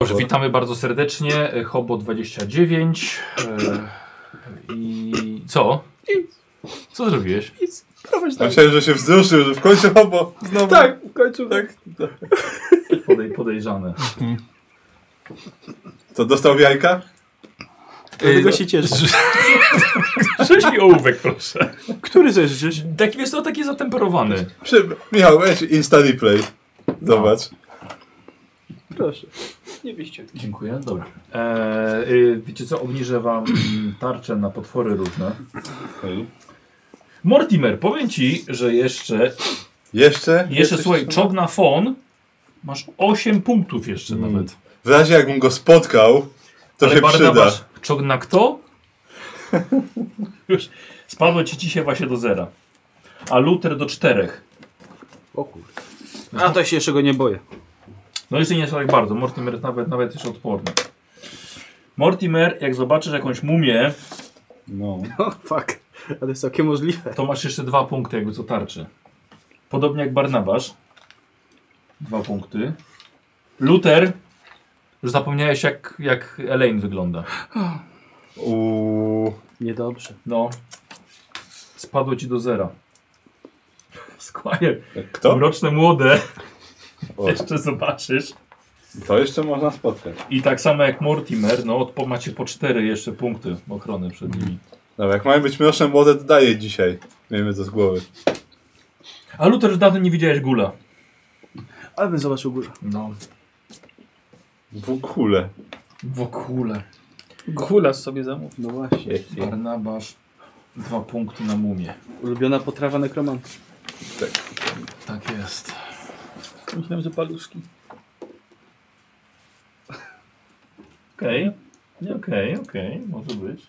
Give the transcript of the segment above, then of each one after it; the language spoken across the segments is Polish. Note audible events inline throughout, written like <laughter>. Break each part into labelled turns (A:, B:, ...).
A: Dobrze, witamy bardzo serdecznie. e, Hobo 29. e, I co? Co zrobiłeś?
B: Prowadź dalej.
C: Myślałem, że się wzruszył, że w końcu <laughs> obo znowu.
B: Tak, w końcu.
C: tak.
A: Podej, podejrzane.
C: To dostał jajka?
B: Dlatego się cieszę.
D: <laughs> Rzuć mi ołówek, proszę.
B: Który zeżyczysz?
A: Taki jest to taki zatemperowany.
C: Przy... Michał, weź Insta Replay. Zobacz.
B: Proszę. Nie wyjście.
A: Dziękuję, dobra. E, y, wiecie co, obniżę wam mm, tarczę na potwory różne. Mortimer, powiem ci, że jeszcze,
C: Jeszcze?
A: jeszcze słuchaj,
C: coś tam?
A: czogna fon, masz 8 punktów jeszcze
C: Mm.
A: nawet.
C: W razie jakbym go spotkał, to się przyda.
A: masz czogna kto? <laughs> Już spadło ci dzisiaj właśnie do zera. A Luther do czterech.
B: O kurde. A to się jeszcze go nie boję.
A: No jeszcze nie jest tak bardzo. Mortimer jest nawet, nawet jest odporny. Mortimer, jak zobaczysz jakąś mumię,
C: No.
B: O, fuck. Ale to jest całkiem możliwe.
A: to masz jeszcze dwa punkty jakby co tarczy. Podobnie jak Barnabasz. Dwa punkty. Luther. Już zapomniałeś jak, jak Elaine wygląda.
C: Uuu.
B: Niedobrze.
A: No. Spadło ci do zera. <laughs> Squire,
C: Kto?
A: mroczne młode.
C: O,
A: Jeszcze zobaczysz.
C: to jeszcze można spotkać.
A: I tak samo jak Mortimer, no odpo macie po cztery jeszcze punkty ochrony przed nimi.
C: Dobra, jak mają być mroczne młode, to daję dzisiaj. Miejmy to z głowy.
A: A Luther już dawno nie widziałeś gula.
B: Ale bym zobaczył górę.
A: No.
C: W ogóle.
A: W ogóle.
D: Gulas sobie zamów.
B: No właśnie.
A: Barnabasz. Dwa punkty na mumie.
B: Ulubiona potrawa nekromanta.
A: Tak jest.
D: Myślałem, że paluszki.
A: Okej. Okay. Okej, okej. Może być.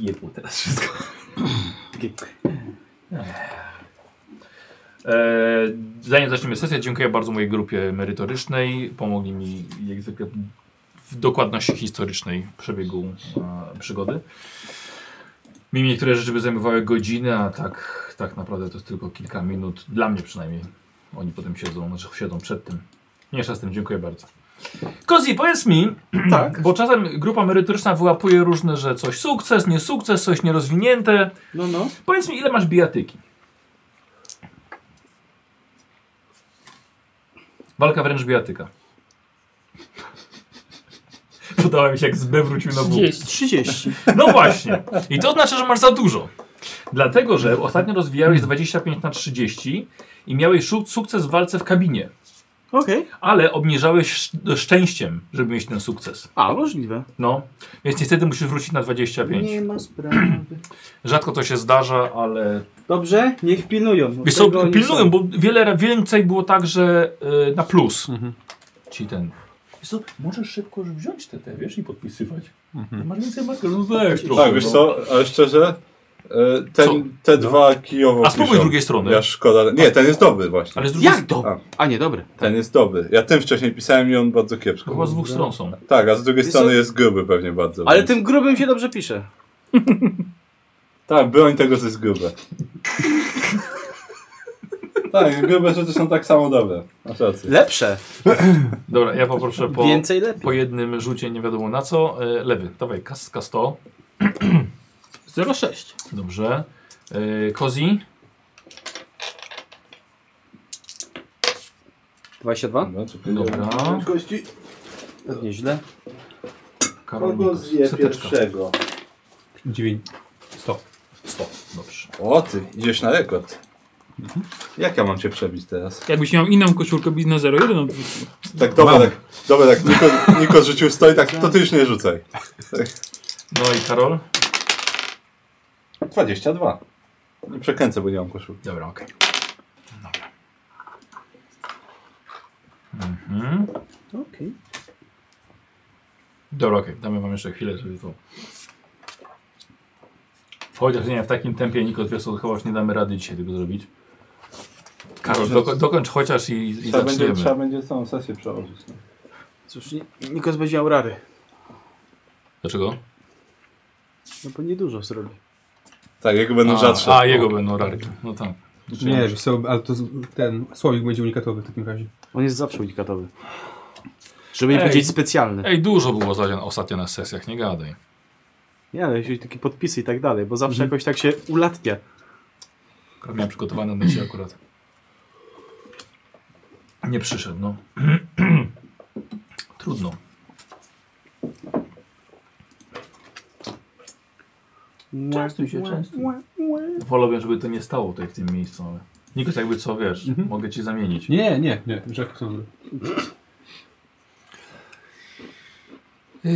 A: Jebło teraz wszystko. Eee, zanim zaczniemy sesję, dziękuję bardzo mojej grupie merytorycznej. Pomogli mi jak zwykle w dokładności historycznej przebiegu e, przygody. Mimo niektóre rzeczy by zajmowały godziny, a tak, tak naprawdę to jest tylko kilka minut. Dla mnie przynajmniej. Oni potem siedzą, znaczy siedzą przed tym. Mniejsza z tym, dziękuję bardzo. Kozi, powiedz mi,
B: Tak.
A: bo czasem grupa merytoryczna wyłapuje różne, że coś sukces, nie sukces, coś nierozwinięte.
B: No, no.
A: Powiedz mi, ile masz bijatyki? Walka wręcz bijatyka. <laughs> Podoba mi się, jak zbewrócił na bóg.
D: 30.
B: 30.
A: No właśnie. I to znaczy, że masz za dużo. Dlatego, że ostatnio rozwijałeś z 25 na 30 i miałeś szu- sukces w walce w kabinie.
B: Okej.
A: Ale obniżałeś sz- szczęściem, żeby mieć ten sukces.
B: A, możliwe.
A: No. Więc niestety musisz wrócić na 25.
B: ma sprawy.
A: Rzadko to się zdarza, ale
B: Dobrze? Niech pilnują. Od
A: Wiesz co,
B: tego oni
A: pilnują,
B: są.
A: bo wiele, więcej było tak, że y, na plus ci ten. Wiesz co, możesz szybko już wziąć te, te wiesz, i podpisywać. Masz więcej markerów, no tak, trochę,
C: Tak, wiesz
A: no.
C: co, ale szczerze, e,
A: Co? No.
C: ten, te dwa kijowo
A: A spróbuj z
C: piszą.
A: drugiej strony.
C: Ja szkoda. Nie, ten jest dobry właśnie.
A: Ale z drugiej
B: Jak
A: strony.
B: to? A, nie, dobre.
C: Ten jest dobry. Ja tym wcześniej pisałem i on bardzo kiepsko.
A: Chyba z dwóch stron są.
C: Tak, a z drugiej
B: Wiesz
C: strony
B: co?
C: jest gruby pewnie bardzo.
B: Ale
C: więc-
B: tym grubym się dobrze pisze.
C: Tak, broń tego, że
B: <laughs>
C: jest grube. tak, grube rzeczy są tak samo dobre. Masz rację.
B: Lepsze.
A: Dobra, ja poproszę po,
B: Więcej lepiej.
A: po jednym rzucie, nie wiadomo na co. Y, lewy, dawaj, kas, kas 100.
D: 06.
A: Dobrze. Y, Kozi,
B: 22?
C: Dobra, czekaj.
A: dobra.
C: Kości
B: Nieźle.
C: kogo
A: Karolnikos,
C: zje
A: seteczka.
C: pierwszego?
E: 9.
A: 100, dobrze.
C: O ty, idziesz na rekord.
A: Mhm.
C: Jak ja mam cię przebić teraz?
D: Jakbyś miał inną koszulkę Bizna 01, no,
C: Tak, dobra, tak, dobra,
A: <laughs>
C: tak, Niko, Niko rzucił stoi, tak, to ty już nie rzucaj.
A: No i Karol?
C: 22. Nie przekręcę, bo nie mam koszulki.
A: Dobra, okej. Dobra. Mhm.
B: Okej.
A: Dobra, okej, damy wam jeszcze chwilę, żeby to. Chociaż nie, w takim tempie Nikos wiesz, co, chyba już nie damy rady dzisiaj tego zrobić. Karol, doko dokończ chociaż i, i
C: Trzeba będzie,
A: zaczniemy.
C: trzeba będzie całą sesję przełożyć. no.
B: Cóż, Ni- Nikos będzie miał rary.
A: Dlaczego?
B: No bo niedużo zrobi.
C: Tak, jak będą rzadsze.
A: a, a jego będą rary. No tak.
E: Nie, wiesz co, ale to z- ten słowik będzie unikatowy w takim razie.
B: On jest zawsze unikatowy. Żeby nie
A: Ej.
B: powiedzieć specjalny.
A: Ej, dużo było zadań ostatnio na sesjach, nie gadaj.
B: Nie, ale jakieś takie podpisy i tak dalej, bo zawsze
A: Mhm.
B: jakoś tak się ulatnia.
A: Akurat Miałem przygotowane na dzisiaj akurat. Nie przyszedł, no. <clears throat> Trudno.
D: Częstuj się, częstuj.
A: Wolałbym, żeby to nie stało tutaj w tym miejscu, ale... Nikos, jakby co, wiesz, mogę ci zamienić.
E: Nie, nie, nie, już jak są.
A: Yy,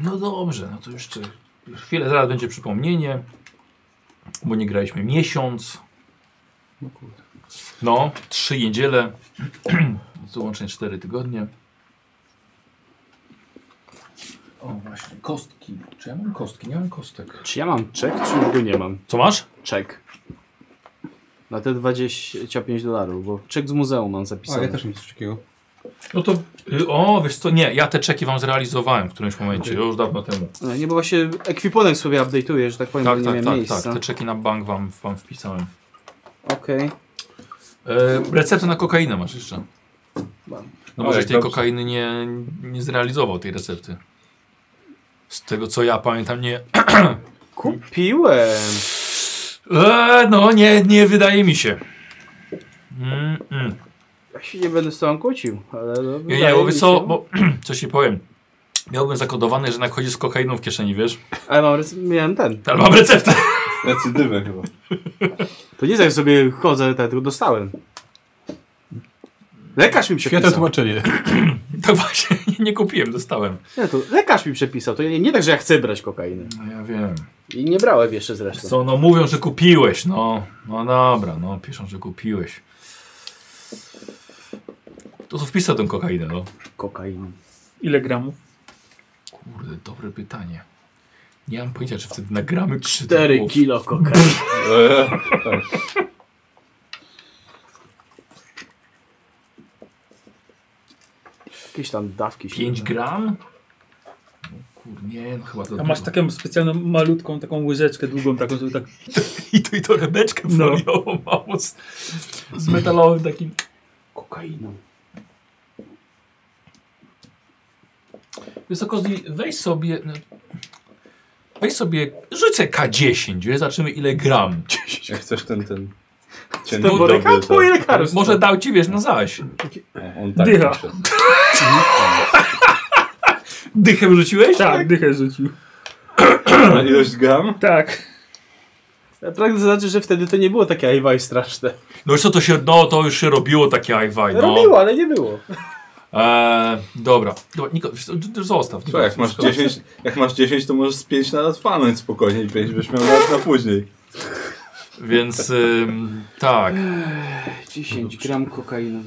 A: no dobrze, no to jeszcze chwilę, zaraz będzie przypomnienie, bo nie graliśmy miesiąc.
E: No kurde.
A: No, trzy niedziele, <clears throat> to łącznie cztery tygodnie. O właśnie, kostki. Czy ja mam kostki? Nie mam kostek.
B: Czy ja mam czek, czy już go nie mam?
A: Co masz?
B: Czek. Na te 25 dolarów, bo czek z muzeum mam
E: A,
B: zapisany.
E: ja też nic takiego.
A: No to, y, o wiesz co, nie, ja te czeki wam zrealizowałem w którymś momencie, już dawno temu.
B: No, nie, bo właśnie ekwipunek sobie update'uję, że tak powiem,
A: Tak,
B: bo nie
A: tak,
B: miałem
A: tak,
B: miejsca.
A: tak, te czeki na bank wam, wam wpisałem.
B: Okej.
A: E, receptę na kokainę masz jeszcze.
B: Mam.
A: No
C: Ojej,
A: możeś tej
C: dobrze.
A: kokainy nie, nie zrealizował, tej recepty. Z tego co ja pamiętam, nie...
B: Kupiłem!
A: E, no nie, nie wydaje mi się. Mm, mm.
B: Ja się nie będę z tobą kłócił, ale...
A: Nie,
B: No, wydaje
A: nie, bo
B: mi
A: wiesz co,
B: się-
A: bo, <clears throat> coś ci powiem. Miałbym zakodowane, że jednak chodzi z kokainą w kieszeni, wiesz?
B: Ale mam, rec- miałem ten.
A: Ale mam receptę. <laughs>
C: Recydywę chyba.
B: To nie jest jak sobie chodzę, tak, tylko dostałem. Lekarz mi
E: Świetne
B: przepisał.
E: tłumaczenie.
A: Tak właśnie, nie, nie kupiłem, dostałem.
B: Nie, to lekarz mi przepisał, to nie, nie tak, że ja chcę brać kokainę.
A: No ja wiem.
B: I nie brałem jeszcze zresztą.
A: Co, no mówią, że kupiłeś, no. No dobra, no piszą, że kupiłeś. To co wpisał tę kokainę, no.
B: Kokainą.
D: Ile gramów?
A: Kurde, dobre pytanie. Nie mam pojęcia, czy wtedy nagramy czy to
B: 4
A: było-
B: kilo kokainy.
C: Eee, tak.
B: Jakieś tam dawki. się
A: 5
B: da.
A: gram? No, Kurde, nie, no chyba to.
D: A masz
A: dużo.
D: taką specjalną, malutką, taką łyżeczkę długą, taką, żeby tak
A: I tu i to rebeczkę
D: No.
A: foliową mało z, z metalowym takim.
B: Kokainą.
A: Wysoko weź sobie. No, weź sobie. Rzucę K10, wiesz, zobaczymy ile gram.
C: Jak chcesz ten, ten... Cienki
B: To było
C: dobry,
B: taka
C: tak.
B: twoje lekarstwo.
A: Może dał ci, wiesz, na zaś.
C: On tak
D: Dycha.
C: pisze.
A: Dychę rzuciłeś?
D: Tak, dychę rzucił.
C: Na ilość gram?
D: Tak.
B: Naprawdę znaczy, że wtedy to nie było takie ajwaj straszne.
A: No już co to się. No to już się robiło takie ajwaj, no.
B: Robiło, ale nie było.
A: Eee, dobra. Dobra, Niko, wiesz co, zostaw. Niko,
C: Co, jak masz 10, jak masz 10 to możesz z 5 na raz fanąć spokojnie i 5 byś miał lat na później.
A: Więc ym, tak.
B: 10 gram kokainą.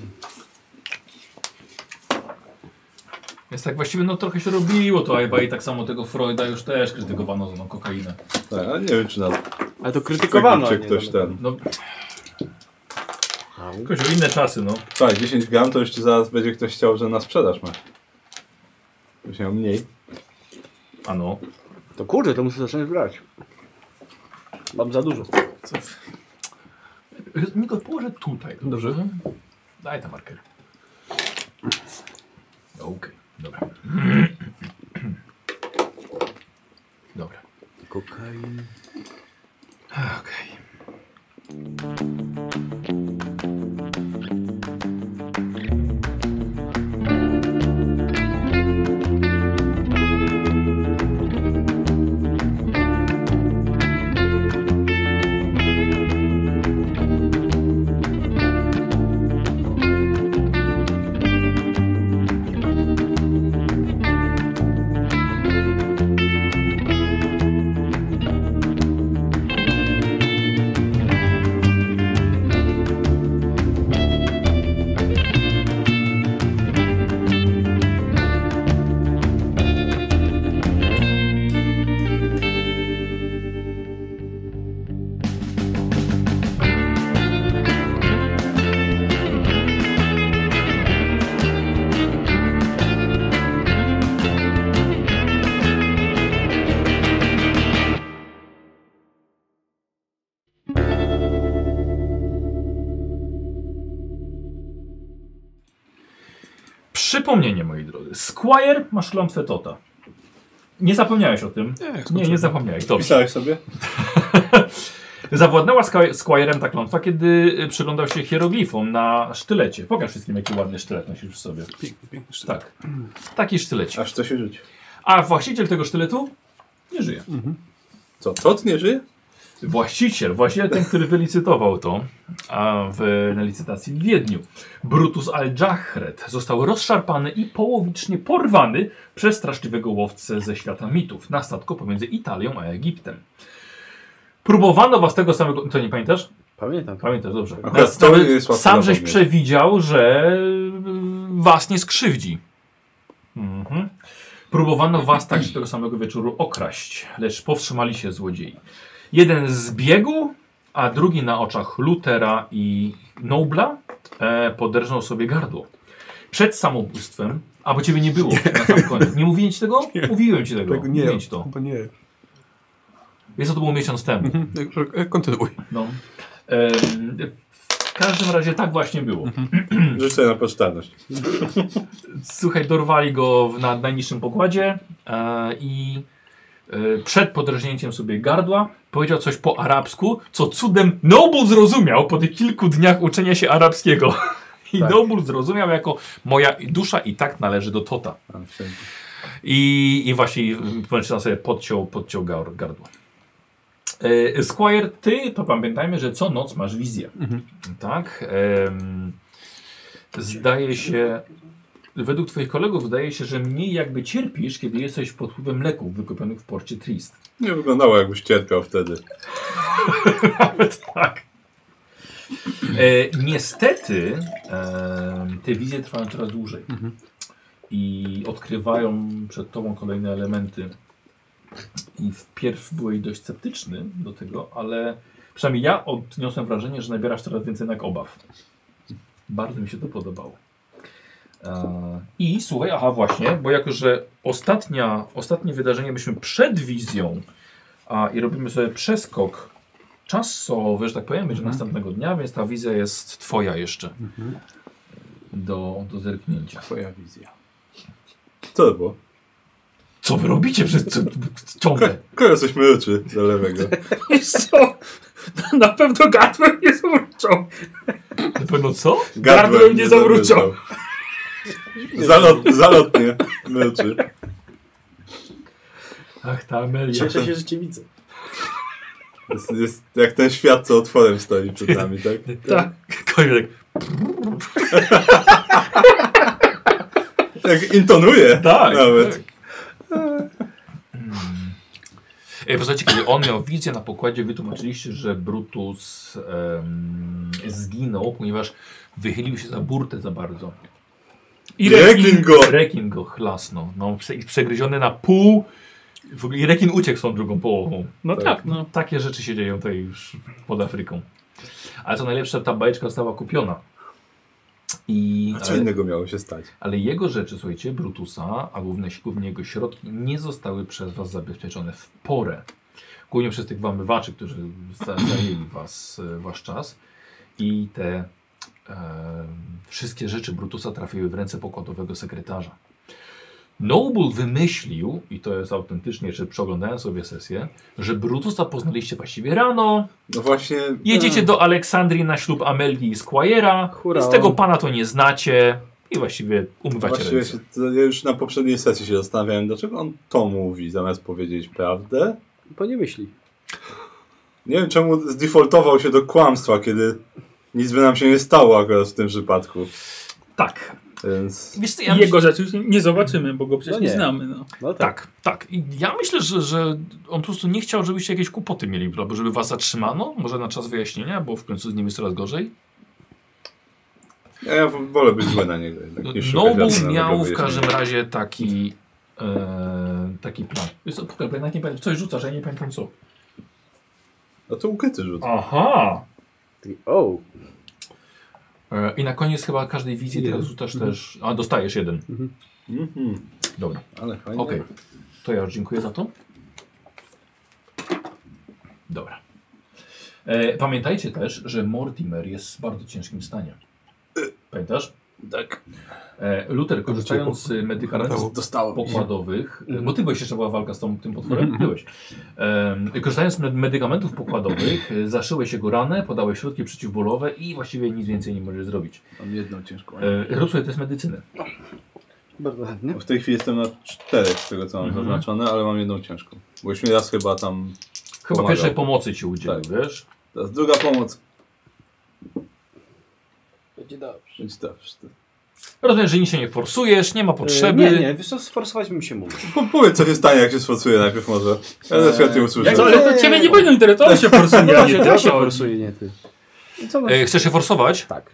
A: Więc tak właściwie no trochę się robiło to Ajba i tak samo tego Freuda już też krytykowano za tą kokainę.
C: Tak, ale nie wiem czy na
B: Ale to krytykowano.
C: czy
B: a nie
C: ktoś
B: tam-
C: ten.
A: No jakoś inne czasy no.
C: Tak, 10 gram to jeszcze zaraz będzie ktoś chciał, że na sprzedaż ma. Byś miał mniej.
A: A no.
B: To kurde, to muszę zacząć brać. Mam za dużo.
A: Co? Niko położę tutaj. Dobrze. Daj tam marker. No, Okej, dobra. Dobra.
B: Kokain.
A: Okej. Przypomnienie, moi drodzy. Squire, masz klątwę Tota. Nie zapomniałeś o tym? Nie, nie zapomniałeś. Dobrze.
C: Pisałeś sobie?
A: Zawładnęła Squi- Squirem ta klątwa, kiedy y, przyglądał się hieroglifom na sztylecie. Pokaż wszystkim, jaki ładny sztylet nosisz w sobie.
E: Piękny, piękny sztylet.
A: Tak. Taki sztylecik.
C: Aż co się rzuci.
A: A właściciel tego sztyletu nie żyje.
C: Co, tot nie żyje?
A: Właściciel, właściciel ten, który wylicytował to a w, na licytacji w Wiedniu, Brutus al-Jahred, został rozszarpany i połowicznie porwany przez straszliwego łowcę ze świata mitów na statku pomiędzy Italią a Egiptem. Próbowano was tego samego. To nie pamiętasz?
B: Pamiętam.
A: Pamiętasz, dobrze.
C: Akurat to
A: sam-
C: jest łatwo
A: sam żeś
C: zapomnieć.
A: przewidział, że y, was nie skrzywdzi. Mhm. Próbowano was także tego samego wieczoru okraść, lecz powstrzymali się złodziei. Jeden zbiegł, a drugi na oczach Lutera i Nobla e, poderżnął sobie gardło. Przed samobójstwem, a bo ciebie nie było na sam koniec. Nie mówiłem ci tego? Mówiłem ci tego.
E: Tak, nie.
A: Mówiłem ci to.
E: Chyba nie.
A: Jest to, to było miesiąc temu.
E: Mhm. e, e, Kontynuuj.
A: No. Em, w każdym razie tak właśnie było.
C: Rzuć sobie na poczytalność.
A: Słuchaj, dorwali go w, na najniższym pokładzie e, i e, przed podrażnięciem sobie gardła powiedział coś po arabsku, co cudem Noble zrozumiał po tych kilku dniach uczenia się arabskiego. <laughs> I
B: Tak.
A: Noble zrozumiał jako moja dusza i tak należy do Tota.
C: A,
A: I, i właśnie mężczyzna sobie podciął, podciął gar- gardło. E, Squire, ty to pamiętajmy, że co noc masz wizję. Tak. em, zdaje się, według Twoich kolegów, zdaje się, że mniej jakby cierpisz, kiedy jesteś pod wpływem leków wykupionych w porcie Trist.
C: <laughs> Nie wyglądało jakbyś cierpiał wtedy.
A: Nawet tak. E, niestety e, te wizje trwają coraz dłużej i odkrywają przed tobą kolejne elementy. I wpierw byłeś dość sceptyczny do tego, ale przynajmniej ja odniosłem wrażenie, że nabierasz coraz więcej jednak obaw. Bardzo mi się to podobało. E, I słuchaj, aha właśnie, bo jako, że ostatnia, ostatnie wydarzenie byśmy przed wizją a, i robimy sobie przeskok czasowy, że tak powiem, będzie następnego dnia, więc ta wizja jest twoja jeszcze do, do zerknięcia.
E: Twoja wizja.
C: Co to było?
A: Co wy robicie przez co, ciągle?
C: Kogo coś myczy do lewego.
D: Co? Na pewno gardłem nie zawrócą.
A: Na pewno co?
D: Gardłem nie zawrócą.
C: Zalot, zalotnie myczy.
A: Ach, ta Amelia.
B: Cieszę się, że cię widzę.
C: Jest, jest jak ten świat, co otworem stoi przed nami, tak?
D: Tak.
A: Kojarek.
C: Jak intonuje
A: Tak,
C: nawet.
A: Hmm. Ej, posłuchajcie, E, kiedy on miał wizję na pokładzie, wytłumaczyliście, że Brutus em, zginął, ponieważ wychylił się za burtę za bardzo.
C: I rekin go!
A: Rekin go chlasnął. No, prze- i przegryziony na pół. W ogóle i rekin uciekł z tą drugą połową.
D: No tak, no.
A: Takie rzeczy się dzieją tutaj już pod Afryką. Ale co najlepsze, ta bajeczka została kupiona. I,
C: A co
A: ale,
C: innego miało się stać?
A: ale jego rzeczy, słuchajcie, Brutusa, a głównie, głównie jego środki, nie zostały przez was zabezpieczone w porę. Głównie przez tych wamywaczy, którzy za- zajęli was, e, wasz czas. I te e, wszystkie rzeczy Brutusa trafiły w ręce pokładowego sekretarza. Noble wymyślił, i to jest autentycznie, że przeglądałem sobie sesję, że Brutusa poznaliście właściwie rano,
C: No właśnie...
A: Jedziecie do Aleksandrii na ślub Amelii i Squire'a.
B: Hurra.
A: Z tego pana to nie znacie i właściwie umywacie
C: Właściwie
A: ręce.
C: się, to ja już na poprzedniej sesji się zastanawiałem, dlaczego on to mówi, zamiast powiedzieć prawdę.
B: Bo nie myśli.
C: Nie wiem, czemu zdefaultował się do kłamstwa, kiedy nic by nam się nie stało akurat w tym przypadku.
A: Tak.
C: Więc...
A: Wiesz, co, ja
D: I
A: myślę,
D: Jego rzeczy już nie zobaczymy, bo go przecież
B: No
D: nie.
B: nie.
D: znamy. No.
B: No tak.
A: tak, tak. I ja myślę, że, że on po prostu nie chciał, żebyście jakieś kłopoty mieli, albo żeby was zatrzymano, może na czas wyjaśnienia, bo w końcu z nim jest coraz gorzej.
C: Ja, ja wolę być zły na niego jednak, niż szukać
A: No, Noble
C: racji na
A: miał
C: jego
A: w każdym razie taki e, taki plan. Wiesz co, tutaj, bo jednak nie pamiętam, coś rzucasz, ja nie pamiętam co.
C: wyjaśnienia. A No to ukryty rzut.
A: Aha!
B: Taki, "Oh." O,
A: E, I na koniec chyba każdej wizji
E: Jeden.
A: teraz rzucasz też... A, dostajesz jeden.
C: Mhm,
A: Dobra.
C: ale fajnie.
A: Okej, to ja już dziękuję za to. Dobra. E, pamiętajcie też, że Mortimer jest w bardzo ciężkim stanie. Pamiętasz?
D: Tak.
A: E, Luther, korzystając z medykamentów
D: Dostałem.
A: pokładowych, bo ty byłeś jeszcze była walka z tą, tym potworem, byłeś. Em, korzystając z med- medykamentów pokładowych, e, zaszyłeś jego ranę, podałeś środki przeciwbólowe i właściwie nic więcej nie możesz zrobić.
D: Mam jedną ciężką.
A: E, rób sobie test medycyny.
B: Bardzo chętnie.
C: W tej chwili jestem na czterech z tego co mam
A: Mhm.
C: zaznaczone, ale mam jedną ciężką. Byłeś mi raz chyba tam.
A: Chyba
C: Pomagał.
A: pierwszej pomocy ci udzielił,
C: Tak.
A: wiesz?
C: Teraz druga pomoc.
B: Będzie dobrze.
C: Więc dobrze. to-
A: Rozumiem, że nic się nie forsujesz, nie ma potrzeby.
B: Nie, nie, wiesz co, sforsować mi się mówi.
C: Po, powiedz co się stanie, jak się sfocuje najpierw może. Ja na przykład nie usłyszę.
D: Jak to, ale to ciebie nie powinno interesować się
A: tak,
D: forsuje, a nie
B: Ja
D: to
B: się
D: się
B: forsuję, nie ty. I co masz?
A: E, chcesz się forsować?
B: Tak.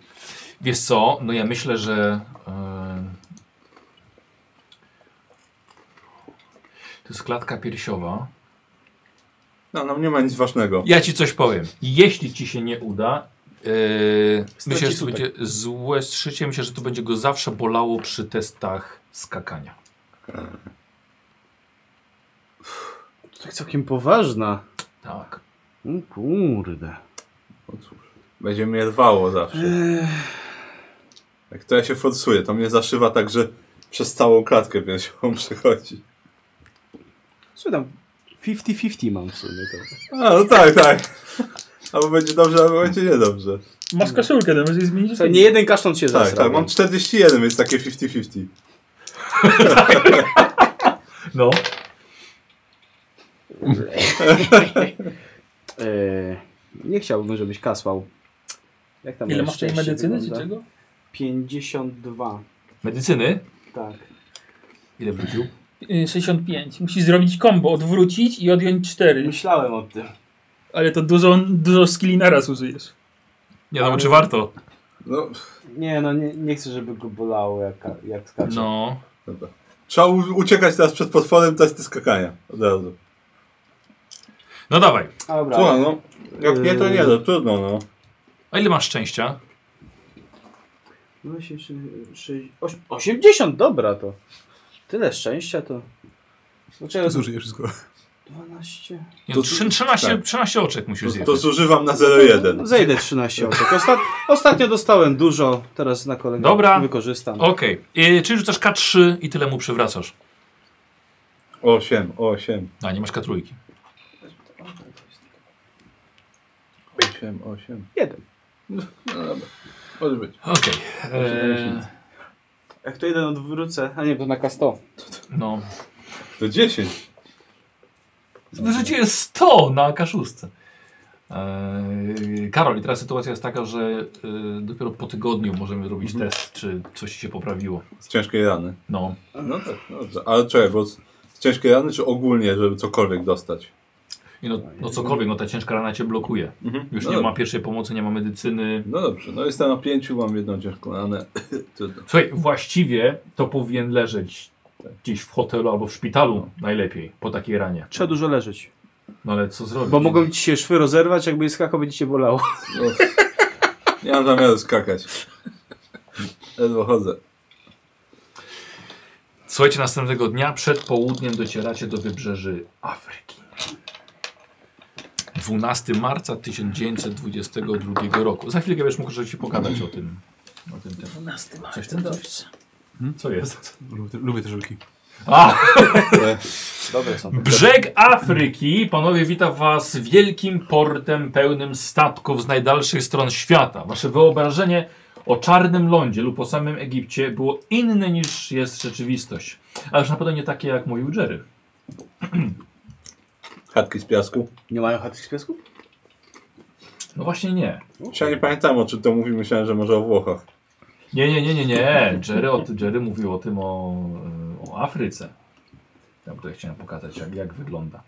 A: Wiesz co, no ja myślę, że... e, To jest klatka piersiowa.
C: No, no nie ma nic ważnego.
A: Ja ci coś powiem. Jeśli ci się nie uda, yy,
B: Straci
A: myślę, że to
B: tutaj.
A: będzie złe strzycie. Myślę, że to będzie go zawsze bolało przy testach skakania.
B: To jest Tak całkiem poważna.
A: Tak.
B: O kurde.
C: No cóż, będzie mnie rwało zawsze. Jak to ja się forsuje, to mnie zaszywa tak, że przez całą klatkę piersiową <laughs> przechodzi.
B: Słuchaj tam, 50-50 mam w sumie to.
C: A, no tak, tak. Albo będzie dobrze, albo będzie niedobrze.
D: Masz koszulkę, to możesz jej zmienić.
B: Słuchaj, nie jeden kasztan się
C: Tak,
B: zasrał.
C: tak, mam 41, więc takie 50-50.
A: No.
B: Eee, nie chciałbym, żebyś kasłał. Jak tam
D: Ile
B: moje
D: masz tej
B: szczęście
D: medycyny czy
B: wygląda?
D: czego?
B: 52.
A: Medycyny?
B: Tak.
A: Ile wrócił?
D: Y, 65. Musisz zrobić combo, odwrócić i odjąć 4.
B: Myślałem o tym.
D: Ale to dużo, dużo skilli naraz użyjesz.
A: Nie wiem, czy warto.
C: No, pff,
B: Nie no, nie, nie chcę, żeby go bolało jak, jak skacze.
A: No.
C: dobra. Trzeba u- uciekać teraz przed potworem, testy skakania. Od razu.
A: No dawaj.
B: Dobra.
C: Słuchaj, no, jak nie, to nie, to trudno, no.
A: A ile masz szczęścia?
B: No właśnie, szy- szy- oś- 80, dobra to. Tyle szczęścia to. Znaczy, Dlaczego
E: Zużyję wszystko.
B: 12?
A: Nie,
C: To-
A: trzy- 13,
C: tak.
A: 13 oczek musisz
C: To
A: zjechać.
C: zużywam na
B: No,
C: 0,1.
B: Zejdę 13 oczek. Ostat... Ostatnio dostałem dużo, teraz na kolejny
A: Dobra.
B: wykorzystam.
A: Okej. Yy, Czyli rzucasz K3 i tyle mu przywracasz.
C: 8, 8,
A: A, nie masz K3.
C: 8, 8.
B: Jeden.
C: No dobra, może być.
A: Okej. Eee,
B: Jak to jeden odwrócę, a nie, to na K100.
A: no.
C: To 10.
A: Wyrzuciłem 100 na K6. Eee, Karol, i teraz sytuacja jest taka, że e, dopiero po tygodniu możemy zrobić
C: Mhm.
A: test, czy coś ci się poprawiło.
C: Z ciężkiej rany.
A: No.
C: No tak, dobrze. Ale czekaj, bo z, z ciężkiej rany czy ogólnie, żeby cokolwiek dostać?
A: I no, no cokolwiek, no ta ciężka rana cię blokuje. Mhm. Już
C: No
A: nie
C: dobra.
A: ma pierwszej pomocy, nie ma medycyny.
C: No dobrze, no jestem na pięciu, mam jedną ciężką ranę. Trudno.
A: Słuchaj, właściwie to powinien leżeć gdzieś w hotelu albo w szpitalu
C: No.
A: najlepiej po takiej ranie.
B: Trzeba dużo leżeć.
A: No ale co zrobić?
B: Bo mogą ci się szwy rozerwać, jakby je skakał, będzie cię bolało.
C: No, nie mam zamiaru skakać. Ledwo chodzę.
A: Słuchajcie, następnego dnia przed południem docieracie do wybrzeży Afryki. 12 marca 1922 roku. Za chwilkę będziesz mógł rzeczywiście pogadać o tym. O tym, tym.
D: 12
A: Coś tam
D: No, dobrze.
A: Co jest?
E: Lubię, te- lubię te żelki.
A: A!
B: Dobre są.
A: Brzeg Afryki, panowie, witam was wielkim portem pełnym statków z najdalszych stron świata. Wasze wyobrażenie o czarnym lądzie lub o samym Egipcie było inne niż jest rzeczywistość. A już na pewno nie takie jak mówił Jerry.
C: Chatki z piasku.
B: Nie mają chatki z piasku?
A: No właśnie nie.
C: Ja nie pamiętam o czym to mówi, myślałem, że może o Włochach.
A: Nie, nie, nie, nie, nie. Jerry, o, Jerry mówił o tym o, e, o Afryce. Ja tutaj chciałem pokazać, jak, jak wygląda.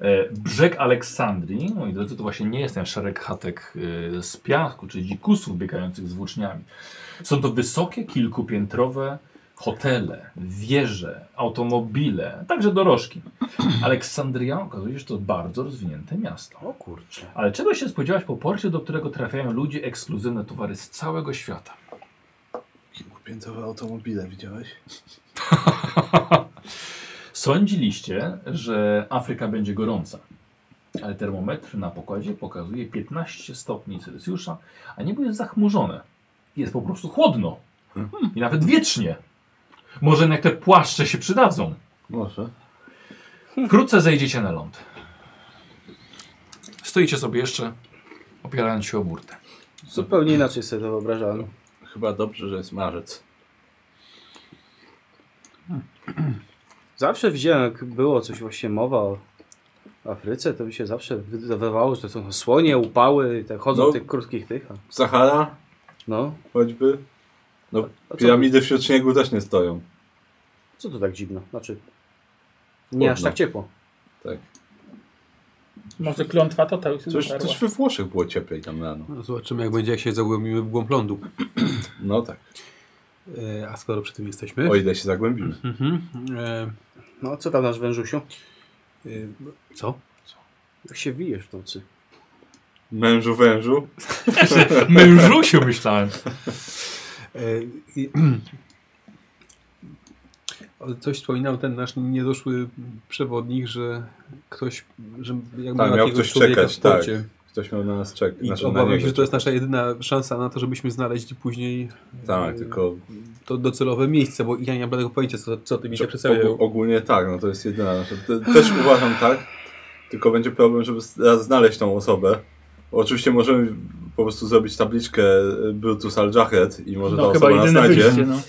A: E, Brzeg Aleksandrii, moi drodzy, to właśnie nie jest ten szereg chatek e, z piasku, czy dzikusów biegających z włóczniami. Są to wysokie, kilkupiętrowe hotele, wieże, automobile, także dorożki. Aleksandria okazuje się, że to bardzo rozwinięte miasto.
B: O kurczę.
A: Ale czego się spodziewać po porcie, do którego trafiają ludzie ekskluzywne towary z całego świata?
C: Piętowe automobile widziałeś?
A: Sądziliście, że Afryka będzie gorąca, ale termometr na pokładzie pokazuje 15 stopni Celsjusza, a niebo jest zachmurzone. Jest po prostu chłodno. I nawet wiecznie. Może jednak te płaszcze się przydadzą.
C: Może.
A: Wkrótce zejdziecie na ląd. Stoicie sobie jeszcze, opierając się o burtę.
B: Zupełnie inaczej sobie to wyobrażałem.
C: Chyba dobrze, że jest marzec.
B: Zawsze widziałem, jak było coś właśnie mowa o Afryce, to mi się zawsze wydawało, że to są słonie, upały, i tak chodzą
C: No.
B: w tych krótkich tych. a-
C: Sahara
B: No,
C: choćby. No,
B: a co,
C: Piramidy wśród śniegu też nie stoją.
B: co to tak dziwne? Znaczy, nie
C: Chłodno.
B: aż tak ciepło.
C: Tak.
D: Może klątwa to tak
C: Coś, coś we Włoszech było cieplej tam rano.
E: No, zobaczymy, jak będzie, jak się zagłębimy w głąb lądu.
C: No tak.
E: E, a skoro przy tym jesteśmy...
C: O ile się zagłębimy.
E: Mhm. E,
B: No, co tam nasz wężusiu?
E: e, co?
B: Jak się wijesz w nocy?
C: Mężu wężu.
A: Mężusiu myślałem.
E: E, i, <clears throat> O, coś wspominał ten nasz niedoszły przewodnik, że ktoś, że jakby
C: Tak, miał
E: jakiegoś
C: ktoś
E: człowieka
C: czekać,
E: w porcie.
C: Ktoś miał na nas czekać.
E: I
C: znaczy na
E: obawiam
C: niego
E: się, że to jest
C: czekać.
E: nasza jedyna szansa na to, żebyśmy znaleźli później
C: Tak,
E: e,
C: tylko
E: to docelowe miejsce, bo ja nie mam tego pojęcia, co, co ty mi się
C: Czy-
E: przedstawiał.
C: ogó- Ogólnie tak, no to jest jedyna nasza. Te- Też uważam tak, tylko będzie problem, żeby s- raz znaleźć tą osobę. Oczywiście możemy po prostu zrobić tabliczkę e, Brutus al Jahed i może ta
D: No chyba
C: osoba nas
D: jedyne
C: znajdzie.
D: wyjście, no.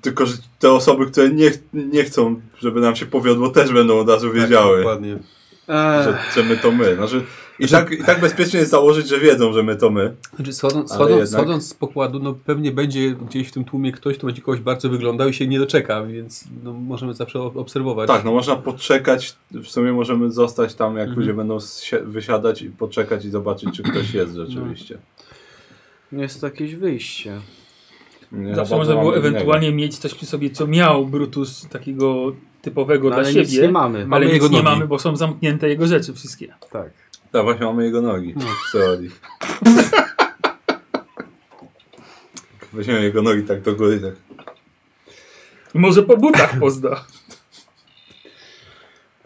C: Tylko, że te osoby, które nie, ch- nie chcą, żeby nam się powiodło, też będą od razu
E: Tak,
C: wiedziały,
E: dokładnie.
B: Eee,
C: że, że my to my. Znaczy, i, tak, I tak bezpiecznie jest założyć, że wiedzą, że my to my.
E: Znaczy, schodząc,
C: Ale
E: schodząc,
C: jednak-
E: schodząc z pokładu, no pewnie będzie gdzieś w tym tłumie ktoś, kto będzie kogoś bardzo wyglądał i się nie doczeka, więc no, możemy zawsze o- obserwować.
C: Tak, no można poczekać, w sumie możemy zostać tam, jak
E: Mhm.
C: ludzie będą zsi- wysiadać i poczekać i zobaczyć, czy ktoś jest
E: No.
C: rzeczywiście.
B: jest to jakieś wyjście.
C: Nie,
D: Zawsze
C: bo
D: można
C: mam
D: było
C: innego.
D: ewentualnie mieć coś przy sobie, co miał Brutus takiego typowego
B: No, ale
D: dla
B: nic nie
D: siebie.
B: mamy.
E: Mamy
D: ale nic
E: jego
D: nie
E: nogi.
D: mamy, bo są zamknięte jego rzeczy wszystkie.
B: Tak.
C: Tak, właśnie mamy jego nogi w teorii. <laughs> Weźmiemy jego nogi tak do góry, tak.
D: Może po butach pozda.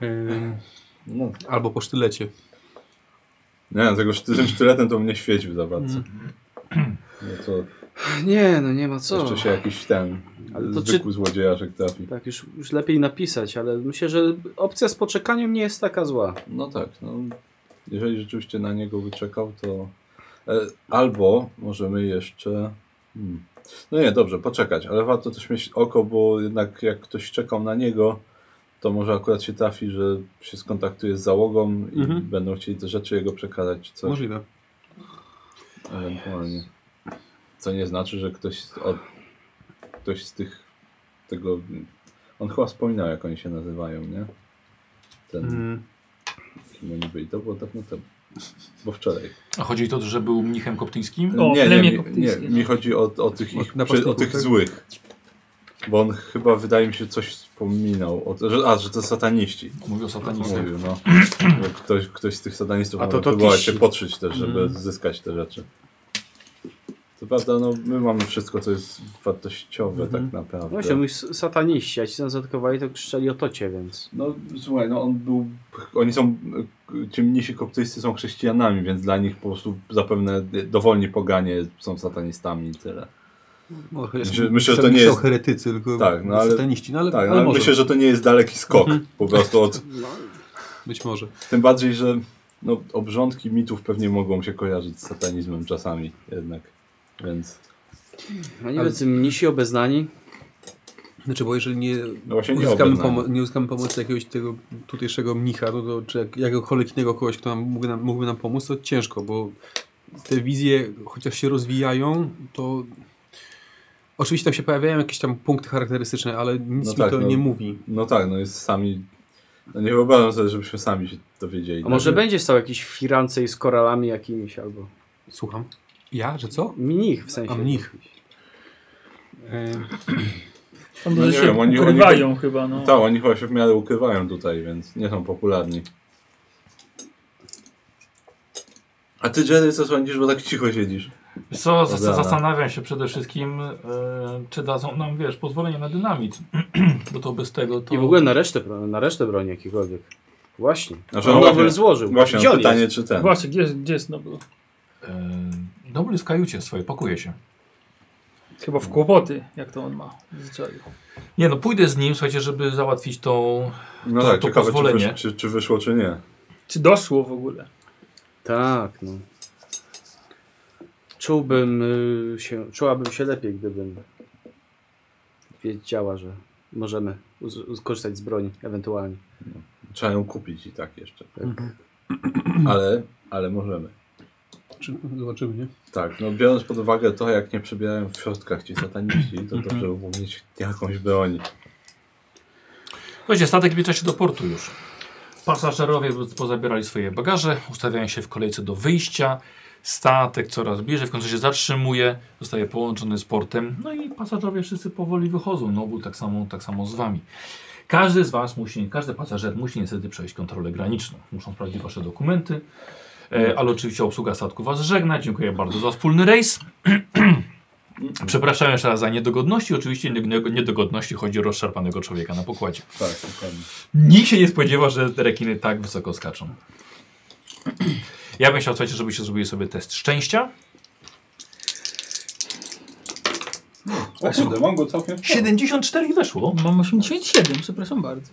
E: Ym,
C: No.
E: Albo po sztylecie.
C: Nie wiem, tego szty- tym sztyletem to mnie świecił za bardzo. No to
B: Nie, no nie ma co.
C: jeszcze się jakiś ten
B: Ale to
C: zwykły złodziejaszek trafi.
B: Tak, już, już lepiej napisać, ale myślę, że opcja z poczekaniem nie jest taka zła.
C: No tak, no. Jeżeli rzeczywiście na niego wyczekał, to. E, albo możemy jeszcze. Hmm. No nie, dobrze, poczekać, ale warto też mieć oko, bo jednak jak ktoś czekał na niego, to może akurat się trafi, że się skontaktuje z załogą i
E: Mhm.
C: będą chcieli te rzeczy jego przekazać czy coś.
E: Możliwe.
C: Ewentualnie. Co nie znaczy, że ktoś z- od, ktoś z tych tego. On chyba wspominał, jak oni się nazywają, nie? Ten.
E: Mm.
C: Kim oni byli? To było dawno temu. Bo wczoraj.
A: A chodzi o to, że był mnichem koptyjskim?
D: O,
C: nie,
D: plemię
C: nie, mi- nie,
D: koptyjskie.
C: mi chodzi o, o tych, ich,
E: napastników,
C: o tych
E: tak?
C: złych. Bo on chyba, wydaje mi się, coś wspominał. O, to, że, a, że to sataniści.
A: Mówił o satanistach.
C: Mówił, no. Że ktoś, ktoś z tych satanistów
B: A to
C: może
B: to
C: próbował
B: tiści.
C: się podszyć też, żeby
E: Mm.
C: zyskać te rzeczy. Co prawda, no, my mamy wszystko, co jest wartościowe
E: Mhm.
C: tak naprawdę.
B: Właśnie, No mój s- sataniści, a ci co nas atakowali, to krzyczeli o tocie, więc...
C: No słuchaj, no on był. Oni są. Ci mnisi koptyjscy są chrześcijanami, więc dla nich po prostu zapewne dowolni poganie są satanistami i tyle.
E: No, chociaż
C: Znaczy, Myślę- myślę, że to
E: tam
C: nie
E: są
C: jest-
E: heretycy, tylko
C: Tak, no ale-
E: sataniści, no ale,
C: Tak,
E: ale
C: ale
E: może.
C: myślę, że to nie jest daleki skok po prostu od.
B: No.
E: Być może.
C: Tym bardziej, że no, obrządki mitów pewnie mogą się kojarzyć z satanizmem czasami jednak. Więc.
B: No nie
E: Ale-
B: wiem, czy mnisi obeznani?
E: Znaczy, bo jeżeli nie,
C: No właśnie nie
E: uzyskamy,
C: obeznani.
E: pomo- nie uzyskamy pomocy jakiegoś tego tutejszego mnicha, no to, czy jak, jakiegokolwiek innego kogoś, kto nam, mógłby, nam, mógłby nam pomóc, to ciężko, bo te wizje, chociaż się rozwijają, to oczywiście tam się pojawiają jakieś tam punkty charakterystyczne, ale nic
C: No
E: mi
C: tak,
E: to
C: no.
E: nie mówi.
C: No tak, no jest sami. No nie wyobrażam sobie, żebyśmy sami się dowiedzieli.
B: A może
C: Tak,
B: będzie stał jakiś w firance i z koralami jakimiś, albo...
E: Słucham. Ja? Że co?
B: Mnich w sensie.
E: A mnich.
D: <laughs> Tam
C: No
D: no,
C: nie
D: się
C: wiem, oni- oni-
D: ukrywają chyba, no.
C: Tak, oni chyba się w miarę ukrywają tutaj, więc nie są popularni. A ty, Jerry, co sądzisz, bo tak cicho siedzisz?
A: Wiesz Co, zas-
C: Dobra.
A: zastanawiam się przede wszystkim, e, czy dadzą nam, wiesz, pozwolenie na dynamit. <clears throat> Bo to bez tego to...
B: I w ogóle na resztę, bro- na resztę broni jakiejkolwiek. Właśnie.
C: Znaczy,
B: On
C: no
B: Nobel
C: właśnie-
B: złożył.
C: Właśnie,
B: Gdzie
C: no
B: on
C: pytanie,
B: jest?
C: czy ten.
D: no Właśnie, gdzie, jest- gdzie jest Nobel?
A: E, Dobry jest w kajucie swojej, pakuje się.
D: Chyba w kłopoty, jak to on ma w zwyczaju.
A: Nie no, pójdę z nim, słuchajcie, żeby załatwić tą...
C: No
A: To-
C: tak,
A: to
C: ciekawe czy,
A: pozwolenie.
C: wysz, czy, czy wyszło, czy nie.
D: Czy doszło w ogóle?
B: Tak, no. Czułbym y, się, czułabym się lepiej, gdybym wiedziała, że możemy uz- uz- skorzystać z broni ewentualnie.
C: Trzeba ją kupić i tak jeszcze. Tak. Ale, ale możemy.
E: Czy, zobaczymy, nie?
C: Tak, no biorąc pod uwagę to, jak nie przebierają w środkach ci sataniści, to dobrze by było mieć jakąś broń.
A: Słuchajcie, statek zbliża się do portu już. Pasażerowie pozabierali swoje bagaże, ustawiają się w kolejce do wyjścia. Statek coraz bliżej, w końcu się zatrzymuje, zostaje połączony z portem. No i pasażerowie wszyscy powoli wychodzą, no bo tak samo, tak samo z wami. Każdy z was musi, każdy pasażer musi niestety przejść kontrolę graniczną. Muszą sprawdzić wasze dokumenty, e, ale oczywiście obsługa statku was żegna. Dziękuję bardzo za wspólny rejs. <clears throat> Przepraszam jeszcze raz za niedogodności. Oczywiście nie- niedogodności chodzi o rozszarpanego człowieka na pokładzie.
C: Tak, dokładnie.
A: Nikt się nie spodziewa, że te rekiny tak wysoko skaczą. Ja bym chciał, słuchajcie, żebyście zrobili sobie test szczęścia.
C: O kurde, mam go całkiem.
A: 74 i weszło.
D: Mam 87, przepraszam bardzo.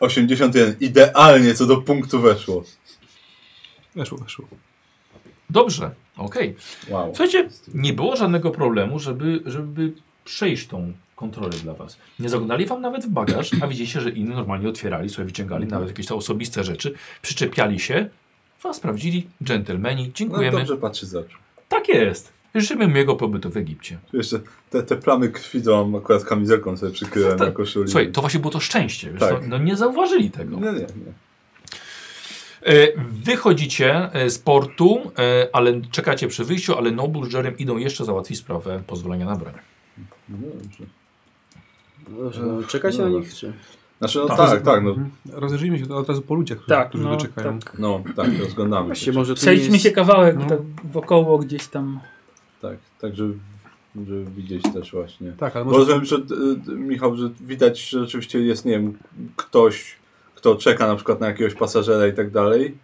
C: 81, idealnie co do punktu weszło.
E: Weszło, weszło.
A: Dobrze, okej.
C: Wow.
A: Słuchajcie, nie było żadnego problemu, żeby, żeby przejść tą kontrolę dla was. Nie zaglądali wam nawet w bagaż, a widzicie, że inni normalnie otwierali, sobie wyciągali nawet jakieś te osobiste rzeczy, przyczepiali się, was sprawdzili, dżentelmeni,
C: No
A: dziękujemy.
C: dobrze patrzy z oczu.
A: tak jest. Życzymy miłego pobytu w Egipcie.
C: Jeszcze te, te plamy krwi to mam akurat kamizelką sobie przykryłem na koszuli.
A: Słuchaj, to właśnie było to szczęście. Wiesz,
C: Tak.
A: co? no nie zauważyli tego.
C: Nie, nie, nie.
A: E, Wychodzicie e, z portu, e, ale czekacie przy wyjściu, ale Noble z Jerem idą jeszcze załatwić sprawę pozwolenia na broń.
C: No dobrze.
B: Dobrze, no, czekać na
C: Dobra.
B: nich, czy...
C: Znaczy, no
A: Tak.
C: tak, tak, no.
E: Mhm. Rozejrzyjmy się od razu po ludziach, którzy,
D: Tak,
E: którzy
D: no,
E: doczekają.
D: tak.
C: No, tak, rozglądamy się.
B: Właściwie może tu nie
D: Przejdźmy
B: jest...
D: się kawałek
E: No.
D: tak wokoło gdzieś tam.
C: Tak, tak, żeby, żeby widzieć też właśnie.
E: Tak, ale
C: Bo
E: może...
C: rozumiem, że y, y, Michał, że widać, że rzeczywiście jest, nie wiem, ktoś, kto czeka na przykład na jakiegoś pasażera i tak dalej.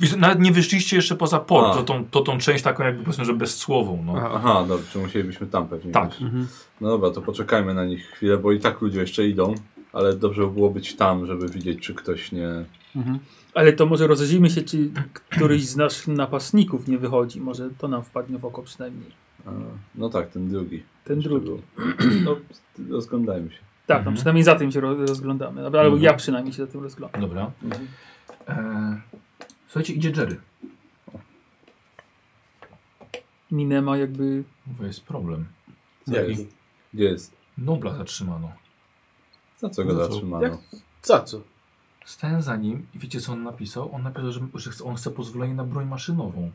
A: Wiesz, Nawet nie wyszliście jeszcze poza port,
C: A.
A: to tą, to tą część taką jakby powiedzmy, że bezsłową. No.
E: Aha.
C: Aha, dobrze, musielibyśmy tam pewnie.
A: Tak.
C: iść.
E: Mhm.
C: No dobra, to poczekajmy na nich chwilę, bo i tak ludzie jeszcze idą, ale dobrze by było być tam, żeby widzieć, czy ktoś nie.
E: Mhm.
D: Ale to może rozejrzyjmy się, czy któryś z naszych napastników nie wychodzi. Może to nam wpadnie w oko przynajmniej.
C: A, no tak, ten drugi.
D: Ten drugi.
C: No, <clears throat> rozglądajmy się.
D: Tak, no
A: Mhm.
D: przynajmniej za tym się ro- rozglądamy. Albo
C: Mhm.
D: ja przynajmniej się za tym rozglądam.
A: Dobra. E, słuchajcie, idzie Jerry.
D: Minema jakby...
A: Bo jest problem.
C: Co jest? Gdzie jest?
A: Nobla zatrzymano.
C: Za co go
E: No co?
B: Jak?
C: zatrzymano?
B: Za co?
C: Tak
A: Stałem za nim i wiecie co on napisał? On napisał, że, że chce- on chce pozwolenie na broń maszynową.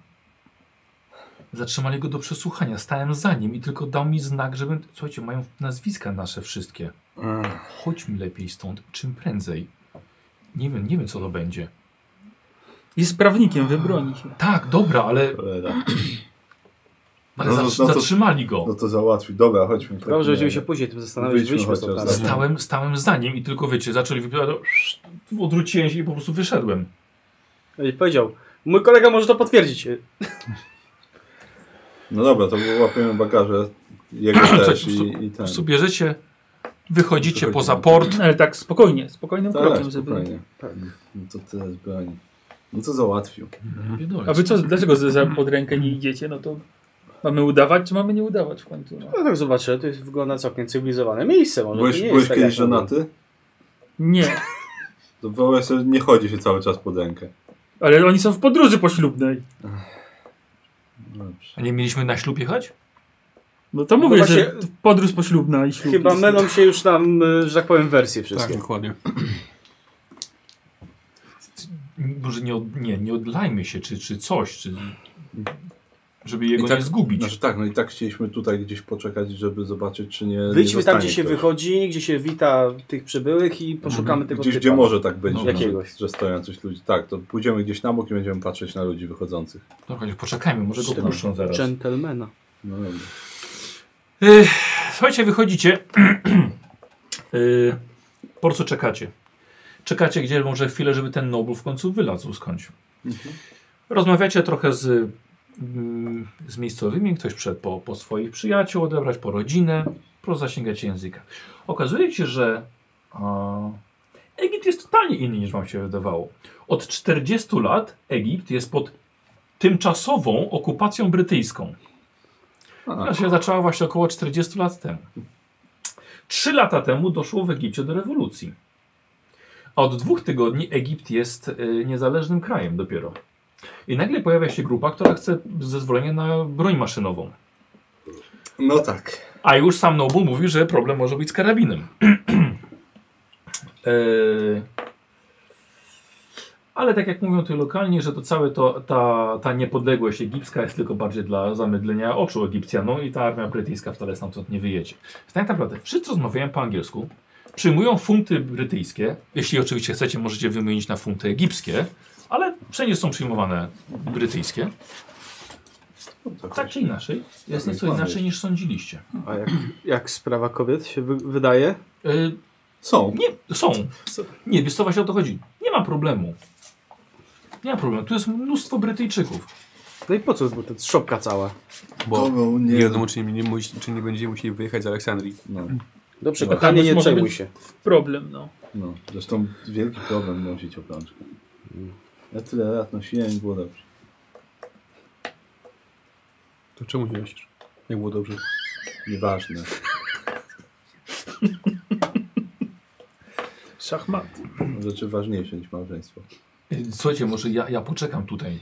A: Zatrzymali go do przesłuchania. Stałem za nim i tylko dał mi znak, żebym... Słuchajcie, mają nazwiska nasze wszystkie.
C: Ech,
A: Chodźmy lepiej stąd, czym prędzej. Nie wiem, nie wiem co to będzie.
D: Jest prawnikiem, wybroni się.
A: Tak, dobra, ale,
B: <clears throat>
C: Cholera.
A: ale
C: No, no,
A: zatrzy-
C: no to-
A: zatrzymali go.
C: No to załatwi. Dobra, chodźmy. w takim
B: Dobrze, będziemy
C: razie.
B: się później tym zastanawiać,
C: Wyjdźmy
B: wyjdźmy stąd
C: chociaż
B: na
C: za-
B: razie.
A: Stałem, stałem za nim i tylko wiecie, zaczęli wypowiadać. Odwróciłem się i po prostu wyszedłem.
B: No I powiedział, mój kolega może to potwierdzić.
C: No dobra, to łapiemy bagaże. Jego też
A: Coś,
C: i, i
A: Po
C: ten.
A: prostu bierzecie, wychodzicie
C: Tak. Wychodzimy.
A: poza port.
D: Ale tak spokojnie, spokojnym krokiem,
C: Tak,
D: żeby...
C: spokojnie. No to teraz broń. No to załatwił.
A: Biedolec.
D: A wy co, dlaczego za- za- pod rękę nie idziecie? No to mamy udawać, czy mamy nie udawać w końcu? No.
B: No tak zobaczę, to jest, wygląda całkiem cywilizowane miejsce. Może
C: Byłeś,
B: to nie
C: byłeś
B: jest tak
C: kiedyś
B: jak mówią.
C: żonaty?
D: Nie,
C: To wyobraź sobie, nie chodzi się cały czas pod rękę.
D: ale oni są w podróży poślubnej.
C: Dobrze.
A: A nie mieliśmy na ślub jechać?
D: No to
B: No
D: mówię, że
B: właśnie-
D: podróż poślubna i ślub.
B: Chyba
D: jest-
B: mylą się już nam, y, że tak powiem, wersje
E: tak,
B: wszystkie.
E: dokładnie.
A: Może nie, od, nie, nie odlajmy się, czy, czy coś, czy, żeby jego
C: I tak-
A: nie zgubić.
C: Znaczy tak, no i tak chcieliśmy tutaj gdzieś poczekać, żeby zobaczyć, czy nie. nie
B: Wyjdźmy tam,
C: zostanie
B: gdzie się
C: ktoś.
B: wychodzi, gdzie się wita tych przybyłych i poszukamy tego
C: Gdzieś,
B: typa.
C: gdzie może tak być,
A: No,
C: że-
B: jakiegoś.
C: że stoją coś ludzi. Tak, to pójdziemy gdzieś na bok i będziemy patrzeć na ludzi wychodzących.
A: Dobra, poczekajmy, może go
B: Trzymaj.
A: puszczą zaraz.
B: Gentlemana.
C: No dobra.
A: Ech, Y, Słuchajcie, wychodzicie. <clears throat> Yy, po co czekacie? Czekacie gdzie może chwilę, żeby ten Noble w końcu wylazł skądś. Rozmawiacie trochę z mm, z miejscowymi, ktoś przed po, po swoich przyjaciół odebrać, po rodzinę, po zasięgać języka. Okazuje się, że a, Egipt jest totalnie inny niż wam się wydawało. Od 40 lat Egipt jest pod tymczasową okupacją brytyjską.
C: A,
A: Ona się zaczęła właśnie około 40 lat temu. Trzy lata temu doszło w Egipcie do rewolucji. A od dwóch tygodni Egipt jest y, niezależnym krajem dopiero. I nagle pojawia się grupa, która chce zezwolenie na broń maszynową.
C: no tak.
A: A już sam Nobu mówi, że problem może być z karabinem. <clears throat> Eee, Ale tak jak mówią tu lokalni, że to całe to, ta, ta niepodległość egipska jest tylko bardziej dla zamydlenia oczu Egipcjanom i ta armia brytyjska wcale stamtąd nie wyjedzie. Więc tak naprawdę wszyscy rozmawiają po angielsku, przyjmują funty brytyjskie, jeśli oczywiście chcecie możecie wymienić na funty egipskie, ale wszędzie są przyjmowane brytyjskie.
C: No tak.
A: Tak czy inaczej, jest
C: Tak,
A: nieco
C: mamy.
A: inaczej niż sądziliście.
B: A jak, jak sprawa kobiet się wy, wydaje?
A: Eee,
C: Są.
A: Nie, są.
C: Co?
A: Nie, wiesz co właśnie o to chodzi. Nie ma problemu. Nie ma problemu. Tu jest mnóstwo Brytyjczyków.
B: No i po co ta szopka cała?
E: Bo
C: Kogo
E: nie wiadomo, czy nie, nie, musi- czy nie będziemy musieli wyjechać z Aleksandrii.
C: No,
B: Dobrze,
C: No,
B: kochanie,
D: tak,
B: nie
D: może
B: przejmuj
D: być-
B: się.
D: Problem, no.
C: no. Zresztą wielki problem nosić oplączkę. Ja tyle lat nosiłem i było dobrze.
E: To czemu nie nosisz? Jak było dobrze.
C: Nieważne.
D: Szachmat.
C: Rzeczy ważniejsze niż małżeństwo.
A: Y, Słuchajcie, może ja, ja poczekam tutaj.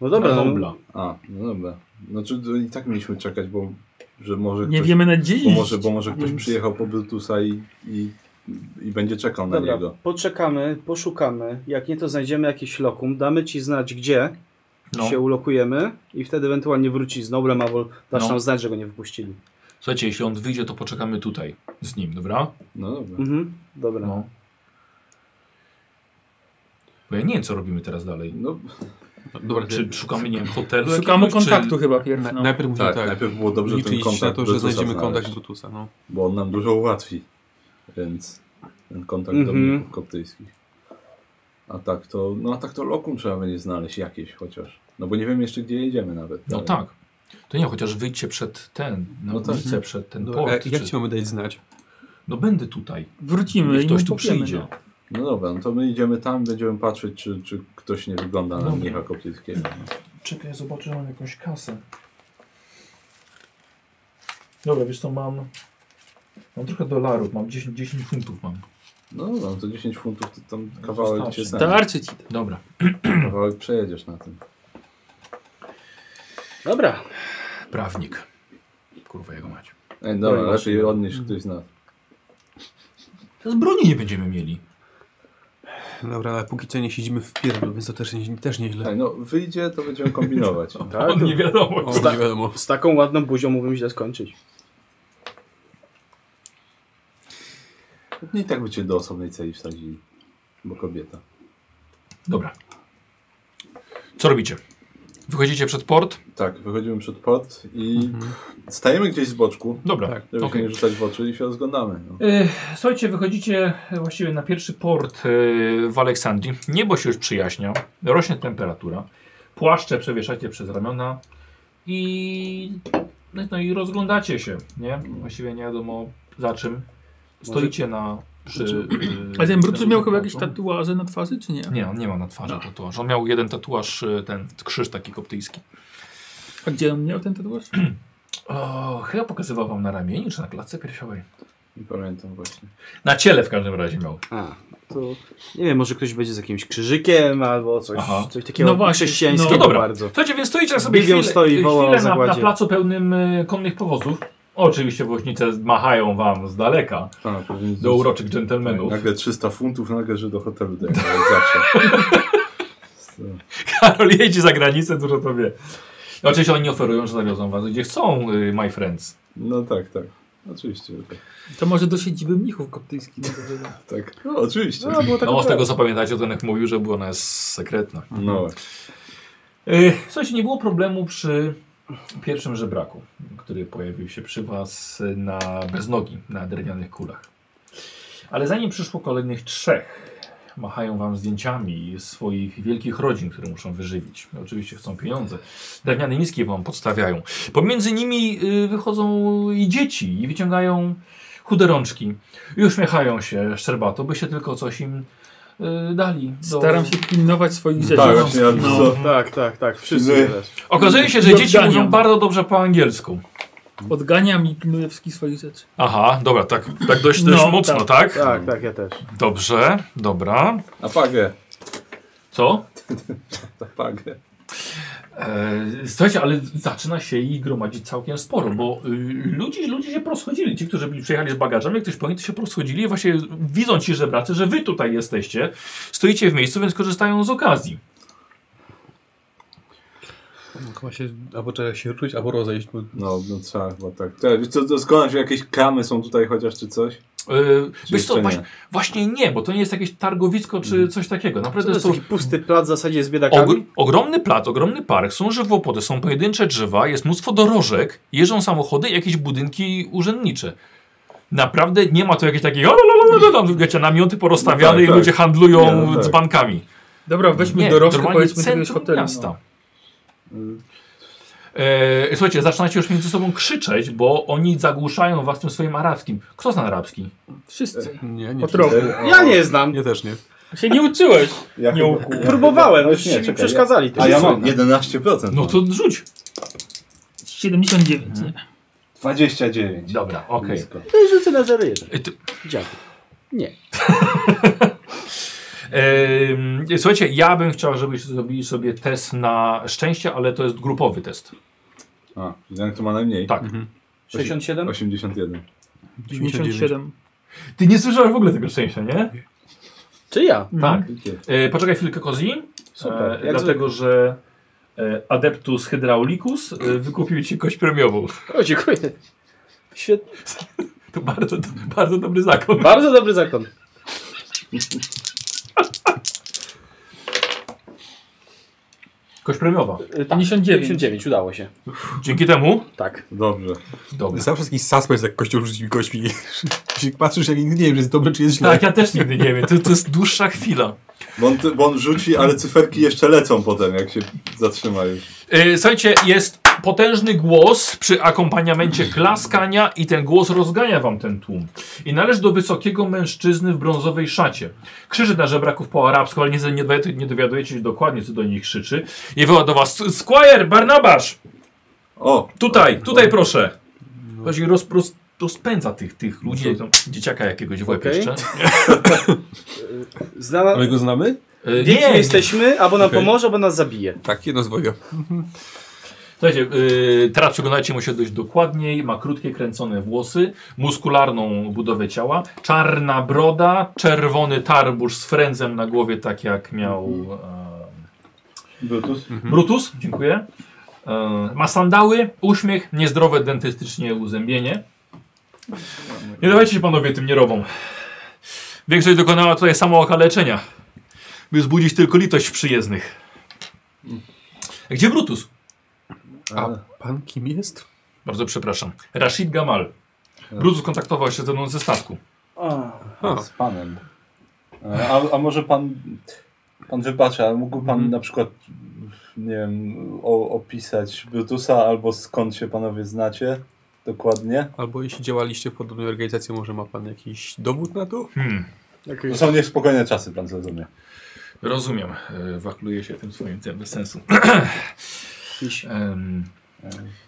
B: No dobra,
A: na
B: no,
A: Nobla.
C: A, no dobra. Znaczy to i tak mieliśmy czekać, bo że może
D: Nie
C: ktoś,
D: wiemy na dziś.
C: bo może, bo może ktoś
D: więc-
C: przyjechał po Bluetoosa i, i, i będzie czekał na
B: dobra
C: niego.
B: poczekamy, poszukamy. Jak nie, to znajdziemy jakiś lokum. Damy ci znać, gdzie
A: No.
B: się ulokujemy i wtedy ewentualnie wróci z Noblem, albo dasz
A: No.
B: nam znać, że go nie wypuścili.
A: Słuchajcie, jeśli on wyjdzie, to poczekamy tutaj z nim, dobra?
C: No dobra.
B: Mhm, dobra.
A: No. Bo ja nie wiem, co robimy teraz dalej.
C: No,
E: Dobra,
A: Czy szukamy, nie wiem, hotelu
D: Szukamy
A: jakiegoś,
D: kontaktu
A: Czy...
D: chyba pierwszy.
E: na,
D: No.
E: najpierw musimy
C: tak,
E: tak,
C: najpierw było dobrze ten
E: liczyć
C: kontakt
E: na to, że
C: Bluetootha
E: znajdziemy
C: znaleźć,
E: kontakt Tutusa. No.
C: Bo on nam dużo ułatwi. Więc ten kontakt
B: Mhm.
C: domników koptyjskich. A tak to, no a tak to lokum trzeba będzie znaleźć jakieś chociaż. No bo nie wiem jeszcze gdzie jedziemy nawet.
A: No
C: Ale-
A: tak. To nie, chociaż wyjdźcie przed ten, na
C: No tak.
A: ulicę, przed ten
E: No,
A: port.
E: e, jak
A: czy...
E: ci mamy dać znać?
A: No będę tutaj.
D: Wrócimy i
A: Ktoś
D: mu
A: tu
D: powiemy,
A: przyjdzie.
D: No.
C: No dobra, no to my idziemy tam, będziemy patrzeć, czy, czy ktoś nie wygląda na
A: Dobra.
C: mnicha koptyjskiego.
E: No.
A: Czekaj, zobaczę, mam jakąś kasę. Dobra, wiesz co, mam... Mam trochę dolarów, mam 10, 10 funtów mam.
C: No dobra, no to 10 funtów to tam
E: No,
C: kawałek
A: Wystarczy.
C: cię
E: tak.
C: znajdzie.
D: Starczy ci. to.
A: Dobra.
C: Kawałek przejedziesz na tym.
B: Dobra.
A: Prawnik. Kurwa jego macie.
C: Ej, dobra,
B: No i
C: lepiej odnieść ktoś z nas.
A: Z broni nie będziemy mieli.
E: Dobra, ale póki co nie siedzimy w pierdlu, więc to też, nie, też nieźle.
C: Ej, no wyjdzie, to będziemy
E: <laughs>
C: kombinować.
B: Tak?
A: On nie wiadomo.
E: O,
A: co.
E: nie wiadomo.
B: Z taką ładną buzią mógłbym źle skończyć.
C: Nie i tak by cię do osobnej celi wsadzili. Bo kobieta.
A: Dobra. Co robicie? Wychodzicie przed port?
C: Tak, wychodzimy przed port i stajemy gdzieś z boczku,
A: Dobra.
E: Tak.
C: żeby
A: okej.
C: się nie rzucać w oczy i się rozglądamy. No.
A: Y, Słuchajcie, wychodzicie e, właściwie na pierwszy port y, w Aleksandrii. Niebo się już przyjaśnia, rośnie temperatura, płaszcze przewieszacie przez ramiona i, no, no i rozglądacie się, nie? Właściwie nie wiadomo za czym. Stoicie na... Przy, y, <clears throat>
D: A ten Brutus
A: na-
D: miał chyba jakieś tatuaże na twarzy, czy nie?
A: Nie, on nie ma na twarzy tatuaż. On miał jeden tatuaż, y, ten krzyż taki koptyjski.
D: A gdzie on miał ten tatuaż?
A: O, chyba pokazywał wam na ramieniu czy na klatce piersiowej.
C: Nie pamiętam właśnie.
A: Na ciele w każdym razie miał.
B: A, to nie wiem, może ktoś będzie z jakimś krzyżykiem albo coś,
A: Aha.
B: coś takiego
D: No właśnie,
B: chrześcijańskiego
A: No dobra.
B: bardzo.
A: Słuchajcie, więc stoicie sobie
B: Bibią
A: chwilę,
B: stoi, woła o
A: chwilę na, na
B: zagładzie.
A: placu pełnym y, konnych powozów. Oczywiście woźnice machają wam z daleka
C: A, powinien-
A: do uroczych dżentelmenów.
C: Tak,
B: Tak,
C: Nagle 300 funtów, nagle, że do hotelu dają, jak zawsze. So,
B: tak.
A: <laughs> Karol jedzie za granicę, dużo to wie. Oczywiście oni nie oferują, że zawiozą was gdzie chcą, y, my friends.
C: No tak, tak. Oczywiście, że tak.
D: To może do siedziby mnichów koptyjskich. no to wiadomo.
C: tak. No, oczywiście.
B: No, było tak
A: No z tego co pamiętacie, Tenek mówił, że była ona jest sekretna.
C: No,
A: Y, Słuchajcie, nie było problemu przy pierwszym żebraku, który pojawił się przy was na beznogi, na drewnianych kulach. Ale zanim przyszło kolejnych trzech, machają wam zdjęciami swoich wielkich rodzin, które muszą wyżywić. Oczywiście chcą pieniądze. Drewniane miski wam podstawiają. Pomiędzy nimi y, wychodzą i dzieci i wyciągają chude rączki. I uśmiechają się szczerbato, by się tylko coś im y, dali. do-
D: Staram się pilnować swoich rzeczy.
C: Tak, właśnie, ja
D: no.
C: co,
B: Tak, tak, tak.
C: Czyli-
B: Wszyscy teraz.
A: Okazuje się, że dzieci
D: Odganiam.
A: mówią bardzo dobrze po angielsku.
D: Odganiam i pilnuję wszystkich swoich rzeczy.
A: Aha, dobra, tak, tak dość,
D: No,
A: dość mocno,
D: tak.
A: tak?
B: Tak, tak, ja też.
A: Dobrze, dobra.
C: Na pagę,
A: Co?
C: na pagę.
A: E, słuchajcie, ale zaczyna się ich gromadzić całkiem sporo, bo y, ludzie, ludzie się proschodzili. Ci, którzy byli przyjechali z bagażami, jak ktoś po nich, to się proschodzili. Właśnie widzą ci żebracy, że wy tutaj jesteście, stoicie w miejscu, więc korzystają z okazji.
E: Chyba się, albo trzeba się ruszyć, albo rozejść, bo
C: No, no trzeba chyba tak. Te, wiesz co, to składam się, jakieś kamy są tutaj chociaż czy coś?
A: E,
C: Czy
A: wiesz
C: jeszcze
A: co,
C: nie?
A: właśnie, właśnie nie, bo to nie jest jakieś targowisko czy coś takiego.
B: Mhm. To
A: Naprawdę
B: jest
A: jest to
B: taki pusty plac w zasadzie z biedakami.
A: Ogr ogromny plac, ogromny park, są żywopłoty, są pojedyncze drzewa, jest mnóstwo dorożek, jeżdżą samochody i jakieś budynki urzędnicze. Naprawdę nie ma tu jakiejś takiej tam wiecie, namioty porozstawiane
C: No tak,
A: i
C: tak.
A: ludzie handlują
C: Nie, no tak.
A: z bankami.
D: Dobra, weźmy
A: Nie,
D: dorożkę,
A: normalnie
D: powiedzmy do jakiegoś
A: centrum
D: hotelu.
A: miasta.
D: No.
A: E, słuchajcie, zaczynacie już między sobą krzyczeć, bo oni zagłuszają was tym swoim arabskim. Kto zna arabski?
D: Wszyscy.
E: nie, nie.
D: Po trochu.
B: Ja nie znam.
E: Ja też nie.
D: Się nie uczyłeś.
C: Ja
D: Nie
C: chyba-
B: Próbowałem,
C: No
B: już
C: nie,
B: nie, mi
C: czekaj,
B: przeszkadzali. To
C: A ja
B: jest
C: mam
B: fajne.
C: 11%.
A: No
C: mam.
A: to rzuć.
D: 79,
A: Mhm.
D: nie?
C: 29.
A: Dobra, okej.
C: Blisko.
B: To jest rzucę na 0,1.
A: E, ty-
B: Dziękuję. Nie.
A: Em, Słuchajcie, ja bym chciał, żebyście zrobili sobie test na szczęście, ale to jest grupowy test.
C: A, Janek to ma najmniej.
A: Tak.
B: 67?
C: 81.
D: 97.
A: Ty nie słyszałeś w ogóle tego szczęścia, nie?
B: Czy ja?
D: Mhm.
A: Tak. E, poczekaj chwilkę, Kozi.
B: Super,
A: E,
B: jak
A: dlatego, że e, Adeptus Hydraulicus e, wykupił ci kość premiową.
B: O, dziękuję. Świetnie.
A: To bardzo, to bardzo dobry zakon.
B: Bardzo dobry zakon.
A: Kość premiowa.
B: E, tak,
D: 59.
B: 59, udało się.
A: Dzięki temu.
B: Tak.
C: Dobrze.
A: Dobra.
E: Zawsze jakiś suspens, jak kościół rzuci mi kośćmi. <laughs> Jeśli Patrzysz, jak nigdy nie wiem, czy jest dobre, czy jest źle.
A: Tak, ja też nigdy nie wiem. To, to jest dłuższa chwila.
C: Bo on, ty- bo on rzuci, ale cyferki jeszcze lecą potem, jak się zatrzyma już.
A: E, słuchajcie, jest potężny głos przy akompaniamencie klaskania i ten głos rozgania wam ten tłum. I należy do wysokiego mężczyzny w brązowej szacie. Krzyczy na żebraków po arabsku, ale nie, nie, dowi- nie dowiadujecie się dokładnie, co do nich krzyczy. I woła do was, Squire, Barnabasz,
C: O!
A: tutaj,
C: o,
A: tutaj
C: o.
A: proszę. Właśnie roz, roz, rozpędza tych, tych ludzi, tam, dzieciaka jakiegoś w łeb
B: Okej.
A: jeszcze.
B: Znana...
E: Ale go znamy?
A: E,
B: Wie, kim
A: nie,
B: jesteśmy, albo nam
E: Okej.
B: pomoże, albo nas zabije.
E: Tak, jedno z dwojga.
A: Słuchajcie, yy, teraz przyglądajcie mu się dość dokładniej. Ma krótkie, kręcone włosy, muskularną budowę ciała, czarna broda, czerwony tarbusz z frędzem na głowie, tak jak miał e,
C: Brutus.
A: Hmm. Brutus. Dziękuję. E, ma sandały, uśmiech, niezdrowe dentystycznie uzębienie. Nie dawajcie się panowie tym nierowom. Większość dokonała tutaj samookaleczenia, by wzbudzić tylko litość przyjezdnych. Gdzie Brutus?
E: A pan kim jest?
A: Bardzo przepraszam. Rashid Gamal. Brutus kontaktował się ze mną ze statku.
B: O,
E: A,
C: Z panem. E, A, a może pan. Pan wypacza, ale mógłby
A: Hmm.
C: pan na przykład, nie wiem, o, opisać Brutusa albo skąd się panowie znacie dokładnie?
E: albo jeśli działaliście w podobnej organizacji, może ma pan jakiś dowód na to?
A: Hmm,
C: To są niespokojne czasy, pan zrozumie.
A: rozumiem. E, Wachluje się tym swoim tym bez sensu.
B: jakiś-
A: Em,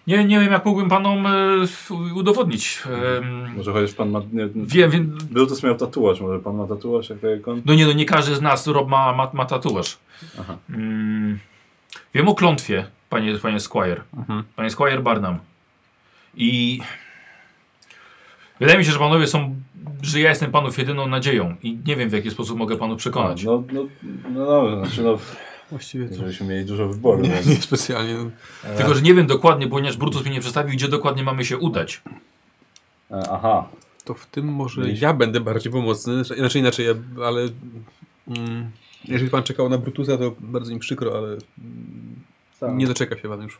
A: nie, nie wiem, jak mógłbym panom e, f- udowodnić. Em,
C: Może chociaż pan ma. Nie,
A: wiem, wiem.
C: Brutus miał tatuaż, może pan ma tatuaż jako ikon?
A: No nie, no nie każdy z nas rob ma, ma, ma tatuaż.
C: Aha.
A: Mm, wiem o klątwie, panie, panie Squire. Panie Squire Barnum. I wydaje mi się, że panowie są, że ja jestem panów jedyną nadzieją i nie wiem w jaki sposób mogę panów przekonać.
C: No, no, no dobrze, znaczy no,
E: Właściwie <laughs> to
C: żebyśmy mieli dużo wyboru.
E: nie,
C: więc-
E: nie specjalnie. no.
A: Tylko, że nie wiem dokładnie, ponieważ Brutus mi nie przedstawił, gdzie dokładnie mamy się udać.
C: E, Aha,
E: To w tym może
C: Mieliśmy-
E: ja będę bardziej pomocny. Znaczy inaczej, ja, ale mm, jeżeli pan czekał na Brutusa, to bardzo mi przykro, ale mm,
B: tak.
E: nie doczeka się pan już.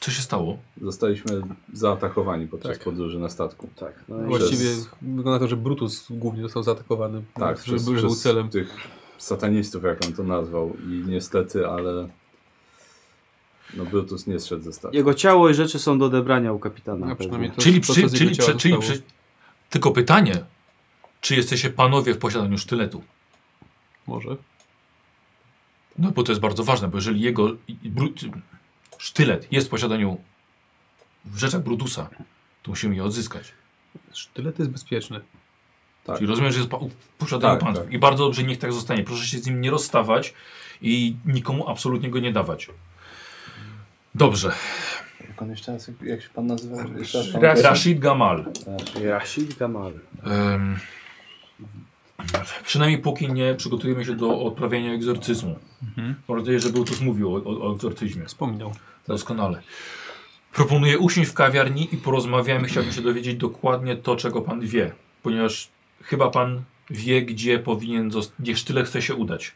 A: Co się stało?
C: Zostaliśmy zaatakowani podczas
E: Tak.
C: podróży na statku.
B: Tak.
C: i-
B: No
E: Właściwie
C: Przez-
E: wygląda na to, że Brutus głównie został zaatakowany.
C: Tak,
E: że
C: przez,
E: był był
C: przez
E: celem.
C: tych satanistów, jak on to nazwał. I niestety, ale no Brutus nie zszedł ze statku.
B: Jego ciało i rzeczy są do odebrania u kapitana. pewnie.
E: A No, przynajmniej to,
A: czyli
E: to,
A: przy,
E: co z jego
A: czyli,
E: ciała
A: przy, czyli
E: zostało.
A: przy... Tylko pytanie, czy jesteście panowie w posiadaniu sztyletu?
E: Może.
A: No bo to jest bardzo ważne, bo jeżeli jego i- i bru- sztylet jest w posiadaniu w rzeczach Brutusa, to musimy je odzyskać.
E: Sztylet jest bezpieczny.
C: Tak.
A: Czyli rozumiem, że jest pa- w posiadaniu
C: Tak,
A: panów.
C: tak.
A: I bardzo dobrze, niech tak zostanie. Proszę się z nim nie rozstawać i nikomu absolutnie go nie dawać. Dobrze.
C: Jak on jeszcze raz, jak, jak się pan nazywa? Jeszcze raz pan-
D: Raz-
A: Rashid Gamal.
B: Tak. Jasil Gamal.
A: Em, przynajmniej póki nie przygotujemy się do odprawienia egzorcyzmu.
E: Mhm.
A: Mam nadzieję, że Brutus mówił o, o, o egzorcyzmie.
C: Tak.
E: Wspominał.
A: Doskonale. Proponuję usiąść w kawiarni i porozmawiamy. Chciałbym się dowiedzieć dokładnie to, czego pan wie, ponieważ chyba pan wie, gdzie powinien, zost- gdzie sztyle chce się udać.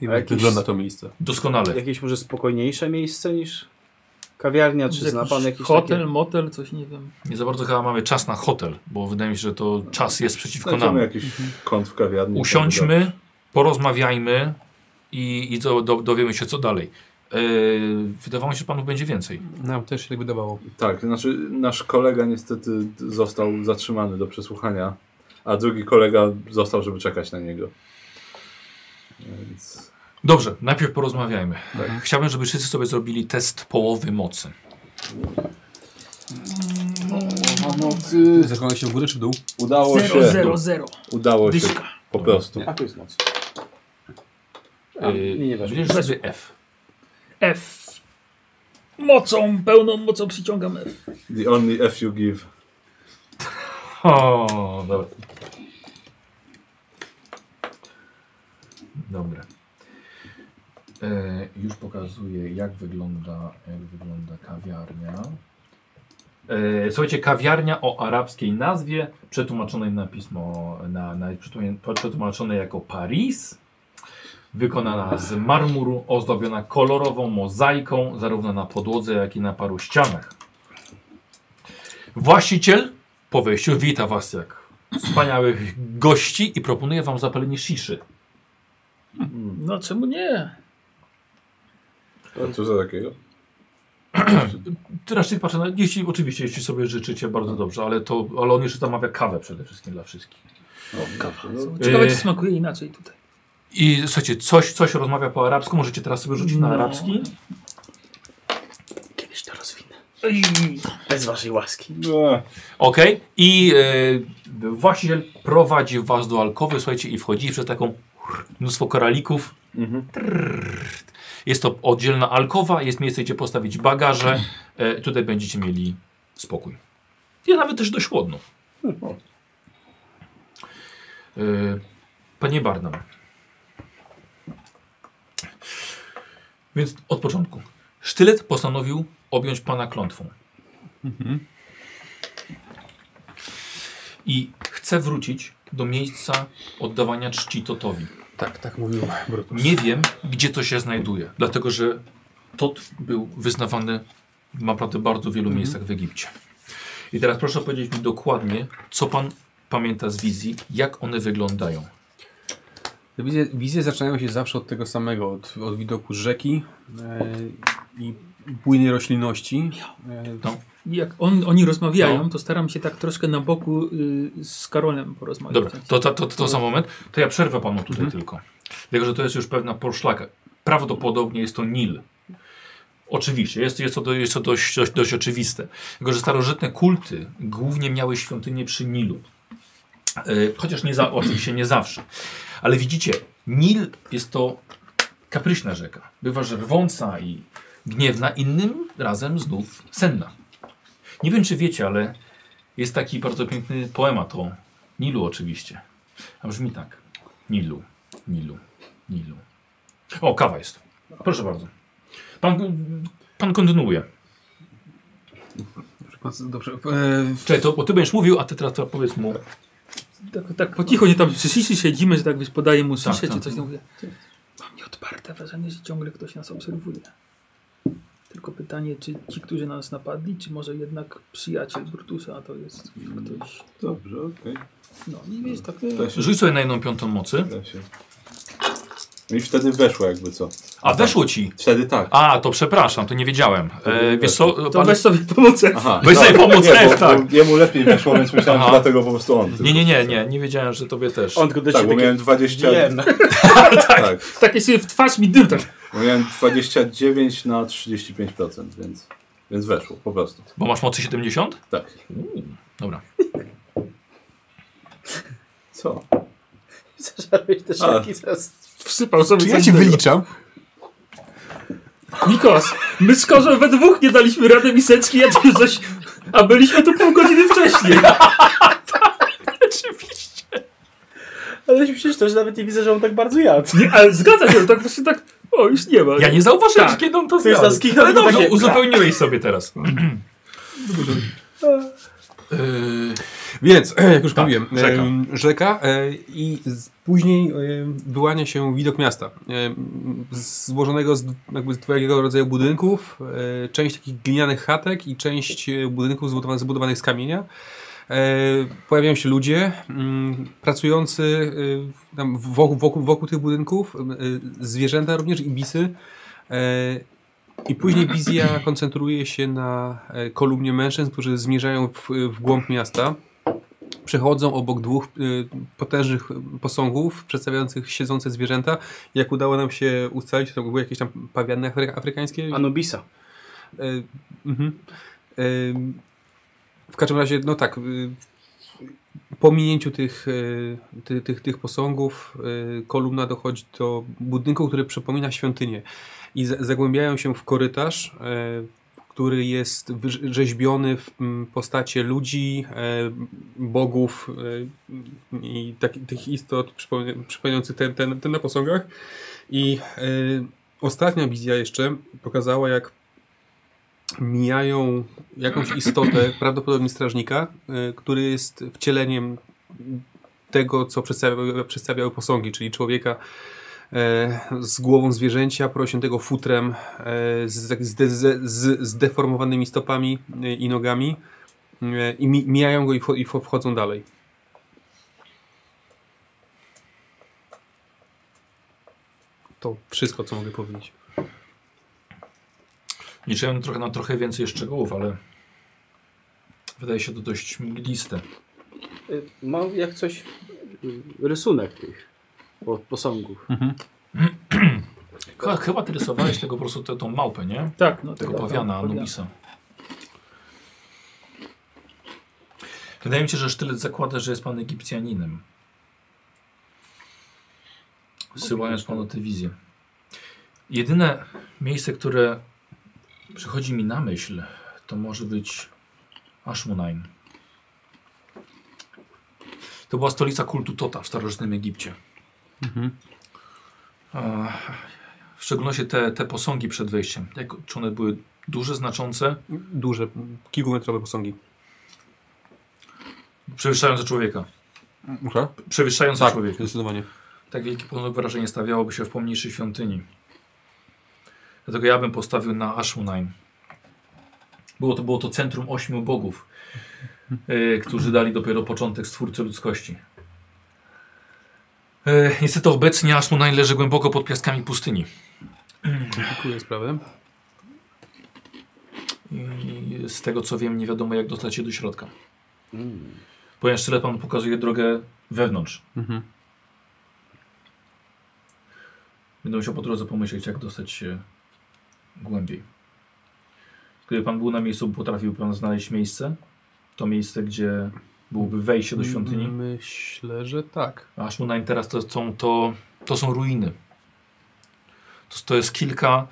E: Wiem,
B: A
E: jak
B: jakiś-
E: wygląda to miejsce.
A: Doskonale.
B: Jakieś może spokojniejsze miejsce niż kawiarnia, czy Znaczy, zna pan jakiś
D: hotel,
B: Takie...
D: motel, coś nie wiem.
A: Nie za bardzo chyba mamy czas na hotel, bo wydaje mi się, że to czas jest przeciwko nam.
C: Znajdziemy jakiś kąt w kawiarni.
A: Usiądźmy, porozmawiajmy i, i do, do, dowiemy się, co dalej. Yy, wydawało mi się, że panów będzie więcej.
E: Nam też się tak wydawało.
C: Tak, znaczy nasz kolega niestety został zatrzymany do przesłuchania, a drugi kolega został, żeby czekać na niego. Więc
A: Dobrze, najpierw porozmawiajmy.
B: Tak.
A: Chciałbym, żeby wszyscy sobie zrobili test połowy mocy.
C: pomocy.
E: Zakłada się w górę czy w dół?
C: Udało
D: Zero,
C: się.
D: zero, zero.
C: Udało się.
D: Dyszka.
C: Po prostu.
A: Tak.
B: A tu jest moc. A, nie, nie
A: Yy,
B: weszło.
A: Wybierzesz sobie F.
D: F. Mocą, pełną mocą przyciągam F.
C: The only F you give.
A: O, dobra. Dobra. E, już pokazuję, jak wygląda, jak wygląda kawiarnia. E, słuchajcie, kawiarnia o arabskiej nazwie, przetłumaczonej na pismo, na, na, przetłum- przetłumaczone jako Paris. Wykonana z marmuru, ozdobiona kolorową mozaiką, zarówno na podłodze, jak i na paru ścianach. Właściciel po wejściu wita was jak wspaniałych gości i proponuje wam zapalenie shiszy.
D: No czemu nie?
C: A co za takiego?
A: Teraz tych patrzę, na, jeśli, oczywiście, jeśli sobie życzycie, bardzo dobrze, ale, to, ale on jeszcze zamawia kawę przede wszystkim dla wszystkich.
C: No,
D: Ciekawe, czy
A: Yy.
D: smakuje inaczej tutaj.
A: I słuchajcie, coś, coś rozmawia po arabsku, możecie teraz sobie rzucić na
D: No.
A: arabski.
B: Kiedyś to rozwinę.
D: Ej,
B: Bez waszej łaski.
C: no.
A: Okej, i e, właściciel prowadzi was do alkowy, słuchajcie, i wchodzi przez taką mnóstwo koralików.
C: Mhm.
A: Jest to oddzielna alkowa, jest miejsce, gdzie postawić bagaże. E, tutaj będziecie mieli spokój. I nawet też dość chłodno. E, panie Barnum. Więc od początku. Sztylet postanowił objąć pana klątwą. I chce wrócić do miejsca oddawania czci Totowi.
E: Tak, tak mówił Brutus.
A: Nie wiem, gdzie to się znajduje, dlatego że Tot był wyznawany w naprawdę bardzo wielu miejscach w Egipcie. I teraz proszę powiedzieć mi dokładnie, co pan pamięta z wizji, jak one wyglądają.
E: Te Wizje, wizje zaczynają się zawsze od tego samego, od, od widoku rzeki e, i bujnej roślinności. E,
D: Jak on, oni rozmawiają,
A: No.
D: to staram się tak troszkę na boku y, z Karolem porozmawiać.
A: Dobra, to, to, to, to za moment. To ja przerwę panu tutaj
E: Mhm.
A: tylko. Dlatego, że to jest już pewna poszlaka. Prawdopodobnie jest to Nil. Oczywiście, jest, jest to, do, jest to dość, dość, dość oczywiste. Tylko, że starożytne kulty głównie miały świątynie przy Nilu. E, Chociaż nie za, oczywiście nie zawsze. Ale widzicie, Nil jest to kapryśna rzeka. Bywa żerwąca i gniewna, innym razem znów senna. Nie wiem, czy wiecie, ale jest taki bardzo piękny poemat o Nilu oczywiście. A brzmi tak. Nilu, Nilu, Nilu. O, kawa jest. Proszę bardzo. Pan, pan kontynuuje.
E: Dobrze, pan- dobrze. E,
A: Czekaj, to, bo ty będziesz mówił, a ty teraz to powiedz mu.
D: Tak, tak po cichu, nie tam przy siszy siedzimy, że tak wiesz, podaję mu
A: Tak,
D: siszę no
A: tak.
D: czy coś. Tam mówię, mam nieodparte wrażenie, że ciągle ktoś nas obserwuje. Tylko pytanie, czy ci, którzy nas napadli, czy może jednak przyjaciel Brutusa, a to jest ktoś...
C: Dobrze, okej.
D: No i jest tak...
C: Da się,
A: Rzuć sobie na jedną piątą mocy.
C: da się. No I wtedy weszło jakby co.
A: A weszło ci.
C: Wtedy tak.
A: A, to przepraszam, to nie wiedziałem. E, wiesz co,
D: To
A: pan...
D: weź sobie pomóc.
C: Aha, No,
A: Weź sobie pomóc
C: nie, bo,
A: F, tak.
C: bo jemu lepiej weszło, więc myślałem,
A: Aha.
C: że dlatego po prostu on.
A: Nie, nie, nie, nie, nie wiedziałem, że tobie też.
B: On tylko do
C: Tak,
B: ciebie
C: bo miałem
B: takie-
C: 20.
A: no.
B: Wiem.
C: Tak.
D: Takie sobie w twarz mi dym tak.
C: Bo Miałem 29 na 35%, więc, więc weszło po prostu.
A: Bo masz mocy 70?
C: Tak.
A: Dobra.
C: Co?
B: Zażarłeś te szlaki zaraz.
D: Wsypał sobie
E: Czy
D: coś
E: ja cię
D: do-
E: wyliczam?
D: Nikos, my z Korzą we dwóch nie daliśmy rady miseczki, ja tu coś... A byliśmy tu pół godziny wcześniej.
B: Ale przecież też nawet nie widzę, że on tak bardzo jadł.
D: Nie, ale zgadza się, tak właśnie tak... O, już nie ma.
A: Ja nie zauważyłem,
D: Tak.
A: kiedy on to
B: To jest
A: zjadł.
B: za skichnął
A: Ale
B: i
A: dobrze,
B: takie-
A: uzupełniłeś sobie teraz.
E: Więc, <clears throat> jak już
A: Tak,
E: mówiłem,
A: rzeka.
E: rzeka, rzeka e, i z, później e, wyłania się widok miasta. E, z- złożonego z jakby z twojego rodzaju budynków, e, część takich glinianych chatek i część e, budynków zbudowanych, zbudowanych z kamienia. E, pojawiają się ludzie mm, pracujący e, tam wokół, wokół, wokół tych budynków, e, zwierzęta również i bisy. E, i później wizja koncentruje się na e, kolumnie mężczyzn, którzy zmierzają w, w głąb miasta. Przechodzą obok dwóch e, potężnych posągów przedstawiających siedzące zwierzęta. Jak udało nam się ustalić, to były jakieś tam pawiany afry, afrykańskie.
B: Anubisa.
E: E, mhm. E, w każdym razie, no tak, e, po minięciu tych, e, ty, tych, tych posągów e, kolumna dochodzi do budynku, który przypomina świątynię i za- zagłębiają się w korytarz, e, który jest wyrz- rzeźbiony w mm, postacie ludzi, e, bogów e, i taki- tych istot przypomina- przypominających ten, ten, ten na posągach. I e, ostatnia wizja jeszcze pokazała, jak mijają jakąś istotę, prawdopodobnie strażnika, y, który jest wcieleniem tego, co przedstawiały, przedstawiały posągi, czyli człowieka e, z głową zwierzęcia, porosiętego futrem, e, z, z, z, z zdeformowanymi stopami e, i nogami e, i mi, mijają go i, wcho- i wcho- wchodzą dalej. To wszystko, co mogę powiedzieć.
A: Liczyłem trochę na trochę więcej szczegółów, ale wydaje się to dość mgliste.
B: Y, Mam jak coś y, rysunek tych od posągów.
A: Hm. Chyba, chyba ty rysowałeś tego po prostu tę- tą małpę, nie?
D: Tak, no
A: Tego pawiana,
D: tak, tak, pawiana.
A: Anubisa. Wydaje mi się, że sztylet zakłada, że jest pan Egipcjaninem. Wysyłając panu tę wizję. Jedyne miejsce, które przychodzi mi na myśl, to może być Ashmunine. To była stolica kultu Tota w starożytnym Egipcie.
D: Mhm.
A: A, W szczególności te, te posągi przed wejściem. Jak, czy one były duże, znaczące,
E: Duże, kilkumetrowe posągi.
A: przewyższające człowieka?
E: Okay.
A: Przewyższające
E: Tak,
A: człowieka.
E: zdecydowanie.
A: Tak wielkie podobno wrażenie stawiałoby się w pomniejszej świątyni. Dlatego ja bym postawił na Ashmunine. Było to, było to centrum ośmiu bogów, y, którzy dali dopiero początek stwórcy ludzkości. Y, niestety obecnie Ashmunine leży głęboko pod piaskami pustyni.
E: Dziękuję sprawę.
A: I z tego co wiem, nie wiadomo jak dostać się do środka.
B: Mm.
A: Ponieważ tyle pan pokazuje drogę wewnątrz.
E: Mhm.
A: Będę musiał po drodze pomyśleć, jak dostać się głębiej. Gdyby pan był na miejscu, potrafił pan znaleźć miejsce? To miejsce, gdzie byłoby wejście do
E: Mm,
A: świątyni?
E: Myślę, że tak.
A: A Ashmunine teraz to są, to, to są ruiny. To, to jest kilka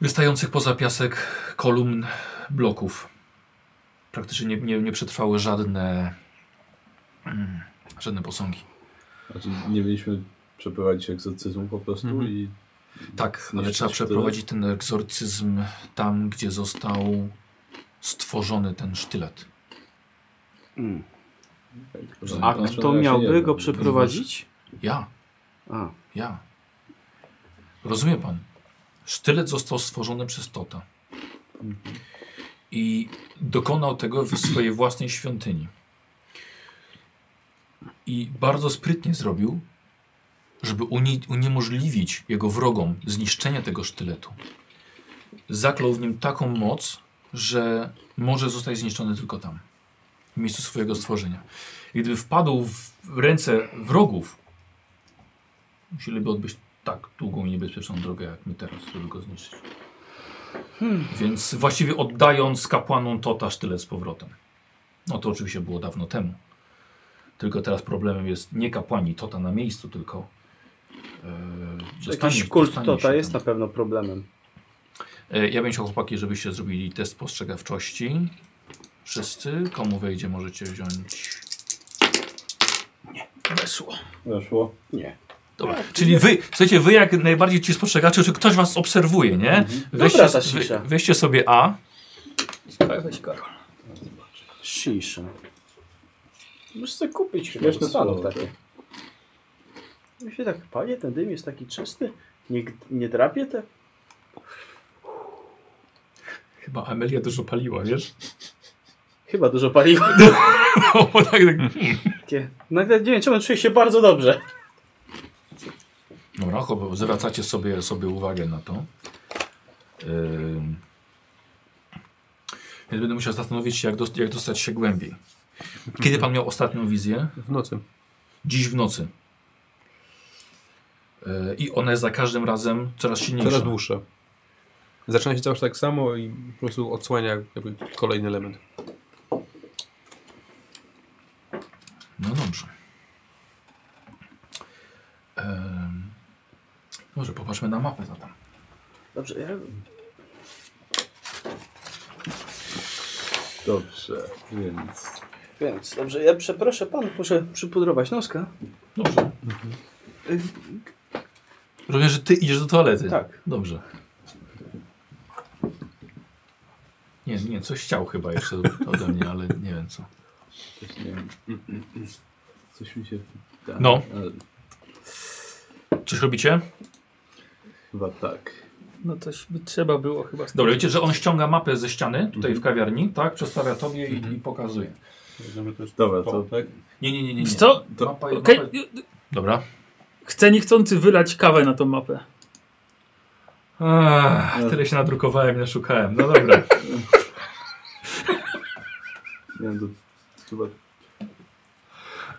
A: wystających poza piasek kolumn bloków. Praktycznie nie, nie, nie przetrwały żadne, mm, żadne posągi.
C: Znaczy, nie mieliśmy przeprowadzić egzorcyzmu po prostu
E: Mhm.
C: i
A: Tak, ale
C: Zniszczyć
A: trzeba przeprowadzić ten egzorcyzm tam, gdzie został stworzony ten sztylet.
B: Mm.
A: Rozumiem
B: A
A: pana?
C: znaczy,
B: kto miałby go przeprowadzić?
A: Ja,
B: A,
A: ja. Rozumie pan? Sztylet został stworzony przez Tota. I dokonał tego w swojej własnej świątyni. I bardzo sprytnie zrobił, żeby uni- uniemożliwić jego wrogom zniszczenie tego sztyletu. Zaklął w nim taką moc, że może zostać zniszczony tylko tam, w miejscu swojego stworzenia. I gdyby wpadł w ręce wrogów, musieliby odbyć tak długą i niebezpieczną drogę, jak my teraz, żeby go zniszczyć. Więc właściwie oddając kapłanom Tota sztylet z powrotem. No to oczywiście było dawno temu. Tylko teraz problemem jest nie kapłani Tota na miejscu, tylko e,
B: Jakiś kult
A: dostanie się
B: Tota
A: tam.
B: jest na pewno problemem.
A: E, Ja bym chciał chłopaki, żebyście zrobili test postrzegawczości. Wszyscy, komu wejdzie, możecie wziąć. Nie, wesło.
C: Weszło.
B: Nie.
A: Dobra. Czyli wy, słuchajcie, wy jak najbardziej ci spostrzegacie, czy ktoś was obserwuje, nie? Weźcie,
B: Mhm. ta
A: wy-
B: cisza.
A: weźcie sobie A.
D: Weź Karol.
B: Shisha. Możesz sobie kupić chyba
C: Wiesz,
B: do
C: na
B: stanów
C: słowo,
B: takie. Ja się tak palię, ten dym jest taki czysty. Nie, nie drapie te?
A: Chyba Amelia dużo paliła, wiesz?
B: Chyba dużo <laughs> paliwa.
A: No, <laughs> bo tak, tak.
B: Takie. Nagle nie wiem czemu czuję się bardzo dobrze.
A: Dobra, chłop- zwracacie sobie, sobie uwagę na to. Ym. Więc będę musiał zastanowić się, jak, dost, jak dostać się głębiej. Kiedy pan miał ostatnią wizję?
E: W nocy.
A: dziś w nocy. E, I ona jest za każdym razem coraz silniejsza.
E: Coraz dłuższe. Zaczyna się zawsze tak samo i po prostu odsłania jakby kolejny element.
A: No dobrze. Em, Może E, popatrzmy na mapę zatem.
B: Dobrze, ja...
C: Dobrze, więc...
B: Więc dobrze, ja przeproszę panów, muszę przypudrować noska.
A: Dobrze.
B: Y,
A: Rozumiem, że ty idziesz do toalety.
B: Tak.
A: Dobrze. Nie, nie, coś chciał chyba jeszcze ode mnie, ale nie wiem co.
C: Coś, nie wiem. Coś mi się... Da. E,
A: No.
C: Ale
A: Coś robicie?
C: chyba tak.
D: No coś by trzeba było chyba. z-
A: Dobra, wiecie, że on ściąga mapę ze ściany tutaj w kawiarni, tak? Przestawia tobie i, i pokazuje.
C: Dobra,
A: Po-
C: to tak?
A: Nie, nie, nie, nie. nie.
D: Wiesz co?
C: To-
A: Mapa,
D: Okej.
A: mapa... Dobra.
D: Chcę niechcący wylać kawę na tą mapę.
A: Ach, tyle się nadrukowałem, nie szukałem. No dobra.
C: Nie wiem, to chyba...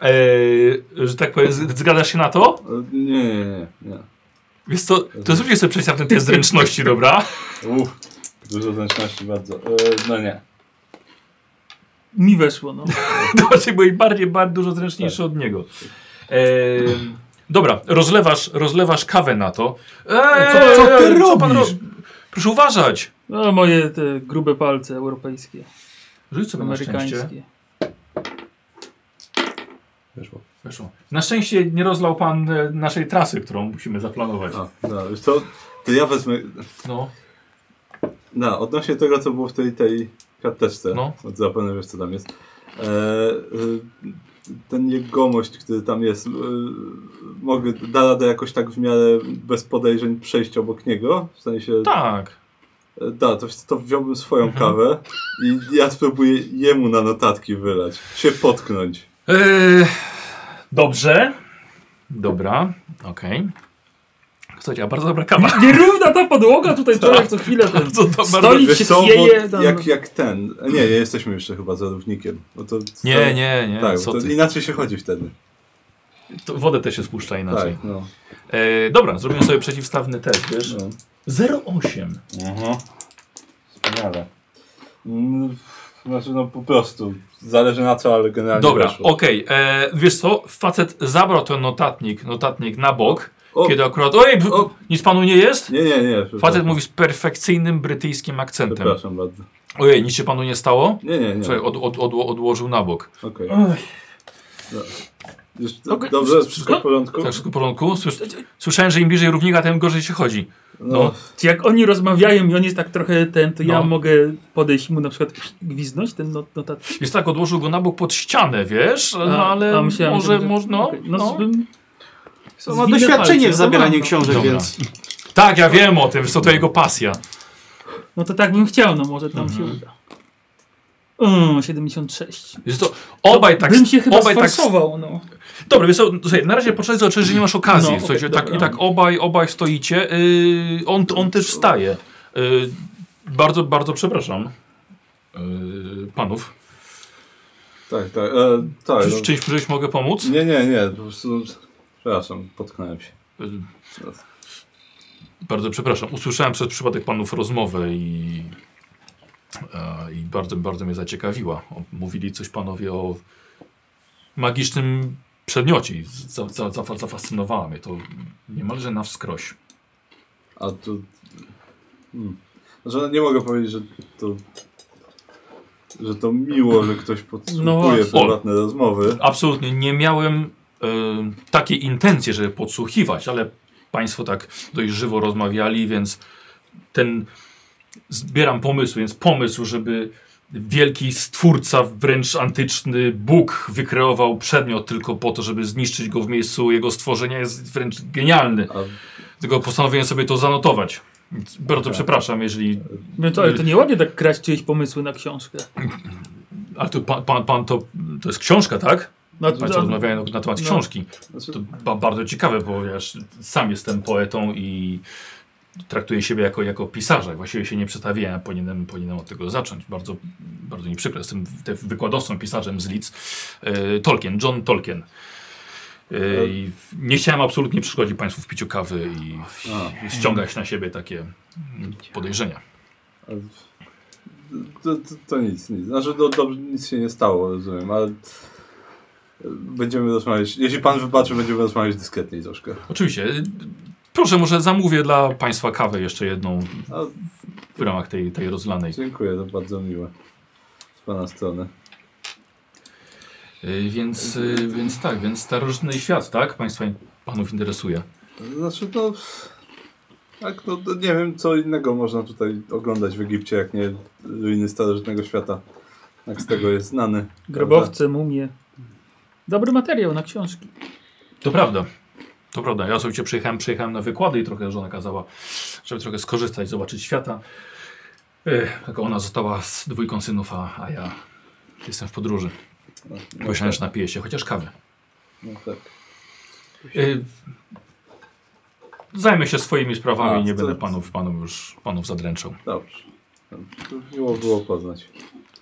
A: Eee, że tak powiem, z- zgadzasz się na to?
C: ale Nie, nie, nie, nie.
A: Więc to, to zróbcie sobie przejść na ten test zręczności, <laughs> dobra?
C: Uff, dużo zręczności bardzo. E, no nie.
D: Mi weszło, no.
A: To właśnie byłeś bardziej, bardziej dużo zręczniejszy od niego. Eee, dobra, rozlewasz, rozlewasz kawę na to. Eee,
E: Co- co ty
A: pan
E: robisz?
A: ro- Proszę uważać.
D: no moje te grube palce europejskie,
A: Rzuć sobie na szczęście.
D: amerykańskie.
E: Weszło.
A: Weszło. Na szczęście nie rozlał pan e, naszej trasy, którą musimy zaplanować.
C: A, no, wiesz co? To ja wezmę...
A: No,
C: No, odnośnie tego, co było w tej, tej karteczce.
A: No.
C: No. Zapewne wiesz, co tam jest. E, e, ten jegomość, który tam jest, e, mogę, da radę jakoś tak w miarę bez podejrzeń przejść obok niego? W sensie...
A: tak. Mhm.
C: E, Da, to, to wziąłbym swoją kawę i ja spróbuję jemu na notatki wylać. Się potknąć.
A: Eee, dobrze. Dobra, okej. Okay. Słuchajcie, a bardzo dobra <laughs> kawa.
D: Nierówna ta podłoga tutaj
A: Tak.
D: człowiek co chwilę ten
A: Bardzo dobra.
D: stolik
C: Wiesz
D: się
C: co, bo
D: chwieje. Tam...
C: jak, jak ten. e, Nie, nie jesteśmy jeszcze chyba zarównikiem. Bo to, to,
A: Nie, nie, nie.
C: Tak,
A: Co
C: to
A: ty?
C: inaczej się chodzi wtedy.
A: To wodę też się spuszcza inaczej.
C: Tak, no.
A: Eee, dobra, zrobimy sobie przeciwstawny test, wiesz?
C: no.
A: 08.
C: Mhm. Wspaniale. Mm, Znaczy, no po prostu. Zależy na co, ale generalnie.
A: Dobra,
C: weszło.
A: okej. eee, Wiesz co, facet zabrał ten notatnik, notatnik na bok,
C: O,
A: kiedy akurat... Oj, b-
C: o.
A: nic panu nie jest?
C: Nie, nie, nie.
A: Facet
C: przepraszam.
A: mówi z perfekcyjnym brytyjskim akcentem.
C: Przepraszam bardzo.
A: Ojej, nic się panu nie stało?
C: Nie, nie, nie.
A: Słuchaj, od, od, od, odłożył na bok.
C: Okej. No. Już-
A: Okej,
C: Dobrze, wszystko w porządku?
A: Tak, wszystko w porządku? Słys słyszałem, że im bliżej równika, tym gorzej się chodzi.
C: No,
D: Czy jak oni rozmawiają i on jest tak trochę ten, to ja
A: No.
D: mogę podejść i mu na przykład gwiznąć ten not, notat.
A: Jest tak, odłożył go na bok pod ścianę, wiesz? No ale
D: myślałem,
A: może,
D: że-
A: można.
D: okej,
A: no.
D: no, bym-
B: Ma
D: Zwinne
B: doświadczenie
D: palce,
B: w zabieraniu
D: no, no.
B: książek,
A: Dobra.
B: więc...
A: Tak, ja wiem o tym, że to jego pasja.
D: No to tak bym chciał, no może tam się uda. Mm, 76.
A: Wiesz co, obaj tak...
D: Bym się chyba
A: obaj tak
D: sfarsował, no.
A: Dobra, wiesz co, słuchaj, na razie poczekaj, zobaczysz, że nie masz okazji.
D: No,
A: Słuchajcie,
D: okej,
A: tak,
D: dobra.
A: I tak obaj, obaj stoicie. Yy, on, on też wstaje. Yy, bardzo, bardzo przepraszam. Yy, panów.
C: Tak, tak. E, tak
A: Czy
C: no.
A: w czymś, czymś mogę pomóc?
C: Nie, nie, nie. Po prostu... Przepraszam, potknąłem się.
A: Yy, bardzo przepraszam. Usłyszałem przez przypadek panów rozmowę i, e, i bardzo, bardzo mnie zaciekawiła. O, Mówili coś panowie o magicznym przedmiocie. i Za, za, za, zafascynowała mnie to niemalże na wskroś.
C: A tu... Hmm. Że nie mogę powiedzieć, że to... Że to miło, że ktoś podsłuchuje
A: No
D: właśnie.
C: prywatne rozmowy.
A: Absolutnie nie miałem e, takiej intencji, żeby podsłuchiwać, ale Państwo tak dość żywo rozmawiali, więc ten zbieram pomysł, więc pomysł, żeby wielki stwórca, wręcz antyczny Bóg wykreował przedmiot tylko po to, żeby zniszczyć go w miejscu jego stworzenia jest wręcz genialny.
C: A
A: Tylko postanowiłem sobie to zanotować. Więc Bardzo
C: Tak.
A: przepraszam, jeżeli...
D: no to, ale to nieładnie tak kraść czyjeś pomysły na książkę.
A: Ale to pan, pan, pan to... To jest książka, tak?
D: No,
A: Państwo rozmawiają na temat
D: No.
A: książki.
C: znaczy,
A: To ba bardzo ciekawe, bo ja sz- sam jestem poetą i traktuję siebie jako, jako pisarza. Właściwie się nie przestawiłem, powinienem, powinienem od tego zacząć. Bardzo, bardzo mi przykro, jestem te- wykładowcą, pisarzem z Leeds. E, Tolkien, John Tolkien. E, i w- nie chciałem absolutnie przeszkodzić Państwu w piciu kawy i w-
C: A.
A: i ściągać na siebie takie mm, podejrzenia.
C: A To, to, to nic, nic. Znaczy, do, dobrze, nic się nie stało, rozumiem, ale e, będziemy rozmawiać, jeśli pan wybaczy, będziemy rozmawiać dyskretniej troszkę.
A: Oczywiście. e, Proszę, może zamówię dla Państwa kawę jeszcze jedną
C: A,
A: w ramach tej, tej rozlanej.
C: dziękuję, to bardzo miłe z pana strony.
A: Y, Więc, y, więc tak, więc starożytny świat, tak? Państwa, panów interesuje.
C: Znaczy, no, tak, no, to nie wiem, co innego można tutaj oglądać w Egipcie, jak nie ruiny starożytnego świata. Jak z tego jest znany.
D: Grobowce, mumie. Dobry materiał na książki.
A: To prawda. To prawda. Ja osobiście przyjechałem, przyjechałem na wykłady i trochę żona kazała, żeby trochę skorzystać, zobaczyć świata. Ech, tylko ona została z dwójką synów, a, a ja jestem w podróży.
C: Prawda?
A: Myślałem, że napiję się chociaż kawy.
C: No, tak.
A: Y, Zajmę się swoimi sprawami
C: A,
A: i nie
C: to-
A: będę panów, panów już panów zadręczał.
C: Dobrze. Miło było poznać.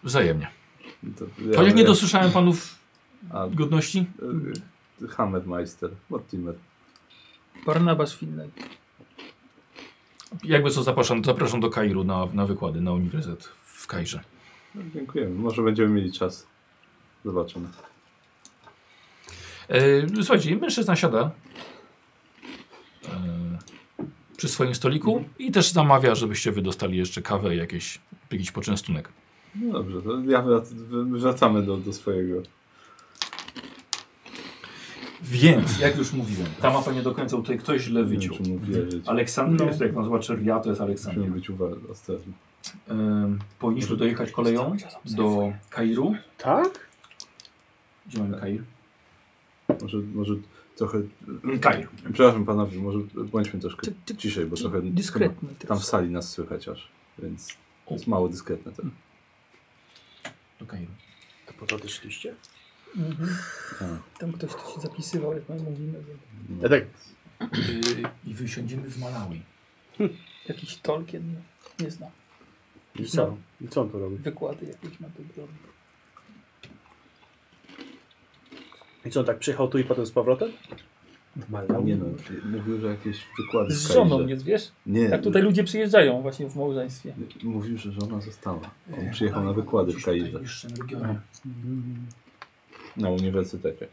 A: Wzajemnie.
C: To,
A: Chociaż nie dosłyszałem panów
C: A,
A: godności.
C: Y, Hammermeister, Mortimer.
D: Barnabas Finlay.
A: Jakby co zapraszam, zapraszam do Kairu na, na wykłady, na uniwersytet w Kairze.
C: No, dziękujemy. Może będziemy mieli czas. Zobaczymy.
A: E, słuchajcie, mężczyzna siada e, przy swoim stoliku i też zamawia, żebyście wy dostali jeszcze kawę, jakieś, jakiś poczęstunek.
C: No dobrze, to ja wrac wy- wracamy do, do swojego.
A: Więc, jak już mówiłem, ta mapa nie do końca tutaj ktoś źle
C: Nie wiem,
A: wyciął.
C: czy mówię, że
A: Aleksandria,
D: No.
A: jest to jak pan zobaczy Ria, to jest Aleksandria.
C: musimy być uważni, ostrożni.
A: Ym, powinniśmy dojechać koleją do Kairu.
B: Tak?
A: Gdzie mamy Kair?
C: Może, może trochę... Mm,
A: Kair.
C: Przepraszam panowie, może bądźmy troszkę
D: Ty- ty-
C: ciszej, bo trochę...
D: Dyskretny.
C: chyba Tam w
D: tekst.
C: sali nas słychać aż, więc jest mało dyskretne
D: Mm.
C: to.
A: Do Kairu.
B: To po to odeszliście?
D: Mhm.
C: A.
D: Tam ktoś to się zapisywał, jak my mówimy. więc
C: No.
B: Ja tak.
A: Yy, I wysiądziemy w Malawi.
D: Jakiś Tolkien, nie, nie znam.
B: I co? I co on to robi?
D: Wykłady jakieś na to robi.
B: I co on tak przyjechał tu i potem z powrotem?
C: Nie no, mówił, że jakieś wykłady
D: Z
C: w
D: żoną,
C: Kairze.
D: nie wiesz?
C: Nie,
D: Tak tutaj ludzie przyjeżdżają właśnie w małżeństwie.
C: mówił, że żona została. On przyjechał na wykłady w Kairze. Na uniwersytecie.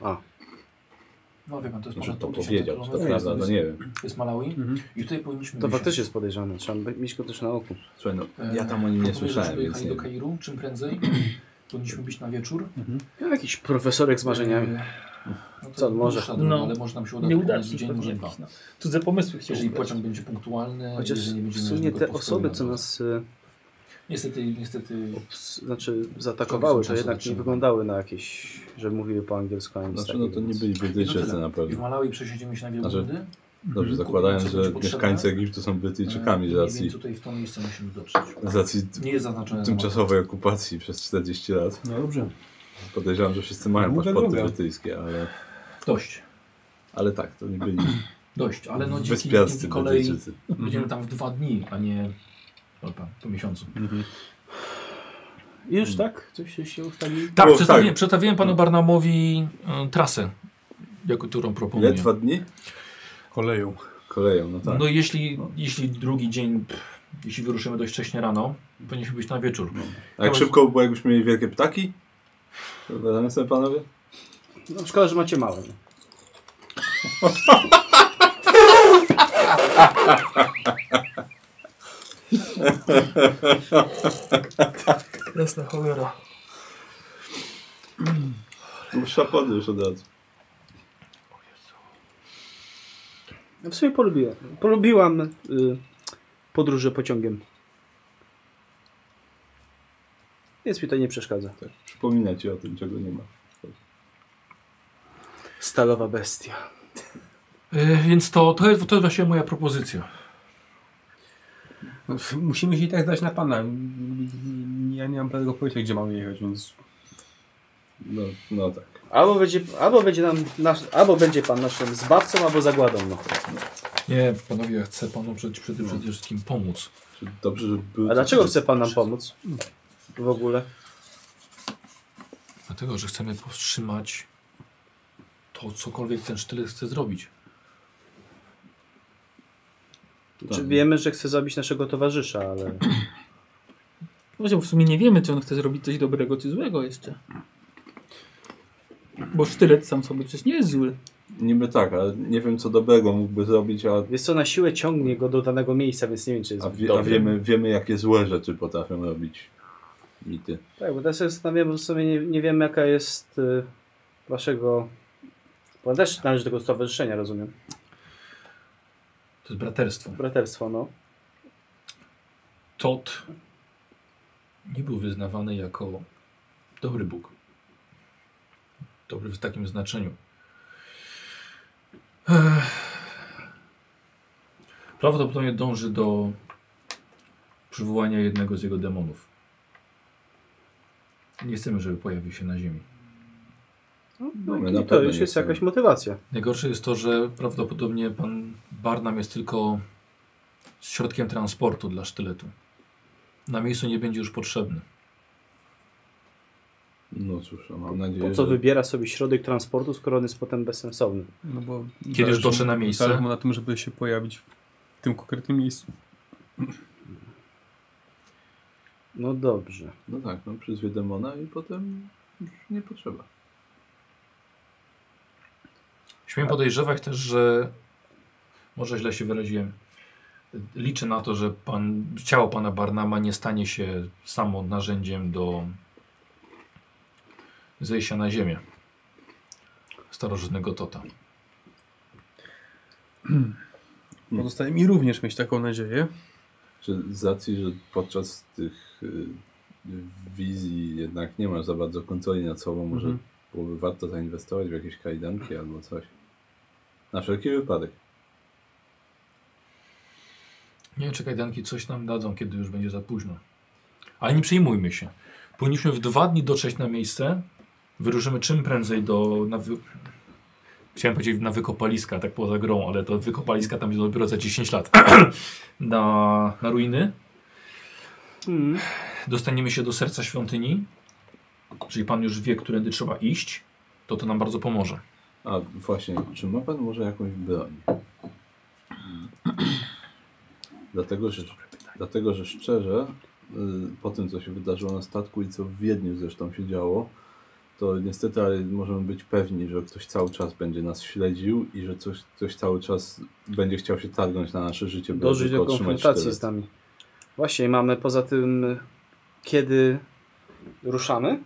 B: A,
A: No wie pan, to jest
C: Może
A: ponad
C: Znaczy, to
A: pół tysiąca
C: powiedział, czy to
D: tak
A: kilometrów.
C: prawda, no nie wiem.
A: To jest Malawi
E: Mhm.
A: i tutaj powinniśmy
B: to
A: wysiąść.
B: faktycznie jest podejrzane. Trzeba by- mieć go też na oku.
C: Słuchaj, no,
A: E,
C: ja tam o nim nie
A: proponuję,
C: słyszałem,
A: żebyśmy
C: więc
A: jechali
C: nie
A: do
C: wiem.
A: Kairu czym prędzej. <clears throat> Powinniśmy być na wieczór.
B: Ja jakiś profesorek z marzeniami.
A: E, No to
B: Co, może?
A: dłuższa droga,
D: No.
A: ale może nam się uda
D: Nie uda
A: wykonać
D: się
A: tak, dzień, może dwa.
D: no. Cudze pomysły chciał
A: Jeżeli
D: ubrać.
A: pociąg będzie punktualny,
B: Chociaż
A: jeżeli nie
B: w
A: będzie
B: sumie
A: żadnego
B: te
A: powstoju
B: osoby,
A: na
B: co
A: drodze.
B: nas e,
A: Niestety, niestety...
B: obs- znaczy zaatakowały, to
A: Czasem
B: jednak nie
A: trzeba.
B: wyglądały na jakieś, że mówiły po angielsku, a nic
C: Znaczy, no to
B: takiego.
C: nie byli
A: I to
C: Brytyjczycy
A: tyle.
C: na
A: I w
C: pewno.
A: Malawi przesiedzimy się na
C: Znaczy-
A: wielbłądy
C: Dobrze, zakładając,
A: Kupić, co
C: że
A: będzie potrzebne.
C: mieszkańcy Egiptu są Brytyjczykami z
A: E, Mniej więcej
C: racji,
A: tutaj w to miejsce musimy dotrzeć.
C: z racji
A: Nie no. jest zaznaczone. na mapie.
C: tymczasowej okupacji przez 40 lat.
E: No dobrze.
C: Podejrzewam, że wszyscy
A: No,
C: mają
E: Długa
C: paszporty
E: droga.
C: brytyjskie, ale,
A: Dość,
C: ale tak, to nie byli
A: dość, <clears throat> ale no dzięki,
C: wyspiarscy
A: dzięki kolei
C: Brytyjczycy.
A: będziemy
D: Mhm.
A: tam w dwa dni, a nie opa, po miesiącu.
B: Już tak? Coś się ustawiło?
A: Tak,
C: O,
A: przedstawiłem,
C: tak.
A: przedstawiłem panu Barnamowi y, trasę, jaką którą proponuję.
C: Ile? Dwa dni?
E: Koleją.
C: Koleją, no tak.
A: No jeśli, jeśli drugi dzień, pff, jeśli wyruszymy dość wcześnie rano, powinniśmy być na wieczór.
C: A jak
A: to-
C: szybko, bo jakbyśmy mieli wielkie ptaki? Wyobrażamy sobie panowie?
B: No, szkoda, że macie małe. nie?
D: Jasna cholera.
C: Dłuższa podróż od razu.
B: No, w sumie polubiłem. Polubiłam y, podróże pociągiem. Więc mi to nie przeszkadza.
C: Tak. Przypomina ci o tym, czego nie ma.
B: Stalowa bestia.
A: Y, więc to, to, jest, to jest właśnie moja propozycja.
E: No, f- Musimy się i tak zdać na pana. Ja nie mam pewnego pojęcia, gdzie mamy jechać, więc...
C: No, no tak.
B: Albo będzie, albo będzie, nam nasz, albo będzie pan naszym zbawcą, albo zagładą. No.
A: Nie, panowie, ja chcę panu przed, przed,
C: No.
A: przede wszystkim pomóc.
C: Czy Dobrze, że był...
B: A dlaczego chce pan nam pomóc? W ogóle.
A: Dlatego, że chcemy powstrzymać to, cokolwiek ten sztylet chce zrobić.
B: Czy wiemy, że chce zabić naszego towarzysza, ale.
D: Właśnie, bo w sumie nie wiemy, czy on chce zrobić coś dobrego, czy złego jeszcze. Bo sztylet sam sobie przecież nie jest zły.
C: Niby tak, ale nie wiem co dobrego mógłby zrobić, a,
B: Wiesz co, na siłę ciągnie go do danego miejsca, więc nie wiem, czy jest.
C: a, wie, a
B: dobry.
C: wiemy, wiemy jakie złe rzeczy potrafią robić mity.
B: Tak, bo teraz się zastanawiam, bo w sumie nie, nie wiem, jaka jest y, waszego. Pan też należy do tego stowarzyszenia, rozumiem.
A: To jest braterstwo.
B: Braterstwo, no.
A: Tot nie był wyznawany jako dobry Bóg. Dobry w takim znaczeniu. Ech. Prawdopodobnie dąży do przywołania jednego z jego demonów. Nie chcemy, żeby pojawił się na ziemi.
B: no,
C: my
B: no
C: na
B: i to
C: pewno
B: już
C: nie
B: jest
C: chcemy.
B: jakaś motywacja.
A: Najgorsze jest to, że prawdopodobnie pan Barnum jest tylko środkiem transportu dla sztyletu. Na miejscu nie będzie już potrzebny.
C: No cóż, no, mam nadzieję,
B: Po co
C: że...
B: wybiera sobie środek transportu, skoro on jest potem bezsensowny?
E: No bo
A: Kiedy już dotrze na miejsce?
E: Zależy mu na tym, żeby się pojawić w tym konkretnym miejscu.
B: No dobrze.
C: No tak, no przyzwie demona i potem już nie potrzeba.
A: Śmiem podejrzewać też, że może źle się wyraziłem. Liczę na to, że pan, ciało pana Barnama nie stanie się samo narzędziem do zejścia na ziemię starożytnego Tota.
E: Pozostaje mi również mieć taką nadzieję.
C: Czy z racji, że podczas tych y, wizji jednak nie masz za bardzo kontroli nad sobą, może
E: Mhm.
C: byłoby warto zainwestować w jakieś kajdanki albo coś? Na wszelki wypadek.
A: Nie wiem, czy kajdanki coś nam dadzą, kiedy już będzie za późno. Ale nie przejmujmy się. Powinniśmy w dwa dni dotrzeć na miejsce. Wyruszymy czym prędzej do... Na wy... Chciałem powiedzieć na wykopaliska, tak poza grą, ale to wykopaliska tam jest dopiero za 10 lat. <clears throat> na, na ruiny.
B: Mm.
A: Dostaniemy się do serca świątyni. Jeżeli pan już wie, którędy trzeba iść, to to nam bardzo pomoże.
C: A właśnie, czy ma pan może jakąś broń? dlatego, że, dlatego, że szczerze, y, po tym co się wydarzyło na statku i co w Wiedniu zresztą się działo, to niestety, ale możemy być pewni, że ktoś cały czas będzie nas śledził i że coś, ktoś cały czas będzie chciał się targnąć na nasze życie, by
B: Dożyć
C: tylko
B: do
C: otrzymać
B: konfrontacji
C: sztylet.
B: z nami. Właśnie mamy poza tym, y, kiedy ruszamy,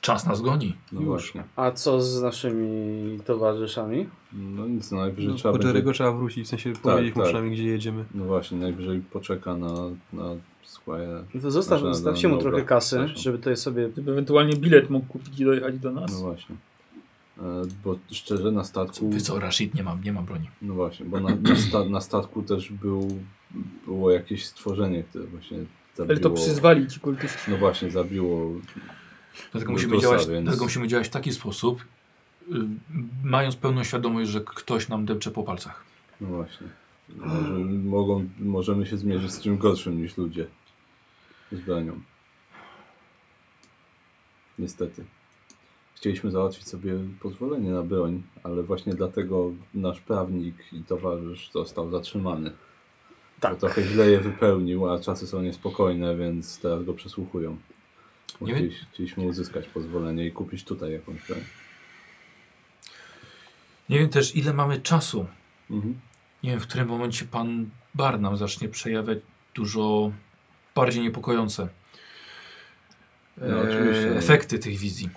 A: Czas nas goni.
C: No
E: Już.
C: właśnie.
B: a co z naszymi towarzyszami?
C: No nic, no najwyżej
E: No,
C: trzeba
E: po
C: będzie...
E: Jerry'ego trzeba wrócić, w sensie powiedzieć mu
C: tak.
E: przynajmniej, gdzie jedziemy.
C: No właśnie, najwyżej poczeka na, na Squire.
B: No to zostaw,
C: Znaczy,
B: zostaw
C: no,
B: się mu
C: dobra,
B: trochę kasy,
C: przepraszam.
B: żeby to sobie
D: Żeby ewentualnie bilet mógł kupić i dojechać do
C: No
D: nas.
C: właśnie. E, Bo szczerze na statku.
A: Wy co, Rashid, nie mam, nie mam broni.
C: No właśnie, bo na, na, sta, na statku też był, było jakieś stworzenie, które właśnie zabiło.
D: Ale to przyzwali ci kultyści.
C: No właśnie, zabiło.
A: Dlatego
C: No
A: musimy,
C: to
A: działać,
C: sa, więc-
A: dlatego musimy działać w taki sposób, y, mając pełną świadomość, że ktoś nam depcze po palcach.
C: No właśnie. Może, mogą, możemy się zmierzyć z czymś gorszym niż ludzie. Z bronią. Niestety. Chcieliśmy załatwić sobie pozwolenie na broń, ale właśnie dlatego nasz prawnik i towarzysz został zatrzymany.
B: Tak.
C: Bo trochę źle je wypełnił, a czasy są niespokojne, więc teraz go przesłuchują. Bo
A: Nie wy-
C: Chcieliś, chcieliśmy uzyskać pozwolenie i kupić tutaj jakąś broń.
A: Nie wiem też, ile mamy czasu.
C: Mhm.
A: Nie wiem, w którym momencie pan Barnum zacznie przejawiać dużo bardziej niepokojące
C: No,
A: e,
C: oczywiście. no.
A: efekty tych wizji.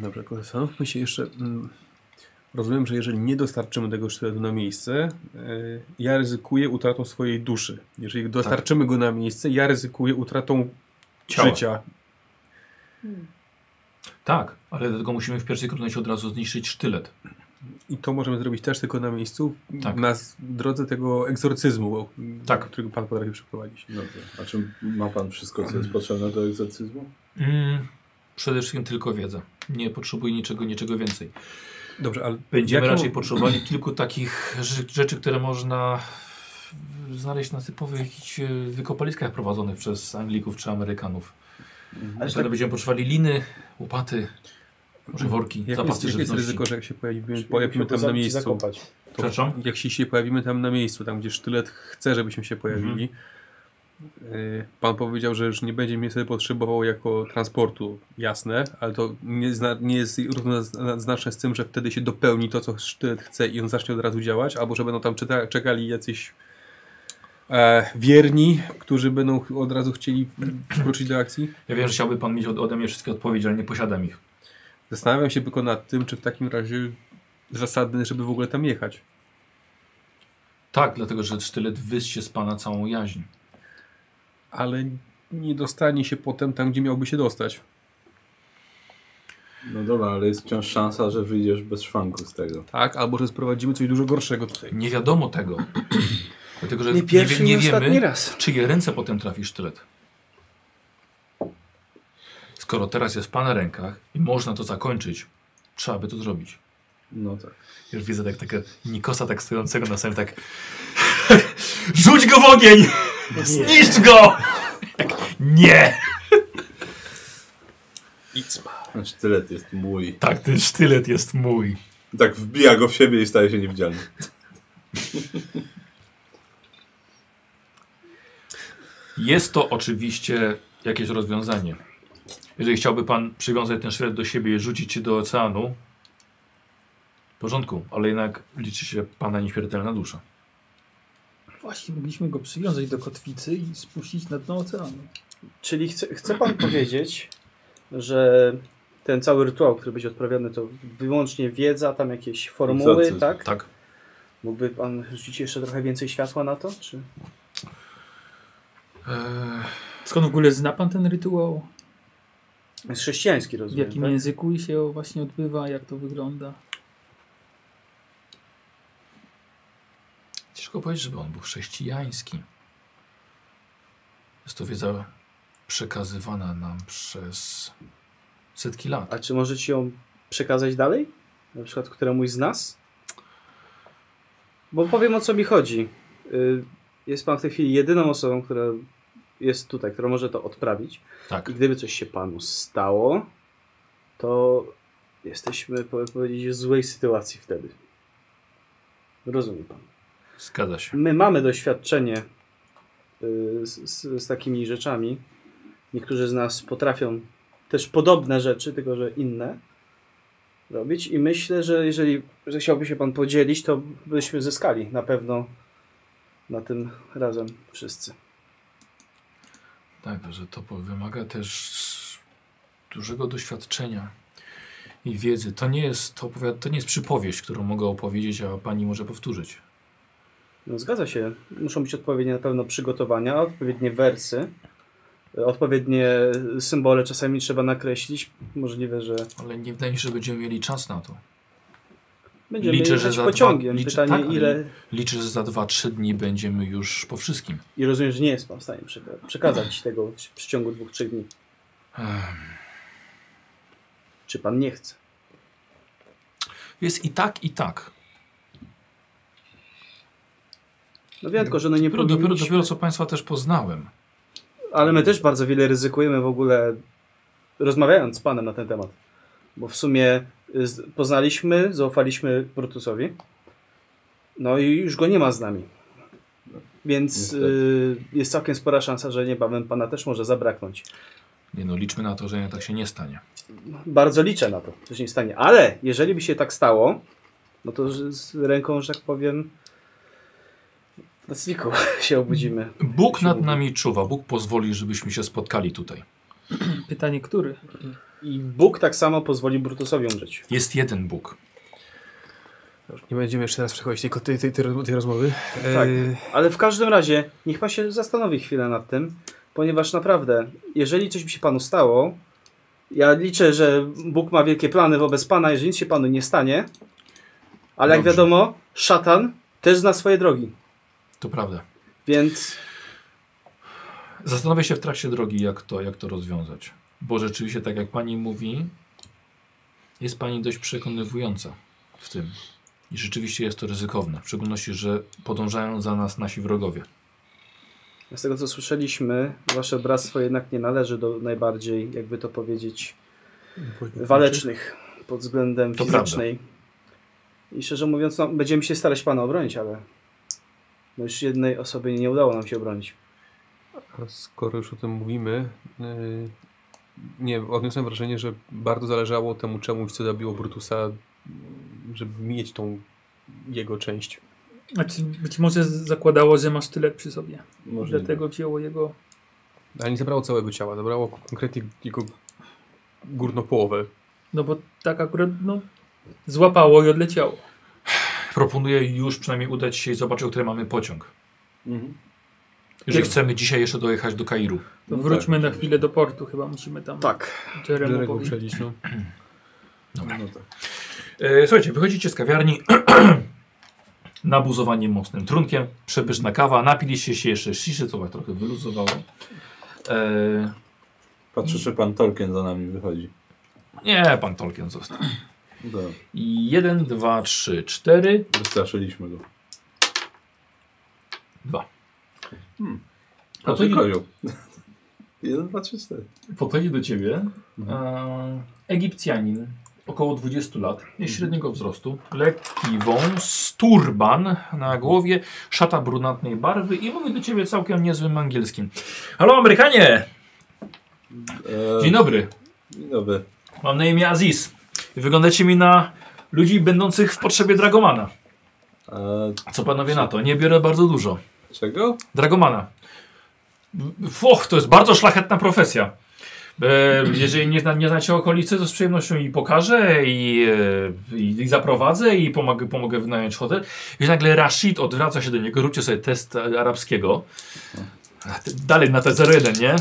E: Dobra, tylko zastanówmy się jeszcze. mm, Rozumiem, że jeżeli nie dostarczymy tego sztyletu na miejsce, y, ja ryzykuję utratą swojej duszy.
A: Tak.
E: Jeżeli dostarczymy go na miejsce, ja ryzykuję utratą
A: Ciała.
E: życia.
A: Tak, ale dlatego musimy w pierwszej kolejności od razu zniszczyć sztylet.
E: I to możemy zrobić też tylko na miejscu,
A: Tak.
E: na s- drodze tego egzorcyzmu, o-
A: Tak.
E: którego pan potrafi przeprowadzić.
C: Dobrze. A czy ma pan wszystko, co jest potrzebne do egzorcyzmu?
A: Mm, przede wszystkim tylko wiedza. Nie potrzebuję niczego, niczego więcej.
E: Dobrze, ale
A: Będziemy
E: jaką-
A: raczej potrzebowali kilku takich rze- rzeczy, które można znaleźć na typowych jakichś, e, wykopaliskach prowadzonych przez Anglików czy Amerykanów.
B: Ale
E: Mhm.
A: Ale
B: tak,
A: wtedy będziemy potrzebowali liny, łopaty, może worki,
E: Jakie jest,
A: zapasy
E: jakie jest
A: żywności.
E: ryzyko, że Mhm. jak się pojawimy, pojawimy tam na
B: zabić i
E: miejscu?
B: zakopać.
A: Przepraszam?
E: Jak się, się pojawimy tam na miejscu, tam gdzie sztylet chce, żebyśmy się pojawili. Y, Pan powiedział, że już nie będzie mnie sobie potrzebował jako transportu, jasne, ale to nie, zna, nie jest równoznaczne z tym, że wtedy się dopełni to, co sztylet chce i on zacznie od razu działać, albo że będą tam czyta, czekali jacyś e, wierni, którzy będą ch- od razu chcieli wkroczyć do akcji.
A: Ja wiem, że chciałby pan mieć od, ode mnie wszystkie odpowiedzi, ale nie posiadam ich.
E: Zastanawiam się tylko nad tym, czy w takim razie zasadne, żeby w ogóle tam jechać.
A: Tak, dlatego że sztylet wyssie z pana całą jaźń.
E: ale nie dostanie się potem tam, gdzie miałby się dostać.
C: No dobra, ale jest wciąż szansa, że wyjdziesz bez szwanku z tego.
E: Tak, albo że sprowadzimy coś dużo gorszego tutaj.
A: Nie wiadomo tego.
B: <clears throat>
A: Dlatego, że
B: Nie pierwszy, nie,
A: nie,
B: ostatni
A: wiemy,
B: raz.
A: w czyje ręce potem trafi sztylet. Skoro teraz jest w pana rękach i można to zakończyć, trzeba by to zrobić.
C: No tak.
A: Już widzę tak takiego Nikosa tak stojącego na samym tak <laughs> Rzuć go w ogień! Zniszcz go! <laughs> Nie!
C: Ten sztylet Znaczy, jest mój.
A: Tak, ten sztylet jest mój.
C: Tak wbija go w siebie i staje się niewidzialny.
A: Jest to oczywiście jakieś rozwiązanie. Jeżeli chciałby pan przywiązać ten sztylet do siebie i rzucić się do oceanu, w porządku, ale jednak liczy się pana nieśmiertelna dusza.
D: Właśnie, mogliśmy go przywiązać do kotwicy i spuścić na dno oceanu.
B: Czyli chce, chce pan <clears throat> powiedzieć, że ten cały rytuał, który będzie odprawiany, to wyłącznie wiedza, tam jakieś formuły,
C: Egzorcyzm,
B: tak?
A: Tak.
B: Mógłby pan rzucić jeszcze trochę więcej światła na to? Czy...
A: Eee,
D: Skąd w ogóle zna pan ten rytuał?
B: Jest chrześcijański,
D: W
B: rozumiem,
D: jakim
B: tak?
D: języku się właśnie odbywa? Jak to wygląda?
A: Ciężko powiedzieć, żeby on był chrześcijański. Jest to wiedza przekazywana nam przez setki lat.
B: A czy możecie ją przekazać dalej? Na przykład któremuś z nas? Bo powiem o co mi chodzi. Y, Jest pan w tej chwili jedyną osobą, która jest tutaj, która może to odprawić.
A: Tak.
B: I gdyby coś się panu stało, to jesteśmy, powiem powiedzieć, w złej sytuacji wtedy. Rozumie pan.
A: Zgadza się.
B: My mamy doświadczenie y, z, z, z takimi rzeczami. Niektórzy z nas potrafią też podobne rzeczy, tylko że inne robić. I myślę, że jeżeli że chciałby się Pan podzielić, to byśmy zyskali na pewno na tym razem wszyscy.
A: Tak, że to po- wymaga też dużego doświadczenia i wiedzy. To nie jest, to, opowiad- to nie jest przypowieść, którą mogę opowiedzieć, a pani może powtórzyć.
B: No, zgadza się. Muszą być odpowiednie na pewno przygotowania, odpowiednie wersy. y, Odpowiednie symbole czasami trzeba nakreślić. Możliwe, że
A: Ale nie wydaje mi się, że będziemy mieli czas na to.
B: będziemy
A: Liczę, że
B: jechać
A: za
B: pociągiem.
A: dwa- liczę-
B: Pytanie
A: tak, ale-
B: ile...
A: Liczę, że za 2-3 dni będziemy już po wszystkim.
B: I rozumiem, że nie jest pan w stanie przeka- przekazać tego w w ciągu dwóch, trzech dni.
A: Ech.
B: Czy pan nie chce?
A: Jest i tak, i tak.
B: No wiem, tylko że no nie
A: Dopiero, dopiero,
B: powinniśmy.
A: dopiero co Państwa też poznałem.
B: Ale my też bardzo wiele ryzykujemy w ogóle rozmawiając z panem na ten temat. Bo w sumie y, z- poznaliśmy, zaufaliśmy Brutusowi. No i już go nie ma z nami. Więc
C: Niestety.
B: y, jest całkiem spora szansa, że niebawem pana też może zabraknąć.
A: Nie no, liczmy na to, że tak się nie stanie.
B: Bardzo liczę na to, że się nie stanie. Ale jeżeli by się tak stało, no to z- z ręką, że tak powiem, w nocniku <laughs> się obudzimy.
A: Bóg
B: się
A: nad
B: mówi.
A: nami czuwa. Bóg pozwoli, żebyśmy się spotkali tutaj.
D: Pytanie, który?
B: I Bóg tak samo pozwoli Brutusowi umrzeć.
A: Jest jeden Bóg.
E: Nie będziemy jeszcze raz przechodzić tej, tej, tej, tej, roz- tej rozmowy.
B: Tak.
E: E,
B: Ale w każdym razie, niech pan się zastanowi chwilę nad tym, ponieważ naprawdę, jeżeli coś by się panu stało, ja liczę, że Bóg ma wielkie plany wobec pana, jeżeli nic się panu nie stanie, ale jak
A: Dobrze.
B: wiadomo, szatan też zna swoje drogi,
A: To prawda.
B: więc
A: Zastanawiam się w trakcie drogi, jak to, jak to rozwiązać. Bo rzeczywiście, tak jak pani mówi, jest pani dość przekonywująca w tym. I rzeczywiście jest to ryzykowne. W szczególności, że podążają za nas nasi wrogowie.
B: z tego co słyszeliśmy, wasze bractwo jednak nie należy do najbardziej, jakby to powiedzieć, walecznych pod względem
A: To
B: fizycznej. I szczerze mówiąc, no, będziemy się starać pana obronić, ale no już jednej osobie nie udało nam się obronić.
E: A skoro już o tym mówimy, e, nie, odniosłem wrażenie, że bardzo zależało temu czemuś, co zabiło Brutusa, żeby mieć tą jego część.
D: Znaczy, być może z- zakładało, że masz tyle przy sobie.
C: Możliwe.
D: Dlatego wzięło jego.
E: Ale nie zabrało całego ciała, zabrało konkretnie jego górną połowę.
D: No bo tak akurat no, złapało i odleciało.
A: Proponuję już przynajmniej udać się i zobaczyć, o który mamy pociąg.
C: Mhm.
A: Jeżeli
E: Kiedy?
A: chcemy dzisiaj jeszcze dojechać do Kairu.
D: To
C: No
D: wróćmy
C: tak,
D: na
C: oczywiście.
D: chwilę do portu, chyba musimy tam
B: Tak.
D: Jeremu
E: Którego
D: powiedzieć.
E: uprzedzić, no.
C: No tak.
A: E, słuchajcie, wychodzicie z kawiarni. <clears throat> Nabuzowanie mocnym trunkiem, przepyszna kawa, napiliście się jeszcze ciszy, co was trochę wyluzowało. E,
C: Patrzę, czy pan Tolkien za nami wychodzi.
A: nie, pan Tolkien został.
C: No, tak.
A: I jeden, dwa, trzy, cztery,
C: Wystraszyliśmy go.
A: dwa.
C: Hmm.
A: A co nie-
C: Pokoju. <laughs> Jeden, dwa, trzy, cztery.
A: Podchodzi do ciebie e, Egipcjanin, około 20 lat, jest średniego wzrostu, lekki wąs, turban na głowie, szata brunatnej barwy i mówi do ciebie całkiem niezłym angielskim. Halo Amerykanie!
C: E,
A: Dzień dobry.
C: Dzień dobry.
A: Mam na imię Aziz. Wyglądacie mi na ludzi będących w potrzebie dragomana.
C: E,
A: Co panowie na to? Nie biorę bardzo dużo.
C: czego?
A: Dragomana. Och, to jest bardzo szlachetna profesja. E, jeżeli nie, zna, nie znacie okolicy, to z przyjemnością i pokażę, i, e, i, i zaprowadzę, i pomogę, pomogę wynająć hotel. I nagle Rashid odwraca się do niego, róbcie sobie test e, arabskiego. A ty- Dalej na te 01, nie?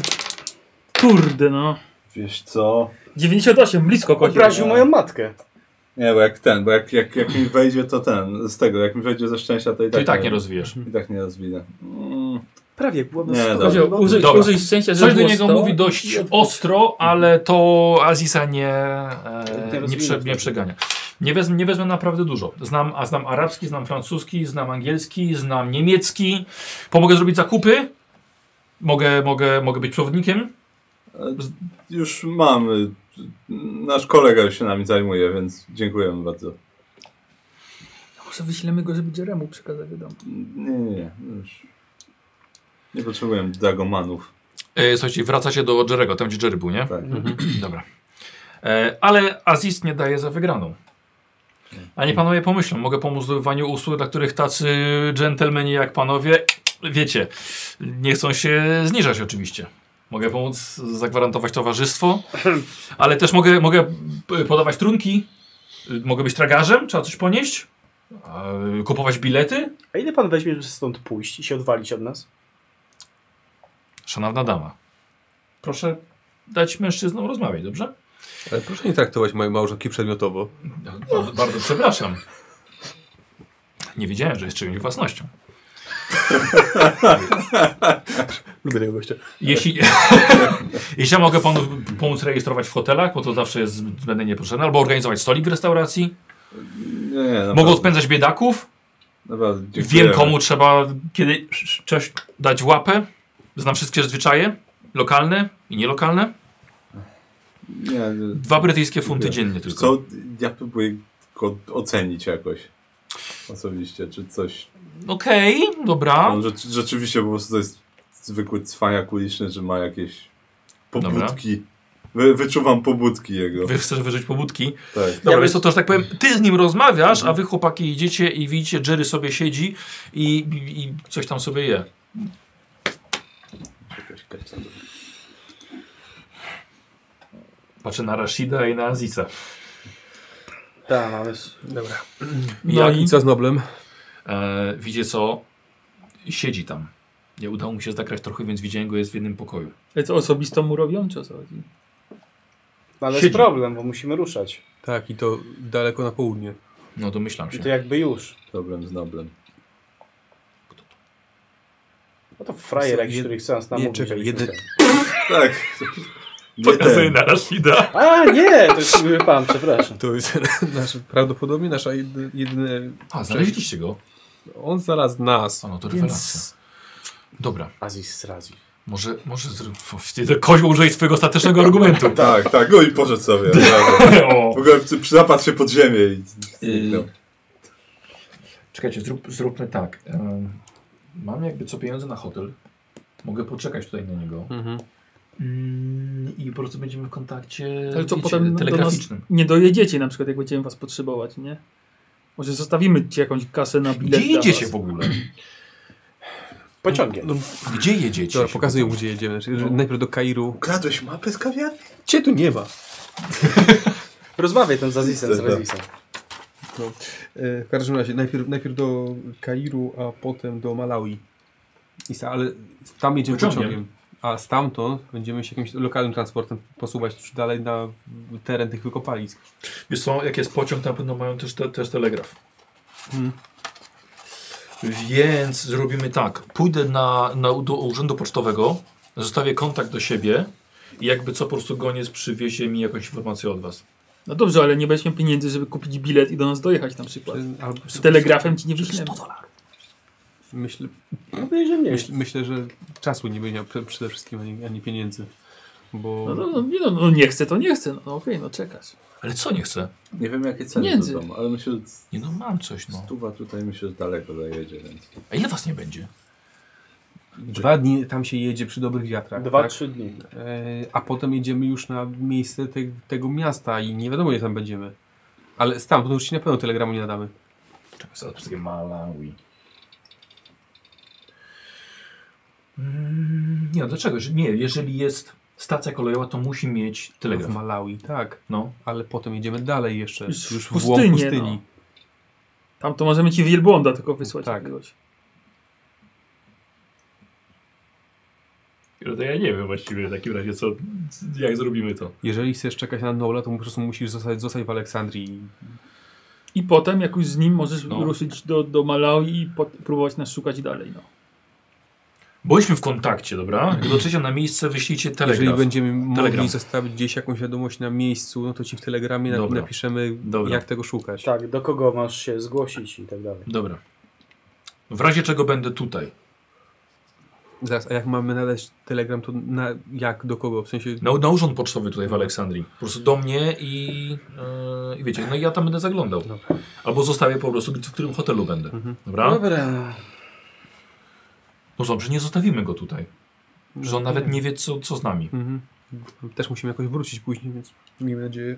D: Kurde, no.
C: Wiesz co?
D: 98, blisko kozioł. no.
B: Obraził moją matkę.
C: Nie, bo jak ten, bo jak, jak, jak mi wejdzie to ten, z tego, jak mi wejdzie ze szczęścia, to i
A: To
C: tak,
A: i tak nie rozwijesz.
C: I tak nie rozwinę. Mm,
B: Prawie byłoby
C: Nie,
B: sto.
C: dobra.
D: Kozioł, użyj,
A: Dobra.
D: użyj szczęścia, że
A: Coś do
D: było
A: niego
D: 100.
A: mówi dość ostro, ale to Aziza nie, e,
B: Nie
A: nie,
B: rozwinę
A: prze,
B: wtedy.
A: nie przegania. Nie wezmę, nie wezmę naprawdę dużo. Znam, a znam arabski, znam francuski, znam angielski, znam niemiecki. Pomogę zrobić zakupy. Mogę, mogę, mogę być przewodnikiem.
C: e, już mamy. Nasz kolega już się nami zajmuje, więc dziękujemy bardzo.
D: Może wyślemy go, żeby Jeremu przekazać do domu.
C: Nie, nie, nie. Już. Nie potrzebuję dragomanów.
A: E, słuchajcie, wracacie do Jerego, tam gdzie Jerry był, nie?
C: Tak.
A: <clears throat> Dobra. E, ale Aziz nie daje za wygraną. A nie panowie pomyślą, mogę pomóc w zdobywaniu usług, dla których tacy dżentelmeni jak panowie, wiecie, nie chcą się zniżać oczywiście. Mogę pomóc zagwarantować towarzystwo, ale też mogę, mogę p- podawać trunki, y, mogę być tragarzem, trzeba coś ponieść, e, kupować bilety.
B: A ile pan weźmie, żeby stąd pójść i się odwalić od nas?
A: Szanowna dama, proszę dać mężczyznom rozmawiać, dobrze?
E: Ale proszę nie traktować mojej małżonki przedmiotowo.
A: Bardzo, bardzo przepraszam. Nie wiedziałem, że jest czyjąś własnością.
E: Lubię tego gościa.
A: Jeśli, <laughs> jeśli ja mogę panu pomóc rejestrować w hotelach, bo to zawsze jest zbędnie niepotrzebne, albo organizować stolik w restauracji,
C: Nie, nie, naprawdę,
A: mogą odpędzać biedaków,
C: Naprawdę,
A: wiem
C: dziękujemy.
A: komu trzeba kiedy coś dać łapę, znam wszystkie zwyczaje, lokalne i nielokalne.
C: Nie, nie.
A: Dwa brytyjskie funty
C: Dziękuję.
A: dziennie tylko.
C: Co, ja próbuję go ocenić jakoś. Osobiście, czy coś.
A: Okej, dobra.
C: On rzeczy, rzeczywiście po prostu to jest zwykły cwaniak uliczny, że ma jakieś pobudki. Wy, wyczuwam pobudki jego.
A: Wy chcesz wyżyć pobudki.
C: Tak.
A: Dobra,
D: Ja
A: więc to, to, że tak powiem, ty z nim rozmawiasz, a wy chłopaki idziecie i widzicie, Jerry sobie siedzi i, i, i coś tam sobie je.
C: Jakaś kacia.
A: Patrzę na Rashida i na Aziza.
B: Tak, mamy. s-
E: no, Dobra.
A: I
E: No
A: jak-
E: i co z Noblem?
A: E, widzicie co? Siedzi tam. Nie udało mu się zagrać trochę, więc widziałem go jest w jednym pokoju.
D: Ale co osobisto mu robią, czy o co chodzi?
A: E,
B: No, Ale
A: Siedzi.
B: jest problem, bo musimy ruszać.
E: Tak, i to daleko na południe.
A: No domyślam się.
B: I to jakby już.
C: Problem z Noblem.
B: No to frajer
E: Co,
B: jakiś,
E: jed-
B: który chce nas namówić.
E: czekaj,
B: żebyśmy
E: jeden-
B: chcieli.
C: Tak. Nie
A: Pokazuje
C: ten.
A: na Rashida.
B: A, nie! To jest miły pan,
E: <laughs>
B: przepraszam.
E: To jest nasz, prawdopodobnie nasza jedy- jedyne...
A: A, znaleźliście go?
E: On znalazł nas.
A: A no to
E: Więc-
A: rewelacja. Dobra,
B: Aziz Srazi.
A: może, może zrób... Koźmy użyj swojego ostatecznego
E: <laughs>
A: argumentu.
C: Tak, tak, go i poszedł sobie.
A: <laughs>
C: naprawdę.
A: O.
C: W ogóle przy- zapadł się pod ziemię i zniknął.
A: Czekajcie, zrób, zróbmy tak. Em, Mam jakby co pieniądze na hotel. Mogę poczekać tutaj na niego.
E: Mhm.
A: Mm, I po prostu będziemy w kontakcie
D: Ale co
A: wiecie,
D: potem do nas
A: telegraficznym.
D: nie dojedziecie na przykład, jak będziemy was potrzebować, nie? Może zostawimy ci jakąś kasę na
A: Gdzie
D: bilet dla
A: jedziecie
D: was.
A: w ogóle?
B: Pociągiem.
E: No,
A: Gdzie jedziecie?
E: dobra,
A: się
E: pokazuję mu,
A: pytam?
E: gdzie jedziemy. Czyli, że Najpierw do Kairu.
C: Ukradłeś mapę z kawiarni?
E: Cię tu nie ma.
B: <laughs> Rozmawiaj ten z Azizem, z Razisem.
A: tak.
E: No. E, w każdym razie, najpierw, najpierw do Kairu, a potem do Malawi. I sta, ale tam jedziemy
A: Pociągiem.
E: pociągiem. A stamtąd będziemy się jakimś lokalnym transportem posuwać dalej na teren tych wykopalisk.
A: Wiesz co, jak jest pociąg, na pewno mają też, te, też telegraf.
E: Hmm.
A: Więc zrobimy tak. Pójdę na, na, do urzędu pocztowego, zostawię kontakt do siebie i jakby co, po prostu goniec przywiezie mi jakąś informację od was.
D: No dobrze, ale nie będziesz miał pieniędzy, żeby kupić bilet i do nas dojechać na przykład.
E: Albo,
D: Z telegrafem ci nie wyślemy.
E: myślę,
B: Mówię, No, że nie.
E: myśl, myślę, że czasu nie będzie miał prze- przede wszystkim, ani, ani pieniędzy. Bo
D: No, no, no, nie, no, no nie chcę, to nie chcę. No, no okej, no czekasz.
A: Ale co nie chcę?
C: Nie wiem jakie ceny
D: Między.
C: to są, ale myślę, że
A: Nie no, mam coś no.
C: stuwa tutaj myślę, że daleko dojedzie, więc...
A: A ile was nie będzie?
E: Znaczy, dwa dni tam się jedzie przy dobrych wiatrach.
B: Dwa,
E: tak?
B: trzy dni.
E: E, a potem jedziemy już na miejsce te, tego miasta i nie wiadomo, gdzie tam będziemy. Ale stamtąd już ci na pewno telegramu nie nadamy.
A: Czekaj, zaraz wszystkie Malawi. Mm, nie, no dlaczego? Że- Nie, jeżeli jest stacja kolejowa, to musi mieć
E: W
A: telegraf.
E: Malawi, tak.
A: No.
E: Ale potem jedziemy dalej jeszcze.
D: Już
E: Już,
D: w
E: już w
D: pustynię,
E: głąb pustyni.
D: Tam to możemy ci wielbłąda tylko wysłać
E: Tak.
D: jakiegoś.
A: To ja nie wiem właściwie w takim razie, co, jak zrobimy to.
E: Jeżeli chcesz czekać na Nola, to po prostu musisz zostać, zostać w Aleksandrii.
D: I potem jakoś z nim możesz
A: No.
D: ruszyć do, do Malawi i po, próbować nas szukać dalej. No.
A: Bądźmy w kontakcie, dobra? Jak dotrzecie na miejsce, wyślijcie telegraf.
E: Jeżeli będziemy mogli
A: Telegram.
E: zostawić gdzieś jakąś wiadomość na miejscu, no to ci w telegramie na,
A: Dobra.
E: napiszemy,
A: Dobra.
E: jak tego szukać.
B: Tak, do kogo masz się zgłosić i tak dalej.
A: Dobra. W razie czego będę tutaj.
E: Zaraz, a jak mamy nadać telegram, to na, jak, do kogo? W sensie,
A: Na, na urząd pocztowy tutaj w Aleksandrii. Po prostu do mnie i yy, i wiecie, no i ja tam będę zaglądał. Albo zostawię po prostu, w którym hotelu będę. Dobra?
B: Dobra.
A: No dobrze, nie zostawimy go tutaj. Że on nawet nie wie, co, co z nami.
E: Mhm. Też musimy jakoś wrócić później, więc miejmy nadzieję.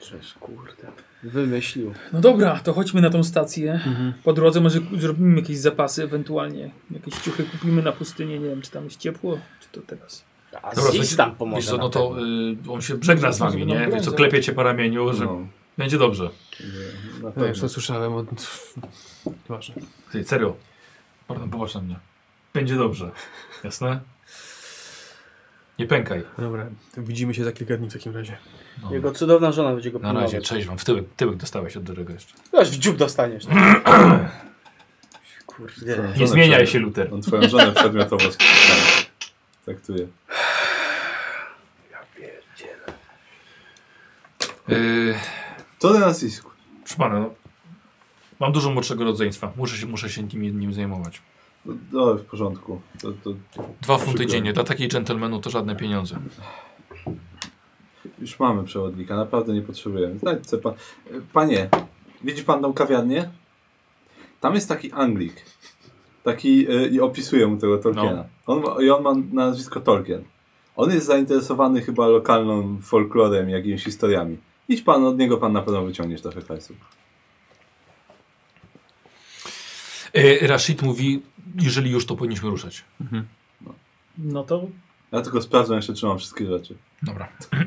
B: Cześć, kurde. Wymyślił.
D: no dobra, to chodźmy na tą stację. Po drodze może ku- zrobimy jakieś zapasy ewentualnie. Jakieś ciuchy kupimy na pustynię. Nie wiem, czy tam jest ciepło, czy to teraz.
B: Aziz tam pomoże.
A: Wiesz co, no
B: nam
A: to y, on się żegna z wami, nie? Wiesz co, klepie cię po ramieniu, że
C: No,
A: będzie dobrze.
C: że na
E: No, już
C: pewno.
E: to słyszałem od... Nieważne.
A: Ty, serio. Pardon, popatrz na mnie. Będzie dobrze. Jasne? Nie pękaj.
E: Dobra, to widzimy się za kilka dni w takim razie.
A: No.
B: Jego cudowna żona będzie go
A: Na razie,
B: pilnować.
A: cześć wam. W tyłek, tyłek dostałeś od Dorego jeszcze.
B: Aż w dziób dostaniesz. no.
A: <clears throat>
B: Kurde.
A: Nie zmieniaj się, Luter.
C: On no, twoją żonę przedmiotowo sk- traktuje.
A: Yy,
C: To na nas isku.
A: proszę pana, no, mam dużo młodszego rodzeństwa. Muszę się, muszę się nim, nim zajmować.
C: No, no w porządku. To, to
A: Dwa funty
C: Przykro.
A: dziennie. Dla takiej dżentelmenu to żadne pieniądze.
C: już mamy przewodnika, naprawdę nie potrzebujemy. Znajdźcie pan. Panie, widzi pan tą kawiarnię? Tam jest taki Anglik. Taki y, i opisuje mu tego Tolkiena. On ma, I on ma nazwisko Tolkien. On jest zainteresowany chyba lokalną folklorem, jakimiś historiami. Idź pan, od niego pan na pewno wyciągniesz trochę hajsu.
A: Yy, Rashid mówi, jeżeli już, to powinniśmy ruszać.
D: No to
C: Ja tylko sprawdzam jeszcze, czy mam wszystkie rzeczy.
A: Dobra. <clears throat>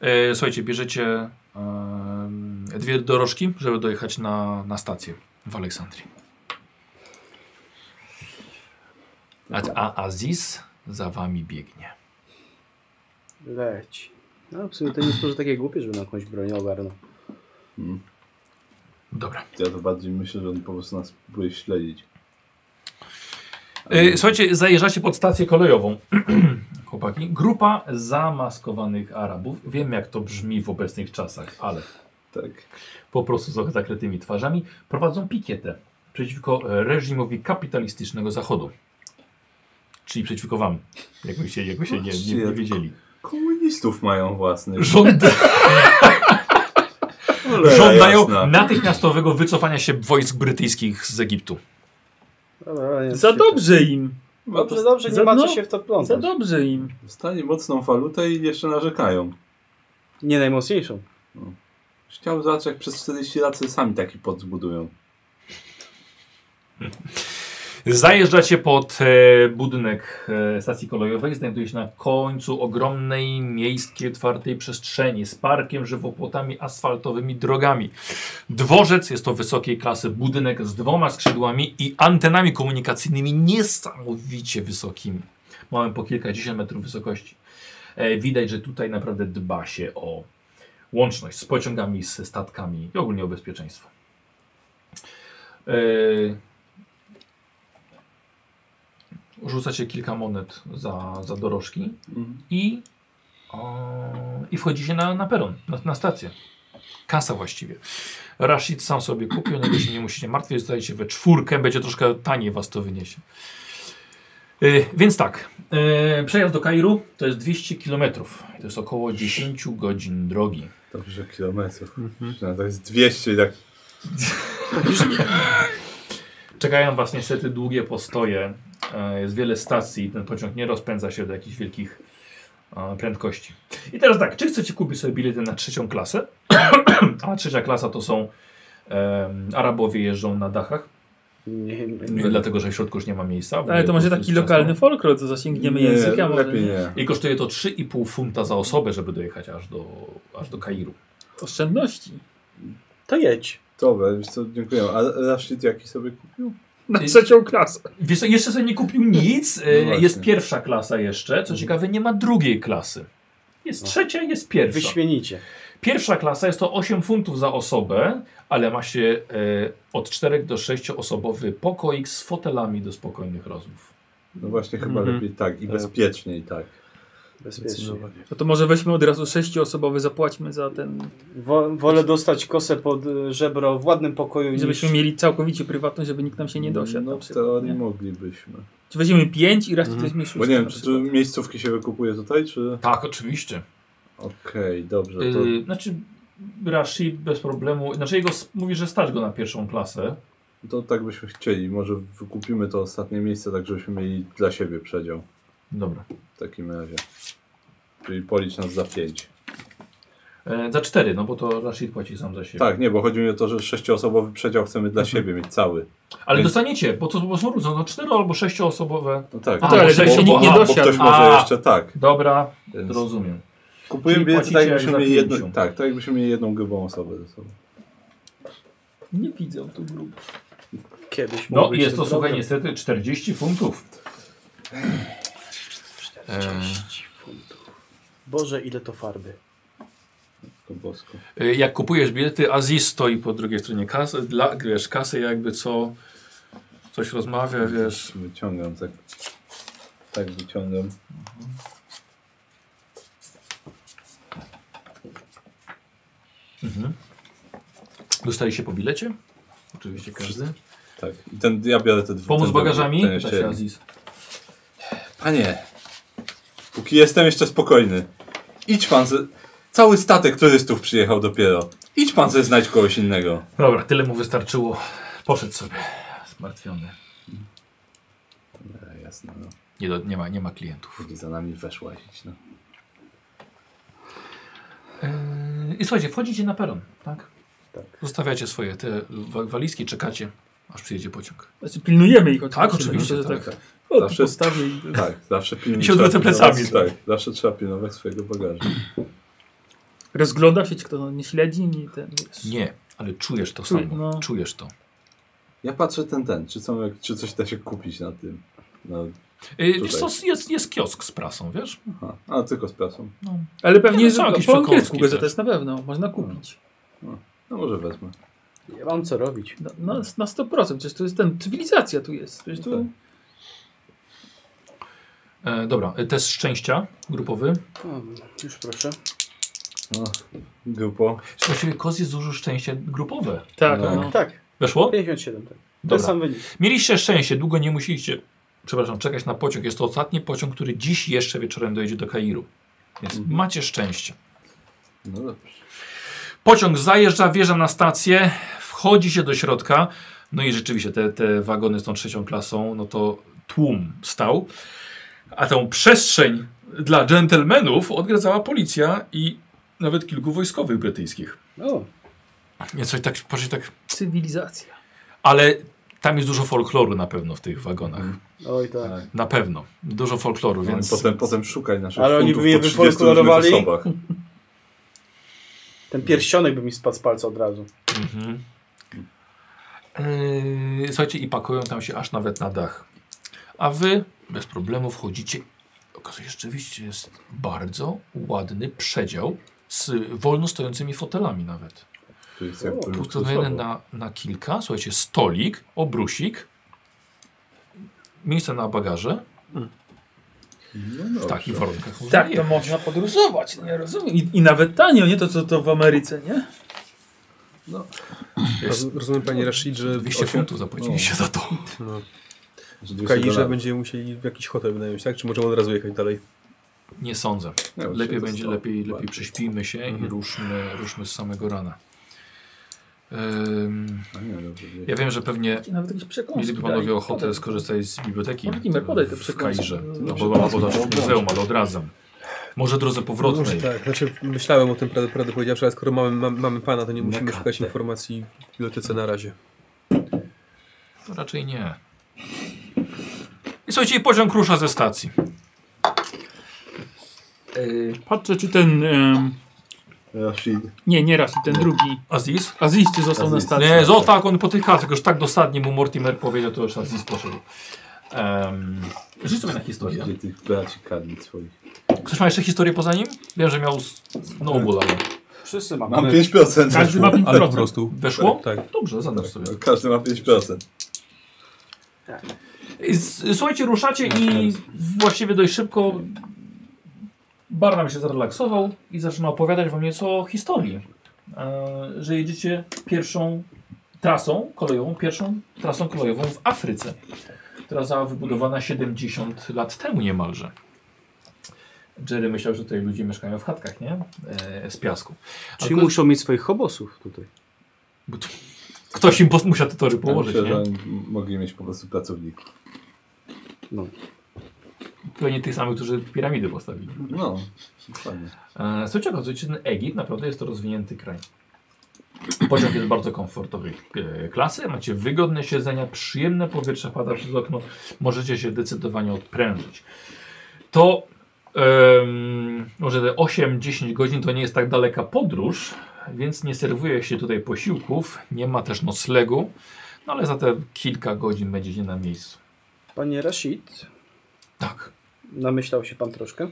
A: E, Słuchajcie, bierzecie em, dwie dorożki, żeby dojechać na, na stację w Aleksandrii. A, a Aziz za wami biegnie.
B: Leć. No w sumie to nie jest może takie głupie, żeby na jakąś broń ogarnął.
A: Dobra.
C: Ja to bardziej myślę, że on po prostu nas próbuje śledzić.
A: E, Słuchajcie, zajeżdżacie pod stację kolejową. <clears throat> Chłopaki. Grupa zamaskowanych Arabów. Wiem, jak to brzmi w obecnych czasach, ale
C: Tak.
A: po prostu z zakrytymi twarzami prowadzą pikietę przeciwko e, reżimowi kapitalistycznego Zachodu. Czyli przeciwko wam, jakbyście, jakbyście nie, nie, nie wiedzieli.
C: Komunistów mają własny.
A: Żąda,
C: Cholera
A: <laughs> żądają
C: jasna.
A: natychmiastowego wycofania się wojsk brytyjskich z Egiptu.
B: Dobra, nie wiem,
D: za
B: czy-
D: dobrze im.
B: Dobrze, dobrze, nie
D: Za-
B: ma co
D: no,
B: się w to
D: Za
B: plątać.
D: dobrze im.
C: Dostali mocną walutę i jeszcze narzekają.
B: Nie najmocniejszą.
C: Chciał zobaczyć, jak przez 40 lat sobie sami taki pot zbudują.
A: Zajeżdżacie pod e, budynek e, stacji kolejowej. Znajduje się na końcu ogromnej miejskiej otwartej przestrzeni z parkiem, żywopłotami, asfaltowymi drogami. Dworzec jest to wysokiej klasy budynek z dwoma skrzydłami i antenami komunikacyjnymi niesamowicie wysokimi. Mamy po kilkadziesiąt metrów wysokości. E, widać, że tutaj naprawdę dba się o łączność z pociągami, z statkami i ogólnie o bezpieczeństwo. E, rzucacie kilka monet za, za dorożki i, o, i wchodzicie na, na peron, na, na stację. Kasa właściwie. Rashid sam sobie kupił, niego się nie musicie martwić, zostajecie we czwórkę, będzie troszkę taniej was to wyniesie. Y, więc tak, y, przejazd do Kairu to jest 200 km, to jest około 10 godzin drogi.
C: Dobrze, kilometrów. No, to jest 200 i tak.
A: Czekają Was niestety długie postoje. E, Jest wiele stacji. Ten pociąg nie rozpędza się do jakichś wielkich e, prędkości. I teraz tak, czy chcecie kupić sobie bilety na trzecią klasę? <clears throat> A trzecia klasa to są em, Arabowie jeżdżą na dachach,
B: Nie, nie,
A: nie, dlatego że w środku już nie ma miejsca. bo
D: Ale to
A: po
D: może
A: prostu
D: taki
A: jest
D: lokalny folklor, to zasięgniemy
C: Nie,
D: języka. Może.
C: Lepiej nie.
A: ciasno. I kosztuje to 3,5 funta za osobę, żeby dojechać aż do, aż do Kairu.
D: Oszczędności.
B: To jedź.
C: Dobra, wiesz co, dziękuję. A Rashid jaki sobie kupił?
D: Na
A: I-
D: trzecią klasę.
A: Wiesz, co, jeszcze sobie nie kupił nic.
D: No
A: e,
C: właśnie.
A: jest pierwsza klasa jeszcze.
D: Mhm.
A: Co ciekawe, nie ma drugiej klasy. Jest
B: No.
A: trzecia, jest pierwsza.
B: Wyśmienicie.
A: Pierwsza klasa jest to 8 funtów za osobę, ale ma się e, od 4 do 6 osobowy pokoik z fotelami do spokojnych rozmów.
C: No właśnie, chyba
E: Mhm.
C: lepiej tak i
E: Tak.
C: bezpieczniej tak.
B: Bezpiecznie.
D: No to może weźmy od razu sześcioosobowy, zapłaćmy za ten,
B: Wo, wolę dostać kosę pod y, żebro w ładnym pokoju
D: żebyśmy
B: niż...
D: mieli całkowicie prywatność, żeby nikt nam się nie dosiadł.
C: No
D: na
C: w
D: przykład,
C: teorii
D: nie?
C: moglibyśmy.
D: Czy weźmiemy pięć i raz
E: Mhm.
D: mhm. weźmie szóstkę
C: Bo nie wiem,
D: na
C: czy tu
D: przykład?
C: miejscówki się wykupuje tutaj, czy...
A: Tak, oczywiście.
C: Okej, dobrze. To...
A: Y, znaczy, Rashid bez problemu. Znaczy, jego s- mówi, że stać go na pierwszą klasę.
C: To tak byśmy chcieli. Może wykupimy to ostatnie miejsce, tak żebyśmy mieli dla siebie przedział
A: Dobra.
C: w takim razie. Czyli policz nas za pięć.
A: E, za 4, no bo to Rashid płaci sam za siebie.
C: Tak, nie, bo chodzi mi o to, że sześcioosobowy przedział chcemy dla siebie mieć cały.
A: Ale
C: Więc-
A: dostaniecie, bo to bo są różne, no 4 albo 6 osobowe.
C: No tak,
A: A,
C: bo-
A: ale żeby
C: bo-
A: się nikt nie
C: bo- bo
D: dosiadł.
C: ktoś
A: A.
C: może jeszcze tak.
A: Dobra,
C: Więc
A: rozumiem.
C: Kupujemy
A: Czyli
C: bilety tak,
A: płacicie
C: jakbyśmy
A: za
C: mieli jedną,
A: pięciu.
C: tak, tak jakbyśmy mieli jedną grubą osobę ze sobą.
D: Nie widzę tu grup.
B: Kiedyś
A: No
B: mógł być
A: jest to,
B: ten
A: słuchaj,
B: problem.
A: niestety 40 funtów. E,
C: Ehm,
B: 30 funtów. Boże, ile to farby.
C: Matko Bosko.
A: E, Jak kupujesz bilety, Aziz stoi po drugiej stronie kasy, dla, wiesz, kasy jakby co, coś rozmawia, wiesz.
C: Wyciągam tak. Tak wyciągam.
A: Mhm. Dostaliście po bilecie? Oczywiście każdy.
C: Tak. I ten, ja biorę te dwa.
A: Pomóc
C: ten
A: bagażami?
C: Ten
A: Pyta się
C: jeszcze.
A: Aziz.
C: Panie, póki jestem jeszcze spokojny, idź pan ze... Cały statek turystów przyjechał dopiero. Idź pan ze znajdź kogoś innego.
A: Dobra, tyle mu wystarczyło. Poszedł sobie, zmartwiony.
C: E, jasne, no.
A: Nie, do, nie, ma, nie ma klientów.
C: Póki za nami weszła łazić, no.
A: E, I słuchajcie, wchodzicie na peron, tak?
C: Tak.
A: Zostawiacie swoje te wa- walizki, czekacie, aż przyjedzie pociąg.
D: Znaczy pilnujemy ich oczywiście.
A: Tak, oczywiście,
D: no, to
A: tak.
D: tak. O, tu
C: Zawsze-
D: postawię i...
C: Tak, zawsze pilnować.
A: I się odwrócę
C: trzeba
A: plecami.
C: pilnować- Tak, zawsze trzeba pilnować swojego bagażu.
D: Rozgląda się, czy kto no, nie śledzi, nie ten, wiesz.
A: Nie, ale czujesz to
D: Czuj-
A: samo.
D: no.
A: Czujesz to.
C: Ja patrzę ten, ten, czy, są, jak- czy coś da się kupić na tym. No,
A: E,
C: Tutaj.
A: wiesz co, jest, jest kiosk z prasą, wiesz?
C: aha. A, tylko z prasą.
D: Ale
A: Nie, no,
D: pewnie
A: są jakieś
D: że po angielsku
A: przekąski
D: gazeta
A: też.
D: jest na pewno, można kupić.
C: No może wezmę.
B: Ja mam co robić.
D: Na, na, na 100%, przecież to jest ten, cywilizacja tu jest. Przecież tu...
A: E, dobra, e, test szczęścia grupowy.
B: O, już proszę.
C: No, grupo.
A: Właściwie Koz jest dużo szczęście grupowe.
C: Tak.
D: Tak, no.
B: Tak,
A: Weszło?
B: 57. Tak. To jest
A: Dobra.
B: sam wynik.
A: Mieliście szczęście, długo nie musieliście, przepraszam, czekać na pociąg. Jest to ostatni pociąg, który dziś jeszcze wieczorem dojedzie do Kairu. Więc
C: Mhm.
A: macie szczęście.
C: No dobrze.
A: Pociąg zajeżdża, wjeżdża na stację, wchodzi się do środka. No i rzeczywiście te, te wagony z tą trzecią klasą, no to tłum stał. A tą przestrzeń dla dżentelmenów odgradzała policja i nawet kilku wojskowych brytyjskich.
B: O,
A: Więc coś tak, poszli tak
D: Cywilizacja.
A: Ale tam jest dużo folkloru na pewno w tych wagonach.
B: oj tak.
C: Tak.
A: Na pewno. Dużo folkloru,
C: No
A: więc.
C: i potem, potem szukaj naszych
B: Ale oni
C: funtów
B: by je
C: po 30
B: wyfolklorowali?
C: różnych osobach.
B: Ten pierścionek by mi spadł z palca od razu.
A: Mhm. Yy, słuchajcie, i pakują tam się aż nawet na dach. A wy bez problemu wchodzicie. Okazuje się, rzeczywiście jest bardzo ładny przedział z wolno stojącymi fotelami nawet.
C: To jest jakby
B: O,
A: Ustawiony na, na kilka. Słuchajcie, stolik, obrusik, miejsce na bagaże.
C: No
A: W takich
C: dobrze.
A: warunkach. można
D: Tak, to
A: jechać.
D: można podróżować, no ja rozumiem. I, I nawet tanio, nie to co to w Ameryce, nie?
C: No,
A: Jest
E: Roz- Rozumiem panie Rashid, że
A: 200
E: osiem-
A: funtów zapłaciliście za to.
E: No,
C: Że
E: w
C: 200
E: Kairze
C: dolarów.
E: będziemy musieli w jakiś hotel wynająć, tak? Czy możemy od razu jechać dalej?
A: Nie sądzę.
C: Nie, bo
A: Lepiej
C: się
A: będzie,
C: dostał.
A: lepiej, lepiej
C: Bardziej.
A: prześpijmy się i
E: Mhm.
A: ruszmy, ruszmy z samego rana. Ym,
C: A nie, no, dobrze,
A: ja wiem, że pewnie
D: Czy Nawet jakieś przekąski.
A: mieliby
D: dali.
A: panowie ochotę
D: Podaj.
A: skorzystać z biblioteki
D: Pan Kimmer, podaj te
A: w
D: przekąski.
A: Kairze.
D: No,
A: No,
D: dobrze.
A: bo mam podać w muzeum, ale odradzam. Może drodze
D: No,
E: Może
A: powrotnej.
E: tak, znaczy myślałem o tym, prawdę, prawdę powiedziawszy, ale skoro mamy, mam, mamy pana, to nie musimy
C: Mekate.
E: szukać informacji w bibliotece na razie.
A: To No, raczej nie. I słuchajcie, i pociąg rusza ze stacji.
D: Patrzę, czy ten... em,
C: Rashid.
D: nie, nie raz, ten drugi.
A: Aziz?
D: Aziz, czy został na
C: Aziz.
D: stacji?
A: Nie, został, on potyka, tylko już tak dosadnie mu Mortimer powiedział, to już Aziz poszedł. Um, Rzuć sobie na historię.
C: Gdzie tych braci karmi swoich?
A: Ktoś ma jeszcze historię poza nim? Wiem, że miał snowball, ale
B: Wszyscy mamy.
C: Mam 5%.
D: Każdy ma
E: Ale
D: 5%.
E: po prostu.
A: weszło?
E: Tak.
A: Dobrze, zadasz sobie.
C: Każdy ma 5%.
A: I s- Słuchajcie, ruszacie i właściwie dość szybko Barnum się zrelaksował i zaczyna opowiadać wam nieco o historii. E, Że jedziecie pierwszą trasą kolejową, pierwszą trasą kolejową w Afryce, która została wybudowana 70 lat temu niemalże. Jerry myślał, że tutaj ludzie mieszkają w chatkach, nie? E, z piasku. A
B: Czyli
A: ko-
B: muszą mieć swoich hobosów tutaj.
A: Bo tu- Ktoś im pos- musiał te tory
C: Ja
A: położyć,
C: Tak, myślę, że
A: nie?
C: oni m- mogli mieć po prostu pracowników.
B: No.
A: Pewnie tych samych, którzy piramidy postawili.
C: No, dokładnie.
A: E, Słuchajcie, okazuje się, że ten Egipt naprawdę jest to rozwinięty kraj. Pociąg jest bardzo komfortowej e, klasy, macie wygodne siedzenia, przyjemne powietrze pada przez okno, możecie się zdecydowanie odprężyć. To em, może te 8-10 godzin to nie jest tak daleka podróż, więc nie serwuje się tutaj posiłków, nie ma też noclegu, no ale za te kilka godzin będziecie na miejscu.
B: Panie Rashid,
A: Tak.
B: Namyślał się pan troszkę.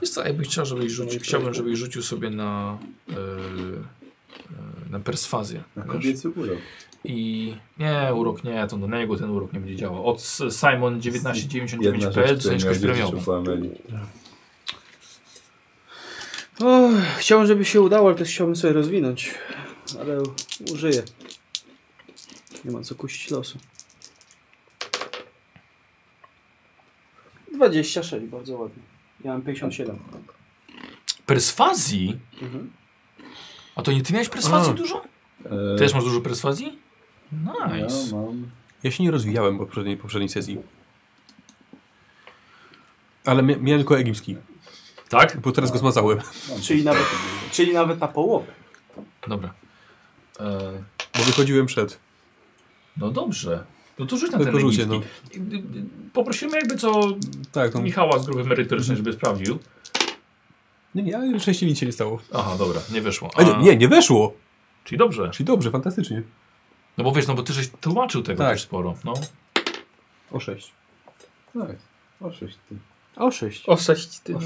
A: Wiesz co, ja bym chciał, żebyś rzucił, chciałbym, żebyś rzucił sobie na, e, e, na perswazję.
C: Na
A: wiesz?
C: kobiecy urok.
A: I nie, urok nie, to do niego ten urok nie będzie działał. Od Simon 1999.pl,
C: rzecz, której
A: ciężkość
C: nie odwiedzisz
A: premiową.
C: u Pameli.
B: O, chciałem, żeby się udało, ale też chciałbym sobie rozwinąć. Ale użyję. Nie ma co kusić losu. 26, bardzo ładnie. Ja mam 57.
A: Perswazji?
B: Mhm.
A: A to nie ty miałeś perswazji
E: A.
A: dużo?
C: E,
A: Ty też masz dużo perswazji?
C: ja
E: No,
A: Nice.
C: mam...
E: Ja się nie rozwijałem po poprzedniej, poprzedniej sesji. Ale mia- miałem tylko egipski,
A: Tak?
E: bo teraz go zmazałem. <laughs>
B: Czyli nawet, czyli nawet na połowę.
A: Dobra. E,
E: Bo wychodziłem przed.
A: no dobrze. No to rzuć na ten
E: Tylko rzucie,
A: rzucie,
E: no.
A: Poprosimy jakby co
E: Tak, to...
A: Michała z grupy merytorycznej, żeby sprawdził.
E: Nie, nie, ale szczęście nic się nie stało.
A: Aha, dobra, nie wyszło.
E: A nie, nie, nie weszło!
A: Czyli dobrze.
E: Czyli dobrze, fantastycznie.
A: No bo wiesz, no bo ty żeś tłumaczył tego
E: Tak.
A: też sporo. No.
E: O 6.
C: Tak, o sześć ty.
E: O 6.
D: Osać ty. No.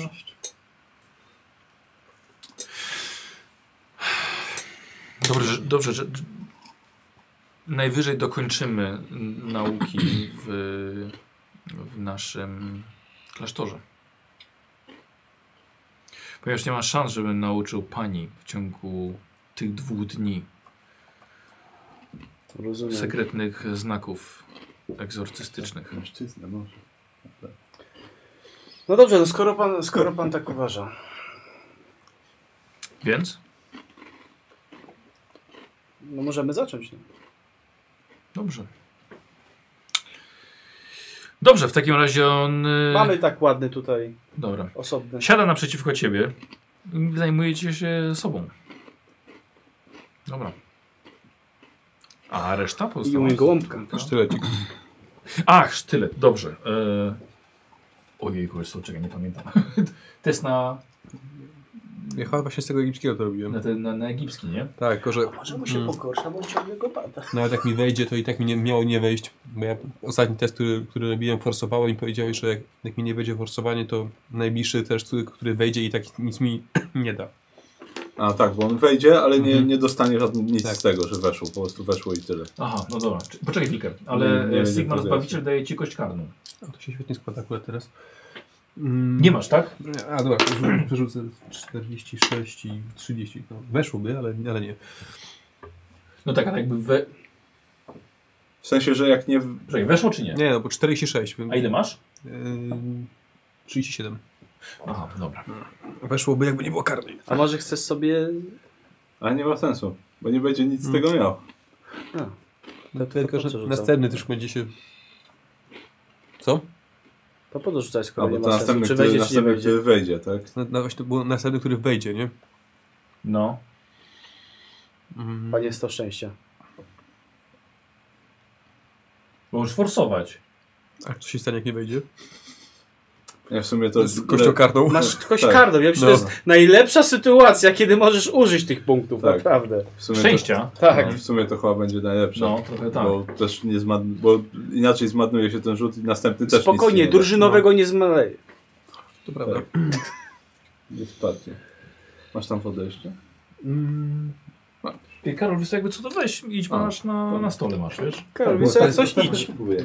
A: Dobrze, że- dobrze, że najwyżej dokończymy n- nauki w, w naszym klasztorze. Ponieważ nie ma szans, żebym nauczył pani w ciągu tych dwóch dni
B: Rozumiem.
A: sekretnych znaków egzorcystycznych.
C: Mężczyznę może.
B: No dobrze, no skoro pan, skoro pan tak uważa.
A: Więc?
B: No możemy zacząć. No.
A: Dobrze. Dobrze, w takim razie on... y,
C: Mm.
B: Mamy tak ładny tutaj
A: Dobra.
B: osobny.
A: Siada naprzeciwko ciebie i zajmujecie się sobą. Dobra. A reszta
B: I
A: pozostała?
B: umie gołąbka.
E: Sztylecik.
A: Ach, sztylet, dobrze. E... Ojej, kurczę, czekaj, nie pamiętam. <laughs> Test na,
E: Ja chyba właśnie z tego egipskiego to robiłem.
A: na, ten, na, na egipski, nie?
E: Tak, tylko że
B: Może mu się
E: Mm.
B: pogorsza, bo ciągle go pada.
E: nawet jak mi wejdzie, to i tak mi nie, miało nie wejść. Bo ja ostatni test, który, który robiłem, forsowałem i powiedziałeś, że jak, jak mi nie wejdzie forsowanie, to najbliższy też, który, który wejdzie i tak nic mi <clears throat> nie da.
C: A tak, bo on wejdzie, ale nie,
E: Mhm.
C: nie dostanie żadne, nic
E: Tak.
C: z tego, że weszło. Po prostu weszło i tyle.
A: Aha, no dobra. Czy- Poczekaj chwilkę, ale
C: Nie, nie,
A: e,
C: nie,
A: Sigmar
C: to wiesz.
A: Zbawiciel daje ci kość karną.
E: A to się świetnie składa akurat teraz. Mm.
A: Nie masz, tak?
E: A dobra, przerzu- przerzucę 46 i 30. No, weszłoby, ale, ale nie.
A: No tak, ale jakby we...
C: W sensie, że jak nie...
A: Poczekaj, weszło czy nie?
E: Nie, no bo 46. bym-
A: A ile masz?
E: Ym, 37.
A: Aha, dobra.
E: Weszłoby, jakby nie było karnej.
B: A może chcesz sobie...
C: A nie ma sensu, bo nie będzie nic z
B: Mhm.
C: tego miał.
B: A,
E: No,
B: po
E: tylko,
B: co
E: że
B: rzucał?
E: następny też będzie się... Co?
B: to podrzucaj, skoro
C: Albo
B: nie
C: to
B: ma sensu.
C: następny,
B: Czy
C: który,
B: wejdzie, czy nie
C: następny
B: wejdzie.
C: który wejdzie, tak?
E: Na, na, właśnie to było następny, który wejdzie, nie?
A: No.
E: Mhm.
B: Panie 100 szczęścia.
A: Możesz forsować.
E: A co się stanie, jak nie wejdzie?
C: Ja w sumie to...
E: Z kością karną.
B: Masz kość
C: tak.
B: karną. Ja myślę, że to
E: No.
B: jest najlepsza sytuacja, kiedy możesz użyć tych punktów,
C: Tak. No,
B: naprawdę.
C: W sumie
A: Szczęścia.
C: To,
B: Tak.
C: w sumie to chyba będzie najlepsze.
A: No, trochę tak.
C: Bo też nie zmad... bo inaczej zmadnuje się ten rzut i następny też nic nie Tak,
B: Spokojnie,
C: da.
B: drużynowego nie zmaleje.
E: To prawda.
C: Tak. Nie spadnie. Masz tam podejście?
E: Mm,
A: Ty, Karol, wiesz co, jakby co to weź, idź,
C: A,
A: masz na,
C: tak.
A: na stole, masz,
C: <laughs>
A: wiesz?
B: Karol, więc
C: bo
B: jak
C: tak-
B: coś
C: tak <laughs>
B: idź.
C: próbuję.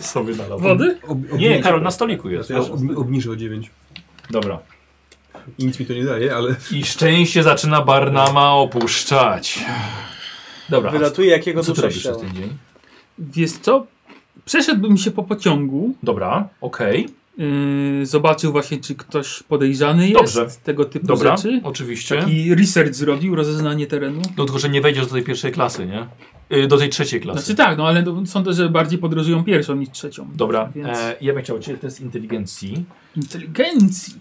A: sobie nalał.
D: Wody?
E: ob, ob,
A: Nie, Karol, na stoliku jest.
E: Ja ob, obniżę o 9.
A: Dobra.
E: I nic mi to nie daje, ale...
A: I szczęście zaczyna Barnama opuszczać. Dobra, a
B: Wylatuje jakiego
A: co ty
B: duszę
A: robisz przez
B: chciała.
A: ten dzień?
D: Wiesz co? Przeszedłbym się po pociągu,
A: Dobra, okej,
D: yy, zobaczył właśnie, czy ktoś podejrzany jest,
A: Dobrze.
D: tego typu
A: dobra, tak.
D: rzeczy.
A: oczywiście.
D: Taki research zrobił, rozeznanie terenu.
A: No tylko, że nie wejdziesz do tej pierwszej klasy, nie? Y, do tej trzeciej klasy.
D: Znaczy tak, no ale no, sądzę, że bardziej podróżują pierwszą niż trzecią.
A: Dobra,
D: Więc
A: e, ja bym chciał Ciebie test inteligencji.
D: inteligencji.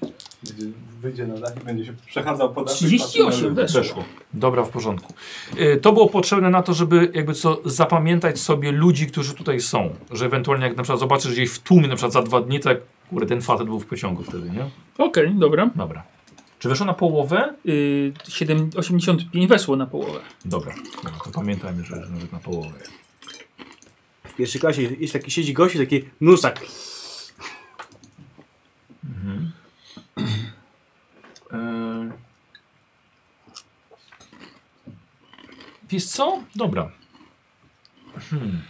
C: Będzie- Wyjdzie na dach i będzie się przechadzał po dachu i
D: 38
C: patrzy na ludzi.
D: weszło.
A: Dobra, w porządku. Y, To było potrzebne na to, żeby jakby co zapamiętać sobie ludzi, którzy tutaj są. Że ewentualnie jak na przykład zobaczysz gdzieś w tłumie na przykład za dwa dni, tak kurde, ten facet był w pociągu wtedy, nie?
D: Okej, dobra.
A: Dobra. Czy weszło na połowę?
D: Yy, 7, 85 weszło na połowę.
A: Dobra. Dobra to pamiętajmy, że że nawet na połowę.
B: W pierwszej klasie jest taki siedzi gościu, taki nusak.
A: Mhm. E... Wiesz co? Dobra. Hmm.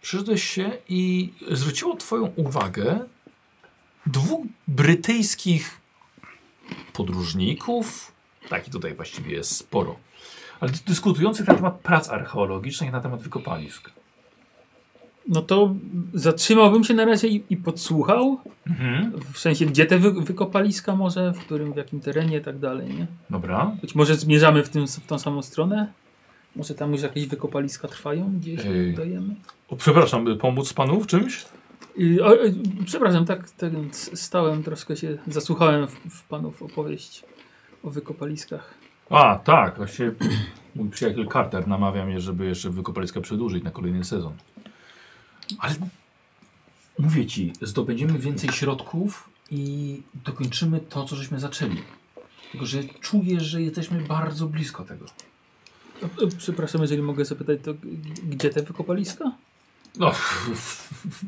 A: Przyszedłeś się i zwróciło twoją uwagę dwóch brytyjskich podróżników, taki tutaj właściwie jest sporo, ale dyskutujących na temat prac archeologicznych, na temat wykopalisk.
D: No to zatrzymałbym się na razie i, i podsłuchał.
A: Mhm.
D: W sensie, gdzie te wy, wykopaliska może, w którym, w jakim terenie i tak dalej, nie?
A: Dobra.
D: Być może zmierzamy w, tym, w tą samą stronę? Może tam już jakieś wykopaliska trwają, gdzieś
A: Ej.
D: dajemy?
A: O, przepraszam, by pomóc panu w czymś?
D: Y, o, y, przepraszam, tak, tak s- stałem, troszkę się zasłuchałem w, w panów opowieść o wykopaliskach.
A: A, tak. Właśnie <clears throat> mój przyjaciel Carter namawia mnie, żeby jeszcze wykopaliska przedłużyć na kolejny sezon. Ale mówię ci, zdobędziemy więcej środków i dokończymy to, co żeśmy zaczęli. Tylko, że czuję, że jesteśmy bardzo blisko tego.
D: Y, y, Przepraszam, jeżeli mogę zapytać, to g- gdzie te wykopaliska?
A: No,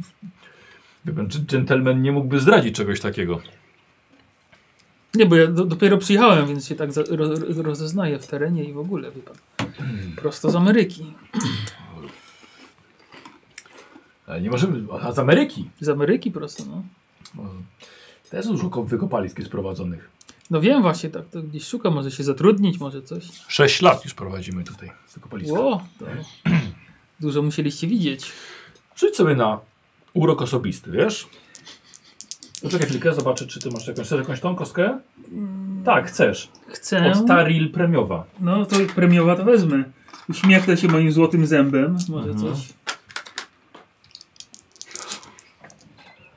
A: <laughs> Wie pan, dż- dżentelmen nie mógłby zdradzić czegoś takiego.
D: Nie, bo ja do, dopiero przyjechałem, więc się tak za, ro, ro, rozeznaję w terenie i w ogóle, wie pan. Prosto z Ameryki.
A: Ale nie możemy, a z Ameryki.
D: Z Ameryki prosto, no.
A: No, Też dużo ko- wykopalisk jest prowadzonych.
D: No wiem właśnie, tak to gdzieś szukam, może się zatrudnić, może coś.
A: Sześć lat już prowadzimy tutaj wykopaliska.
D: Ło, to <clears throat> dużo musieliście widzieć.
A: Rzuć sobie na urok osobisty, wiesz? Poczekaj chwilkę, zobaczę, czy ty masz jakąś, chcesz jakąś tą kostkę? Tak, chcesz.
D: Chcę.
A: Od Taril premiowa.
D: No to premiowa to wezmę. Uśmiechnę się moim złotym zębem. Może
A: Mhm.
D: coś.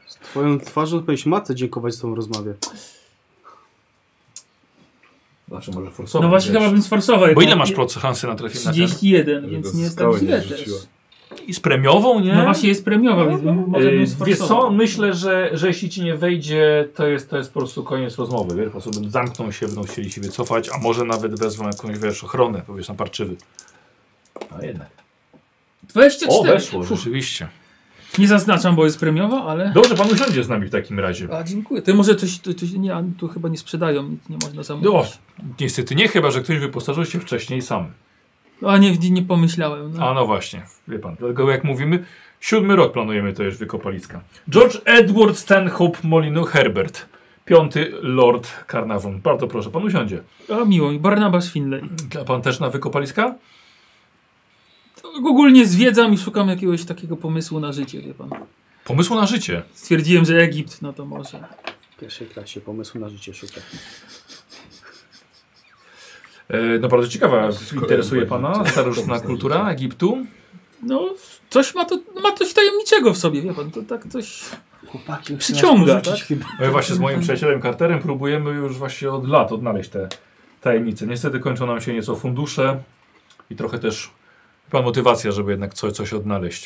B: Z twoją twarzą powinieneś matce dziękować za tą rozmowę.
A: Zawsze Znaczy, może forsować.
D: No właśnie
A: wiesz.
D: chyba bym sforsował.
A: Bo
D: jak
A: ile
D: mam
A: masz
D: je-
A: proc szansy na trafienie na ten?
D: 31,
C: Żeby
D: więc
C: go
D: nie jest tak
C: skałę nie
D: źle też.
C: rzuciła.
A: I z premiową, nie?
D: No właśnie jest premiowa, więc m- może bym
A: Yy, wiesz co,
D: sforsował.
A: myślę, że, że jeśli ci nie wejdzie, to jest, to jest po prostu koniec rozmowy, wiesz, po prostu będą- zamkną się, będą chcieli się wycofać, a może nawet wezmą jakąś, wiesz, ochronę, powiesz, na parczywy. A No jednak. O,
D: 24.
A: weszło,
D: Fuh,
A: rzeczywiście.
D: Nie zaznaczam, bo jest premiowa, ale...
A: Dobrze, pan usiądzie z nami w takim razie.
D: A dziękuję. To może coś, to, coś nie, a tu chyba nie sprzedają, nic nie można zamówić.
A: No, niestety nie, chyba że ktoś wyposażył się wcześniej sam.
D: A nie, nie pomyślałem. No.
A: A no właśnie, wie pan. Dlatego jak mówimy, siódmy rok planujemy to już wykopaliska. George Edward Stanhope Molinu Herbert. Piąty Lord Carnarvon. Bardzo proszę, pan usiądzie.
D: A miło mi, Barnabas Finlay.
A: A pan też na wykopaliska?
D: Ogólnie zwiedzam i szukam jakiegoś takiego pomysłu na życie, wie pan.
A: Pomysłu na życie.
D: Stwierdziłem, że Egipt, no to może.
B: W pierwszej klasie pomysłu na życie szuka.
A: E, no bardzo ciekawa,
C: Kolejny
A: interesuje
C: poziom.
A: pana starożytna kultura Egiptu.
D: No, coś ma to, ma coś tajemniczego w sobie, wie pan, to tak coś...
B: Chłopaki, już
D: Przyciąga,
B: nas porzucić chyba.
A: No i właśnie z moim przyjacielem Carterem próbujemy już właśnie od lat odnaleźć te tajemnice. Niestety kończą nam się nieco fundusze i trochę też wie pan motywacja, żeby jednak coś, coś odnaleźć.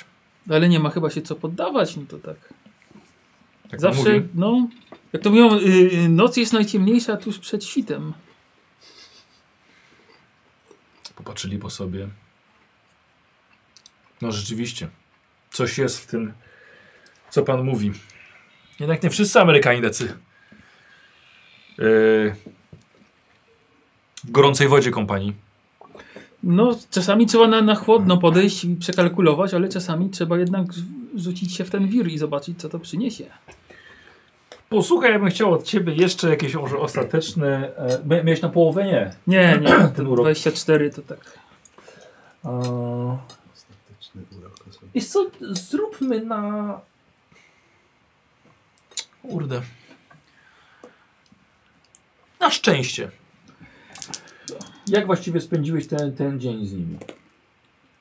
D: tak? Ale nie ma chyba się co poddawać, no to tak.
A: Tak
D: Zawsze,
A: mówię.
D: no, jak to mówią, y, noc jest najciemniejsza tuż przed świtem.
A: Popatrzyli po sobie. No rzeczywiście. Coś jest w tym, co pan mówi. Jednak nie wszyscy Amerykanie tacy. Yy, w gorącej wodzie kompanii.
D: No, czasami trzeba na, na chłodno podejść i przekalkulować, ale czasami trzeba jednak z- rzucić się w ten wir i zobaczyć, co to przyniesie.
A: Posłuchaj, ja bym chciał od ciebie jeszcze jakieś może ostateczne. E, mia- miałeś na połowę nie.
D: Nie, nie,
A: Ten <coughs> urok.
D: 24 to tak.
A: E,
C: Ostateczny urok osobisty.
A: Wiesz co, zróbmy na... Kurde. Na szczęście. Jak właściwie spędziłeś ten, ten dzień z nimi?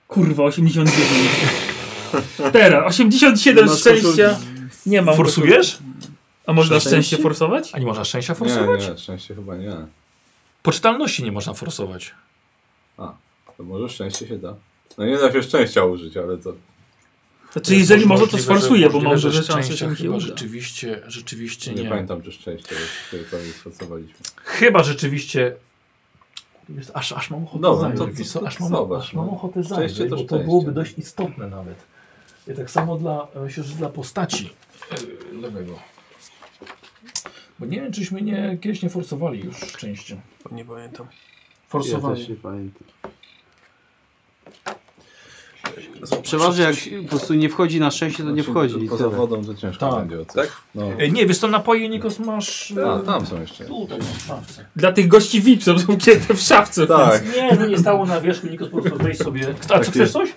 D: Kurwa, 89. Teraz, 87
B: No,
D: szczęścia. Nie mam.
A: Forsujesz?
D: A można
B: Szczęście?
D: szczęście forsować?
A: A nie można szczęścia forsować?
C: Nie, nie, szczęście chyba nie.
A: Poczytalności nie można forsować.
C: To może szczęście się da. No nie da się szczęścia użyć, ale to...
D: Znaczy, jeżeli
A: Jest
D: może, to
A: możliwe, że-
D: sforsuję, bo
A: możliwe,
D: mam
A: że
D: duże szanse,
A: szczęścia
D: że mi się
A: chyba
D: uda.
A: Rzeczywiście, rzeczywiście
C: Nie,
A: nie.
C: pamiętam, czy szczęście, bo tutaj prawie pracowaliśmy.
A: Chyba rzeczywiście... Aż, aż mam ochotę
C: No,
A: zajrzeć.
C: to- to-
A: wiesz co,
C: to
A: aż, mam,
C: zobacz,
A: aż mam
C: no.
A: ochotę
C: Szczęście
A: zajrzeć, bo
C: to
A: to
C: szczęście.
A: byłoby dość istotne nawet. I tak samo dla, myślę, że dla postaci e, lewego. Bo nie wiem, czyśmy nie, kiedyś nie forsowali już szczęście.
E: Nie pamiętam.
B: Ja
A: Forsowanie.
B: też nie pamiętam. Przeważnie jak po prostu nie wchodzi na szczęście, to nie
C: Znaczy,
B: wchodzi. i
C: Poza
B: tyle.
C: wodą to ciężko
A: Tak.
C: będzie ocenić. No.
A: E, nie, wiesz co, napoje Nikos masz... e,
C: A, tam są jeszcze.
A: Tutaj, w szafce.
D: Tak. Dla tych gości VIP są ukryte w szafce.
C: Tak,
A: tak. Nie, no nie stało na wierzchu, Nikos po prostu weź sobie...
B: Tak
A: A, czy chcesz coś?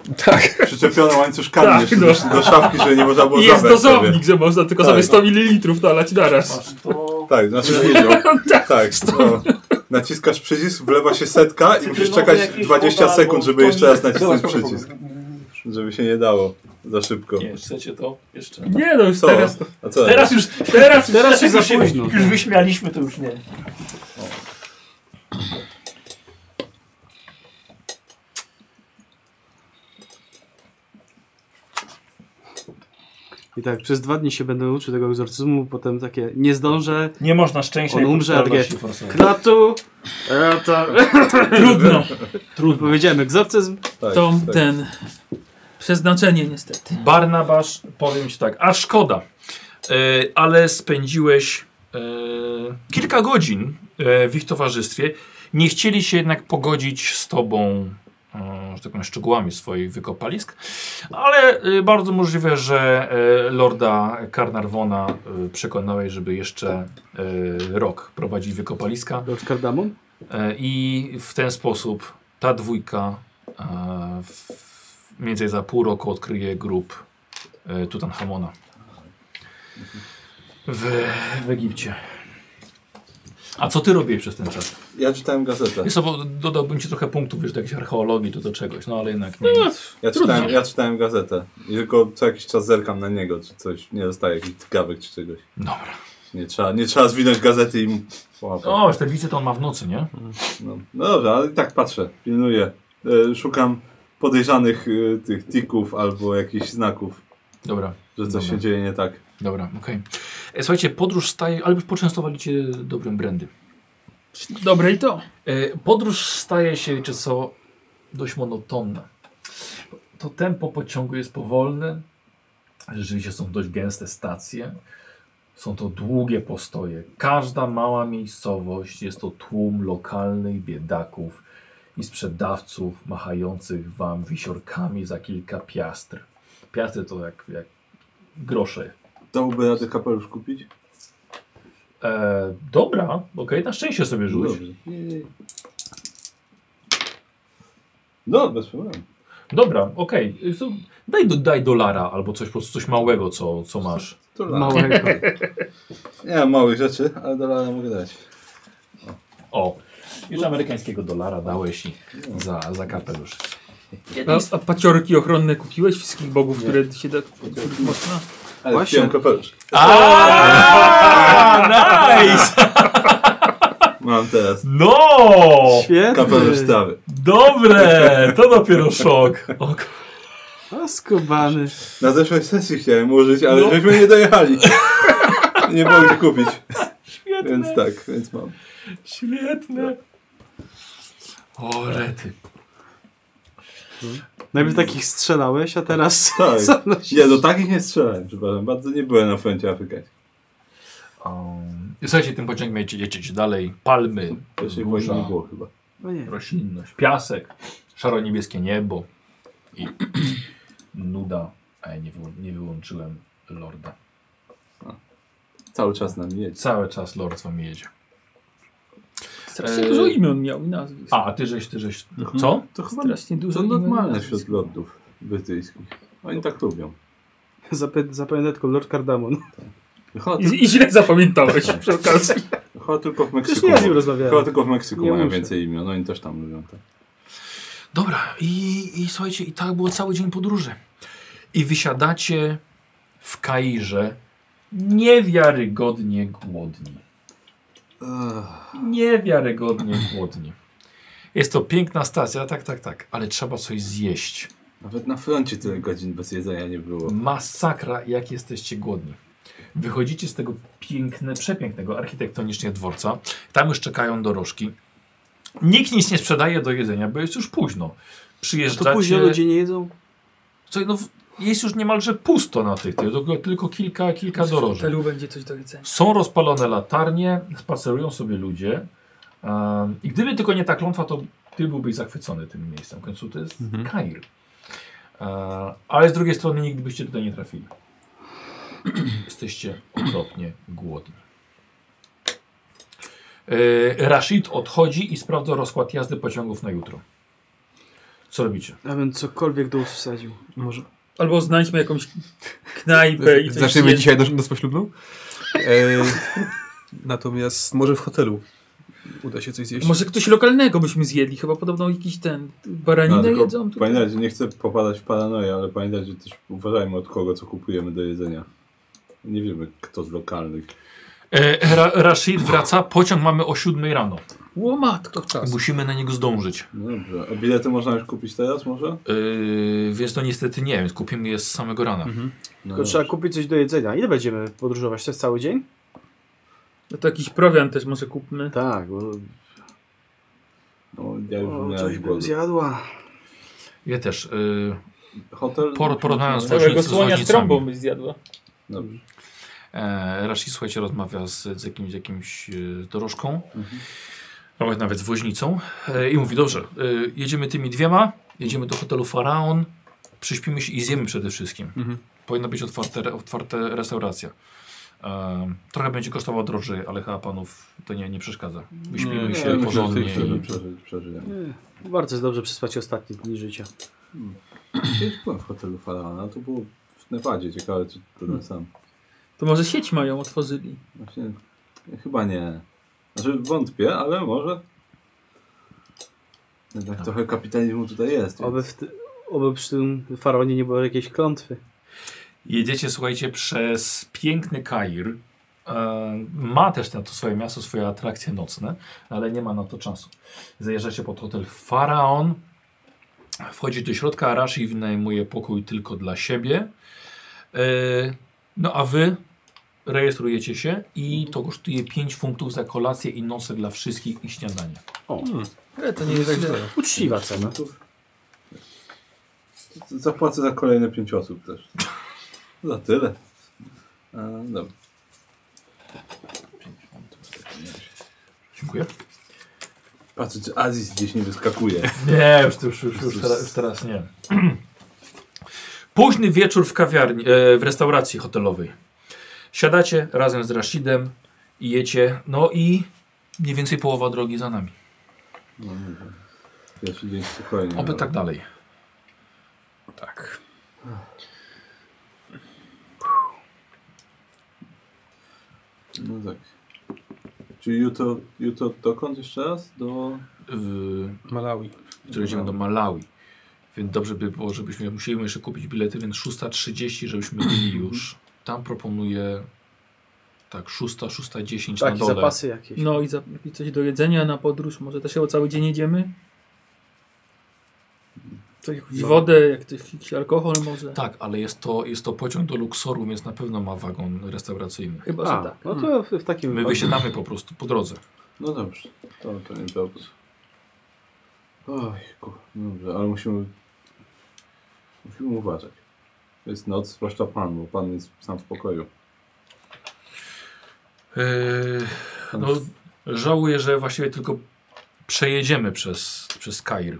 C: przyczepiona łańcuszkami
D: Tak,
C: jeszcze
D: no.
C: do, do szafki, że nie można było
D: I jest
C: zabrać sobie.
D: dozownik, że można tylko
C: Tak.
A: no.
D: sobie 100 ml nalać naraz.
A: Masz to...
C: Tak, znaczy wiedział.
A: <laughs>
C: tak, no. Naciskasz przycisk, wlewa się setka i musisz czekać
A: jakieś
C: 20
A: woda,
C: sekund,
A: albo
C: żeby jeszcze
A: tonik.
C: raz nacisnąć przycisk. Żeby się nie dało za szybko.
A: Nie, chcecie to jeszcze...
D: Nie no, już
C: Co?
D: teraz to.
C: A co?
A: Teraz już, teraz, już
B: Teraz się za
A: już,
B: późno.
A: już wyśmialiśmy, to już nie.
B: I tak przez dwa dni się będę uczył tego egzorcyzmu, potem takie nie zdążę,
A: Nie można szczęścia
B: On
A: i
B: umrze, a
A: popularności
B: dwie-
A: forsować.
B: kratu, e, to...
D: Trudno.
A: Tak,
B: Trudno. Powiedziałem egzorcyzm,
C: tak,
D: To
C: tak.
D: ten. Przeznaczenie niestety.
A: Barnabasz, powiem ci tak, a szkoda, e, ale spędziłeś e, kilka godzin e, w ich towarzystwie. Nie chcieli się jednak pogodzić z tobą e, że tak powiem, szczegółami swoich wykopalisk, ale e, bardzo możliwe, że e, lorda Carnarvona e, przekonałeś, żeby jeszcze e, rok prowadzić wykopaliska
B: Lord Cardamon,
A: E, I w ten sposób ta dwójka e, w, mniej więcej za pół roku odkryje grób e, Tutanchamona w, w Egipcie. A co ty robiłeś przez ten czas?
C: Ja czytałem gazetę.
A: Wiesz co, bo dodałbym ci trochę punktów, wiesz, do jakiejś archeologii, to do czegoś, no ale jednak nie.
C: Ja czytałem, ja czytałem gazetę. I tylko co jakiś czas zerkam na niego, czy coś. Nie dostaję jakichś gawek czy czegoś.
A: Dobra.
C: Nie trzeba, nie trzeba zwinąć gazety i mu połapać.
A: O, już te wice to on ma w nocy, nie?
C: No, no dobrze, ale i tak patrzę, pilnuję. E, szukam podejrzanych e, tych tików albo jakichś znaków,
A: Dobra,
C: że coś
A: Dobra.
C: się dzieje nie tak.
A: dobra, okej. E, Słuchajcie, podróż staje, ale poczęstowali cię dobrym brandy.
D: Dobre i to.
A: E, Podróż staje się, wiecie co, dość monotonna. To tempo pociągu jest powolne. Rzeczywiście są dość gęste stacje. Są to długie postoje. Każda mała miejscowość jest to tłum lokalnych biedaków i sprzedawców machających wam wisiorkami za kilka piastr. Piastry to jak, jak grosze.
C: Dałoby radę kapelusz kupić?
A: E, dobra, okej, na szczęście sobie rzuć.
C: Dobrze. Jej. No, bez problemu.
A: Dobra, okej. So, Daj, do, daj dolara albo coś po prostu coś małego, co, co masz.
C: To dla-
B: małego.
C: Nie mam małych rzeczy, ale dolara mogę dać.
A: O, już amerykańskiego dolara dałeś i za, za kapelusz.
D: A, No, a paciorki ochronne kupiłeś wszystkich bogów,
C: Nie.
D: które się da. Można?
C: Ale
B: Właśnie.
C: wziąłem kapelusz.
A: nice!
C: Mam teraz
A: No!
B: Świetny.
C: kapelusz tak. stawy.
A: Dobre! To dopiero szok. O, k-
B: A skubany.
C: Na zeszłej sesji chciałem użyć, ale
A: No.
C: żeśmy nie dojechali. nie mogli kupić. Więc tak, więc mam.
A: świetne. O, rety.
B: Najpierw takich strzelałeś, a teraz...
C: Tak.
B: sam nosisz.
C: Ja do takich nie strzelałem, przepraszam. Bardzo nie byłem na froncie afrykańskim.
A: Um, słuchajcie, tym pociągiem jedziecie, jedziecie dalej. Palmy,
C: To się
A: burza.
C: właśnie nie było chyba.
B: No nie.
A: roślinność, piasek, szaro-niebieskie niebo i <clears throat> nuda. A ja nie, wyłą- nie wyłączyłem lorda.
C: Cały czas nam jedzie.
A: Cały czas lord z wami jedzie.
D: Strasznie
A: Eee.
D: dużo imion miał i nazwisk.
A: A, ty żeś, ty żeś. Co?
C: To chyba
D: Strasznie dużo
C: to
D: imion i
C: normalne
D: nazwisk.
C: wśród lordów brytyjskich. Oni tak lubią.
B: Zapę- Zapamiętaj tylko Lord Cardamon.
C: Chyba, ty-
D: I, I źle zapamiętałeś przy okazji.
C: chyba tylko w
B: Przecież
C: Meksyku.
B: nie ja z nim
C: ma- Chyba
B: rozmawiałem.
C: tylko w Meksyku
B: Nie
C: mają
B: muszę.
C: więcej imion. Oni też tam lubią. Tak.
A: Dobra, i, i słuchajcie, i tak było cały dzień podróży. I wysiadacie w Kairze niewiarygodnie głodni. Niewiarygodnie głodni. Jest to piękna stacja, tak, tak, tak, ale trzeba coś zjeść.
C: Nawet na froncie tyle godzin bez jedzenia nie było.
A: Masakra, jak jesteście głodni. Wychodzicie z tego piękne, przepięknego architektonicznie dworca. Tam już czekają dorożki. Nikt nic nie sprzedaje do jedzenia, bo jest już późno.
B: No To
A: Przyjeżdżacie...
B: późno ludzie nie jedzą.
A: Słuchaj, no, w- Jest już niemalże pusto na tych, tylko, tylko kilka, kilka
D: W
A: doroży.
D: fotelu będzie coś do jedzenia.
A: Są rozpalone latarnie, spacerują sobie ludzie. Um, I gdyby tylko nie ta klątwa, to ty byłbyś zachwycony tym miejscem. W końcu to jest
E: Mhm.
A: Kair. E, ale z drugiej strony nigdy byście tutaj nie trafili. Jesteście okropnie głodni. E, Rashid odchodzi i sprawdza rozkład jazdy pociągów na jutro. Co robicie?
B: Abym cokolwiek do ust wsadził.
E: Może.
D: Albo znajdźmy jakąś knajpę i coś
E: Zaczniemy
D: zjedz-
E: dzisiaj nos- noc poślubną? E, no? <laughs> natomiast może w hotelu uda się coś zjeść.
D: Może ktoś lokalnego byśmy zjedli, chyba podobno jakiś ten,
C: No,
D: baraninę
C: tylko
D: jedzą tutaj.
C: pamiętajcie, nie chcę popadać w paranoję, ale pamiętajcie też uważajmy od kogo co kupujemy do jedzenia. Nie wiemy kto z lokalnych.
A: E, Ra Rashid wraca, pociąg mamy o 7 rano.
D: Łomatko.
E: czas.
A: Musimy na niego zdążyć.
C: No Dobrze, a bilety można już kupić teraz może?
A: Yy, więc to niestety nie, więc kupimy je z samego rana.
E: Mhm.
C: No,
B: Tylko trzeba kupić coś do jedzenia. Ile będziemy podróżować? Przez cały dzień?
D: No to jakiś prowiant też może kupmy.
B: Tak, bo
C: no, ja już
B: o,
C: miałem
B: coś
C: głodu.
B: bym zjadła.
A: Ja też. Yy,
C: Hotel?
A: Por- porównając
C: Musimy-
A: Całego właśnie- słonia z trąbą
D: byś zjadła.
C: Dobrze.
A: e, Rashid, słuchajcie, rozmawia z, z jakimś, z jakimś yy, dorożką,
C: Mhm.
A: albo nawet z woźnicą e, i mówi, dobrze, yy, jedziemy tymi dwiema, jedziemy do hotelu Faraon, przyśpimy się i zjemy przede wszystkim.
E: Mhm.
A: Powinna być otwarte, otwarte restauracja. E, trochę będzie kosztowało drożej, ale chyba panów to nie, nie przeszkadza. Wyśpimy
E: Nie,
A: się
E: myślę, że
A: porządnie. i...
E: tych, którzy-
C: Przeżyć, przeżyjemy.
B: Nie, Bardzo jest dobrze przespać ostatnie dni życia.
C: Kiedyś byłem w hotelu Faraona, to było w Nevadzie, ciekawe czy to
A: Hmm.
C: ten sam.
D: To może sieć mają, otworzyli.
C: Właśnie, chyba nie. Znaczy wątpię, ale może. Jednak trochę kapitalizmu tutaj jest. więc-
B: Oby, w ty, oby przy tym faraonie nie było jakiejś klątwy.
A: Jedziecie, słuchajcie, przez piękny Kair. E, Ma też na to swoje miasto, swoje atrakcje nocne, ale nie ma na to czasu. Zajeżdżacie pod hotel Faraon. Wchodzi do środka, a Rashi wynajmuje pokój tylko dla siebie. E, No a wy rejestrujecie się i to kosztuje 5 funtów za kolację i nocę dla wszystkich i śniadanie.
D: Ale to nie jest źle.
B: Uczciwa cena.
C: Zapłacę za kolejne pięć osób też. <laughs> Za tyle. E, dobra.
A: Dziękuję.
C: Patrzę, czy Aziz gdzieś nie wyskakuje.
A: <laughs> Nie, już, już, już, już, teraz, już teraz nie. Późny wieczór w kawiarni, e, w restauracji hotelowej. Siadacie razem z Rashidem i jecie, no i mniej więcej połowa drogi za nami.
C: No, nie wiem. Pierwszy dzień spokojnie.
A: Oby
C: ale-
A: tak dalej.
E: Tak.
C: No tak. Czyli jutro, jutro dokąd jeszcze raz? Do...
A: Yy,
E: Malawi.
A: które idziemy do Malawi. Więc dobrze by było, żebyśmy musieli jeszcze kupić bilety, więc 6.30, żebyśmy byli już. Tam proponuję tak 6, 6.10 na
B: Tak, i
A: dole.
B: zapasy jakieś.
D: No i, za, i coś do jedzenia na podróż, może też o cały dzień jedziemy.
B: to
D: I wodę, jak coś, jakiś alkohol może.
A: Tak, ale jest to, jest to pociąg do Luksoru, więc na pewno ma wagon restauracyjny.
D: Chyba, że
B: A,
D: tak.
B: no to w, w takim
A: My
B: wypadku.
A: wysiadamy po prostu po drodze.
C: No dobrze. To, to nie problem. Oj, ku... Dobrze, ale musimy... Musimy uważać. To jest noc, zwłaszcza pan, bo pan jest sam w pokoju. Yy,
A: no, żałuję, że właściwie tylko przejedziemy przez, przez Kair.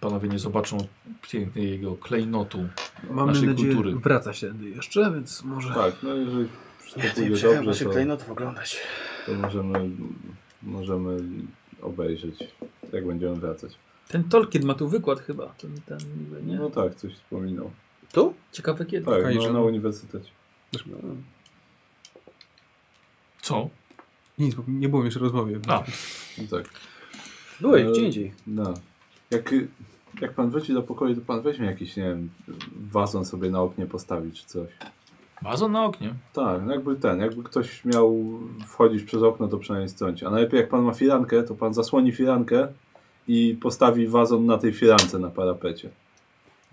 A: Panowie nie zobaczą pięknej jego klejnotu.
E: Mamy
A: naszej
E: nadzieję,
A: kultury.
E: wraca się tędy jeszcze, więc może...
C: Tak, no jeżeli wszystko
B: Nie, to nie
C: pójdzie
B: przejmuję,
C: dobrze,
B: muszę
C: to...
B: klejnotów oglądać.
C: To możemy, możemy obejrzeć, jak będziemy wracać.
D: Ten Tolkien ma tu wykład chyba. Ten, ten niby, nie?
C: No tak, coś wspominał.
B: Tu?
D: Ciekawe kiedy.
C: Tak,
E: Kairze.
C: no, na uniwersytecie.
A: Co?
E: Nic, bo nie było jeszcze rozmowy.
A: A.
C: No tak.
B: Byłeś,
C: E,
B: gdzie indziej.
C: No. Jak, jak pan wróci do pokoju, to pan weźmie jakiś, nie wiem, wazon sobie na oknie postawić czy coś.
A: Bazon na oknie.
C: Tak, no jakby ten, jakby ktoś miał wchodzić przez okno, to przynajmniej strąci. A najlepiej jak pan ma firankę, to pan zasłoni firankę i postawi wazon na tej firance na parapecie.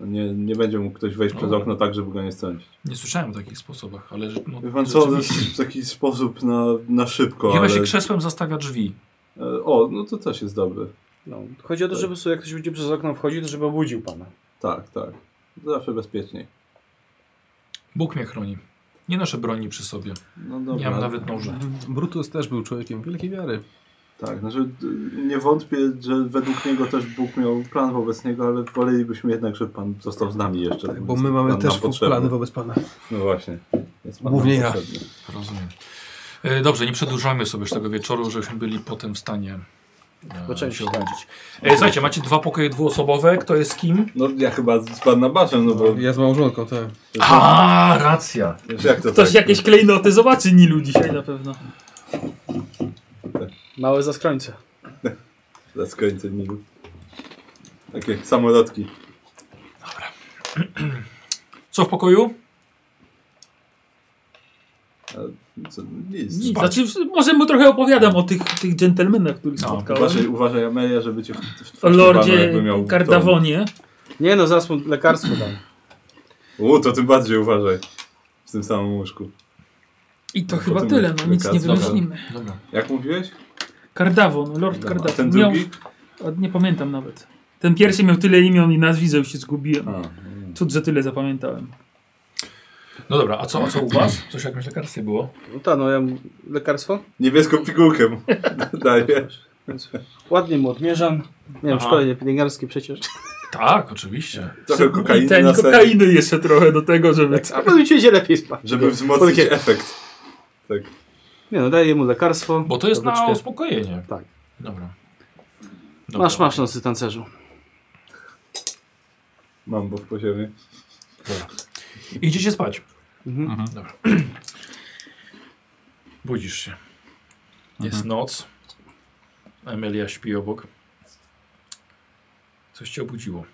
C: No Nie, nie będzie mógł ktoś wejść przez
A: No.
C: okno tak, żeby go nie strącić.
A: Nie słyszałem o takich sposobach, ale że- no,
C: Wie pan co, to
A: rzeczywiście.
C: jest taki sposób na, na szybko,
A: Chyba
C: ale...
A: się krzesłem zastawia drzwi.
C: E, O, no to też jest dobre.
B: No, chodzi o to, żeby po prostu jak ktoś będzie przez okno wchodził, to żeby obudził pana.
C: Tak, tak. Zawsze bezpieczniej.
A: Bóg mnie chroni. Nie noszę broni przy sobie.
C: No dobra.
A: Nie mam nawet noża.
E: Brutus też był człowiekiem wielkiej wiary.
C: Tak, znaczy d- nie wątpię, że według niego też Bóg miał plan wobec niego, ale wolelibyśmy jednak, żeby Pan został z nami jeszcze.
E: Tak, bo my mamy
C: Pan nam
E: też
C: potrzebny.
E: plany wobec Pana.
C: No właśnie. Jest pan
E: Głównie
C: nam
E: ja.
C: potrzebny.
A: Rozumiem. E, Dobrze, nie przedłużajmy sobie już tego wieczoru, żebyśmy byli potem w stanie e,
B: Oczywiście.
A: się obudzić. E, słuchajcie, macie dwa pokoje dwuosobowe. Kto jest z kim?
C: No ja chyba z Pana Baszem, no bo...
E: Ja z małżonką, tak.
A: A, racja.
C: Znaczy, jak to
D: Ktoś
C: tak?
D: jakieś klejnoty zobaczy Nilu dzisiaj no. na pewno.
B: Małe zaskrońce.
C: Za skońce Nilu. Takie samolotki.
A: Co w pokoju?
C: Co, nic.
D: Nic, znaczy, może mu trochę opowiadam o tych, tych dżentelmenach, których
A: No,
D: spotkałem.
C: Uważaj, uważaj Amelia, żeby cię w, w, w
D: O
C: wpływało,
D: Lordzie
C: jakby miał
D: Kardawonie.
B: Nie no, zaraz mu lekarstwo dam.
C: tą- U, to tym bardziej uważaj. W tym samym łóżku.
D: I to
C: No,
D: chyba
C: potem
D: tyle, no nic nie
C: lekarstwa.
D: wymyślimy.
A: Dobra.
C: Jak mówiłeś?
D: Kardawon, Lord
C: Dobra, a
D: Kardawon.
C: ten drugi?
D: Miał, a nie pamiętam nawet. Ten pierwszy miał tyle imion i nazwisk, że już się zgubiłem.
C: A,
D: Cud, że tyle zapamiętałem.
A: No dobra, a co, a co u was? <clears throat> Coś jakieś lekarstwie było?
B: No ta, no ja mu lekarstwo.
C: niebieską pigułkę <laughs> mu daję.
B: Więc ładnie mu odmierzam. Nie wiem, w
A: Aha.
B: szkolenie pielęgniarskie przecież. <laughs>
A: Tak, oczywiście.
C: Trochę
D: I
C: kokainy
D: ten
C: na Tak. sen,
D: kokainy jeszcze trochę do tego, żeby...
B: A potem się lepiej spać.
C: żeby wzmocnić
B: Powiecie,
C: efekt. Tak.
B: Nie no, daję mu lekarstwo.
A: Bo to jest na
B: Troszeczkę.
A: uspokojenie.
B: Tak.
A: Dobra. Dobra.
B: Masz, masz nosy tancerzu.
C: Mam, bo w poziomie.
A: Idziecie spać.
B: Mhm.
A: Dobra. <clears throat> Budzisz się. Jest noc. Emilia śpi obok. Coś cię obudziło.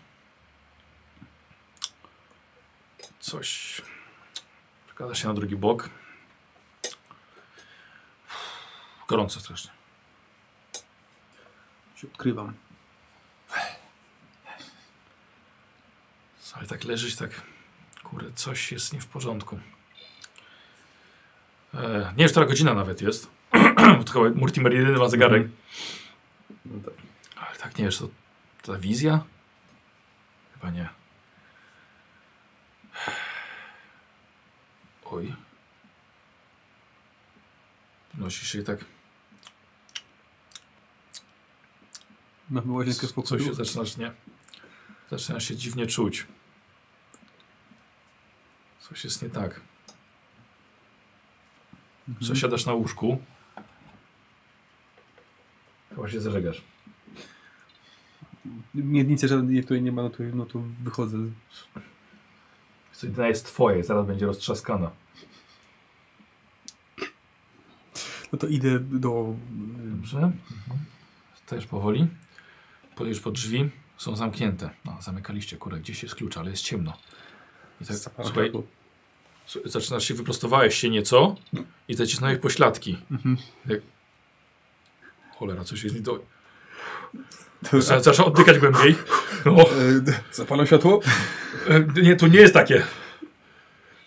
A: Coś. Przekładasz się na drugi bok. Gorąco strasznie.
E: Się odkrywam.
A: Słuchaj, tak leżysz, tak. Kurde, coś jest nie w porządku. E, nie wiem, która godzina nawet jest. <clears throat> Tylko Mortimer jedyny ma zegarek.
C: No tak.
A: Ale tak nie wiesz, to, to ta wizja? Chyba nie. Oj. Nosisz się i tak.
E: Mamy łazienkę w
A: Coś się
E: pokoju.
A: zaczynasz, nie? Zaczynasz się dziwnie czuć. Coś jest nie tak. Przesiadasz na łóżku. Chyba się zażegasz.
E: Miednicy żadnej tutaj nie ma, no to, no to wychodzę.
A: Coś dna jest twoje, zaraz będzie roztrzaskana.
E: No to idę do...
A: Dobrze. Też powoli. Podejdziesz pod drzwi. Są zamknięte. No, zamykaliście, kurde, gdzieś jest klucz, ale jest ciemno. I tak, słuchaj, słuchaj, zaczynasz się, wyprostowałeś się nieco i zacisnąłeś pośladki.
E: Mhm.
A: I tak, cholera, coś jest nie do...
E: To-
A: Zaczyna- Zaczynasz oddychać głębiej. No,
E: E, d- Zapalam światło?
A: e, nie, to nie jest takie.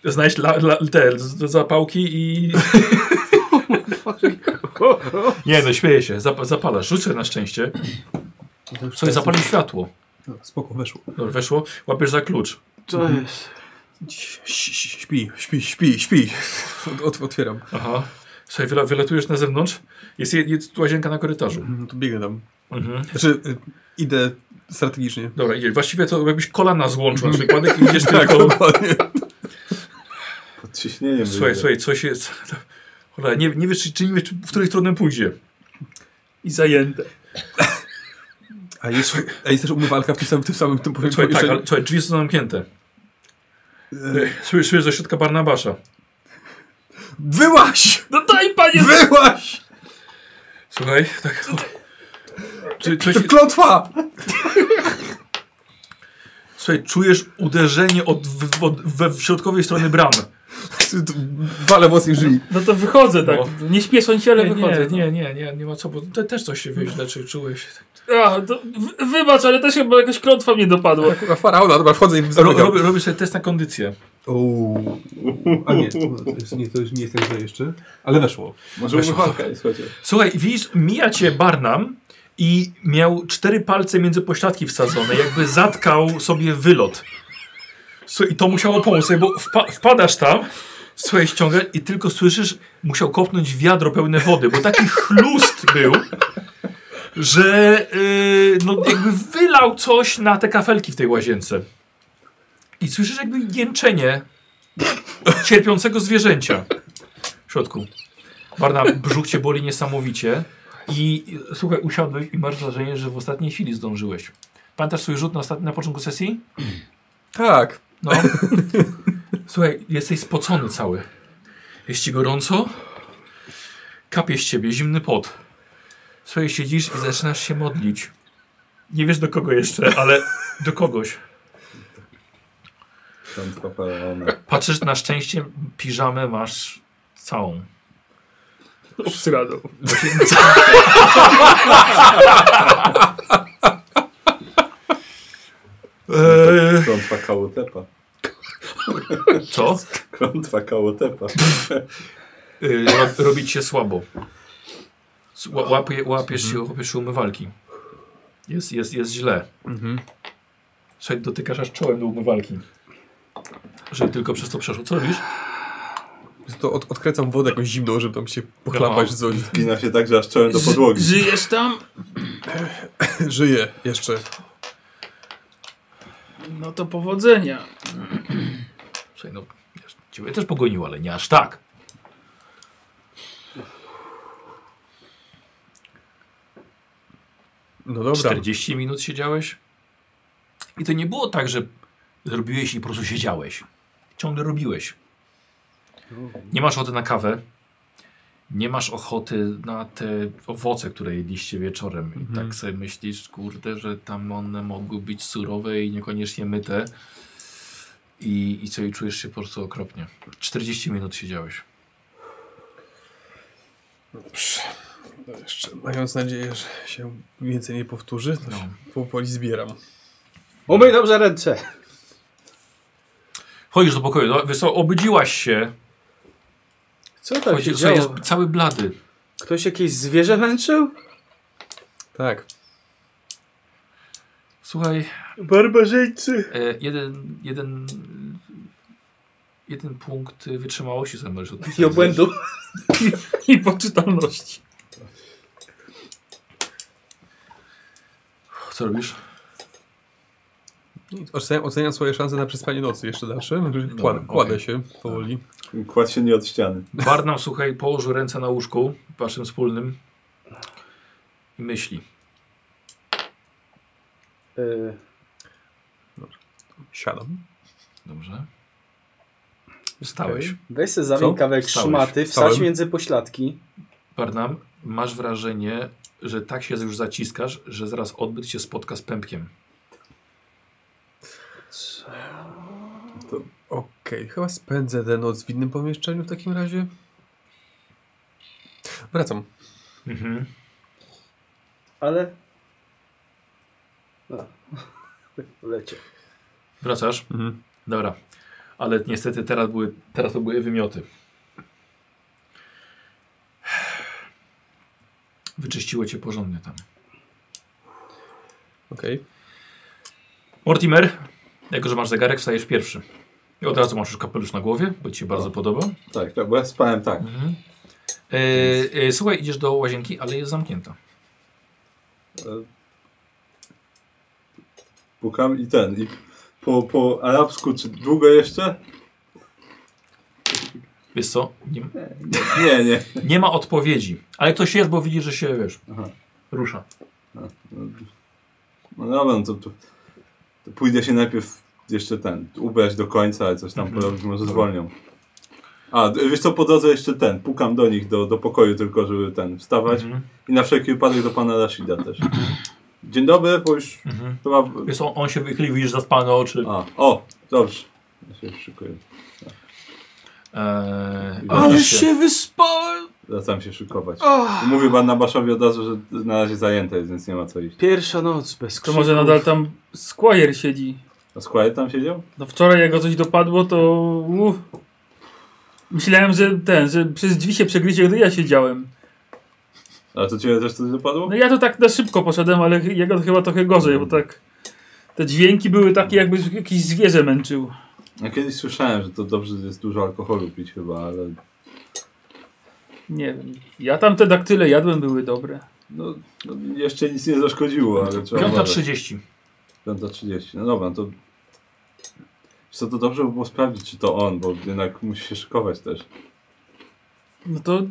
A: Znajdź la, la, te z- zapałki i... nie no, śmieję się. Zap, zapalasz. Rzucę na szczęście. Słuchaj, zapalił światło.
E: No, Spoko, weszło.
A: Dobra, weszło, łapiesz za klucz.
B: To jest.
E: Ś- ś- Śpi, śpi, śpi, śpi. Ot, otwieram.
A: Aha. Słuchaj, wyla, wylatujesz na zewnątrz. Jest, je- jest łazienka na korytarzu.
E: No to biegnę tam.
A: Mhm.
E: Znaczy, y, idę strategicznie.
A: Dobra, idzie. Właściwie to jakbyś kolana złączył na przykładek i idziesz tylko.
E: Tak, dokładnie.
C: Pod ciśnieniem.
A: Słuchaj,
C: będzie.
A: słuchaj, coś jest. Cholera, nie, nie wiesz, czy, czy nie wiesz, czy- w której stronę pójdzie.
D: I zajęte.
E: A jest, a jest też umywalka w tym samym, tym samym tym
A: Słuchaj, tak,
E: pomieszczeniu.
A: ale, słuchaj, drzwi są zamknięte. Słyszysz ze środka Barnabasza.
E: Wyłaś!
D: No daj panie!
E: Wyłaś!
A: Słuchaj, tak. Czy, coś,
E: To klątwa!
A: słuchaj, czujesz uderzenie od, w, od we w środkowej strony bramy.
E: Wale mocniej żyli.
D: No to wychodzę tak. Nie śpiesząc się, ale
A: No. Nie, no.
D: wychodzę.
A: nie, nie, nie, nie, nie ma co, bo te, też coś się wyźle, czy czułeś.
D: A, to w- wybacz, ale też chyba jakaś klątwa mnie dopadła.
C: Tak,
E: Kurwa, faraona, dobra, wchodzę i
A: Ro,
E: zamykam.
A: robię, robię sobie test na kondycję.
E: Uuu. A nie, to jest- nie, to już nie jestem źle jeszcze. Ale weszło.
C: Może
A: Weszło.
C: umywalka jest chociaż.
A: Słuchaj, widzisz, mija cię Barnam i miał cztery palce między pośladki wsadzone, jakby zatkał sobie wylot. Słuchaj, i to musiało pomóc, słuchaj, bo wpa wpadasz tam, słuchaj, ściąga i tylko słyszysz, musiał kopnąć wiadro pełne wody, bo taki chlust był, że yy, no, jakby wylał coś na te kafelki w tej łazience. I słyszysz jakby jęczenie cierpiącego zwierzęcia w środku. Barna, brzuch cię boli niesamowicie. I i, słuchaj, usiadłeś i masz wrażenie, że w ostatniej chwili zdążyłeś. Pamiętasz swój rzut na, ostat- na początku sesji?
E: Tak.
A: No. Słuchaj, jesteś spocony cały. Jest ci gorąco? Kapie z ciebie zimny pot. Słuchaj, siedzisz i zaczynasz się modlić. Nie wiesz do kogo jeszcze, ale do kogoś.
C: Piątka pełna.
A: Patrzysz, na szczęście piżamę masz całą.
D: Obsradą.
A: Eee,
C: Klątwa kałotepa.
A: <laughs> co?
C: Klątwa kałotepa.
A: Yy, ro- robi cię słabo. S- ła- Łapie, łapiesz, się, łapiesz się umywalki. Jest, jest, jest źle. Słuchaj, dotykasz aż czołem do umywalki. Żeby tylko przez to przeszło. Co robisz?
E: To od, odkręcam wodę jakąś zimną, żeby tam się pochlapać z coś.
C: Gina się tak, że aż czołem do podłogi.
D: Żyjesz tam?
E: Żyję jeszcze.
D: No to powodzenia.
A: Słuchaj, no, wiesz, ciebie też pogonił, ale nie aż tak.
E: No dobra.
A: 40 minut siedziałeś. I to nie było tak, że zrobiłeś i po prostu siedziałeś. Ciągle robiłeś. Nie masz ochoty na kawę. Nie masz ochoty na te owoce, które jedliście wieczorem. I tak sobie myślisz, kurde, że tam one mogły być surowe i niekoniecznie myte. I, i co, i czujesz się po prostu okropnie. 40 minut siedziałeś.
E: No jeszcze, mając nadzieję, że się więcej nie powtórzy, to
A: No.
E: się powoli zbieram.
B: Umyj dobrze ręce.
A: Chodzisz do pokoju, no, wiesz co, obudziłaś się.
B: Co tam się
A: Chodzi, słuchaj, jest
B: działo?
A: cały blady.
B: Ktoś jakieś zwierzę męczył?
E: Tak.
A: Słuchaj,
B: Barbarzyńcy.
A: E, jeden, jeden, jeden punkt y, wytrzymałości sobie możesz odpisać.
B: I obłędu.
D: I poczytalności.
A: Co robisz?
E: Oceniam, oceniam swoje szanse na przespanie nocy jeszcze dalsze. Kład,
A: Dobra,
E: Kładę
A: No, okej. Tak.
E: się powoli.
C: Kładź się nie od ściany.
A: Barnum, słuchaj, położył ręce na łóżku waszym wspólnym i myśli.
B: Y,
E: Siadam.
A: Dobrze. Wstałeś.
B: Weź se zamień
E: Co?
B: kawałek
A: Wstałeś.
B: szmaty, wsadź
E: Wstałem.
B: między pośladki.
A: Barnum, masz wrażenie, że tak się już zaciskasz, że zaraz odbyt się spotka z pępkiem.
E: Okej, chyba spędzę tę noc w innym pomieszczeniu w takim razie. Wracam.
A: Mhm.
B: Ale... No. <laughs> Lecie.
A: Wracasz?
E: Mhm.
A: Dobra. Ale niestety teraz, były, teraz to były wymioty. Wyczyściło cię porządnie tam.
E: Okej.
A: Mortimer, jako że masz zegarek, wstajesz pierwszy. I od razu masz już kapelusz na głowie, bo ci się bardzo podoba.
C: Tak, tak, bo ja spałem tak.
A: E, e, słuchaj, idziesz do łazienki, ale jest zamknięta.
C: E, Pukam i ten. I po, po arabsku, czy długo jeszcze?
A: Wiesz co? Nie,
C: Nie, nie.
A: nie ma odpowiedzi. Ale ktoś jest, bo widzi, że się, wiesz,
C: Aha.
A: rusza.
C: No dobra, no to, to, to pójdę się najpierw jeszcze ten, ubrać do końca, ale coś
A: Mhm.
C: tam porobić, może zwolnią. A, d- wiesz co, po drodze jeszcze ten, pukam do nich, do, do pokoju tylko, żeby ten, wstawać.
A: Mhm.
C: I na wszelki wypadek do pana Rashida też. Dzień dobry, bo już
A: Mhm.
C: chyba...
A: Wiesz co, on się wychylił, widzisz zaspane oczy.
C: A, o, dobrze. Ja się szykuję.
A: E,
C: Ale
A: widzisz się-
D: wyspałem!
C: Zacząłem się szykować.
B: O!
C: I Mówił pan Nabaszowi od razu, że na razie zajęte jest, więc nie ma co iść.
B: Pierwsza noc bez
D: To
B: krzyku.
D: może nadal tam Squire siedzi.
C: A Squire tam siedział?
D: No wczoraj jak go coś dopadło, to... Uff. Myślałem, że ten, że przez drzwi się przegryzie, gdy ja siedziałem.
C: A to ciebie też coś dopadło?
D: No ja to tak na szybko poszedłem, ale jego to chyba trochę gorzej, bo tak... Te dźwięki były takie, jakby jakiś zwierzę męczył.
C: Ja kiedyś słyszałem, że to dobrze jest dużo alkoholu pić chyba, ale
D: Nie wiem. Ja tam te daktyle jadłem, były dobre.
C: no, no jeszcze nic nie zaszkodziło, ale trzeba
A: Piąta
C: uważać.
A: 30.
C: 5.30. No dobra, to... Wiesz Co, to dobrze by było sprawdzić, czy to on, bo jednak musi się szykować też.
D: No to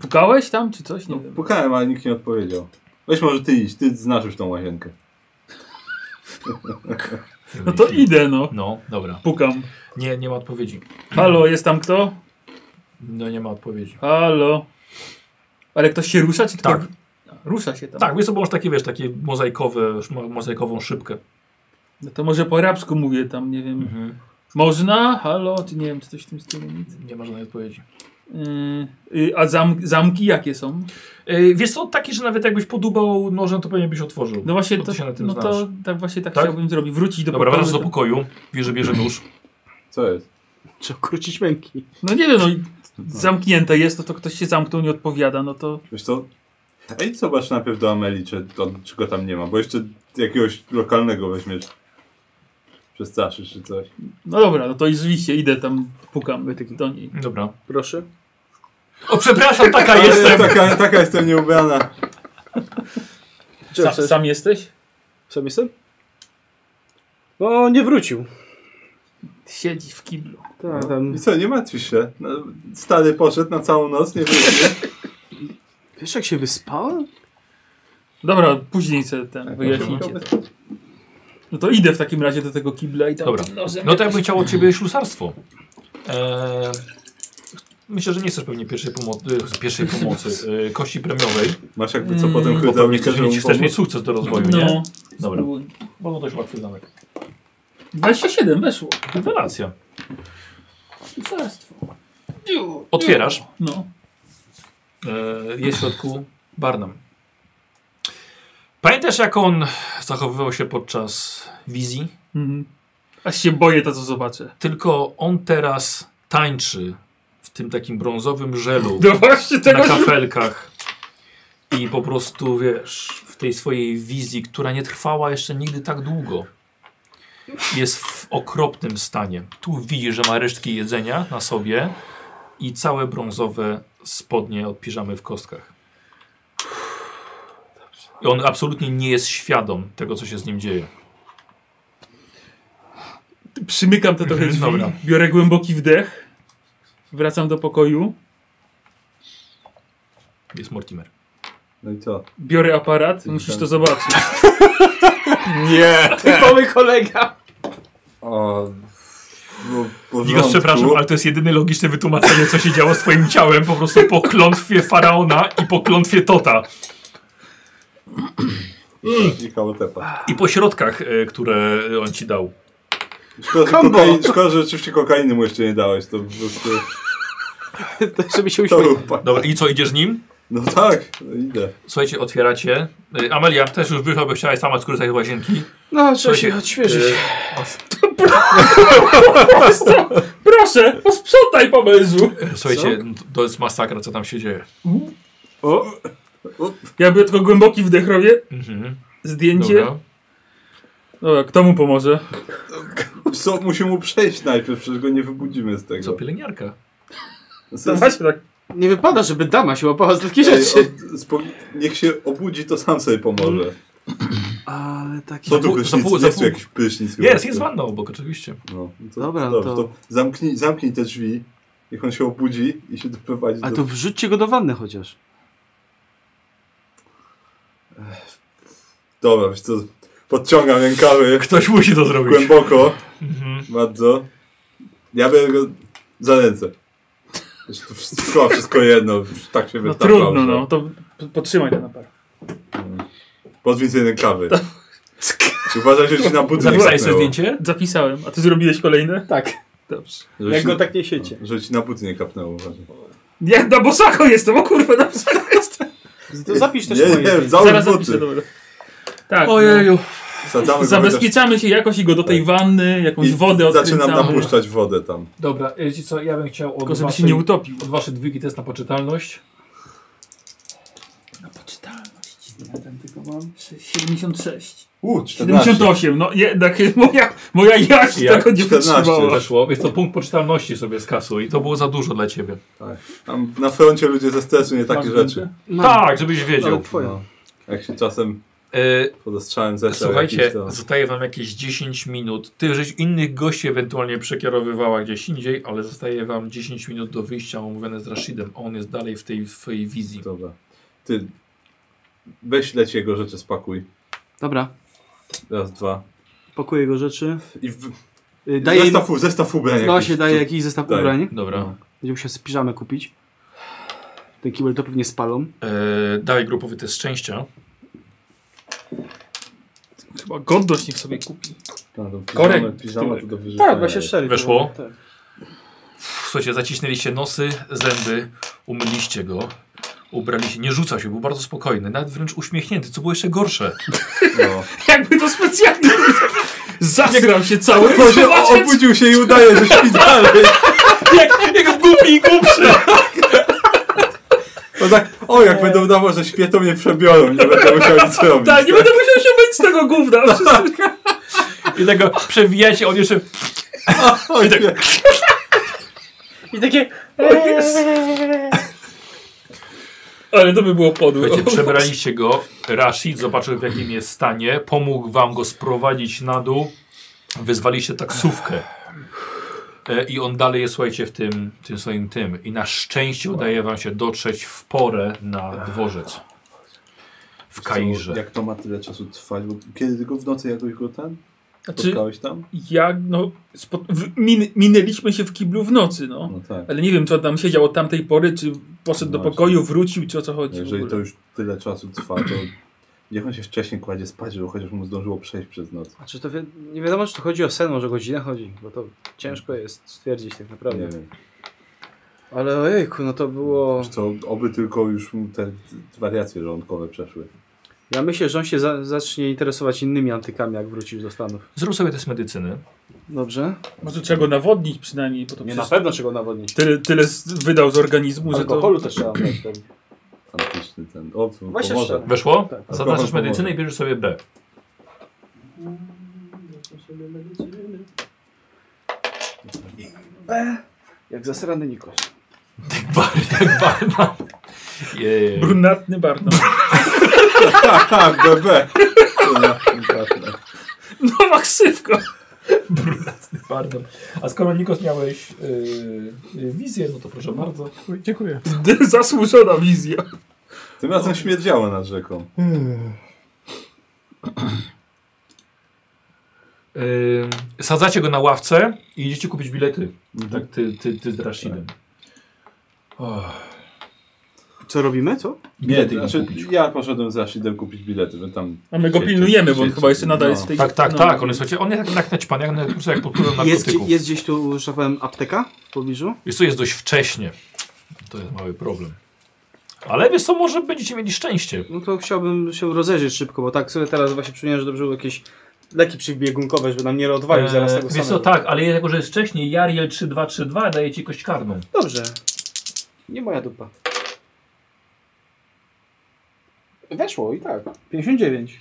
D: pukałeś tam czy coś? Nie
C: No,
D: wiem.
C: pukałem, ale nikt nie odpowiedział. Weź może ty iść, ty znasz już tą łazienkę.
D: No to idę no.
A: No, dobra.
D: Pukam.
A: Nie, nie ma odpowiedzi.
D: Halo, jest tam kto?
A: No nie ma odpowiedzi.
D: Halo. Ale ktoś się rusza czy tylko...
A: Tak.
D: Rusza się tam.
A: Tak, więc to masz takie, wiesz, takie mozaikowe, mo- mozaikową szybkę.
D: No to może po arabsku mówię tam, nie wiem.
A: Mhm.
D: Można? Halo? Czy nie wiem, czy coś w tym stylu nic.
A: Nie ma żadnej odpowiedzi.
D: Yy, yy, a zam, zamki jakie są?
A: Yy, wiesz co, taki, że nawet jakbyś podubał nożem, to pewnie byś otworzył.
D: No właśnie
A: No
D: to,
A: ty się na tym
D: no to tak właśnie tak,
A: Tak?
D: chciałbym zrobić. Wrócić do
A: Dobra,
D: pokoju,
A: wracasz do
D: to-
A: pokoju, bierze, bierze nóż.
C: Co jest?
B: Trzeba krócić męki.
D: No nie wiem, no i zamknięte jest, to, to ktoś się zamknął, nie odpowiada, no to
C: Wiesz co? Ej, zobacz najpierw do Ameli, czy, on, czy go tam nie ma, bo jeszcze jakiegoś lokalnego weźmiesz. Przestraszysz czy coś.
D: no dobra, no to i rzeczywiście idę tam, pukam do niej.
A: Dobra.
B: Proszę.
A: O, przepraszam, <laughs> taka
C: Ale
A: jestem!
C: Taka, taka jestem nieubrana.
B: Czego
D: Sa,
B: chcesz?
D: sam jesteś?
B: Sam jestem? No, nie wrócił.
D: Siedzi w kiblu.
B: Tak, tam.
C: I co, nie martwisz się. No, stary poszedł na całą noc, nie wyjdzie.
B: Wiesz, jak się <laughs> wyspałem?
D: Dobra, później sobie ten wyjaśnicie.
C: Ciekawe.
D: To. No to idę w takim razie do tego kibla i tam
A: Dobra.
D: nożem
A: No to ja bym chciał od ciebie ślusarstwo. Eee, myślę, że nie chcesz pewnie pierwszej pomocy, pierwszej pomocy e, kości premiowej.
C: Masz jakby co
D: Mm.
C: potem
A: Bo pewnie
C: chwytał
A: chcesz mieć, chcesz mieć sukces do rozwoju, nie?
D: No,
A: Dobra.
D: spróbuj.
A: Bo to dość łatwy zamek.
D: 27 weszło.
A: Rewelacja.
D: Cesarstwo.
A: Otwierasz.
D: No.
A: E, jest w środku Barnum. Pamiętasz, jak on zachowywał się podczas wizji?
D: Mhm. Aż się boję to, co zobaczę.
A: Tylko on teraz tańczy w tym takim brązowym żelu
D: No właśnie
A: na
D: tego
A: kafelkach. I po prostu, wiesz, w tej swojej wizji, która nie trwała jeszcze nigdy tak długo, jest w okropnym stanie. Tu widzisz, że ma resztki jedzenia na sobie i całe brązowe spodnie od piżamy w kostkach. I on absolutnie nie jest świadom tego, co się z nim dzieje.
D: Przymykam te
C: <laughs>
D: trochę
A: Mhm,
D: drzwi,
A: dobra.
D: biorę głęboki wdech, wracam do pokoju,
A: Jest Mortimer.
C: No i co?
D: biorę aparat, musisz to zobaczyć.
C: Nie!
B: Typowy kolega.
C: O, no, w
A: Nigos,
C: porządku.
A: przepraszam, ale to jest jedyne logiczne wytłumaczenie, co się działo z twoim ciałem, po prostu po klątwie Faraona i po klątwie Tota.
C: I kałotepa.
A: I po środkach, e, które on ci dał.
C: Szkoda, że
B: Kombo.
C: kokain, szkoda, że rzeczywiście kokainy mu jeszcze nie dałeś. To po prostu...
B: Tak, Żeby się
C: To
B: uśmiechnął.
C: był pa-
A: Dobra, i co, idziesz z nim?
C: No tak, no idę.
A: Słuchajcie, otwieracie. E, Amelia, też już wyszła, bo chciałaś sama skorzystać z łazienki.
B: No, trzeba
A: Słuchajcie,
B: się odświeżyć.
D: Proszę, posprzątaj po mężu.
A: E, Słuchajcie, n- to jest masakra, co tam się dzieje.
B: O,
D: Ja biorę tylko głęboki wdech robię,
A: Mhm,
D: zdjęcie. Dobra.
A: dobra.
D: kto mu pomoże?
C: Co, musi mu przejść najpierw, przecież go nie wybudzimy z
A: Co,
C: tego.
A: pielęgniarka?
C: Sens-
D: Właśnie tak.
B: nie wypada, żeby dama się łapała za takie
C: Ej,
B: rzeczy.
C: e, od, spo, niech się obudzi, to sam sobie pomoże.
B: Ale taki...
C: Co tu
A: pół- Mm. za
C: prysznic?
A: pół- za
C: jest tu
A: pół-
C: jakiś prysznic chyba.
A: Jest, jest wanna obok, oczywiście.
C: No, to,
B: Dobra,
C: dobrze,
B: to-
C: to zamknij, zamknij te drzwi, niech on się obudzi i się doprowadzi
B: A
C: do...
B: to wrzućcie go do wanny chociaż.
C: Dobra, wiesz co, podciągam rękawy
A: Ktoś musi to zrobić.
C: głęboko,
A: Mhm.
C: bardzo. Ja biorę go za ręce. Wiesz, to wszystko, wszystko jedno, tak się
D: No
C: wystawiam,
D: trudno,
C: że-
D: no. To p- potrzymaj ten aparat.
C: Podwiń sobie rękawy. Czy uważaj, że ci na budynek
A: Zapisałeś sobie
C: kapnęło?
A: zdjęcie?
D: Zapisałem. A ty zrobiłeś kolejne?
B: Tak.
D: Dobrze.
C: Że
B: Jak
C: ci-
B: go tak niesiecie.
C: Że ci na budynek kapnęło, uważaj.
D: Ja na bosako no jestem, o kurwa, na bosako jestem.
B: To zapisz też
C: Nie,
B: moje.
C: nie,
B: zdjęcie.
C: załóż
D: <laughs> Zaraz zapiszę,
C: buty.
D: dobra. Tak. no.
A: Ojeju.
C: Wsadzamy go
D: Zabezpieczamy się jakoś i go do tej wanny, jakąś
C: Tak. I
D: wodę
C: Zaczynam
D: odkręcamy.
C: napuszczać wodę tam.
A: Dobra, e, wiecie co, ja bym chciał
D: Tylko żeby się nie utopił.
A: od waszej dwójki test na poczytalność.
D: Na poczytalność. Ja tam tylko mam 76.
C: U, 14.
D: 78, no jednak <laughs> jest moja, moja jaś
A: Jak?
D: tego nie
C: 14.
D: wytrzymała.
A: Weszło. Jest to punkt poczytalności sobie skasuj. To było za dużo dla ciebie.
C: Tam na froncie ludzie ze stresu nie takie
E: Masz
C: rzeczy.
D: No.
A: Tak, żebyś
E: Ale
A: wiedział.
E: twoja.
C: No. Jak się czasem
A: Y,
C: pod ostrzałem zeszedł
A: Słuchajcie,
C: jakiś, to...
A: zostaje wam jakieś 10 minut. Ty żeś innych gości ewentualnie przekierowywała gdzieś indziej, ale zostaje wam 10 minut do wyjścia omówione z Rashidem. a On jest dalej w tej swojej wizji.
C: Dobra. Ty, weź leć jego rzeczy, spakuj.
B: Dobra,
C: Raz, dwa.
B: pakuję jego rzeczy.
C: I w...
B: Y, Daję
C: daje...
B: im,
C: zestaw, zestaw ubrań
B: no
C: jakiś.
B: się daje
C: Tu-
B: jakiś zestaw
C: Daję.
B: ubrań.
A: Dobra.
B: Będzie musiał sobie piżamę kupić. Ten kibel to pewnie spalą.
A: E, dalej grupowy test szczęścia.
D: Chyba godność niech sobie kupi.
C: Tak, do piżamy,
D: Korek.
C: piżama to do No. wyrzeczenia
B: Tak,
C: <laughs>
B: 24.
A: Weszło?
B: Tak.
A: Pff, Słuchajcie, zaciśnęliście nosy, zęby, umyliście go, ubraliście. Nie rzucał się, był bardzo spokojny, nawet wręcz uśmiechnięty, co było jeszcze gorsze.
C: jest. No.
D: <laughs> Jakby to specjalnie. Zasram się cały.
C: Boże, o- obudził się i udaje, że śpi dalej.
D: jak, jak w głupi i głupszy.
C: No tak, o, jak będą udało, że śpię, to mnie przebiorą, nie będę musiał nic robić.
D: <laughs> Tak, nie będę musiał się myć z tego gówna. <laughs>
A: I tego przewijacie, on jeszcze
C: O, nie.
D: tak- I takie... <laughs> Ale to by było
A: <laughs>
D: podłe.
A: Słuchajcie, przebraliście go. Rashid zobaczył w jakim jest stanie. Pomógł wam go sprowadzić na dół. Wyzwaliście taksówkę. E, I on dalej jest, słuchajcie, w tym, tym swoim tym. I na szczęście udaje wam się dotrzeć w porę na dworzec. W Kairze.
C: Jak to ma tyle czasu trwać? Bo kiedy tylko w nocy jakoś go ten?
D: Znaczy,
C: Spotkałeś tam?
D: jak no... Spot, w, min, minęliśmy się w kiblu w nocy, no.
C: No tak.
D: Ale nie wiem, co tam siedział od tamtej pory, czy poszedł do
C: Właśnie.
D: pokoju, wrócił, czy o co chodzi. w
C: Jeżeli
D: ogóle.
C: to już tyle czasu trwa, to niech on się wcześniej kładzie spać, żeby chociaż mu zdążyło przejść przez noc.
B: A czy to wi nie wiadomo, czy to chodzi o sen, może godzinę chodzi, bo to ciężko jest stwierdzić tak naprawdę.
C: Nie wiem.
B: Ale ojejku, no to było...
C: Wiesz Co, oby tylko już mu te wariacje żołądkowe przeszły.
B: Ja myślę, że on się za zacznie interesować innymi antykami, jak wrócił do Stanów.
A: Zrób sobie test medycyny.
B: Dobrze?
D: Może trzeba go nawodnić przynajmniej, bo to
B: Nie
D: przecież
B: na pewno czego nawodnić.
D: tyle, tyle z, wydał z organizmu, że to...
B: Alkoholu też trzeba brać. pewnie.
C: Antyczny ten. O,
B: Właśnie
C: pomoże.
B: szczerze.
A: Weszło?
B: Tak.
A: Zaznaczasz medycynę i bierzesz sobie B. <laughs>
B: Jak zasrany Nikos.
A: Bar, tak, barna. Jej.
D: Brunatny
C: <laughs>
D: Barton.
C: No, Tak, tak, bebe. Kurwa, przepraszam.
D: No maksywko.
A: Barna. A skoro Nikos miałeś yy, yy, wizję, no to proszę bardzo.
E: Dziękuję.
D: Zasłużona wizja.
C: Tym razem śmierdziało nad rzeką.
A: Ym, sadzacie go na ławce i idziecie kupić bilety.
B: Mhm.
A: Tak, ty, ty, ty z Rashidem.
B: Tak. Co robimy, co?
A: Bilety im
C: znaczy,
A: kupić.
C: ja poszedłem za Shidem kupić bilety, bo tam...
D: A my go pilnujemy, bo on chyba jeszcze nadal jest w tej...
A: Tak, tak,
D: no.
A: tak. On jest, słuchajcie, on jest jak, jak naćpany, jak, na, po prostu jak pod wpływem
B: Jest,
A: narkotyków. Jest,
B: jest gdzieś tu, że tak powiem, apteka w pobliżu?
A: jest, jest dość wcześnie. To jest mały problem. Ale wiesz co, może będziecie mieli szczęście.
B: No to chciałbym się rozejrzeć szybko, bo tak sobie teraz właśnie przypomniałem, że dobrze były jakieś leki przybiegunkowe, żeby nam nie odwalił zaraz tego
A: wiesz co,
B: samego.
A: tak, ale jako, że jest wcześniej, Jariel 3232 daje ci kość karną.
B: Dobrze. Nie moja dupa. Weszło i tak. 59.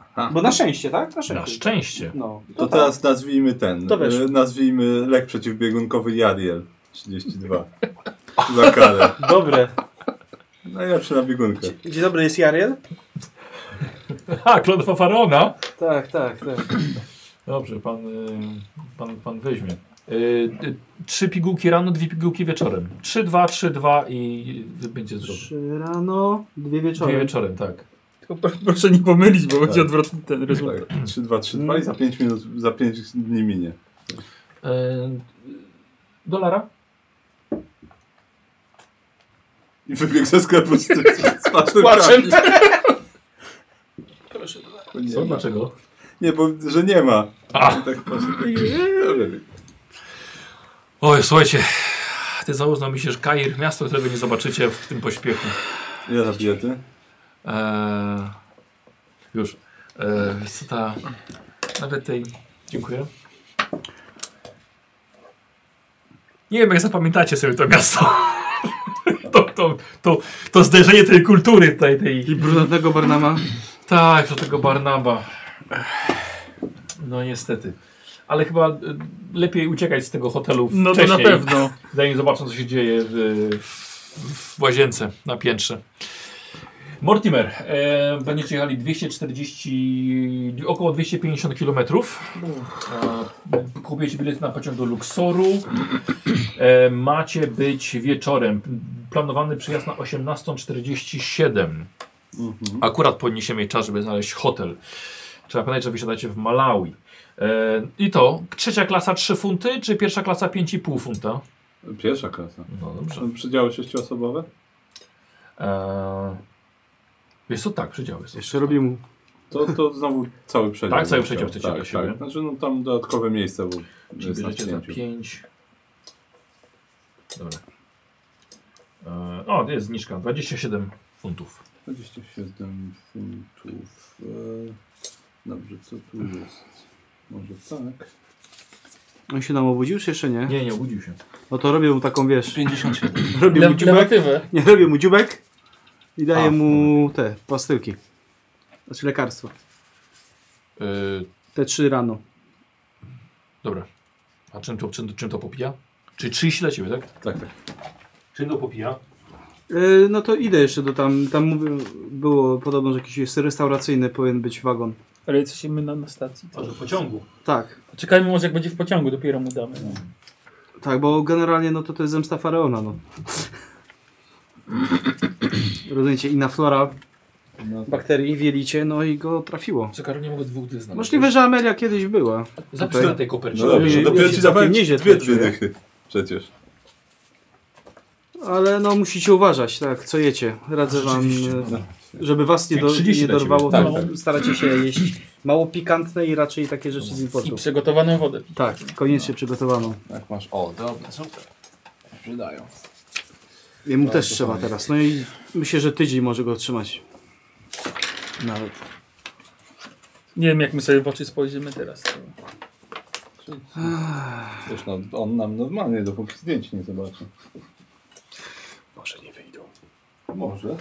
C: Aha.
B: Bo na szczęście, tak? Na
A: Na
B: szczęście.
A: szczęście.
B: No.
C: To teraz
A: tak.
C: nazwijmy ten.
B: To wiesz.
C: e, Nazwijmy lek przeciwbiegunkowy Jadiel 32. <laughs> Za karę.
B: Dobre.
C: Najlepszy na biegunkę.
B: Dzień dobry, jest Jariel?
A: Ha, klątwa Farona.
B: Tak, tak, tak.
A: Dobrze, pan, y, pan, pan weźmie. Y, y, Trzy pigułki rano, dwie pigułki wieczorem. Trzy, dwa, trzy, dwa i y, będzie zdrowy.
B: Trzy rano, dwie
A: Dwie
B: wieczorem.
A: wieczorem, tak.
D: Tylko pro- proszę nie pomylić, bo będzie odwrotny ten rezultat.
C: Tak. 3, 2, 3, 2 i
A: Mm.
C: za 5 minut, za 5 dni minie.
A: Y, Dolara?
C: I wybiegł ze sklepu z, tym-
A: <laughs>
C: z pasztetami.
A: Co?
C: Nie, ma.
A: Dlaczego?
C: nie, bo że nie ma.
A: A.
C: I Tak po prostu. Dobra.
A: Oj, słuchajcie. Ty założno mi się, że Kair, miasto, którego nie zobaczycie w tym pośpiechu.
C: Ile za bilety?
A: Eee, już. Eee, wiesz co ta... Nawet tej... Dziękuję. Nie wiem, jak zapamiętacie sobie <laughs> to miasto.
F: to, to, to, to zderzenie tej kultury tutaj, tej...
E: I brunatnego Barnama.
F: Tak, do tego Barnaba. No niestety.
A: Ale chyba y, lepiej uciekać z tego hotelu
F: No
A: wcześniej,
F: to na pewno.
A: zanim zobaczą, co się dzieje w, w łazience na piętrze. Mortimer, e, będziecie jechali 240, około 250 km. E, kupujecie bilet na pociąg do Luxoru. E, macie być wieczorem. Planowany przyjazd na 18.47.
C: Mhm.
A: Akurat podniesiemy jej czas, żeby znaleźć hotel. Trzeba pamiętać, że wysiadacie w Malawi. E, I to trzecia klasa 3 funty, czy pierwsza klasa 5,5 funta?
C: Pierwsza klasa.
A: No dobrze.
C: Przedziały sześcioosobowe?
A: E, wiesz co, tak, przedziały są.
E: Jeszcze robię mu.
C: To, to znowu cały przedział.
A: Tak, cały przedział chcecie
C: tak,
A: dla siebie.
C: Tak. Znaczy no tam dodatkowe miejsce, bo
A: Czyli
C: jest na
A: bierzecie za
C: przyjęciu.
A: 5. Dobra. E, o, jest zniżka, 27 funtów.
C: 27 funtów. E, Dobrze, co tu jest? Może tak.
B: On się nam obudził, czy jeszcze nie?
A: Nie, nie, obudził się.
B: No to robię mu taką, wiesz,
E: 57.
B: robię mu dziubek,
D: Lewatywę.
B: nie, robię mu dziubek i daję
A: A,
B: mu te pastylki. Znaczy lekarstwo.
A: E,
B: Te trzy rano.
A: dobra. A czym to, czym, czym to popija? Czy 30 dla ciebie, tak?
C: Tak, tak.
A: Czym to popija?
B: E, No to idę jeszcze do tam, tam mówię- było podobno, że jakiś jest restauracyjny powinien być wagon.
D: Ale co się my na, na stacji?
A: Może w pociągu.
B: Tak,
D: Czekajmy może jak będzie w pociągu, dopiero mu damy.
B: tak, bo generalnie no to to jest zemsta Faraona, no. Rozumiecie, inna flora bakterii w jelicie, no i go trafiło.
A: Co, Karol, nie mogę dwóch dni znaleźć.
B: Możliwe, że Amelia kiedyś była.
A: Zapisz
B: Tutaj.
A: na tej kopercie.
C: No dobrze,
B: ja
C: dopiero
B: się całkiem
C: ci dawałem
B: nieźle
C: dwie, dwie
B: czuję.
C: dychy. Przecież.
B: Ale no musicie uważać, tak, co jecie. Radzę wam,
A: Rzeczywiście,
B: e,
C: no.
B: żeby was nie, do,
C: 30
B: nie
C: dla
B: dorwało,
C: ciebie.
B: to
C: Tak,
B: staracie się jeść mało pikantne i raczej takie rzeczy z
D: I
B: importu.
D: przygotowaną wodę.
B: Tak, koniecznie przygotowaną.
C: Tak masz. O, dobra, super. Przydają.
B: Jemu też
C: to
B: trzeba
C: fajnie.
B: teraz. No i myślę, że tydzień może go trzymać. Nawet.
D: Nie wiem jak my sobie w oczy spojrzymy teraz.
C: Wiesz, no, on nam normalnie, dopóki zdjęć nie zobaczy. Może nie wyjdą. Może.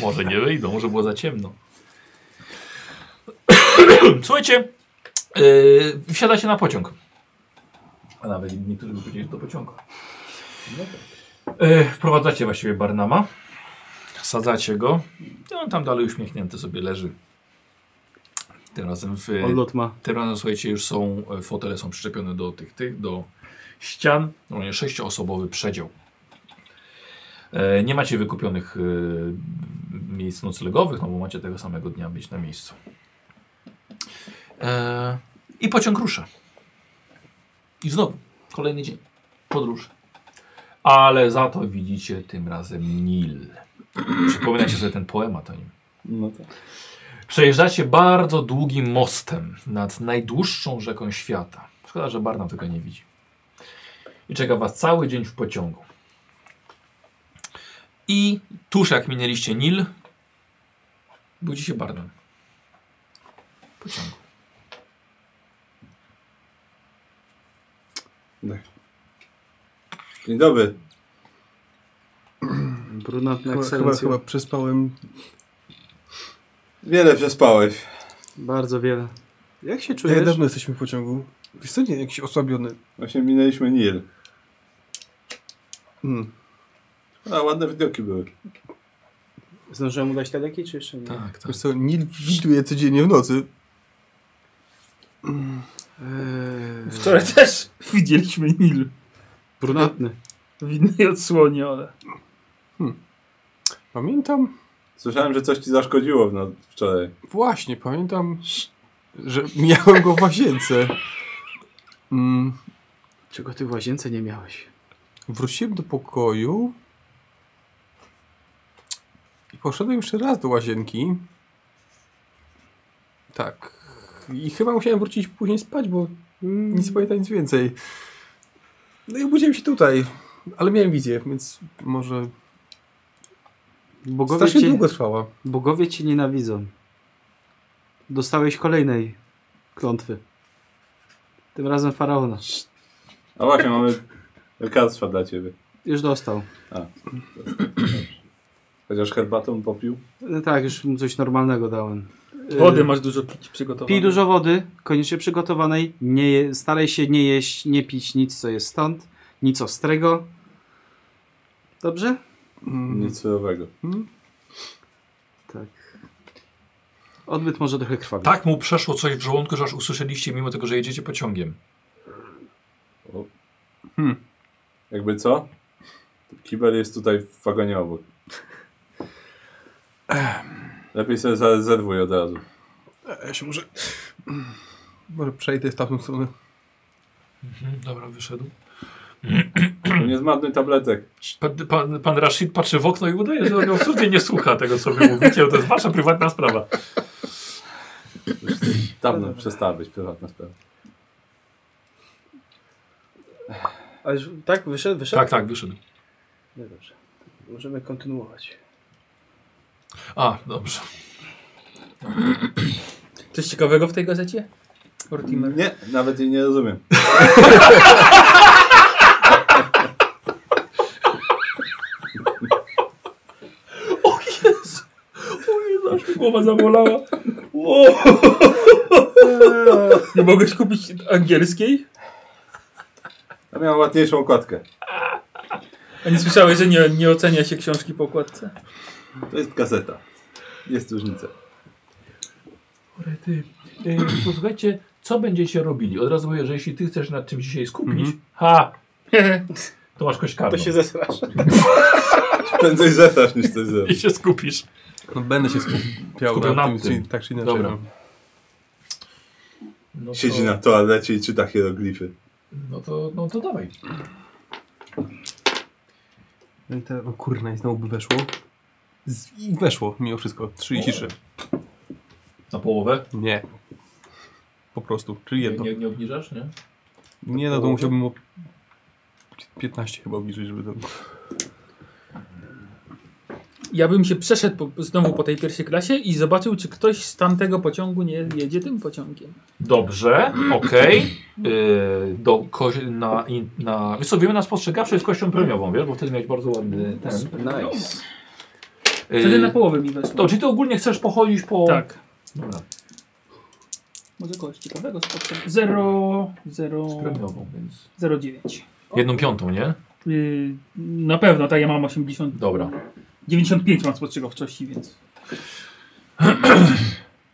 A: Może nie wyjdą, może było za ciemno. <coughs> Słuchajcie, yy, wsiadacie na pociąg. A nawet niektórzy by powiedzieli, że No do pociągu. Yy, wprowadzacie właściwie Barnama. Sadzacie go. I on tam dalej uśmiechnięty sobie leży. Tym razem w,
B: Odlot ma.
A: tym razem słuchajcie, już są e, fotele są przyczepione do tych, tych do ścian. Normalnie sześcioosobowy przedział. E, nie macie wykupionych e, miejsc noclegowych, no bo macie tego samego dnia być na miejscu. E, I pociąg rusza. I znowu kolejny dzień podróży. Ale za to widzicie tym razem Nil. Przypominacie sobie ten poemat o nim.
C: No tak.
A: Przejeżdżacie bardzo długim mostem nad najdłuższą rzeką świata. Szkoda, że Barna tego nie widzi. I czeka Was cały dzień w pociągu. I tuż jak minęliście Nil, budzi się Barnum. W Pociągu.
C: Dzień dobry.
B: Brunatny
E: Chyba, chyba,
B: ekscelencja.
E: chyba przespałem.
C: Wiele przespałeś.
B: Bardzo wiele. Jak się
E: Jak
B: czujesz?
E: dawno jesteśmy w pociągu? Wiesz co, nie, jakiś osłabiony.
C: Właśnie minęliśmy Nil.
E: Mm.
C: A ładne widoki były.
B: Zdążyłem mu dać te leki, czy jeszcze nie?
A: Tak, tak.
E: Wiesz co, Nil widuje codziennie w nocy.
B: Eee,
D: Wczoraj też widzieliśmy Nil
B: brunatny.
D: w innej odsłonie, ale
E: Pamiętam,
C: Słyszałem, że coś ci zaszkodziło w noc wczoraj.
E: właśnie pamiętam, że miałem go w łazience. Mm.
B: Czego ty w łazience nie miałeś?
E: Wróciłem do pokoju i poszedłem jeszcze raz do łazienki. Tak. I chyba musiałem wrócić później spać, bo nic nie pamiętam nic więcej. No i obudziłem się tutaj, ale miałem wizję, więc może
B: Bogowie
E: strasznie
B: cię,
E: długo trwała.
B: bogowie cię nienawidzą. Dostałeś kolejnej klątwy. Tym razem faraona.
C: A właśnie, mamy lekarstwa dla ciebie.
B: Już dostał.
C: Chociaż herbatą popił.
B: No tak, już mu coś normalnego dałem. Y,
D: Wody masz dużo pić przygotowane.
B: Pij dużo wody, koniecznie przygotowanej. Nie je, staraj się nie jeść, nie pić nic, co jest stąd. Nic ostrego. Dobrze?
E: Mm.
C: Nic surowego.
B: Tak. Odbyt może trochę krwawi.
F: Tak mu przeszło coś w żołądku, że aż usłyszeliście, mimo tego, że jedziecie pociągiem.
C: Jakby co? Kibel jest tutaj w wagonie obok. Lepiej sobie za- zerwuj od razu.
E: E, Ja się może... Może przejdę w tamtą stronę.
F: Mhm, dobra, wyszedł.
C: Nie zmarnuj tabletek.
F: Pan, pan, pan Rashid patrzy w okno i udaje, że on absolutnie nie słucha tego, co wy mówicie, bo to jest wasza prywatna sprawa.
C: Już Dawno przestała być prywatna sprawa.
B: Ale już- tak, wyszedł, wyszedł?
F: Tak, tak, wyszedł.
B: No dobrze. Możemy kontynuować.
F: A, dobrze.
D: Coś ciekawego w tej gazecie?
B: <laughs>
D: Mortimer.
C: Nie, nawet jej nie rozumiem.
D: Aż mi głowa zabolała. O! Nie mogłeś kupić angielskiej?
C: A miała ładniejszą okładkę.
D: A nie słyszałeś, że nie, nie ocenia się książki po okładce?
C: To jest gazeta. Jest różnica.
A: Kurde, ty. Ej, Posłuchajcie, co będziecie robili? Od razu mówię, że jeśli ty chcesz nad czymś dzisiaj skupić,
F: Mhm. <laughs>
A: ha! To masz kość karną.
B: To się zesrasz.
C: Prędzej zetasz niż coś
F: I
C: zrobisz.
F: się skupisz.
E: No będę się skupiał
F: Skupiał
E: na
F: na
E: tym,
F: tym.
E: czy, tak czy inaczej.
F: Dobra.
E: No.
F: No to,
C: Siedzi na toalecie i czyta hieroglify.
F: No to, no to dawaj.
E: No i teraz, no kurna, i znowu by weszło. Z, I weszło mimo wszystko. 33.
F: Na połowę.
E: Nie. Po prostu, czyli
F: Nie,
E: jedno.
F: nie, nie obniżasz, nie?
E: Nie, no to musiałbym o 15 chyba obniżyć, żeby to...
D: Ja bym się przeszedł po, znowu po tej pierwszej klasie i zobaczył, czy ktoś z tamtego pociągu nie jedzie tym pociągiem.
C: <clears throat>
A: Dobrze, okej. Yy, do ko- na, in- na, wiesz co, wiemy na spostrzegawczy jest kością premiową, wiesz, bo wtedy miałeś bardzo ładny ten.
C: E,
B: Nice.
D: Wtedy
B: Y-
D: na
A: Yy,
D: połowę mi weszło.
A: to, czyli ty ogólnie chcesz pochodzić po...
D: Tak.
A: Dobra,
D: Może kogoś ciekawego spotkać. 0, 0,
A: z premiową, więc...
D: 0, 9.
A: Jedną piątą, nie?
D: Yy, na pewno, tak, ja mam 80.
A: Dobra.
D: 95 mam spostrzegawczości, więc.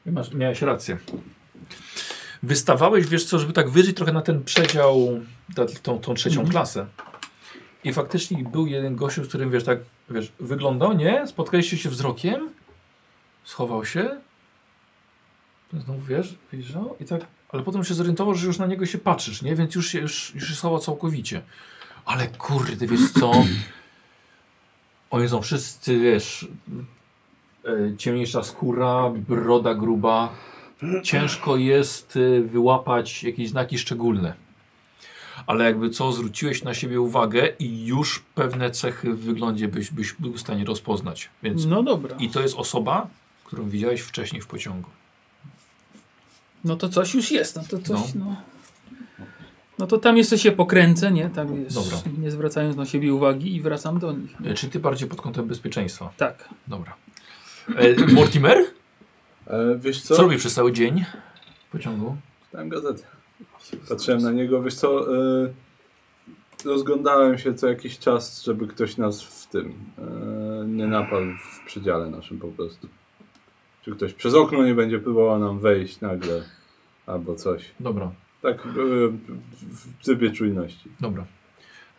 A: Masz, miałeś rację. Wystawałeś, wiesz co, żeby tak wyżyć trochę na ten przedział, ta, tą, tą trzecią klasę. I faktycznie był jeden gościu, z którym, wiesz, tak, wiesz, wyglądał, nie? Spotkaliście się wzrokiem, schował się, potem znowu, wiesz, wyjrzał i tak, ale potem się zorientował, że już na niego się patrzysz, nie? Więc już się, już, już się schował całkowicie. Ale kurde, wiesz co? Oni są wszyscy, wiesz, e, ciemniejsza skóra, broda gruba. Ciężko jest e, wyłapać jakieś znaki szczególne. Ale jakby co, zwróciłeś na siebie uwagę i już pewne cechy w wyglądzie byś, byś był w stanie rozpoznać. Więc
D: No dobra.
A: I to jest osoba, którą widziałeś wcześniej w pociągu.
D: No to coś już jest, no to coś, no. no. to tam jeszcze się pokręcę, nie? Tak wiesz,
A: Dobra.
D: nie zwracając na siebie uwagi i wracam do nich.
A: E, Czyli ty bardziej pod kątem bezpieczeństwa.
D: Tak.
A: Dobra. E, <clears throat> Mortimer?
C: E, wiesz
A: Co,
C: co?
A: co robisz przez cały dzień w pociągu?
C: Czytałem gazetę. Patrzyłem na niego, wiesz co? y, rozglądałem się co jakiś czas, żeby ktoś nas w tym y, nie napadł w przedziale naszym po prostu. Czy ktoś przez okno nie będzie próbował nam wejść nagle albo coś.
A: Dobra,
C: Tak y, w- w trybie czujności.
A: dobra.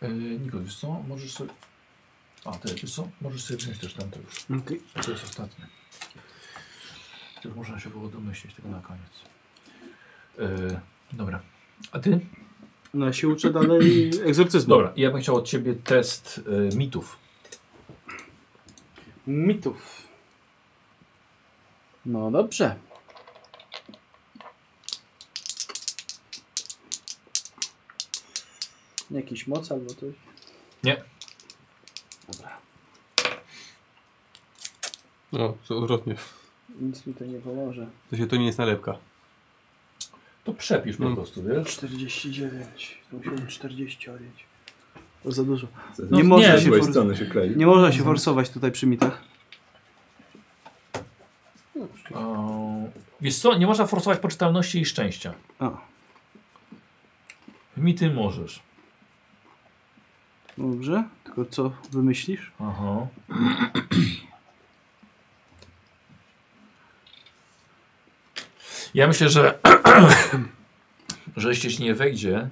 A: E, Niko, wiesz co? Możesz sobie... A, ty, wiesz co? Możesz sobie wziąć też tamto już.
B: Okay.
A: To jest ostatnie. To już można się było domyśleć tego na koniec. E, dobra. A ty?
B: No ja się uczę dalej egzorcyzmu.
A: Dobra, ja bym chciał od ciebie test e, mitów.
B: <clears throat> Mitów. No dobrze. Jakiś moc albo coś?
A: Nie.
E: No, to odwrotnie.
B: Nic mi to nie pomoże.
E: To się to nie jest nalepka.
A: To przepisz po
E: Mm.
A: prostu, wiesz?
B: 49. To musiałem 40 odjąć. To za dużo.
C: Z-
D: No,
C: z-
B: nie można
C: z
B: się
C: złej
B: por-
C: strony się klei.
B: Nie można się forsować tutaj przy mitach.
A: Eee, Wiesz co, nie można forsować poczytalności i szczęścia.
B: A,
A: Mity możesz.
B: dobrze. Tylko co wymyślisz?
A: Aha. Ja myślę, że, <clears throat> że jeśli ci nie wejdzie,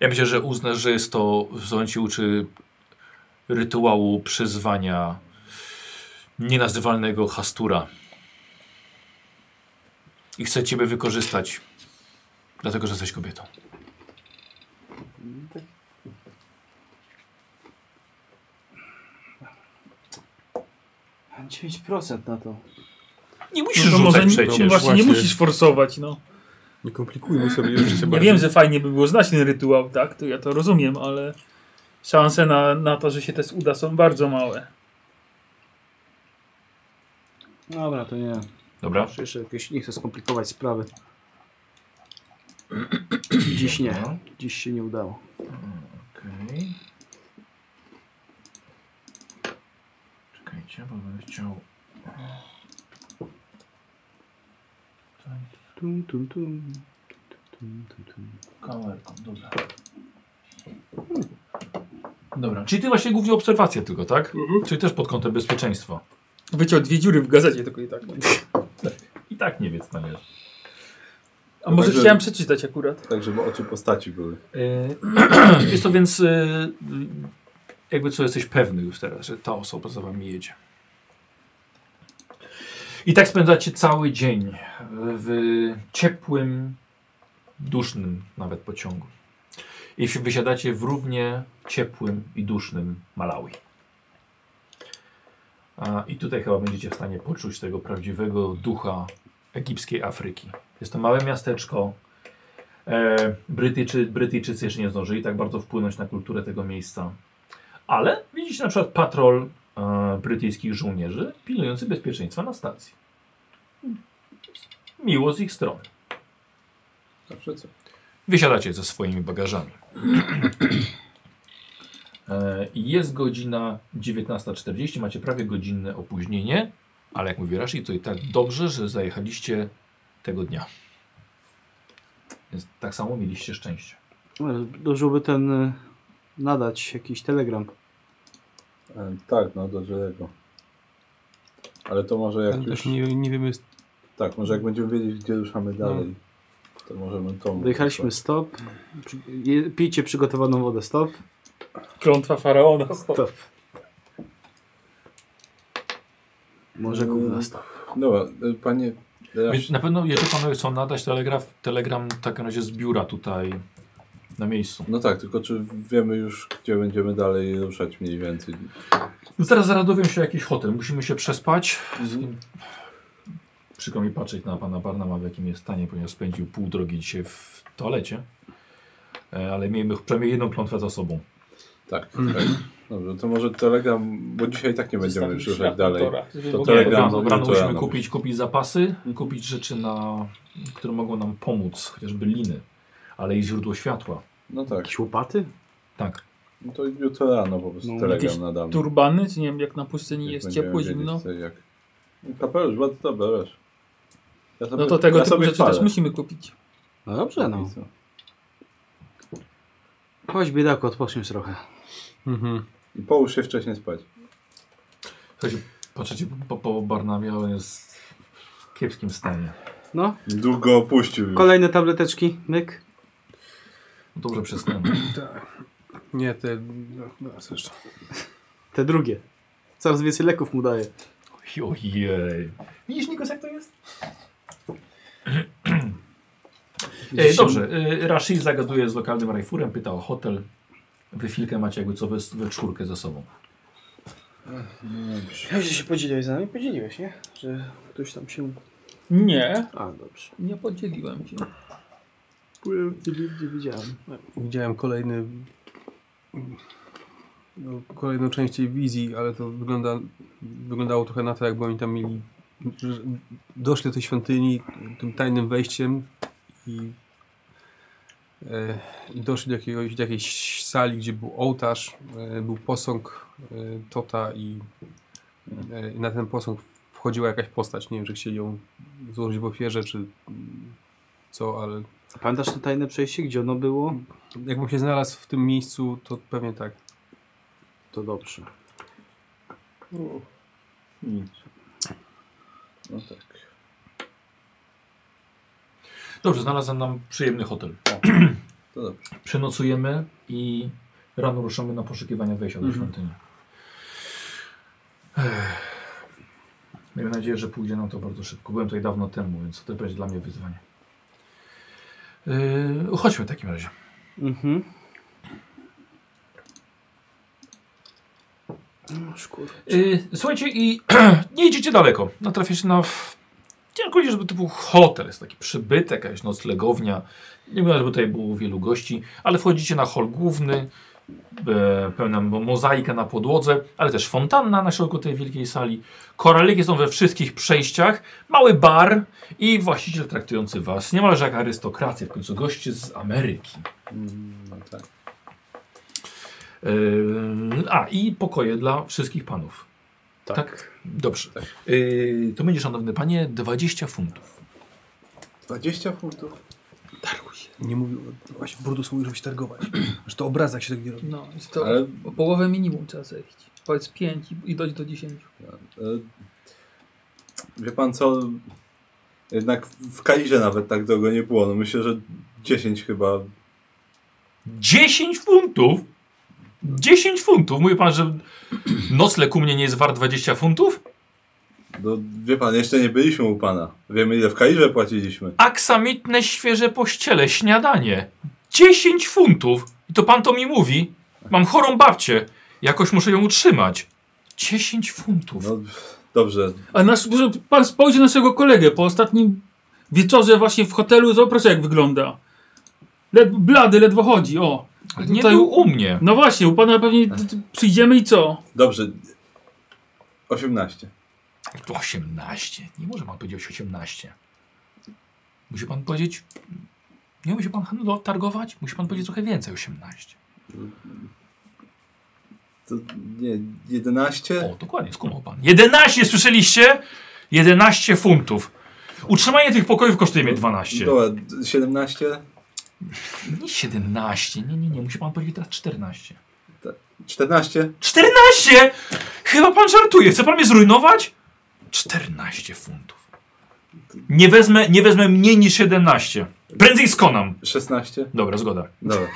A: ja myślę, że uznasz, że jest to, że on ci uczy rytuału przyzwania nienazywalnego Hastura. I chce ciebie wykorzystać, dlatego że jesteś kobietą.
B: Mam 9% na to.
A: Nie
D: No
A: musisz
D: to
A: rzucać
D: może nie-
A: przecież.
D: Właśnie,
E: Właśnie.
D: nie musisz forsować, no.
E: Nie komplikujmy sobie jeszcze się
D: Ja wiem, że fajnie by było znać ten rytuał, tak? To ja to rozumiem, ale szanse na, na to, że się test uda są bardzo małe.
B: Dobra, to nie.
A: Dobra.
B: Muszę jeszcze jakieś, nie chcę skomplikować sprawy. Dziś nie.
A: Dobra,
B: Dziś się nie udało.
A: Okej. Czekajcie, bo będę chciał...
B: Tum, tum, tum. Tum, tum, tum.
A: Kamerką, dobra. Dobra, czyli ty właśnie głównie obserwacja tylko, tak?
B: Mhm.
A: Czyli też pod kątem bezpieczeństwa.
D: Wyciął dwie dziury w gazecie tylko i tak.
A: I tak nie wiec tam jest.
D: A może
C: Także-
D: chciałem przeczytać akurat.
C: Tak, żeby oczy postaci były.
A: Y, <clears throat> Jest to więc y, jakby co jesteś pewny już teraz, że ta osoba za wami jedzie. I tak spędzacie cały dzień w ciepłym, dusznym nawet pociągu. I wsi- wysiadacie w równie ciepłym i dusznym Malawi. A, I tutaj chyba będziecie w stanie poczuć tego prawdziwego ducha egipskiej Afryki. Jest to małe miasteczko. E, Brytyjczy, Brytyjczycy jeszcze nie zdążyli tak bardzo wpłynąć na kulturę tego miejsca. Ale widzicie na przykład patrol e, brytyjskich żołnierzy pilnujący bezpieczeństwa na stacji. Miło z ich strony.
C: Zawsze co?
A: Wysiadacie ze swoimi bagażami. E, Jest godzina 19.40, macie prawie godzinne opóźnienie, ale jak mówi Rashi, to i tak dobrze, że zajechaliście tego dnia. Więc tak samo mieliście szczęście.
B: Ale No, Dobrze by ten y, nadać jakiś telegram.
C: E, tak, no do żelego. Ale to może
E: Ale
C: jak
E: też
C: już...
E: nie, nie wiemy,
C: Tak, może jak będziemy wiedzieć, gdzie ruszamy
D: No.
C: dalej, to możemy to...
B: Dojechaliśmy stop. Przy- je- Pijcie przygotowaną wodę stop.
D: Klątwa faraona.
B: Stop. Może gówno stop.
C: Dobra, e, panie...
A: Więc na pewno, jeżeli panowie chcą nadać telegraf, telegram w takim razie z biura tutaj na miejscu.
C: No tak, tylko czy wiemy już, gdzie będziemy dalej ruszać mniej więcej?
A: Zaraz zaraz dowiem No się jakiś hotel. Musimy się przespać. Przykro mi patrzeć na pana Barnama, w jakim jest stanie, ponieważ spędził pół drogi dzisiaj w toalecie. E, Ale miejmy przynajmniej jedną klątwę za sobą.
C: Tak, tak. Dobrze, to może telegram, bo dzisiaj tak nie będziemy już ruszać dalej. To
A: Nie,
C: telegram
A: rano,
C: do
A: rano
C: jutra
A: musimy
C: rano.
A: kupić, kupić zapasy, kupić rzeczy, na, które mogą nam pomóc, chociażby liny, ale i źródło światła.
C: No tak,
B: Jakieś łopaty?
A: Tak.
C: no to jutro rano po prostu
B: No,
C: telegram
D: jakieś
C: nadamy.
D: Turbany, czy nie wiem, jak na pustyni
C: Jak
D: jest
C: będziemy
D: ciepło,
C: wiedzieć,
D: zimno.
C: co i Jak... No, Kapelusz, bardzo dobry, wiesz. Ja sobie-
D: No to tego
C: ja
D: typu
C: sobie
D: rzeczy
C: wpalę.
D: też musimy kupić.
B: No dobrze no. Chodź biedaku, odpoczniesz trochę.
E: Mhm.
C: I połóż się wcześniej spać.
A: Słuchajcie, patrzycie po, po Barnabie, ale on jest w kiepskim stanie.
B: No,
C: Długo opuścił. już.
B: kolejne tableteczki, myk.
A: No Dobrze przysnęło.
E: Nie, te... No, no, zresztą.
B: Te drugie. Coraz więcej leków mu daje.
A: Ojej. Widzisz, Nikos, jak to jest? E,
B: Dzisiaj-
A: dobrze, e, Rashid zagaduje z lokalnym rajfurem, pyta o hotel. Wy chwilkę macie jakby co we, we czwórkę ze sobą.
B: Dobrze się podzieliłeś z nami, podzieliłeś, nie? Że ktoś tam się...
D: Nie,
B: A, dobrze.
D: nie podzieliłem się.
B: Nie, nie widziałem.
E: Widziałem kolejny... No, kolejną część tej wizji, ale to wygląda, wyglądało trochę na to, jakby oni tam mieli... że Doszli do tej świątyni tym tajnym wejściem i E, I doszli do, jakiegoś, do jakiejś sali, gdzie był ołtarz, e, był posąg e, Tota i e, na ten posąg wchodziła jakaś postać. Nie wiem, czy chcieli ją złożyć w ofierze, czy mm, co, ale
B: A pamiętasz to tajne przejście, gdzie ono było?
E: jakbym się znalazł w tym miejscu, to pewnie tak.
B: To dobrze.
C: Nic. No tak.
A: Dobrze, znalazłem nam przyjemny hotel.
C: To dobrze.
A: Przenocujemy i rano ruszamy na poszukiwania wejścia do świątyni. Ech. Miejmy nadzieję, że pójdzie nam to bardzo szybko. Byłem tutaj dawno temu, więc to będzie dla mnie wyzwanie. Yy, chodźmy w takim razie.
B: Mhm. No, szkoda.
A: Yy, słuchajcie, i <clears throat> nie idziecie daleko. Natrafiacie na. w- Ciężko powiedzieć, żeby to był hotel. Jest taki przybytek, jakaś noclegownia. Nie wiem, żeby tutaj było wielu gości, ale wchodzicie na hol główny. E, pełna mo- mozaika na podłodze, ale też fontanna na środku tej wielkiej sali. Koraliki są we wszystkich przejściach. Mały bar i właściciel traktujący was niemalże jak arystokrację. W końcu goście z Ameryki.
C: Mm, No tak.
A: Yy, a i pokoje dla wszystkich panów. Tak. Dobrze. Yy, to będzie, szanowny panie, 20 funtów.
C: 20 funtów.
E: Nie mówił, właśnie Brutus mówił, żeby się targować. <clears throat> Że to obraza, jak się tak nie robi.
D: No, jest to
C: Ale-
D: o połowę minimum trzeba zejść. Powiedz 5 i, i dojść do 10.
C: E, Wie pan co? Jednak w Kairze nawet tak długo nie było. No myślę, że 10 chyba.
A: 10 funtów? 10 funtów? Mówi pan, że nocleg u mnie nie jest wart 20 funtów?
C: No, wie pan, jeszcze nie byliśmy u pana. Wiemy ile w Kairze płaciliśmy.
A: Aksamitne świeże pościele, śniadanie. 10 funtów! I to pan to mi mówi? Mam chorą babcię. Jakoś muszę ją utrzymać. 10 funtów.
C: No dobrze.
G: A nasz, może pan spojrzy na naszego kolegę po ostatnim wieczorze właśnie w hotelu. Zobacz jak wygląda. Led, blady, ledwo chodzi, o.
A: Ale nie
G: tutaj-
A: był u mnie.
G: No właśnie, u pana pewnie
C: Tak.
G: t- t- przyjdziemy i co?
C: Dobrze. 18.
A: 18. Nie może pan powiedzieć 18. Musi pan powiedzieć. Nie musi pan handlo- targować? Musi pan powiedzieć trochę więcej 18.
C: To nie, 11?
A: O, dokładnie, skumał pan. 11 słyszeliście? 11 funtów. Utrzymanie tych pokojów kosztuje mnie 12.
C: Dobra, 17?
A: Nie 17, nie, nie, nie. Musi pan powiedzieć teraz 14.
C: 14?
A: 14? Chyba pan żartuje. Chce pan mnie zrujnować? 14 funtów. Nie wezmę, nie wezmę mniej niż 17. Prędzej skonam.
C: 16?
A: Dobra, zgoda.
C: Dobra.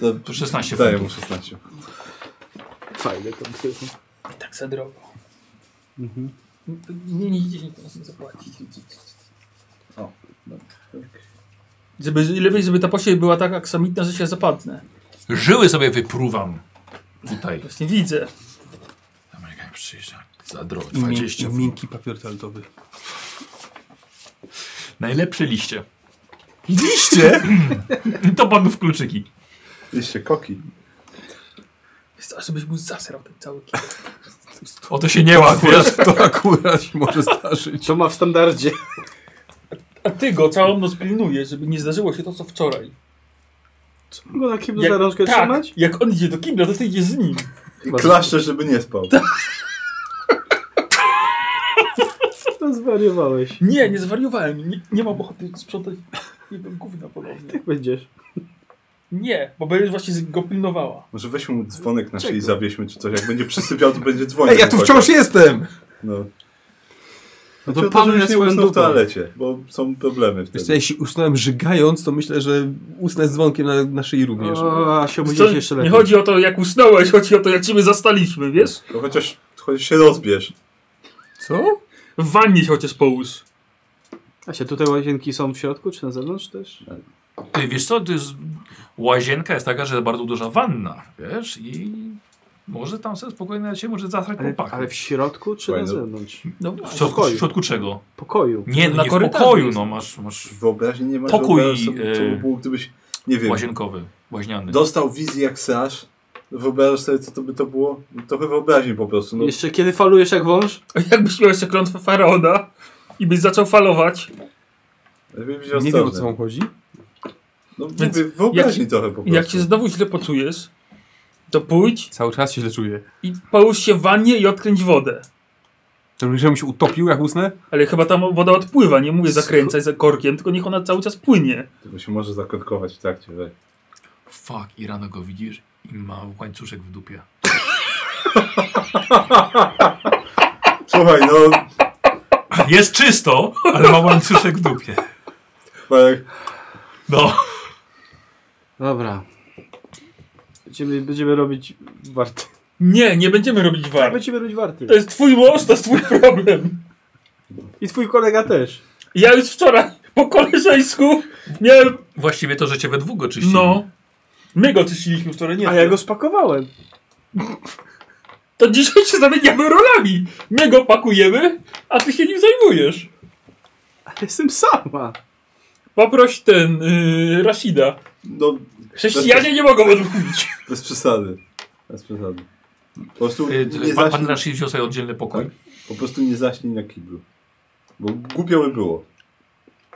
C: To
A: To 16
C: daję
A: funtów.
C: mu 16.
B: Fajne to było.
D: I tak za drogo.
B: Mhm.
D: Nie, nie 10 to musimy zapłacić.
G: Żeby, lepiej, żeby ta posiedź była tak aksamitna, że się zapadnę.
A: Żyły sobie wypruwam. Tutaj.
G: Właśnie widzę.
A: Amerykanie przyjeżdża za drogo.
E: I mięk-
A: 20
E: i miękki papier toaletowy. <laughs>
A: Najlepsze liście. Liście? <laughs> to panu w kluczyki.
C: Liście koki.
D: Jest, a żebyś mu zasrał ten cały kij.
A: O to się nie łatwiej.
E: To akurat się może zdarzyć.
B: Co ma w standardzie?
G: A ty go całą noc pilnujesz, żeby nie zdarzyło się to, co wczoraj.
B: Go na kiblu No za rączkę
G: tak,
B: trzymać?
G: jak on idzie do kibla, to ty idziesz z nim.
C: I klaszcze, żeby nie spał.
B: No zwariowałeś.
G: Nie, nie zwariowałem. Nie, nie mam ochoty sprzątać jego gówna ponownie.
B: Jak będziesz?
G: Nie, bo będziesz właśnie z- go pilnowała.
C: Może weźmy mu dzwonek na szyi, zawieźmy czy coś. Jak będzie przysypiał, to będzie dzwonił.
E: jestem!
C: No,
B: No
C: to
B: panuj
C: panuj
B: nad
C: nie
B: swoją
C: usnął w
B: dupą.
C: toalecie, bo są problemy
E: Wiesz co,
C: wtedy.
E: jeśli usnąłem żygając, to myślę, że usnę z dzwonkiem na, na szyi również.
B: O, a się
G: Co-
B: obudziłeś jeszcze
G: nie
B: lepiej.
G: chodzi o to, jak usnąłeś, chodzi o to, jak ciebie zastaliśmy, wiesz?
C: No chociaż, chociaż się rozbierz.
E: Co?
G: W wannie się chociaż połóż.
B: A się tutaj łazienki są w środku, czy na zewnątrz też?
A: Ty, wiesz co, to jest... łazienka jest taka, że bardzo duża wanna. Wiesz i... Może tam sobie spokojnie na ciebie może zasrać
B: Ale,
A: chłopaka.
B: ale w środku, czy na
C: Fajne.
B: zewnątrz?
D: No
A: w,
D: właśnie.
A: środku, w
B: pokoju.
A: środku czego?
B: Pokoju.
A: Nie, no
D: Na
A: nie w
D: korytarzu
A: pokoju,
D: jest.
A: no masz, masz
C: Wyobraźni nie masz
A: Pokój,
C: wyobraź sobie, co
A: e,
C: by było, gdybyś, nie wiem,
A: łazienkowy, łaźniany.
C: dostał wizję jak Sasz. Wyobrażasz sobie, co to by to było? No Trochę wyobraźni po prostu. No,
B: Jeszcze kiedy falujesz jak wąż?
G: A jakbyś miał jeszcze klątwę faraona i byś zaczął falować,
C: lepiej być
E: Nie wiem o co
C: ostrożny.
E: wam chodzi.
C: No,
D: Więc
C: mówię, wyobraźni trochę po prostu.
D: Jak się znowu źle poczujesz, to pójdź
E: Cały czas się źle czuję.
D: i połóż się w wannie i odkręć wodę.
E: To już żebym się utopił jak usnę?
D: Ale chyba tam woda odpływa, nie mówię zakręcać za korkiem, tylko niech ona cały czas płynie.
C: Tylko się może zakorkować w trakcie, weź.
A: Fuck, i rano go widzisz i ma łańcuszek w dupie.
C: Słuchaj, no,
A: Jest czysto, ale ma łańcuszek w dupie.
C: Marek,
A: No.
B: Dobra. Będziemy, będziemy robić warty.
D: Nie, nie będziemy robić
B: <laughs>
D: war.
B: Będziemy robić warty.
D: To jest twój mąż, to jest twój problem.
B: I twój kolega też.
D: Ja już wczoraj po koleżeńsku miałem...
A: Właściwie to, że cię we dwóch go czyścili.
D: No. My go czyściliśmy wczoraj, nie
B: A
D: ty.
B: ja go spakowałem.
D: To dzisiaj się zamieniamy rolami. My go pakujemy, a ty się nim zajmujesz.
B: Ale jestem sama.
D: Poproś ten, yy, Rashida.
C: no,
D: Chrześcijanie nie mogą odmówić.
C: bez przesady. Bez przesady. Po prostu
A: Y,
C: nie
A: Pan, pan
C: zaśnij,
A: Rashid wziął sobie oddzielny pokój.
C: po prostu nie zaśnij na kiblu. Bo głupio by było.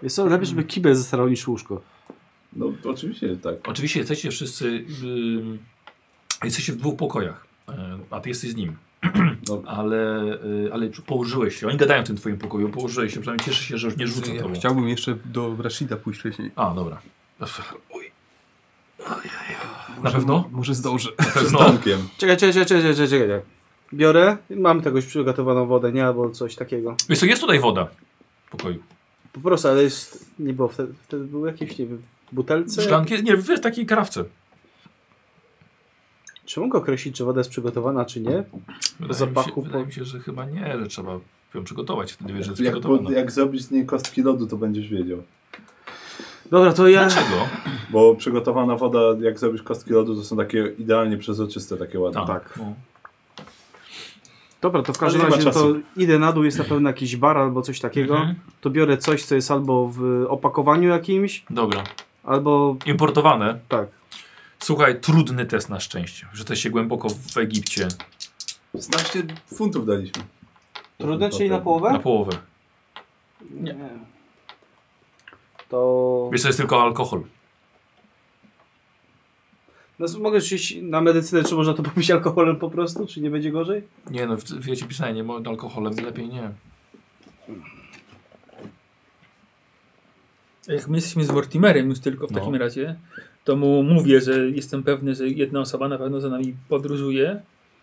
B: Jest to lepiej, żeby kibel zasrał niż łóżko.
C: No, oczywiście, że tak.
A: Oczywiście jesteście wszyscy... ym, jesteście w dwóch pokojach. E, a ty jesteś z nim.
C: No,
A: Ale, y, ale położyłeś się. Oni gadają w tym twoim pokoju. Położyłeś się. Przynajmniej cieszę się, że już nie rzucą
E: Ja
A: tobą.
E: chciałbym jeszcze do Rashida pójść wcześniej.
A: A, dobra. Oj. Na pewno?
E: Może zdążę.
A: Na pewno.
C: Stankiem.
B: Czekaj, czekaj, czekaj, czekaj, czekaj, czekaj. Biorę. Mam tegoś przygotowaną wodę, nie? Albo coś takiego.
A: Wiesz co, jest tutaj woda w pokoju.
B: Po prostu, ale jest... Nie było wtedy, wtedy były jakieś, nie wiem, butelce?
A: Szklanki? Nie, wiesz, takiej krawce.
B: Czy mogę określić, czy woda jest przygotowana, czy nie?
A: Wydaje, mi, się,
B: Zapachu po-
A: wydaje mi się, że chyba nie, że trzeba ją przygotować. Wtedy wiesz, że jest
C: Jak, po-
A: przygotowana.
C: jak zrobić z niej kostki lodu, to będziesz wiedział.
B: Dobra, to ja...
A: Dlaczego?
C: Bo przygotowana woda, jak zrobisz kostki lodu, to są takie idealnie przezroczyste, takie ładne.
A: Tak. No.
B: Dobra, to w każdym
C: Ale nie ma
B: razie no to
C: czasu.
B: idę na dół, jest na pewno jakiś bar albo coś takiego.
A: Mhm.
B: To biorę coś, co jest albo w opakowaniu jakimś,
A: Dobra.
B: albo
A: Importowane.
B: tak.
A: Słuchaj, trudny test na szczęście. Rzucę się głęboko w Egipcie.
C: 16 funtów daliśmy.
B: Trudne, czyli na
A: Na
B: połowę?
A: połowę.
B: Nie. To...
A: Wiesz, to jest tylko alkohol.
B: No, mogę iść na medycynę, czy można to <laughs> popić alkoholem po prostu, czy nie będzie gorzej?
A: Nie no, w- wiecie, pisanie, nie, mo- alkoholem lepiej nie.
D: <laughs> Jak my jesteśmy z Mortimerem już tylko w
A: No.
D: takim razie, to mu mówię, że jestem pewny, że jedna osoba na pewno za nami podróżuje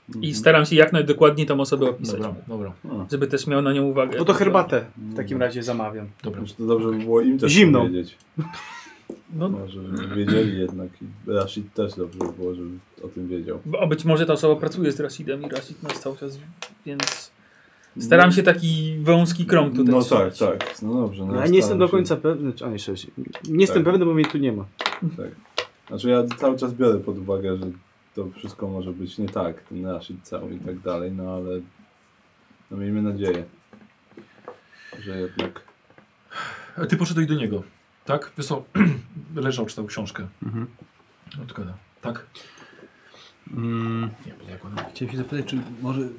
C: Mhm.
D: i staram się jak najdokładniej tą osobę opisać,
A: Dobra, dobra,
C: No,
D: żeby też miał na nią uwagę.
B: No to herbatę w takim razie zamawiam.
A: dobra.
C: Może to dobrze by było im też
B: Zimną.
C: powiedzieć.
D: No,
C: Może żeby wiedzieli jednak. I Rashid też dobrze by było, żeby o tym wiedział.
D: a być może ta osoba pracuje z Rashidem i Rashid nas cały czas, więc staram się taki wąski krąg tutaj
C: No tak,
D: trzymać.
C: tak. No dobrze.
B: No, Tak. ja
C: staram
B: nie jestem do
C: się.
B: końca pewny, czy... A nie, szczerze, nie jestem pewny, bo mnie tu nie ma.
C: Znaczy ja cały czas biorę pod uwagę, że to wszystko może być nie tak. Ten Rashid cały i tak dalej, no ale no miejmy nadzieję, że jednak...
A: A ty poszedłeś do niego, tak? Wiesz co, <clears throat> leżał, czytał książkę. No, tylko, no. tak?
E: Mm.
A: Nie, bo tak, no. jak on-
E: Chciałem się zapytać, czy może y,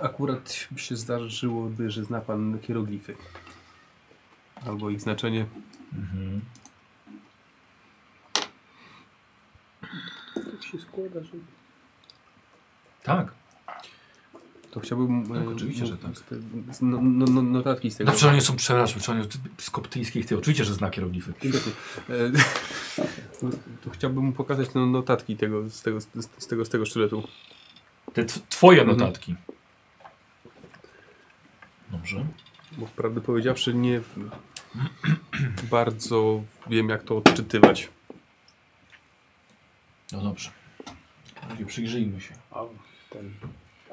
E: akurat się zdarzyłoby, że zna pan hieroglify? Albo ich znaczenie.
A: Mhm.
B: Tak się składa, że...
A: Tak.
E: To chciałbym.
A: Tak,
E: y,
A: oczywiście,
E: no,
A: że tak.
E: z te- z No, no, no, notatki z tego.
A: Dlaczego Znaczy, oni są przepraszam, czy oni od- z koptyjskich ty? Oczywiście, że zna kierownicy.
E: Dziękuję. <laughs> E, to, no, to chciałbym mu pokazać no, notatki tego, z, tego, z, z, tego, z tego sztyletu.
A: Te tw- twoje
E: Mhm.
A: notatki. Dobrze.
E: Bo prawdę powiedziawszy, nie bardzo wiem, jak to odczytywać.
A: No dobrze. Razie Przyjrzyjmy się.
B: A, ten...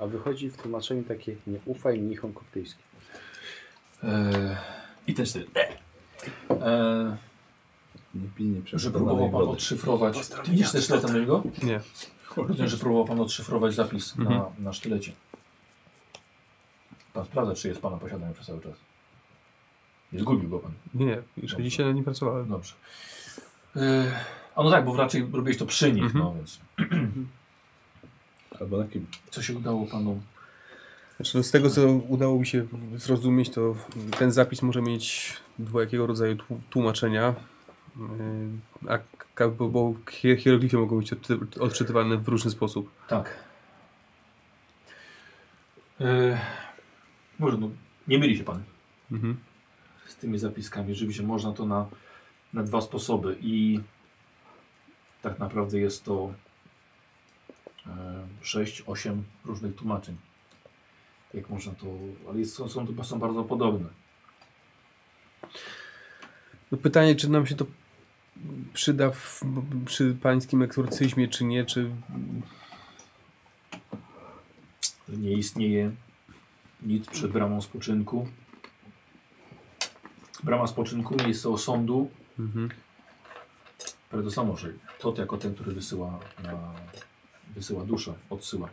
B: A wychodzi w tłumaczeniu takie, nie ufaj mnichom koptyjskim.
A: Eee, I też ty. Eee,
C: Nie pij, nie
A: że
C: przepadaj
A: próbował pan
C: wody.
A: odszyfrować. Ty widzisz też na niego?
E: Nie.
A: Rozumiem, że próbował pan odszyfrować zapis na, na sztylecie. Pan sprawdza, czy jest pana posiadany przez cały czas. Nie zgubił go pan. No
E: Nie, nie. Jeszcze dzisiaj na nim pracowałem.
A: Dobrze. Yy, a no tak, bo raczej robiłeś to przy nich,
E: Mhm.
A: no więc.
C: Albo na kim?
A: Co się udało panu?
E: Znaczy, no z tego, co udało mi się zrozumieć, to ten zapis może mieć dwojakiego rodzaju tłu- tłumaczenia. Yy, A, k- bo, bo hier- hieroglify mogą być odczy- odczytywane w różny sposób.
A: Tak. E, może no, nie myli się pan
E: Mhm.
A: z tymi zapiskami. Rzeczywiście można to na, na dwa sposoby i tak naprawdę jest to e, 6-8 różnych tłumaczeń. Jak można to, ale jest, są, są, to- są bardzo podobne.
E: No pytanie, czy nam się to przyda w, przy pańskim eksorcyzmie, czy nie, czy...
A: Nie istnieje nic przed bramą spoczynku. Brama spoczynku, miejsce osądu,
E: Mhm.
A: Ale to samo, że Tot jako ten, który wysyła, na, wysyła duszę, odsyła.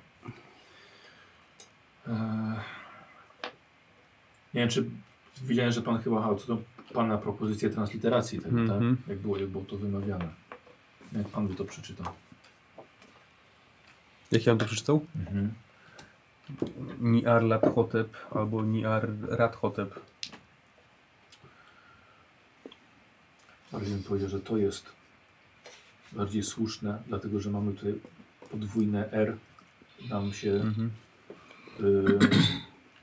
A: Eee, nie wiem, czy widziałem, że pan chyba hał, co to pana propozycję transliteracji, tak,
E: Mhm.
A: tak? Jak było, jak było to wymawiane. Jak pan by to przeczytał.
E: Jak ja bym to przeczytał? Niar Lathotep albo Niar Radhotep.
A: Bardziej bym powiedział, że to jest bardziej słuszne, dlatego że mamy tutaj podwójne R. Nam się.
E: Mhm.
A: y,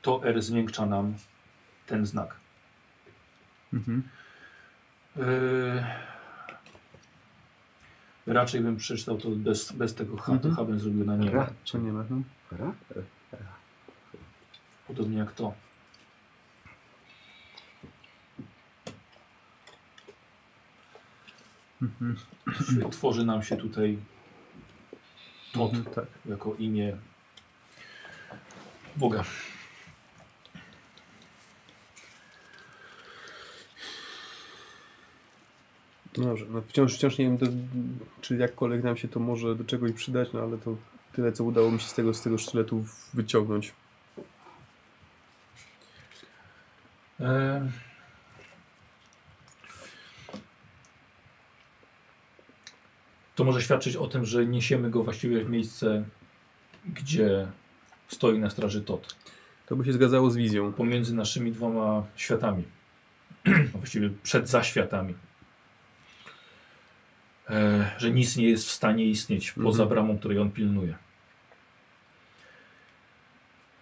A: to R zmiękcza nam ten znak.
E: Mhm.
A: Yy, Raczej bym przeczytał to bez, bez tego H, to
E: Mhm.
A: H bym zrobił na niego.
B: Ra.
E: Czy nie ma? No.
B: Ra?
A: Podobnie jak to. Czyli tworzy nam się tutaj Tot
E: Mhm, tak.
A: jako imię Boga.
E: No Dobrze, no wciąż, wciąż nie wiem, do, czy jakkolwiek nam się to może do czegoś przydać, no ale to tyle, co udało mi się z tego, z tego sztyletu wyciągnąć.
A: E, To może świadczyć o tym, że niesiemy go właściwie w miejsce, gdzie stoi na straży Tot.
E: To by się zgadzało z wizją.
A: Pomiędzy naszymi dwoma światami. <clears throat> A właściwie przed zaświatami. E, że nic nie jest w stanie istnieć poza
E: Mhm.
A: bramą, której on pilnuje.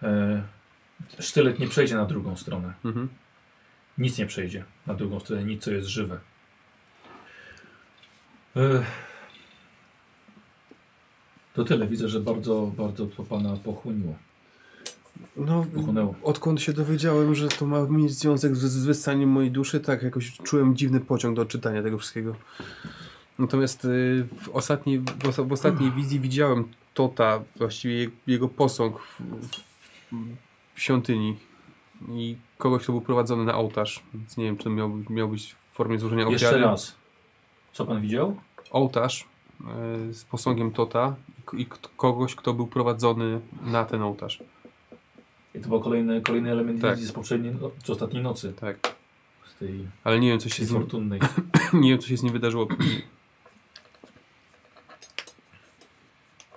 A: E, sztylet nie przejdzie na drugą stronę.
E: Mhm.
A: Nic nie przejdzie na drugą stronę, nic co jest żywe. Ech. To tyle. Widzę, że bardzo, bardzo to pana pochłoniło.
E: No,
A: Pochłonęło.
E: odkąd się dowiedziałem, że to ma mieć związek z, z wyssaniem mojej duszy, tak jakoś czułem dziwny pociąg do czytania tego wszystkiego. Natomiast y, w ostatniej, w, osa- w ostatniej wizji widziałem Tota, właściwie je- jego posąg w, w świątyni i kogoś, kto był prowadzony na ołtarz. Więc nie wiem, czy to miał, miał być w formie złożenia ofiary.
A: Jeszcze raz. Co pan widział?
E: Ołtarz y, z posągiem Tota i, k- i k- kogoś, kto był prowadzony na ten ołtarz.
A: I to był kolejny, kolejny element
E: Tak.
A: wizji z poprzedniej, no, z ostatniej nocy.
E: Tak.
A: Z tej,
E: Ale nie wiem, co się
A: tej
E: z nim
A: fortunnej.
E: <laughs> Nie wiem, co się z nim wydarzyło później.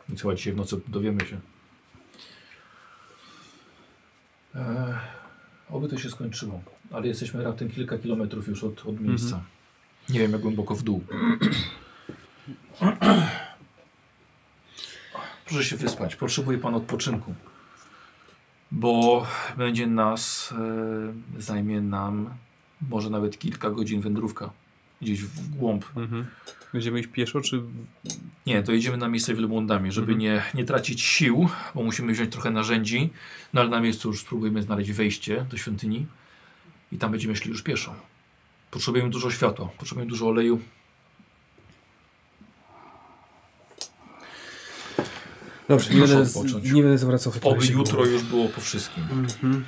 A: Więc chyba dzisiaj w nocy dowiemy się. Ech, E, oby to się skończyło. Ale jesteśmy raptem kilka kilometrów już od, od miejsca. Nie wiem, jak głęboko w dół. <clears throat> Proszę się wyspać. Potrzebuje pan odpoczynku. Bo będzie nas, e, zajmie nam może nawet kilka godzin wędrówka. Gdzieś w głąb
E: Będziemy iść pieszo, czy...
A: nie, to jedziemy na miejsce wielbłądami, żeby
E: Mhm.
A: nie, nie tracić sił, bo musimy wziąć trochę narzędzi. No ale na miejscu już spróbujemy znaleźć wejście do świątyni i tam będziemy szli już pieszo. Potrzebujemy dużo światła, potrzebujemy dużo oleju.
E: Dobrze,
A: Muszę odpocząć.
E: nie będę zwracał
A: Oby jutro już było po wszystkim.
E: Mhm.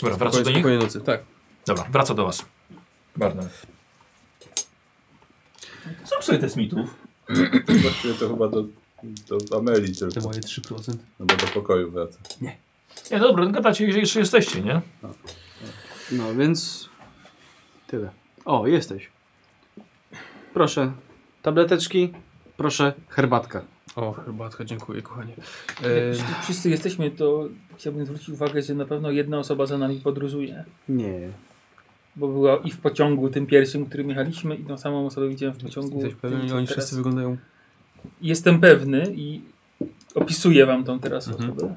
A: Dobra, wraca do
E: Spokojnie,
A: nich?
E: spokojnej nocy, tak.
A: Dobra, wraca do was. Barnum. Są sobie te mitów.
C: Właściwie to chyba do, do Ameli tylko,
E: moje 3%.
C: no bo do pokoju wraca.
A: Nie, dobra, gadacie, jeżeli jeszcze jesteście, nie?
B: No więc tyle. O, jesteś. Proszę, tableteczki, proszę, herbatka.
E: O, herbatka, dziękuję, kochanie. E,
D: Jeśli E, wszyscy jesteśmy, to chciałbym zwrócić uwagę, że na pewno jedna osoba za nami podróżuje.
B: Nie.
D: Bo była i w pociągu tym pierwszym, którym jechaliśmy, i tą samą osobę widziałem w pociągu.
E: Jesteś pewien,
D: tym,
E: i
D: co
E: oni
D: teraz.
E: wszyscy wyglądają.
D: Jestem pewny i opisuję wam tą teraz
E: Mhm.
D: osobę.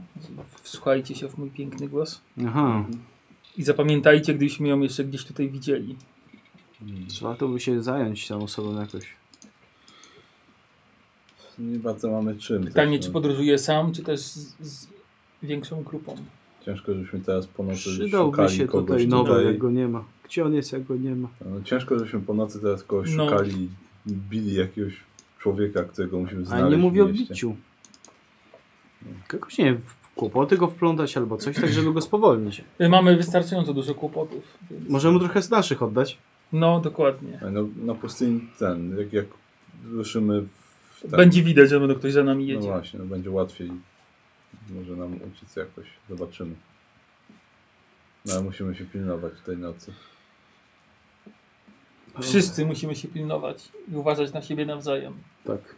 D: Wsłuchajcie się w mój piękny głos.
B: Aha,
D: I zapamiętajcie, gdybyśmy ją jeszcze gdzieś tutaj widzieli.
B: trzeba to by się zająć tą osobą jakoś.
C: Nie bardzo mamy czym.
D: Pytanie,
C: też,
D: czy
C: no.
D: podróżuję sam, czy też z, z większą grupą.
C: Ciężko, żebyśmy teraz po nocy
B: Przydałby
C: szukali
B: się
C: kogoś
B: tutaj nowy,
C: tutaj.
B: jak go nie ma. Gdzie on jest, jak go nie ma?
C: No, ciężko, żebyśmy po nocy teraz kogoś
D: No.
C: szukali, bili jakiegoś człowieka, którego musimy
B: A
C: znaleźć
B: nie
C: w
B: mówię o
C: mieście.
B: biciu. Jakoś nie wiem, w kłopoty go wplątać albo coś, tak żeby go spowolnić.
D: Y, Mamy wystarczająco dużo kłopotów. Więc...
B: Może mu trochę z naszych oddać.
D: No, dokładnie.
C: A No, na pustyni ten, jak, jak ruszymy w ten,
D: Będzie widać, że będą ktoś za nami
C: Tak. No
D: jedzie.
C: właśnie, no będzie łatwiej. Może nam uciec jakoś, zobaczymy. No ale musimy się pilnować tej nocy.
D: Wszyscy musimy się pilnować i uważać na siebie nawzajem.
B: Tak.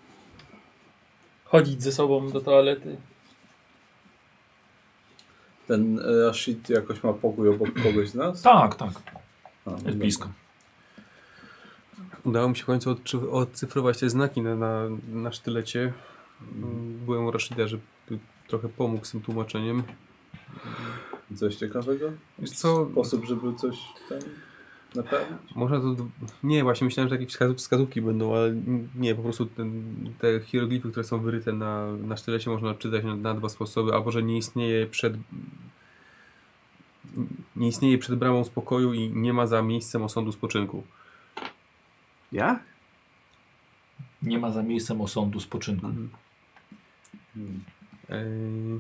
D: Chodzić ze sobą do toalety.
C: Ten e, Rashid jakoś ma pokój obok kogoś z nas?
A: Tak, tak.
C: A, no,
A: Jest blisko.
E: Udało mi się w końcu odczy- odcyfrować te znaki na, na, na sztylecie. Mm, Byłem u Rashida, żeby trochę pomógł z tym tłumaczeniem.
C: Coś ciekawego?
E: Wiesz co,
C: Sposób, żeby coś tam naprawić?
E: Można to. Nie, właśnie myślałem, że takie wskazu- wskazówki będą, ale nie, po prostu ten, te hieroglify, które są wyryte na, na sztylecie, można odczytać na, na dwa sposoby, albo że nie istnieje przed. Nie istnieje przed bramą spokoju i nie ma za miejscem osądu spoczynku.
B: Ja?
A: Nie ma za miejscem osądu spoczynku.
E: Eee,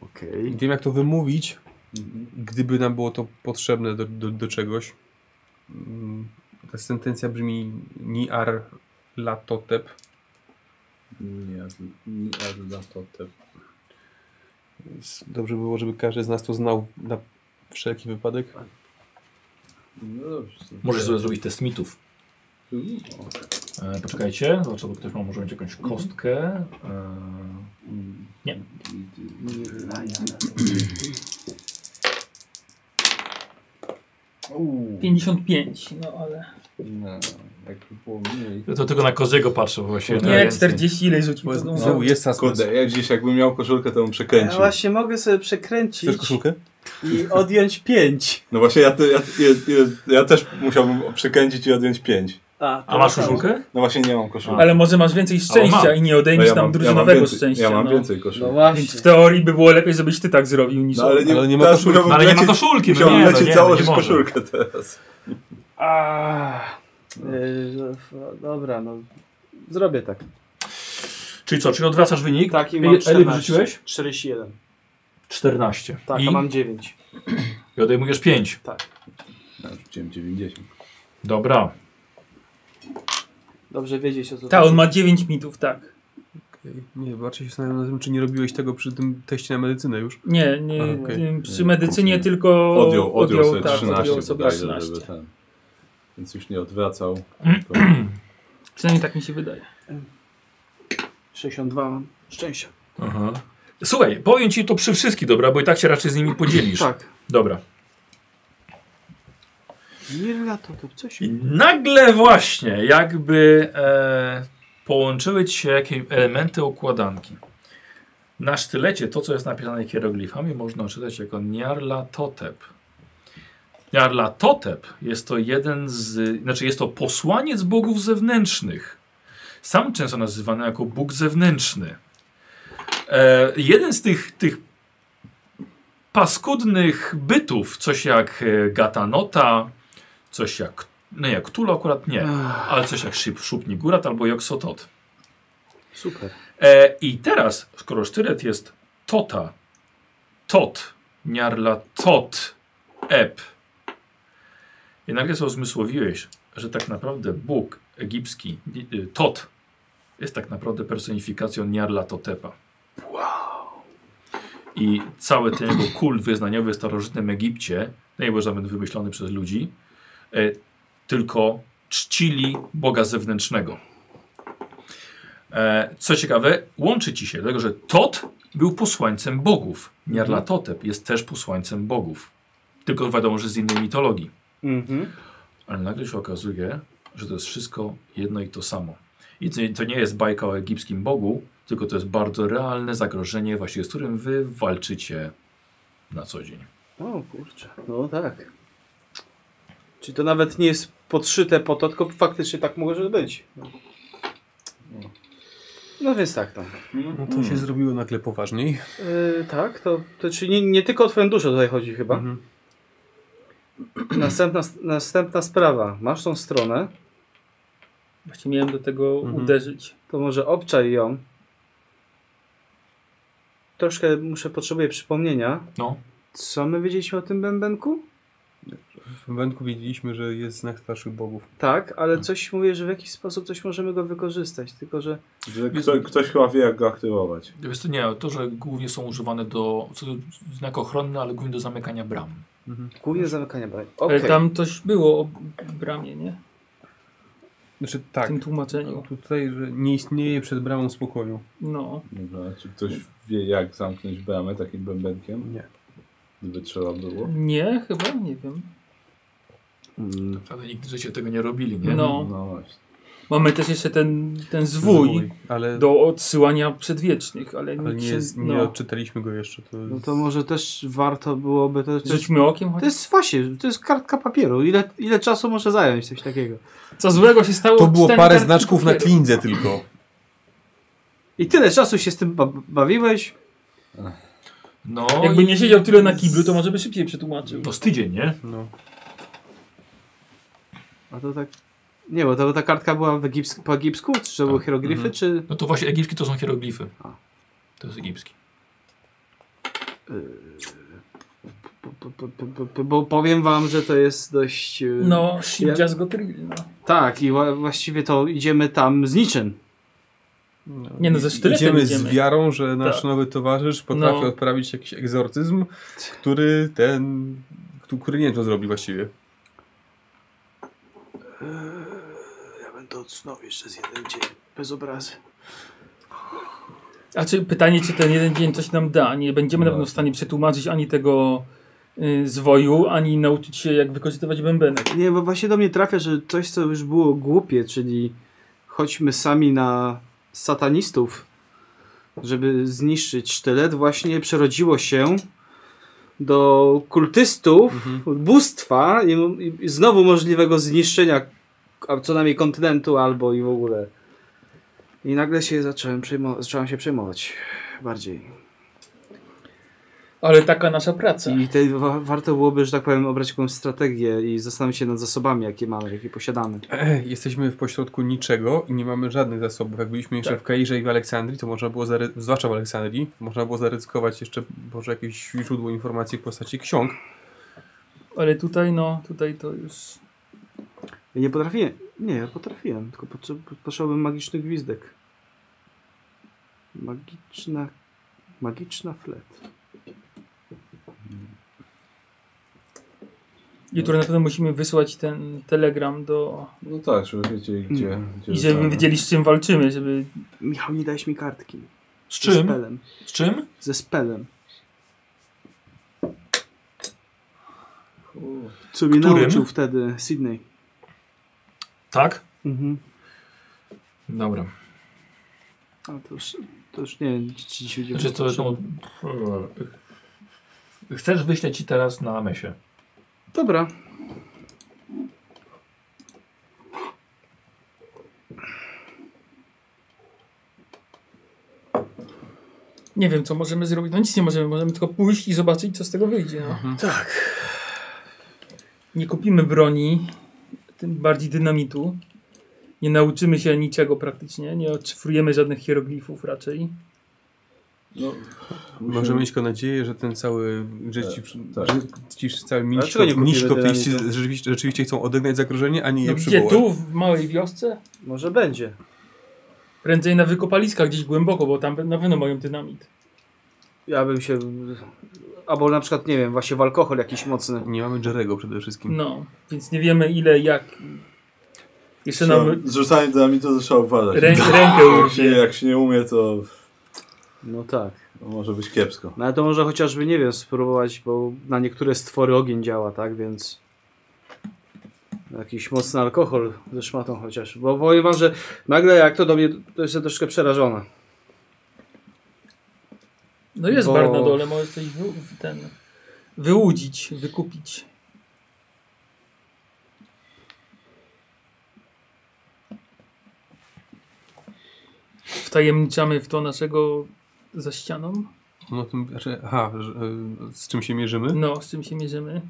B: Okej.
E: wiem, jak to wymówić,
C: Mhm.
E: gdyby nam było to potrzebne do, do, do czegoś. Mm, Ta sentencja brzmi Niar Latotep.
C: Nie, nie, ale na to te...
E: Więc Dobrze by było, żeby każdy z nas to znał na wszelki wypadek.
C: No dobrze. to-
A: Możesz sobie zrobić test mitów.
C: No.
A: E, poczekajcie, zobaczę, bo ktoś ma może mieć jakąś
B: Mhm.
A: kostkę. E, Nie.
C: Uuu,
D: 55, no ale...
C: no, jakby było mniej.
A: ja to tylko na Koziego patrzę, bo właśnie...
C: No
A: na
D: Nie,
A: ręce.
D: 40 ile rzucił, to
E: No,
D: znowu.
E: jest czas.
C: Kurde, ja dziś jakbym miał koszulkę, to bym
B: Ja
C: przekręcił.
B: właśnie mogę sobie
E: Chcesz
B: przekręcić
E: koszulkę?
B: i odjąć 5.
C: No właśnie, ja, te- ja, ja, ja, ja też musiałbym przekręcić i odjąć pięć.
B: A,
A: A masz koszulkę?
C: No właśnie, nie mam koszulki.
D: Ale może masz więcej szczęścia
A: mam.
D: i nie
C: no
D: odejmiesz nam drużynowego
C: więcej,
D: szczęścia.
C: Ja mam
D: no.
C: więcej
B: No
C: koszulki.
B: właśnie.
D: Więc w teorii by było lepiej, żebyś ty tak zrobił niż
C: No,
D: on.
C: ale nie,
E: Ale nie ma
C: teraz
E: koszulki.
C: musiałbym
A: Ale nie ma
C: lecieć-
A: koszulki, no
C: Musiałbym
A: nie, no
C: lecieć
A: nie, no nie
C: założyć
A: może.
C: koszulkę teraz.
B: A, y, że- f- dobra, no. Zrobię tak.
A: Czyli co, czyli odwracasz wynik?
B: Tak, i
A: Ile-
B: mam
A: Ile
B: 14.
A: wyrzuciłeś?
B: 41.
A: 14.
B: Tak,
A: I,
B: a mam 9.
A: I odejmujesz 5.
C: Ja rzuciłem 90.
A: Dobra.
B: Dobrze wiedzieć o co
D: Ta,
B: chodzi.
D: on ma 9 mitów, tak.
E: Nie, bardziej się zastanawiam nad tym, czy nie robiłeś tego przy tym teście na medycynę już.
D: Nie, nie
E: A, okej.
D: y, przy medycynie tylko
C: Odjął, odjął sobie
D: tak,
C: 13.
D: odjął sobie
C: bodajże,
D: 13.
C: żeby ten. Więc już nie odwracał. tylko-
D: Przynajmniej tak mi się wydaje.
B: 62 mam. Szczęścia.
A: Aha. Słuchaj, powiem ci to przy wszystkich, dobra, bo i tak się raczej z nimi podzielisz.
B: Tak.
A: Dobra.
B: Mirla to, to coś.
A: I nagle właśnie jakby e, połączyły ci się jakieś elementy układanki. Na sztylecie to, co jest napisane hieroglifami, można czytać jako Nyarlathotep. Nyarlathotep jest to jeden z, znaczy jest to posłaniec bogów zewnętrznych. Sam często nazywany jako Bóg zewnętrzny. E, jeden z tych, tych paskudnych bytów, coś jak e, Gatanota, coś jak, no jak Tulu akurat nie,
B: Ach,
A: ale coś jak Szyb- Szupnigurat albo Joksotot.
B: super.
A: E, I teraz, skoro sztylet jest Tota, Tot, Niarla, Tot, Ep, i nagle sobie uzmysłowiłeś, że tak naprawdę Bóg egipski, y, y, Tot, jest tak naprawdę personifikacją Niarla Totepa. I cały ten jego kult wyznaniowy w starożytnym Egipcie, nie był żaden wymyślony przez ludzi, e, tylko czcili Boga zewnętrznego. E, co ciekawe, łączy ci się, dlatego że Tot był posłańcem bogów. Nyarlathotep jest też posłańcem bogów. Tylko wiadomo, że z innej mitologii.
B: Mhm.
A: Ale nagle się okazuje, że to jest wszystko jedno i to samo. I to, to nie jest bajka o egipskim bogu, tylko to jest bardzo realne zagrożenie, właśnie z którym wy walczycie na co dzień.
B: O kurczę, no tak. Czyli to nawet nie jest podszyte po to, tylko faktycznie tak może być. No więc tak tam.
E: No
C: Mm.
E: to się zrobiło nagle poważniej.
B: Yy, tak, to, to czyli nie, nie tylko o twoją duszę tutaj chodzi chyba.
E: Mhm.
B: Następna, następna sprawa. Masz tą stronę,
D: Właśnie miałem do tego
E: Mhm.
D: uderzyć. E,
B: to może obczaj ją. Troszkę muszę, potrzebuję przypomnienia.
A: No.
B: Co my wiedzieliśmy o tym bębenku?
E: W wędku wiedzieliśmy, że jest znak starszych bogów.
B: Tak, ale coś mówię, że w jakiś sposób coś możemy go wykorzystać, tylko że...
C: Że kto, ktoś chyba wie, jak go aktywować.
A: Wiesz co, nie, to, że głównie są używane do, co, znak ochronny, ale głównie do zamykania bram.
B: Głównie zamykania broni.
D: Ale
B: Okej.
D: E, tam coś było o bramie, nie?
E: Znaczy
D: W
E: tak,
D: tym tłumaczeniu.
E: tutaj, że nie istnieje przed bramą spokoju.
D: No.
C: Dobra, czy ktoś wie, jak zamknąć bramę takim bębenkiem?
E: Nie.
C: Gdyby trzeba było.
D: Nie, chyba, nie wiem.
C: Mm.
A: Ale nigdy życie tego nie robili, nie?
D: No.
C: No właśnie.
D: Mamy też jeszcze ten, ten zwój
E: Ale,
D: do odsyłania przedwiecznych, ale,
E: ale
D: nikt
E: nie,
D: się-
E: jest, nie
D: no.
E: odczytaliśmy go jeszcze. To
B: No to może też warto byłoby to... To jest,
D: Rzućmy okiem, choć...
B: to jest właśnie, to jest kartka papieru. Ile, ile czasu może zająć coś takiego?
D: co złego się stało.
E: To było
D: cztery
E: parę
D: kartki
E: znaczków na
D: papieru.
E: klindze tylko.
B: I tyle czasu się z tym ba- bawiłeś?
A: No,
D: Jakby
A: i-
D: nie siedział tyle na kiblu, to może by szybciej przetłumaczył.
A: no z tydzień, nie?
E: No.
B: A to tak... Nie, bo to ta kartka była w egipsk- po egipsku, czy to były hieroglify,
E: Mhm.
B: czy...
A: No to właśnie egipskie to są hieroglify.
B: A.
A: To jest egipski.
B: P- p- p- p- p- Bo powiem wam, że to jest dość... e,
D: No,
B: Ja-
D: Shibja z Gotril, no.
B: Tak, i wa- właściwie to idziemy tam z niczym.
D: Nie no, ze sztyletem
E: idziemy,
D: idziemy.
E: z wiarą, że nasz
D: Tak.
E: nowy towarzysz potrafi
D: No.
E: odprawić jakiś egzorcyzm, który ten, któ- który nie wiem, co zrobi właściwie.
B: Ja będę odsnął jeszcze z jeden dzień, bez obrazy.
D: A czy pytanie, czy ten jeden dzień coś nam da? Nie będziemy
E: No.
D: na pewno w stanie przetłumaczyć ani tego y, zwoju, ani nauczyć się, jak wykorzystywać bębenek.
B: Nie, bo właśnie do mnie trafia, że coś, co już było głupie, czyli chodźmy sami na satanistów, żeby zniszczyć sztylet, właśnie przerodziło się do kultystów, bóstwa i, i, i znowu możliwego zniszczenia a co najmniej kontynentu albo i w ogóle. I nagle się zacząłem, przejmo- zacząłem się przejmować bardziej.
D: Ale taka nasza praca.
B: I tutaj wa- warto byłoby, że tak powiem, obrać jakąś strategię i zastanowić się nad zasobami, jakie mamy, jakie posiadamy.
E: Ech, Jesteśmy w pośrodku niczego i nie mamy żadnych zasobów. Jak byliśmy
D: Tak.
E: jeszcze w Kairze i w Aleksandrii, to można było, zary- zwłaszcza w Aleksandrii, można było zaryzykować jeszcze może jakieś źródło informacji w postaci ksiąg.
D: Ale tutaj, no, tutaj to już...
B: Ja nie potrafiłem. Nie, ja potrafiłem, tylko potrze- potrzebowałbym magicznych gwizdek. Magiczna. Magiczna flet.
D: Jutro na pewno musimy wysłać ten telegram do...
C: No tak, żeby wiedzieli, gdzie. gdzie
D: Mm. I żeby
C: rzucamy.
D: wiedzieli, z czym walczymy, żeby...
B: Michał, nie dałeś mi kartki.
A: Z
B: Ze
A: czym?
B: spelem.
A: Z czym?
B: Ze spelem. Co mnie
A: Którym?
B: nauczył wtedy Sydney.
A: Tak?
B: Mhm.
A: Dobra.
B: A to już, to już nie wiem, czy dziś będzie.
A: Znaczy, to, no, chcesz wyślę ci teraz na mesie.
B: Dobra.
D: Nie wiem, co możemy zrobić. No nic nie możemy, możemy tylko pójść i zobaczyć, co z tego wyjdzie. No.
B: Tak.
D: Nie kupimy broni, tym bardziej dynamitu. Nie nauczymy się niczego praktycznie, nie odczyfrujemy żadnych hieroglifów raczej.
C: No,
E: Możemy mieć tylko nadzieję, że ten cały, że ci,
C: tak.
E: że ci cały
B: dlaczego nie kupili
E: miśkopieści
B: dynamitu?
E: rzeczywiście, rzeczywiście chcą odegnać zagrożenie, a nie je
D: No, gdzie
E: przywołać.
D: tu, w małej wiosce?
B: Może będzie.
D: Prędzej na wykopaliskach gdzieś głęboko, bo tam na pewno mają dynamit.
B: Ja bym się. Albo na przykład, nie wiem, właśnie w alkohol jakiś mocny.
E: Nie mamy Jerego przede
C: Mhm.
E: wszystkim.
D: No, więc nie wiemy ile, jak. Jeszcze
C: Trzeba,
D: nam
C: zrzucanie dynamitu E, to trzeba uważać.
D: rę rękę
C: Jak się,
D: urwie.
C: jak się <laughs> nie umie, to
B: No tak.
C: może być kiepsko.
B: No ale to może chociażby, nie wiem, spróbować, bo na niektóre stwory ogień działa, tak? Więc Jakiś mocny alkohol ze szmatą chociaż. Bo powiem wam, że nagle jak to do mnie, to jestem troszkę przerażona.
D: No jest
B: Bo-
D: bar na dole, możesz coś wy, w- ten, wyłudzić, wykupić. Wtajemniczamy w to naszego za ścianą.
E: No tym, znaczy, aha, że, y, z czym się mierzymy?
D: No, z czym się mierzymy?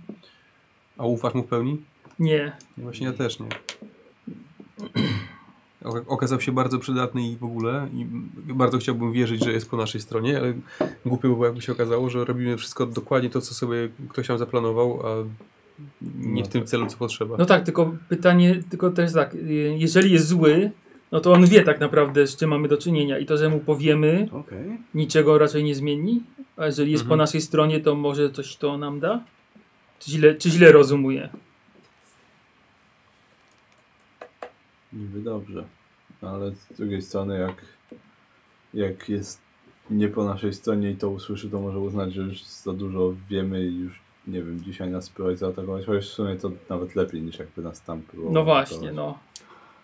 E: A ufasz mu w pełni?
D: Nie.
E: Nie, Właśnie ja też nie. <clears throat> O- Okazał się bardzo przydatny i w ogóle i bardzo chciałbym wierzyć, że jest po naszej stronie, ale głupio by było jakby się okazało, że robimy wszystko dokładnie to, co sobie ktoś tam zaplanował, a nie w tym celu, co potrzeba.
D: No tak, tylko pytanie, tylko też tak, y, jeżeli jest zły, no to on wie tak naprawdę, z czym mamy do czynienia i to, że mu powiemy,
B: Okej.
D: niczego raczej nie zmieni, a jeżeli jest
E: Mhm.
D: po naszej stronie, to może coś to nam da? Czy źle, czy źle rozumuję?
C: Niby dobrze. Ale z drugiej strony, jak, jak jest nie po naszej stronie i to usłyszy, to może uznać, że już za dużo wiemy i już, nie wiem, dzisiaj nas próbować zaatakować. Chociaż w sumie to nawet lepiej niż jakby nas tam próbował
D: No właśnie,
C: atakować.
D: no.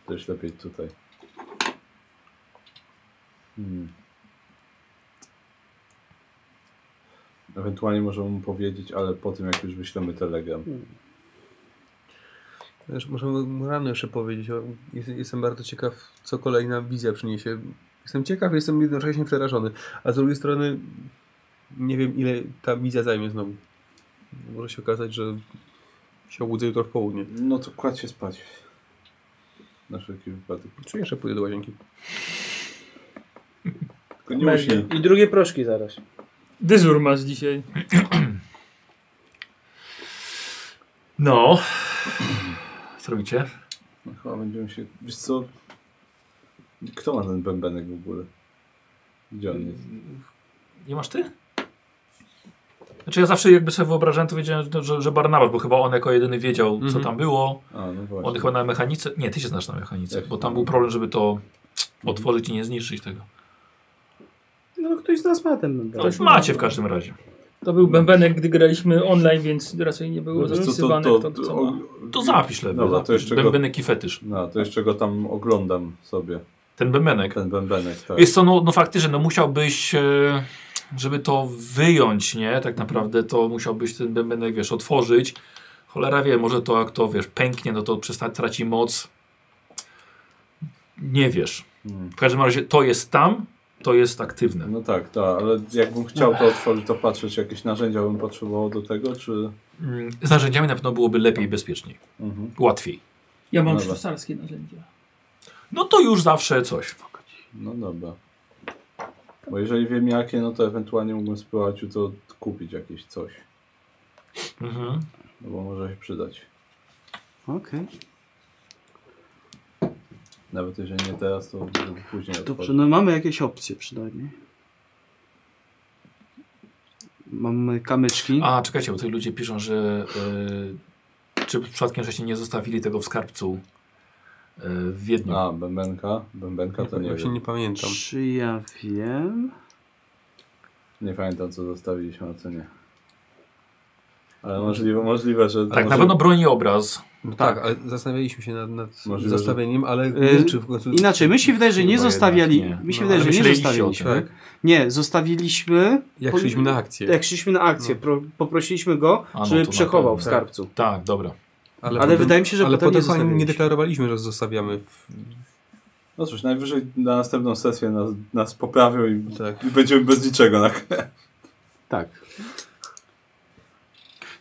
C: Też lepiej tutaj. Hmm. Ewentualnie możemy mu powiedzieć, ale po tym jak już wyślemy telegram.
E: Wiesz, możemy mu rano jeszcze powiedzieć, o, jest, jestem bardzo ciekaw, co kolejna wizja przyniesie. Jestem ciekaw, jestem jednocześnie przerażony, a z drugiej strony nie wiem, ile ta wizja zajmie znowu. Może się okazać, że się obudzę jutro w południe.
C: No to kładź się spać. Na wszelki wypadek.
E: Czuję, że pójdę do łazienki.
C: Tylko nie uśnij.
B: I drugie proszki zaraz.
D: Dyżur masz dzisiaj.
A: No. Co robicie?
C: No Chyba będziemy się... Wiesz co? Kto ma ten bębenek w ogóle? Gdzie on jest?
A: Nie masz ty? Znaczy ja zawsze jakby sobie wyobrażałem, to wiedziałem, że- że, że Barnabas, bo chyba on jako jedyny wiedział, co
E: Mhm.
A: tam było.
C: A, no
A: On
C: właśnie.
A: chyba na mechanice... Nie, ty się znasz na mechanice,
C: Ja się
A: bo tam
C: znam.
A: był problem, żeby to otworzyć i nie zniszczyć tego.
B: No ktoś z nas ma ten bębenek.
A: To macie w każdym razie.
D: To był bębenek, gdy graliśmy online, więc raczej nie było
C: Wiesz No co,
D: zapisywane kto co ma.
A: To zapisz lepiej.
C: Dobra, to
A: zapisz.
C: jeszcze go-
A: Bębenek i fetysz.
C: No, to jeszcze go tam oglądam sobie.
A: Ten bębenek.
C: Ten bębenek, tak.
A: Jest to, no, no faktycznie, no musiałbyś, e, żeby to wyjąć, nie?
C: Mhm.
A: Tak naprawdę to musiałbyś ten bębenek, wiesz, otworzyć. Cholera wie, może to jak to, wiesz, pęknie, no to przesta- traci moc. Nie wiesz.
C: Mm.
A: W każdym razie to jest tam, to jest aktywne.
C: No tak, tak, ale jakbym chciał to otworzyć, to patrzeć, jakieś narzędzia bym potrzebował do tego, czy...
A: Mm, Z narzędziami na pewno byłoby lepiej i bezpieczniej.
C: Mhm.
A: Łatwiej.
D: Ja mam
C: Dobra.
D: sztucarskie narzędzia.
A: No to już zawsze coś.
C: No dobra. Bo jeżeli wiem jakie, no to ewentualnie mógłbym spróbować jutro kupić jakieś coś,
A: Mhm.
C: no bo może się przydać.
B: Okej.
C: Nawet jeżeli nie teraz, to później
B: Dobrze,
C: otworzę.
B: no mamy jakieś opcje przynajmniej. Mamy kamyczki.
A: A, czekajcie, bo tutaj ludzie piszą, że e, czy przypadkiem żeście nie zostawili tego w skarbcu e, w Wiedniu.
C: A, bębenka? Bębenka to nie
E: Właśnie
C: wiem.
E: nie pamiętam.
B: Czy ja wiem?
C: Nie pamiętam, co zostawiliśmy, a co nie. Ale możliwe, możliwe że...
A: Tak, na
C: może-
A: pewno broni obraz.
E: No tak, ale zastanawialiśmy się nad, nad
C: Możliwe, że-
E: zostawieniem, ale nie
B: Yy,
E: wiem, czy w końcu...
B: Inaczej, my się wydaje, że nie
A: Chyba
B: zostawiali.
A: jednak nie.
B: My się
E: No,
B: wydaje,
E: ale
B: że nie
A: myśleliście o tak?
B: zostawiliśmy.
E: tym.
B: Nie, zostawiliśmy.
E: Jak szliśmy na akcję.
B: Jak szliśmy na akcję, pro, poprosiliśmy go,
A: No. A, no
B: żeby
A: to na
B: przechował w
A: pewno.
B: skarbcu.
A: Tak, dobra.
B: ale wydaje mi się, że
E: Ale
B: potem nie
E: potem chyba nie
B: zostawiliśmy.
E: deklarowaliśmy, że zostawiamy. W...
C: No cóż, najwyżej na następną sesję nas, nas poprawią i,
E: Tak.
C: i będziemy bez niczego. Na...
B: Tak.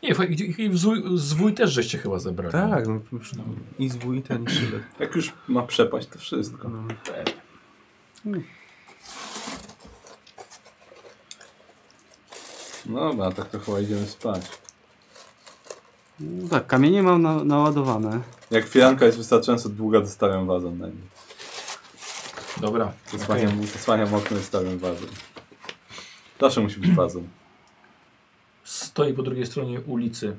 A: Nie, fa- i- i w zwój- zwój też żeście chyba zebrali.
E: Tak, no, już- i zwój, i ten, i szybek.
C: Jak już ma przepaść, to wszystko.
E: No.
C: No dobra, tak to chyba idziemy spać.
B: No tak, kamienie mam na, naładowane.
C: Jak firanka jest wystarczająco długa, to stawiam wazon na nim.
A: Dobra. okej.
C: Zasłaniam, zasłaniam okno i stawiam wazon. Zawsze musi być wazon.
A: Stoi po drugiej stronie ulicy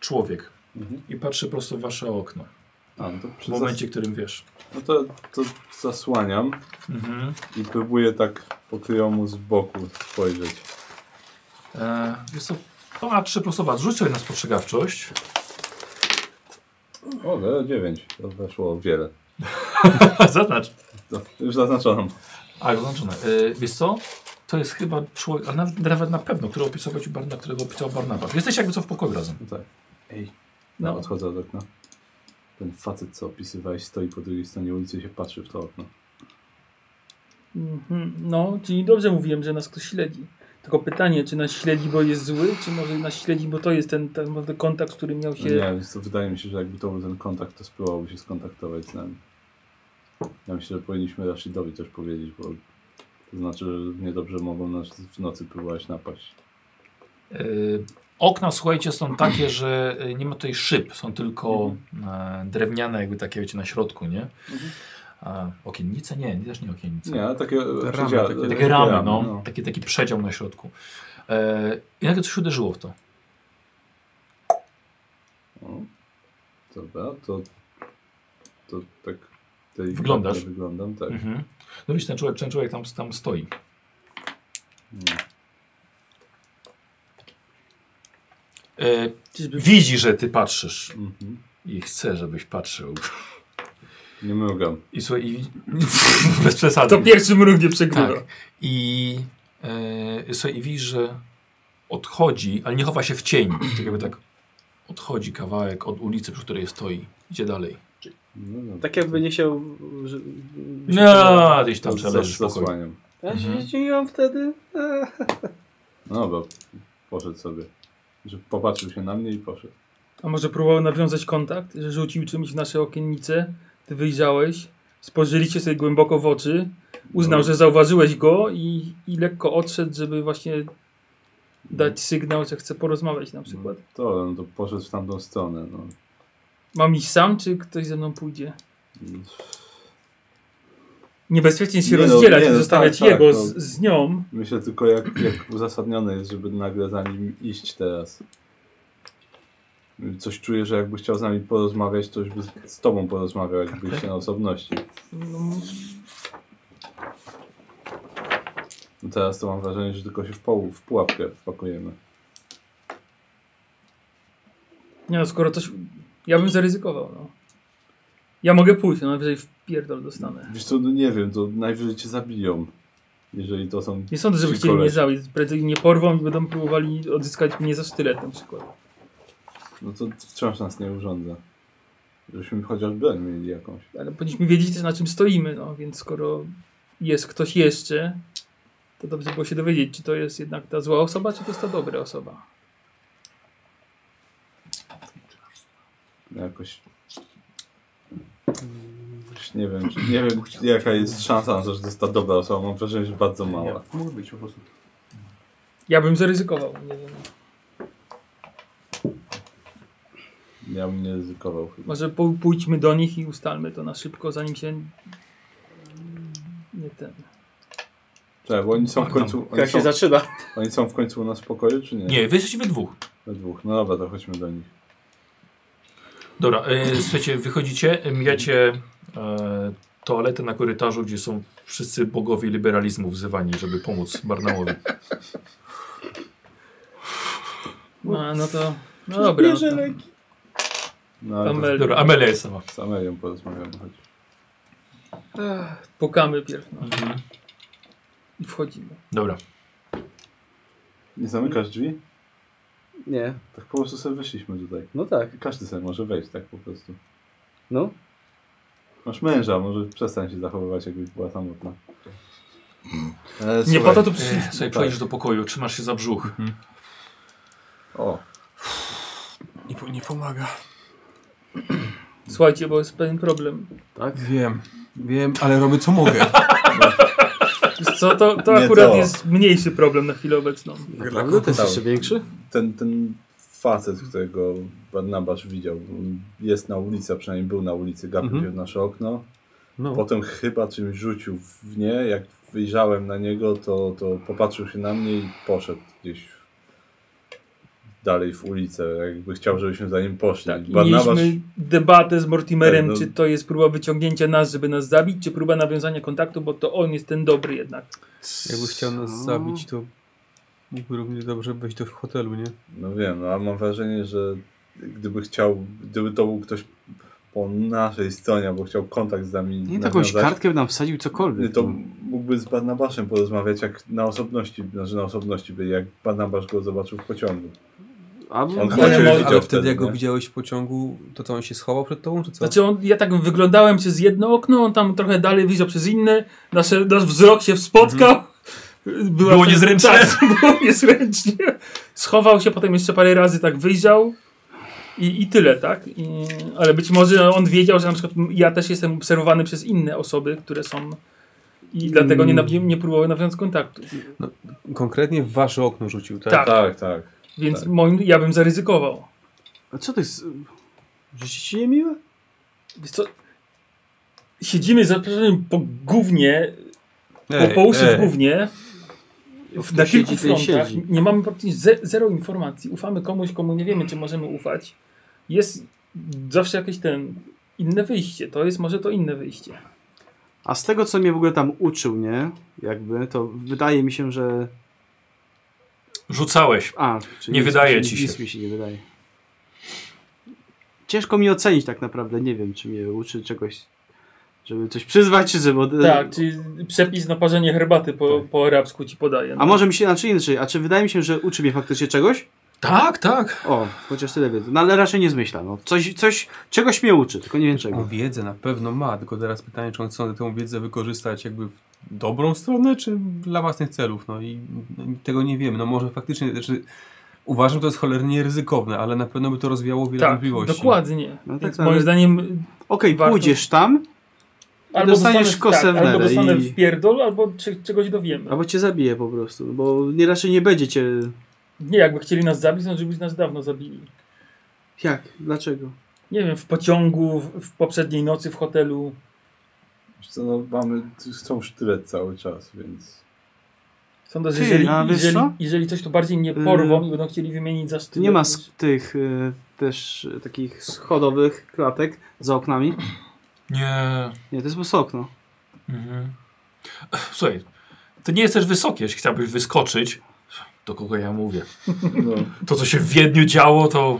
A: człowiek
C: Mhm.
A: i patrzy prosto w wasze okno.
C: A, no to,
A: W
C: przy
A: momencie, w którym wiesz.
C: zas- no to, to zasłaniam
A: Mhm.
C: i próbuję tak po kryjomu z boku spojrzeć.
A: E, wiesz co, patrzy prosto w was. Rzuć sobie na spostrzegawczość.
C: O, 0,9. To weszło wiele.
A: <laughs> Zaznacz.
C: No, już zaznaczono.
A: A, zaznaczone. Yy, wiesz co? To jest chyba człowiek, a nawet, nawet na pewno, który opisywał ci Barna, którego opisał Barnabas. Jesteś jakby co w pokoju razem.
C: No tak. Ej, no odchodzę od okna. Ten facet, co opisywałeś, stoi po drugiej stronie ulicy i się patrzy w to okno.
D: Mhm, No, czyli dobrze mówiłem, że nas ktoś śledzi. Tylko pytanie, czy nas śledzi, bo jest zły, czy może nas śledzi, bo to jest ten, ten może kontakt, który miał
C: No
D: się...
C: nie, więc to wydaje mi się, że jakby to był ten kontakt, to spróbowałby się skontaktować z nami. Ja myślę, że powinniśmy Rashidowi też powiedzieć, bo to znaczy, że niedobrze mogą nas w nocy próbować napaść.
A: Yy, okna, słuchajcie, są takie, że y, nie ma tutaj szyb, są tylko e, drewniane, jakby takie, wiecie, na środku, nie? A, okiennice? Nie, nie, też nie okiennice.
C: Nie, ale takie ramy,
E: takie-
A: Takie ramy, no. Taki, taki przedział na środku. E, I nagle coś uderzyło w to.
C: No. Dobra, to, to tak... tej-
A: Wyglądasz.
C: Wyglądam, tak.
A: Mhm. No widzisz, ten człowiek, ten człowiek tam, tam stoi. E, widzi, że ty patrzysz
C: Mhm.
A: i chce, żebyś patrzył.
C: Nie mrugam.
A: I słuchaj, i, <laughs> bez przesady.
D: To pierwszy mruk nie przegrywa.
A: Tak. I, e, słuchaj, i widzisz, że odchodzi, ale nie chowa się w cień. Tak jakby tak odchodzi kawałek od ulicy, przy której stoi. Idzie dalej.
C: No, no.
B: Tak jakby nie chciał... Że, by się podobało.
A: No, gdzieś tam
C: Zas-
A: przeleżysz spokojnie.
C: Zasłaniam.
B: Ja się
A: Mhm.
B: zdziwiłam wtedy. A.
C: No dobra, poszedł sobie. Że popatrzył się na mnie i poszedł.
D: A może próbował nawiązać kontakt, że rzucił czymś w nasze okiennice, ty wyjrzałeś, spojrzeliście sobie głęboko w oczy, uznał,
C: No.
D: że zauważyłeś go i, i lekko odszedł, żeby właśnie dać sygnał, że chce porozmawiać na przykład.
C: To, no to poszedł w tamtą stronę. No.
D: Mam iść sam, czy ktoś ze mną pójdzie?
C: Mm.
D: Niebezpiecznie
C: Nie
D: się
C: no,
D: rozdzielać
C: nie
D: i
C: no,
D: zostawiać
C: tak, tak,
D: jego
C: no.
D: z, z nią.
C: Myślę tylko jak, jak uzasadnione jest, żeby nagle za nim iść teraz. Coś czuję, że jakby chciał z nami porozmawiać, to już by z- z tobą porozmawiał, jakby się na osobności.
D: No,
C: No teraz to mam wrażenie, że tylko się w, połu, w pułapkę wpakujemy.
D: nie no, skoro coś... Ja bym zaryzykował, no. Ja mogę pójść, no najwyżej w pierdol dostanę.
C: Wiesz co, no nie wiem, to najwyżej cię zabiją. Jeżeli to są...
D: Nie sądzę, żeby
C: Ci
D: chcieli mnie
C: koledzy.
D: zabić. Prędzej mnie porwą i będą próbowali odzyskać mnie za sztylet na przykład.
C: No to wciąż nas nie urządza. Żebyśmy chociaż broń mieli jakąś.
D: Ale powinniśmy wiedzieć też na czym stoimy, no więc skoro jest ktoś jeszcze, to dobrze było się dowiedzieć, czy to jest jednak ta zła osoba, czy to jest ta dobra osoba.
C: No jakoś... Już nie wiem, czy- nie wiem jaka jest szansa, że to jest ta dobra osoba. Mam wrażenie, że bardzo mała.
E: Mógł być po prostu.
D: Ja bym zaryzykował, nie wiem.
C: Ja bym nie ryzykował chyba.
D: Może pój- pójdźmy do nich i ustalmy to na szybko, zanim się... Nie ten.
C: Czekaj, bo oni są w końcu... Oni
B: Jak
C: są,
B: się zaczyna.
C: oni są w końcu u nas w pokoju, czy nie?
A: Nie, wy jesteście we dwóch.
C: We dwóch. No dobra, to chodźmy do nich.
A: Dobra, e, słuchajcie, wychodzicie, mijacie e, toaletę na korytarzu, gdzie są wszyscy bogowie liberalizmu wzywani, żeby pomóc Barnałowi.
D: No, no to... No dobra.
B: Bierze
D: no to-
B: leki.
C: No ale
D: Tam
C: to
A: Dobra, Amelia jest sama.
C: z Amelią porozmawiamy. Chodź.
D: pukamy pierw no, i wchodzimy.
A: Dobra.
C: Nie zamykasz drzwi?
B: Nie,
C: Tak po prostu sobie wyszliśmy tutaj.
B: no tak.
C: Każdy sobie może wejść tak po prostu.
B: No.
C: Masz męża, może przestań się zachowywać, jakbyś była samotna. E,
D: Nie
C: słuchaj.
D: po to tu
A: E,
D: przyszliśmy.
A: słuchaj, przechodzisz do pokoju, trzymasz się za brzuch.
C: O,
E: Nie, po- nie pomaga.
D: Słuchajcie, bo jest pewien problem.
E: Wiem, wiem, ale robię co
D: <laughs>
E: mogę.
D: Wiesz Co, to, to
C: Nie
D: akurat
C: to.
D: jest mniejszy problem na chwilę obecną.
E: Naprawdę
B: To jest
C: Dałem.
B: jeszcze większy?
C: ten, ten facet, którego Barnabasz widział, on jest na ulicy, a przynajmniej był na ulicy, gapił
E: Mhm.
C: się w nasze okno.
E: No.
C: Potem chyba czymś rzucił w nie. Jak wyjrzałem na niego, to, to popatrzył się na mnie i poszedł gdzieś dalej w ulicę. Jakby chciał, żebyśmy za nim poszli.
E: Tak,
C: Barnabasz
D: Tak, Mieliśmy debatę z Mortimerem,
C: Tak, no.
D: czy to jest próba wyciągnięcia nas, żeby nas zabić, czy próba nawiązania kontaktu, bo to on jest ten dobry jednak.
E: Jakby chciał
D: No.
B: No.
E: nas zabić, to mógłby równie dobrze wejść do hotelu, nie?
C: No wiem, no, ale mam wrażenie, że gdyby chciał, gdyby to był ktoś po naszej stronie, bo chciał kontakt z nami
E: Nie jakąś
C: nawiązać.
E: kartkę by nam wsadził
C: Nie,
E: cokolwiek.
C: No To mógłby z Barnabaszem porozmawiać, jak na osobności, znaczy na osobności byli, jak Barnabasz go zobaczył w pociągu.
B: No.
E: Albo...
C: On
E: Ale
C: chodził
E: mo-
C: i widział
E: Znaczy, ale
C: wtedy,
E: wtedy jak go
C: nie?
E: widziałeś w pociągu, to co on się schował przed tobą, czy co?
D: Znaczy on, ja tak wyglądałem przez jedno okno, on tam trochę dalej widział przez inne, nasze, nasz wzrok się spotkał. <laughs> Była
F: Było
D: ta-
F: niezręcznie.
D: Tak, było niezręcznie. Schował się, potem jeszcze parę razy tak wyjrzał i, i tyle, tak? I, ale być może on wiedział, że na przykład ja też jestem obserwowany przez inne osoby, które są i dlatego nie, nawi- nie próbował nawiązać kontaktu.
E: Konkretnie w wasze okno rzucił, tak?
D: Tak.
C: Tak, tak.
D: Więc
C: Tak.
D: moim, ja bym zaryzykował.
B: A co to jest? Życie ci niemiłe?
D: Wiesz co? Siedzimy zaproszeni po gównie, po,
E: Ej,
D: Tak, po uszy w
E: ej.
D: gównie, w, na
B: Siedzi,
D: kilku
B: ten
D: frontach.
B: siedzi.
D: Nie mamy praktycznie ze, zero informacji. Ufamy komuś, komu nie wiemy, czy możemy ufać. Jest zawsze jakieś ten inne wyjście. To jest może to inne wyjście.
B: A z tego, co mnie w ogóle tam uczył, nie? Jakby, to wydaje mi się, że...
F: Rzucałeś.
B: A, czyli
F: Nie
B: nic mi
F: wydaje
B: się,
F: ci się.
B: Nic mi się nie wydaje. Ciężko mi ocenić tak naprawdę. Nie wiem, czy mnie uczy czegoś, żeby coś przyzwać, czy żeby...
D: Tak, czyli przepis na parzenie herbaty po,
E: Tak.
D: po arabsku ci no. podaje.
B: A może mi się inaczej inaczej. A czy wydaje mi się, że uczy mnie faktycznie czegoś?
F: Tak, tak.
B: O, chociaż tyle wiem. No ale raczej nie zmyśla. No. Coś, coś, czegoś mnie uczy, tylko nie wiem
E: On
B: czego.
E: wiedzę na pewno ma, tylko teraz pytanie, czy on chce tę wiedzę wykorzystać jakby w dobrą stronę, czy dla własnych celów, no i no, i tego nie wiemy, no może faktycznie, znaczy uważam, że to jest cholernie ryzykowne, ale na pewno by to rozwiało wiele
D: tak,
E: wątpliwości.
D: dokładnie.
B: No tak,
D: Więc
B: ale-
D: moim zdaniem
B: Okej,
D: Warto.
B: pójdziesz tam,
D: albo
B: dostaniesz
D: zostanę-
B: kosę w
D: albo
B: nerę
D: dostanę
B: i-
D: w pierdol, albo czy, czegoś dowiemy.
B: albo cię zabije po prostu, bo nie raczej nie będzie cię...
D: Nie, jakby chcieli nas zabić, to żebyś nas dawno zabili.
B: Jak? Dlaczego?
D: Nie wiem, w pociągu, w, w poprzedniej nocy w hotelu.
C: Wiesz Co, no, mamy, chcą sztylet cały czas, więc...
D: Sądzę, że
B: Ty,
D: jeżeli,
B: a wiesz
D: jeżeli,
B: co?
D: jeżeli coś to bardziej nie
B: Yy.
D: porwą i będą chcieli wymienić za
B: Tu
D: sztylet.
B: nie ma sk- tych y, też y, takich schodowych klatek za oknami.
F: Nie.
B: Nie, to jest po prostu okno.
F: Mhm. Słuchaj, to nie jest też wysokie, jeśli chciałbyś wyskoczyć. Do kogo ja mówię?
C: No,
F: To, co się w Wiedniu działo, to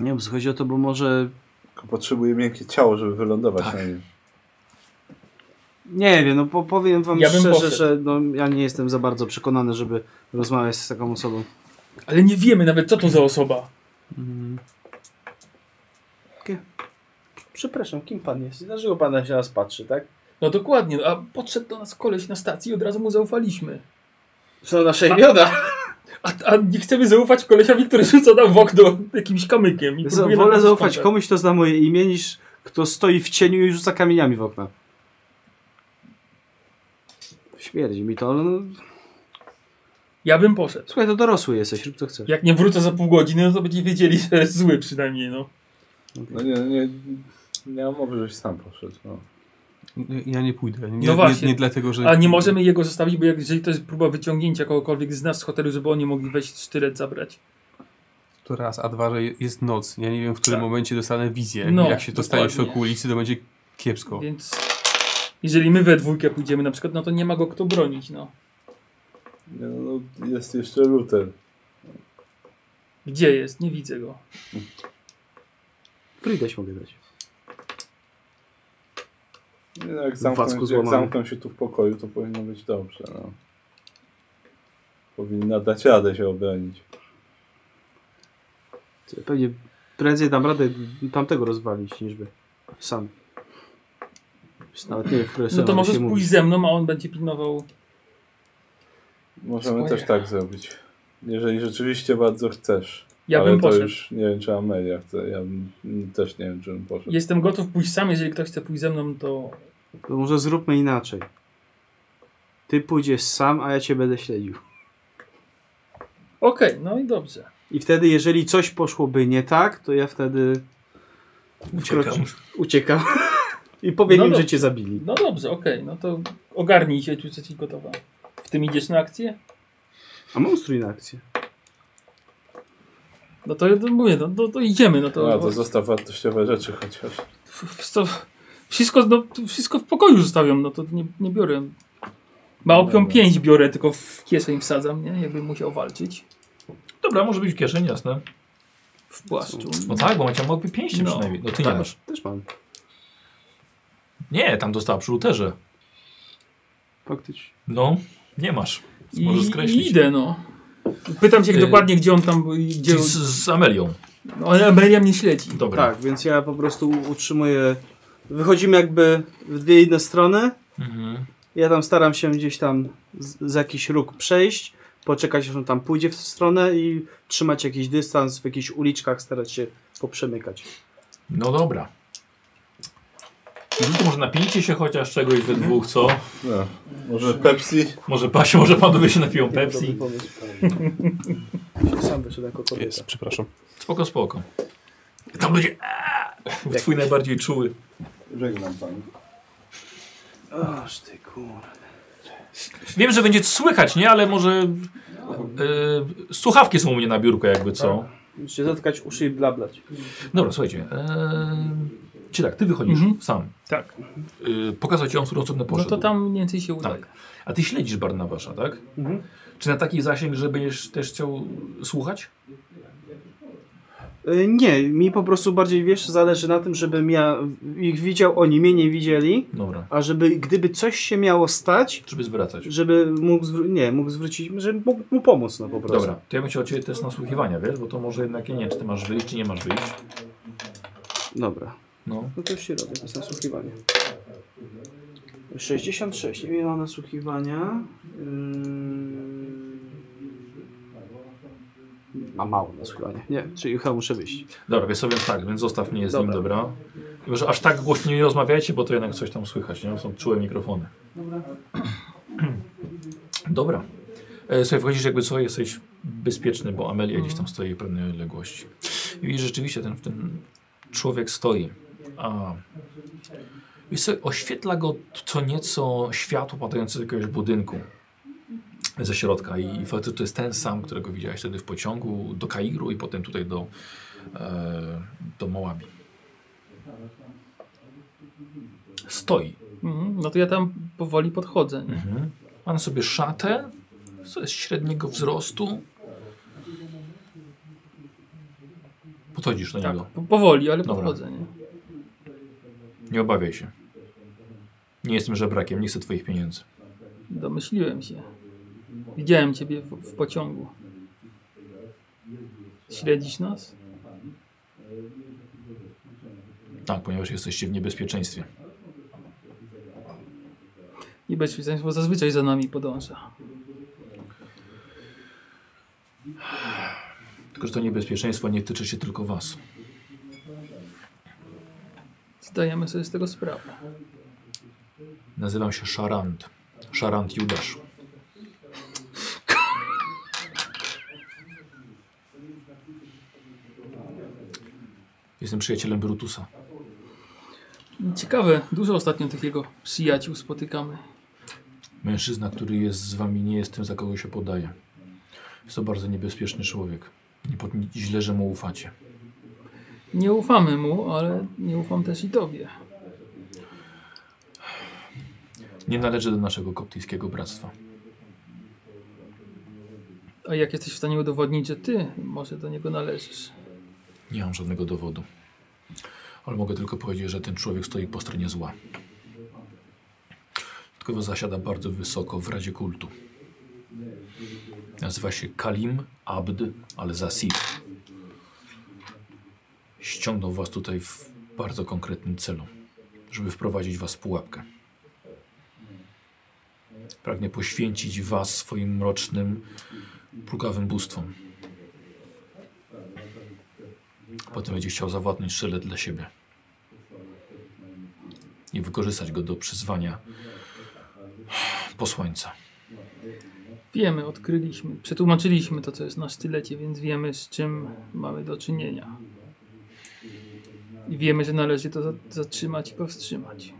B: Nie wiem, co chodzi o to, bo może...
C: tylko potrzebuje miękkie ciało, żeby wylądować
F: Tak.
C: na nim.
B: Nie wiem, no po, powiem wam
D: Ja bym
B: szczerze,
D: poszedł.
B: że no, ja nie jestem za bardzo przekonany, żeby rozmawiać z taką osobą.
D: Ale nie wiemy nawet, co to za osoba.
B: Przepraszam, kim pan jest? Dlaczego pan na nas patrzy, tak?
D: No dokładnie, no, a podszedł do nas koleś na stacji i od razu mu zaufaliśmy.
B: Są nasze <laughs> imiona.
D: A, a nie chcemy zaufać kolesiowi, który rzuca nam w okno jakimś kamykiem. I próbuje nam
B: Wolę
D: dać
B: zaufać
D: kontakt.
B: komuś, kto zna moje imię, niż kto stoi w cieniu i rzuca kamieniami w okna. Śmierdzi mi to. No,
D: Ja bym poszedł.
B: słuchaj, to dorosły jesteś, rób co chcesz.
D: Jak nie wrócę za pół godziny, no to będziemy wiedzieli, że jest zły przynajmniej, no.
C: No nie, nie, nie mam mowy, żeś sam poszedł. No.
E: Ja nie pójdę, nie,
D: No
E: nie,
D: właśnie.
E: nie dlatego, że...
D: A nie możemy jego zostawić, bo jak- jeżeli to jest próba wyciągnięcia kogokolwiek z nas z hotelu, żeby oni mogli wejść sztylet zabrać.
E: To raz, a dwa, że jest noc, ja nie wiem, w którym
D: Tak.
E: momencie dostanę wizję,
D: No,
E: jak się dostanie w
D: dokładnie.
E: środku ulicy, to będzie kiepsko.
D: Więc jeżeli my we dwójkę pójdziemy na przykład, no to nie ma go kto bronić, no.
C: Nie, no, no, jest jeszcze Luther.
D: Gdzie jest? Nie widzę go. No
B: Frideś mogę dać.
C: Nie, no, jak,
B: Wacku
C: zamkną, jak
B: złamany.
C: zamkną się tu w pokoju, to powinno być dobrze. No. Powinna dać radę się obronić.
B: Ty, Pewnie prędzej dam radę tamtego rozwalić, niż by sam. Nawet nie wiem, w które
D: No to
B: strony
D: możesz
B: się mówi.
D: pójść ze mną, a on będzie pilnował.
C: Możemy
D: Swoje.
C: też tak zrobić. Jeżeli rzeczywiście bardzo chcesz.
D: Ja
C: ale
D: bym
C: to
D: poszedł.
C: już nie wiem, czy Amelia chce. Ja bym, mm, też nie wiem, czy bym poszedł.
D: Jestem gotów pójść sam, jeżeli ktoś chce pójść ze mną, to
B: To może zróbmy inaczej. Ty pójdziesz sam, a ja cię będę śledził.
D: okej, no i dobrze.
B: I wtedy, jeżeli coś poszłoby nie tak, to ja wtedy
F: uciekam.
B: uciekam <laughs> i powiem
D: No
B: im, że
D: dobrze.
B: cię zabili.
D: No dobrze, okej, no to ogarnij się, czy jesteś gotowa. W tym idziesz na akcję?
B: A mam strój na akcję.
D: No to, to mówię, no to, to idziemy, no to...
C: No, to zostaw wartościowe rzeczy chociaż.
D: w- co, wszystko, no, tu wszystko w pokoju zostawiam, no to nie, nie biorę. Małpią
C: Dobra.
D: pięć biorę, tylko w kieszeń wsadzam, nie? Jakbym musiał walczyć.
F: Dobra, może być w kieszeni, jasne.
D: w płaszczu.
A: No tak, bo macie małpie pięści
D: No.
A: przynajmniej. No ty
B: Tak.
A: nie masz.
B: Też mam.
A: Nie, tam dostała przy luterze.
E: Faktycznie.
A: No, nie masz. Możesz
D: I, i
A: skreślić.
D: idę, no. Pytam się
A: Y,
D: dokładnie, gdzie on tam, gdzie...
A: Czyli Z, z Amelią.
D: No, ale Amelia mnie śledzi.
A: Dobra.
B: Tak, więc ja po prostu utrzymuję. Wychodzimy jakby w dwie inne strony.
A: Mhm.
B: Ja tam staram się gdzieś tam z, z jakiś róg przejść, poczekać aż on tam pójdzie w tę stronę i trzymać jakiś dystans w jakichś uliczkach, starać się poprzemykać.
A: No dobra. Rzuć może napijcie się chociaż czegoś we dwóch, co?
C: No, może Pepsi?
A: Może Pasi, może panowie się napiją Pepsi.
B: Dobry pomysł. Sam wyszedłem jako kobieta.
E: Jest, przepraszam.
A: Spoko, spoko. Tam będzie eee, twój najbardziej czuły.
C: Żegnam pani.
B: Oż ty kur...
A: Wiem, że będzie słychać, nie? Ale może... e, słuchawki są u mnie na biurku jakby, co?
B: Musisz się zatkać uszy i blablać.
A: Dobra, słuchajcie. E, czy tak, ty wychodzisz
D: Mhm.
A: sam.
D: Tak.
A: E, pokazał ci on, w którą stronę
D: No
A: poszedł.
D: to tam mniej więcej się udaje.
A: Tak. A ty śledzisz Barnabasza, tak?
B: Mhm.
A: Czy na taki zasięg, że będziesz też chciał słuchać?
B: Y, Nie, mi po prostu bardziej, wiesz, zależy na tym, żebym ja ich widział, oni mnie nie widzieli,
A: Dobra.
B: a żeby, gdyby coś się miało stać,
A: Żeby zwracać.
B: żeby mógł, zwró- nie, mógł zwrócić, żeby mógł mu pomóc, no po prostu.
A: Dobra, to ja bym chciał od ciebie test nasłuchiwania, wiesz? Bo to może jednak, ja nie wiem, czy ty masz wyjść, czy nie masz wyjść.
B: Dobra.
A: No.
B: No to już się robię, to jest nasłuchiwanie. 66, nie miałam nasłuchiwania. Yy... A mało nasłuchiwania. Nie, czyli chyba muszę wyjść.
A: Dobra, więc sobie tak, więc zostaw mnie z nim,
B: Dobra.
A: dobra? I Może aż tak głośno nie rozmawiajcie, bo to jednak coś tam słychać, nie? Są czułe mikrofony. <clears throat> Dobra. E, Słuchaj, wchodzisz jakby co, jesteś bezpieczny, bo Amelia gdzieś tam stoi w pewnej odległości. I widzisz, rzeczywiście ten, ten człowiek stoi, a... Wiesz co, oświetla go co nieco światło padające z jakiegoś budynku ze środka i, i faktycznie to jest ten sam, którego widziałeś wtedy w pociągu do Kairu i potem tutaj do, e, do Moabi. Stoi.
D: Mhm. No to ja tam powoli podchodzę. nie?
A: Mhm. Ma na sobie szatę, co jest średniego wzrostu. Podchodzisz do
D: Tak,
A: niego.
D: po- powoli, ale
A: Dobra.
D: podchodzę. Nie?
A: Nie obawiaj się. Nie jestem żebrakiem, nie chcę twoich pieniędzy.
D: Domyśliłem się. Widziałem ciebie w, w pociągu. Śledzisz nas?
A: Tak, ponieważ jesteście w niebezpieczeństwie.
D: I bezpieczeństwo zazwyczaj za nami podąża.
A: Tylko, że to niebezpieczeństwo nie tyczy się tylko was.
D: Zdajemy sobie z tego sprawę.
A: Nazywam się Szarant. Szarant Judasz. Jestem przyjacielem Brutusa.
D: Ciekawe, dużo ostatnio tych jego przyjaciół spotykamy.
A: Mężczyzna, który jest z wami, nie jest tym, za kogo się podaje. Jest to bardzo niebezpieczny człowiek. Nie pod... Źle, że mu ufacie.
D: Nie ufamy mu, ale nie ufam też i tobie.
A: Nie należy do naszego koptyjskiego bractwa.
D: A jak jesteś w stanie udowodnić, że ty może do niego należysz?
A: Nie mam żadnego dowodu. Ale mogę tylko powiedzieć, że ten człowiek stoi po stronie zła. Tylko zasiada bardzo wysoko w Radzie Kultu. Nazywa się Kalim Abd al-Zasif. Ściągnął was tutaj w bardzo konkretnym celu, żeby wprowadzić was w pułapkę. Pragnie poświęcić was swoim mrocznym, plugawym bóstwom. Potem będzie chciał zawładnąć szelet dla siebie. I wykorzystać go do przyzwania posłańca.
D: Wiemy, odkryliśmy, przetłumaczyliśmy to, co jest na stylecie, więc wiemy, z czym mamy do czynienia. I wiemy, że należy to za- zatrzymać i powstrzymać.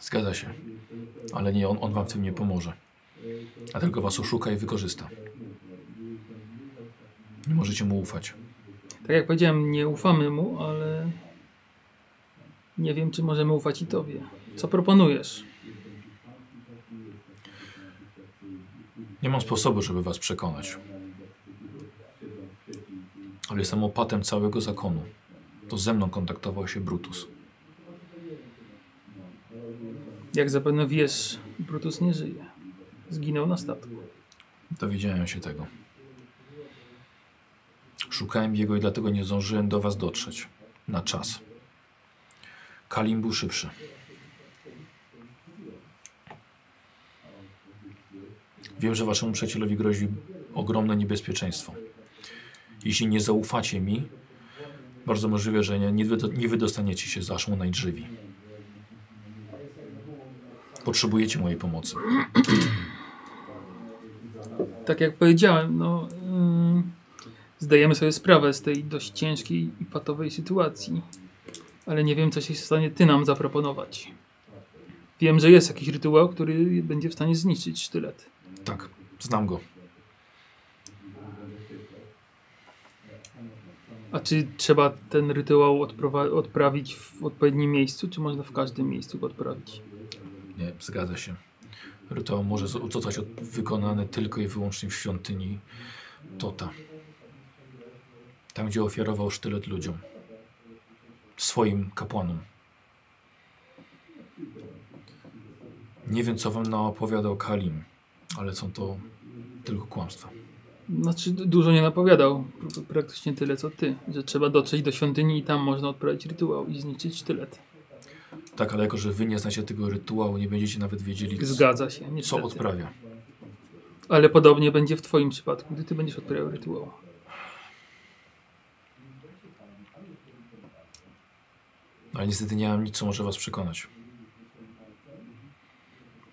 A: Zgadza się. Ale nie on, on wam w tym nie pomoże. A tylko was oszuka i wykorzysta. Nie możecie mu ufać.
D: Tak jak powiedziałem, nie ufamy mu, ale nie wiem, czy możemy ufać i tobie. Co proponujesz?
A: Nie mam sposobu, żeby was przekonać. ale jestem opatem całego zakonu. To ze mną kontaktował się Brutus.
D: Jak zapewne wiesz, Brutus nie żyje. Zginął na statku.
A: Dowiedziałem się tego. Szukałem jego i dlatego nie zdążyłem do was dotrzeć. Na czas. Kalim był szybszy. Wiem, że waszemu przyjacielowi grozi ogromne niebezpieczeństwo. Jeśli nie zaufacie mi, bardzo możliwe, że nie, nie, wydo- nie wydostaniecie się z waszą najdrzywi. Potrzebujecie mojej pomocy.
D: Tak jak powiedziałem, no, ym, zdajemy sobie sprawę z tej dość ciężkiej i patowej sytuacji. Ale nie wiem, co się stanie ty nam zaproponować. Wiem, że jest jakiś rytuał, który będzie w stanie zniszczyć sztylet.
A: Tak, znam go.
D: A czy trzeba ten rytuał odprowa- odprawić w odpowiednim miejscu, czy można w każdym miejscu go odprawić?
A: Nie, zgadza się. Rytuał może z- zostać od- wykonany tylko i wyłącznie w świątyni Tota. Tam, gdzie ofiarował sztylet ludziom. Swoim kapłanom. Nie wiem, co wam naopowiadał Kalim, ale są to tylko kłamstwa.
D: Znaczy, d- dużo nie napowiadał. Pra- Praktycznie tyle co ty, że trzeba dotrzeć do świątyni i tam można odprawić rytuał i zniszczyć sztylet.
A: Tak, ale jako, że wy nie znacie tego rytuału, nie będziecie nawet wiedzieli, c-
D: Zgadza się.
A: co
D: niestety.
A: odprawia.
D: Ale podobnie będzie w Twoim przypadku, gdy Ty będziesz odprawiał rytuał.
A: Ale niestety nie mam nic, co może was przekonać.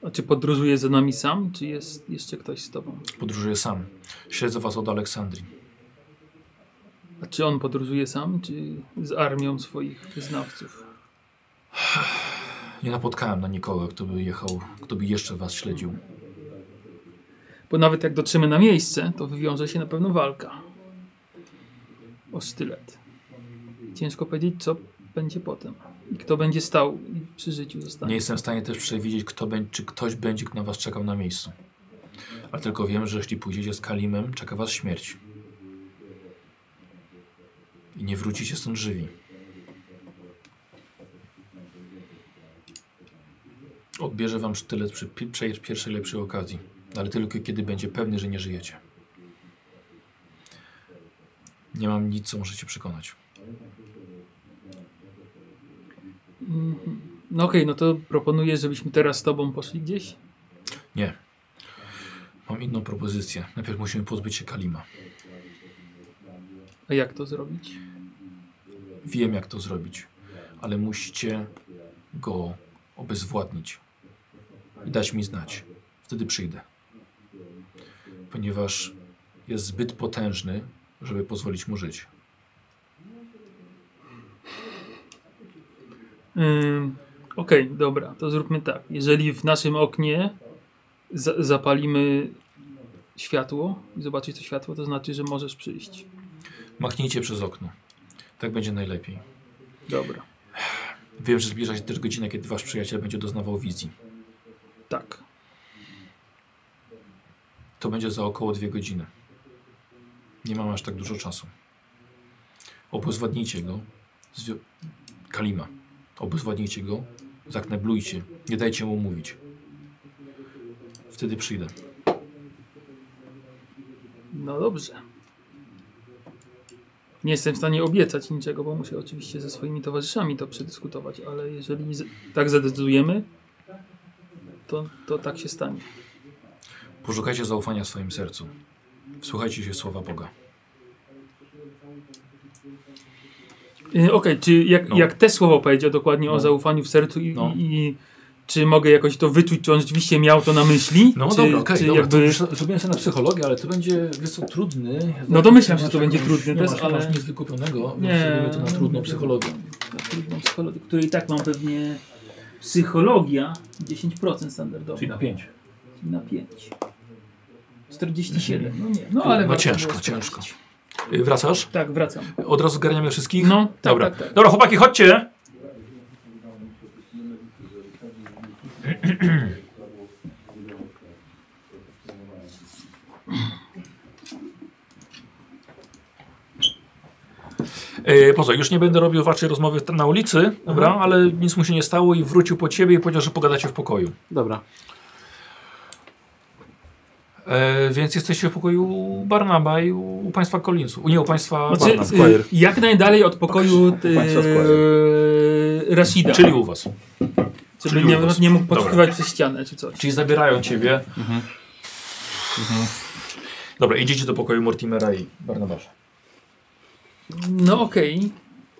D: A czy podróżuje za nami sam, czy jest jeszcze ktoś z Tobą?
A: Podróżuję sam. Śledzę was od Aleksandrii.
D: A czy on podróżuje sam, czy z armią swoich wyznawców?
A: Nie napotkałem na nikogo, kto by jechał, kto by jeszcze was śledził.
D: Bo nawet jak dotrzemy na miejsce, to wywiąże się na pewno walka. O sztylet. Ciężko powiedzieć, co będzie potem. I kto będzie stał i przy życiu zostanie.
A: Nie jestem w stanie też przewidzieć, kto będzie, czy ktoś będzie na was czekał na miejscu. Ale tylko wiem, że jeśli pójdziecie z Kalimem, czeka was śmierć. I nie wrócicie stąd żywi. Odbierze wam sztylet przy pi- prze- pierwszej lepszej okazji, ale tylko kiedy będzie pewny, że nie żyjecie. Nie mam nic, co możecie przekonać.
D: Mhm. No okej, no to proponuję, żebyśmy teraz z Tobą poszli gdzieś.
A: Nie. Mam inną propozycję. Najpierw musimy pozbyć się Kalima.
D: A jak to zrobić?
A: Wiem, jak to zrobić, ale musicie go obezwładnić i dać mi znać. Wtedy przyjdę. Ponieważ jest zbyt potężny, żeby pozwolić mu żyć.
D: Ym, Mm, Okej, dobra, to zróbmy tak. Jeżeli w naszym oknie za zapalimy światło i zobaczysz to światło, to znaczy, że możesz przyjść.
A: Machnijcie przez okno. Tak będzie najlepiej.
D: Dobra.
A: Wiem, że zbliża się też godzina, kiedy wasz przyjaciel będzie doznawał wizji.
D: Tak.
A: To będzie za około dwie godziny. Nie mam aż tak dużo czasu. Obezwładnijcie go. Zwi- Kalima. Obezwładnijcie go. Zakneblujcie. Nie dajcie mu mówić. Wtedy przyjdę.
D: No dobrze. Nie jestem w stanie obiecać niczego, bo muszę oczywiście ze swoimi towarzyszami to przedyskutować, ale jeżeli z- tak zadecydujemy, to, to tak się stanie.
A: Poszukajcie zaufania w swoim sercu. Wsłuchajcie się w słowa Boga.
D: Yy, Okej, czy jak,
A: No.
D: jak te słowa powiedział dokładnie
A: No.
D: o zaufaniu w sercu i,
A: No.
D: i, i czy mogę jakoś to wyczuć, czy on rzeczywiście miał to na myśli?
A: No
D: czy,
A: dobra, okej,
D: czy
A: dobra.
D: jakby-
A: To już zrobiłem sobie na psychologię, ale to będzie, wiesz co, trudny.
D: No domyślam się, że
A: Masz
D: to będzie
A: jakąś-
D: trudny
A: nie
D: test,
A: masz,
D: ale-
A: masz nic wykupionego,
D: Nie.
A: więc robimy to na trudną psychologię.
D: Na trudną psychologię, której i tak mam pewnie psychologia 10% standardowo,
A: Czyli na pięć.
D: czyli na 5. 47, no nie, no ale
A: No
D: warto
A: ciężko,
D: było sprawdzić.
A: ciężko. Y, Wracasz?
D: Tak, wracam.
A: Od razu zgarniamy wszystkich?
D: No, tak,
A: Dobra.
D: tak, tak.
A: Dobra, chłopaki, chodźcie! E, poza, już nie będę robił waszej rozmowy tam na ulicy, dobra, ale nic mu się nie stało i wrócił po ciebie i powiedział, że pogadacie w pokoju.
B: Dobra.
A: E, więc jesteście w pokoju u Barnaba i u, u państwa Collinsu. U, nie, u państwa
D: Znaczy,
A: Barnaba.
D: y, jak najdalej od pokoju y,
C: Państwa Squire.
D: y, Rashida.
A: Czyli u was.
D: Żeby
A: czyli
D: nie,
A: u was.
D: nie mógł
A: Dobra.
D: podskrywać przez ścianę czy coś.
A: Czyli zabierają ciebie.
F: Mhm.
A: Dobra, idziecie do pokoju Mortimera i Barnabasza.
D: No okej.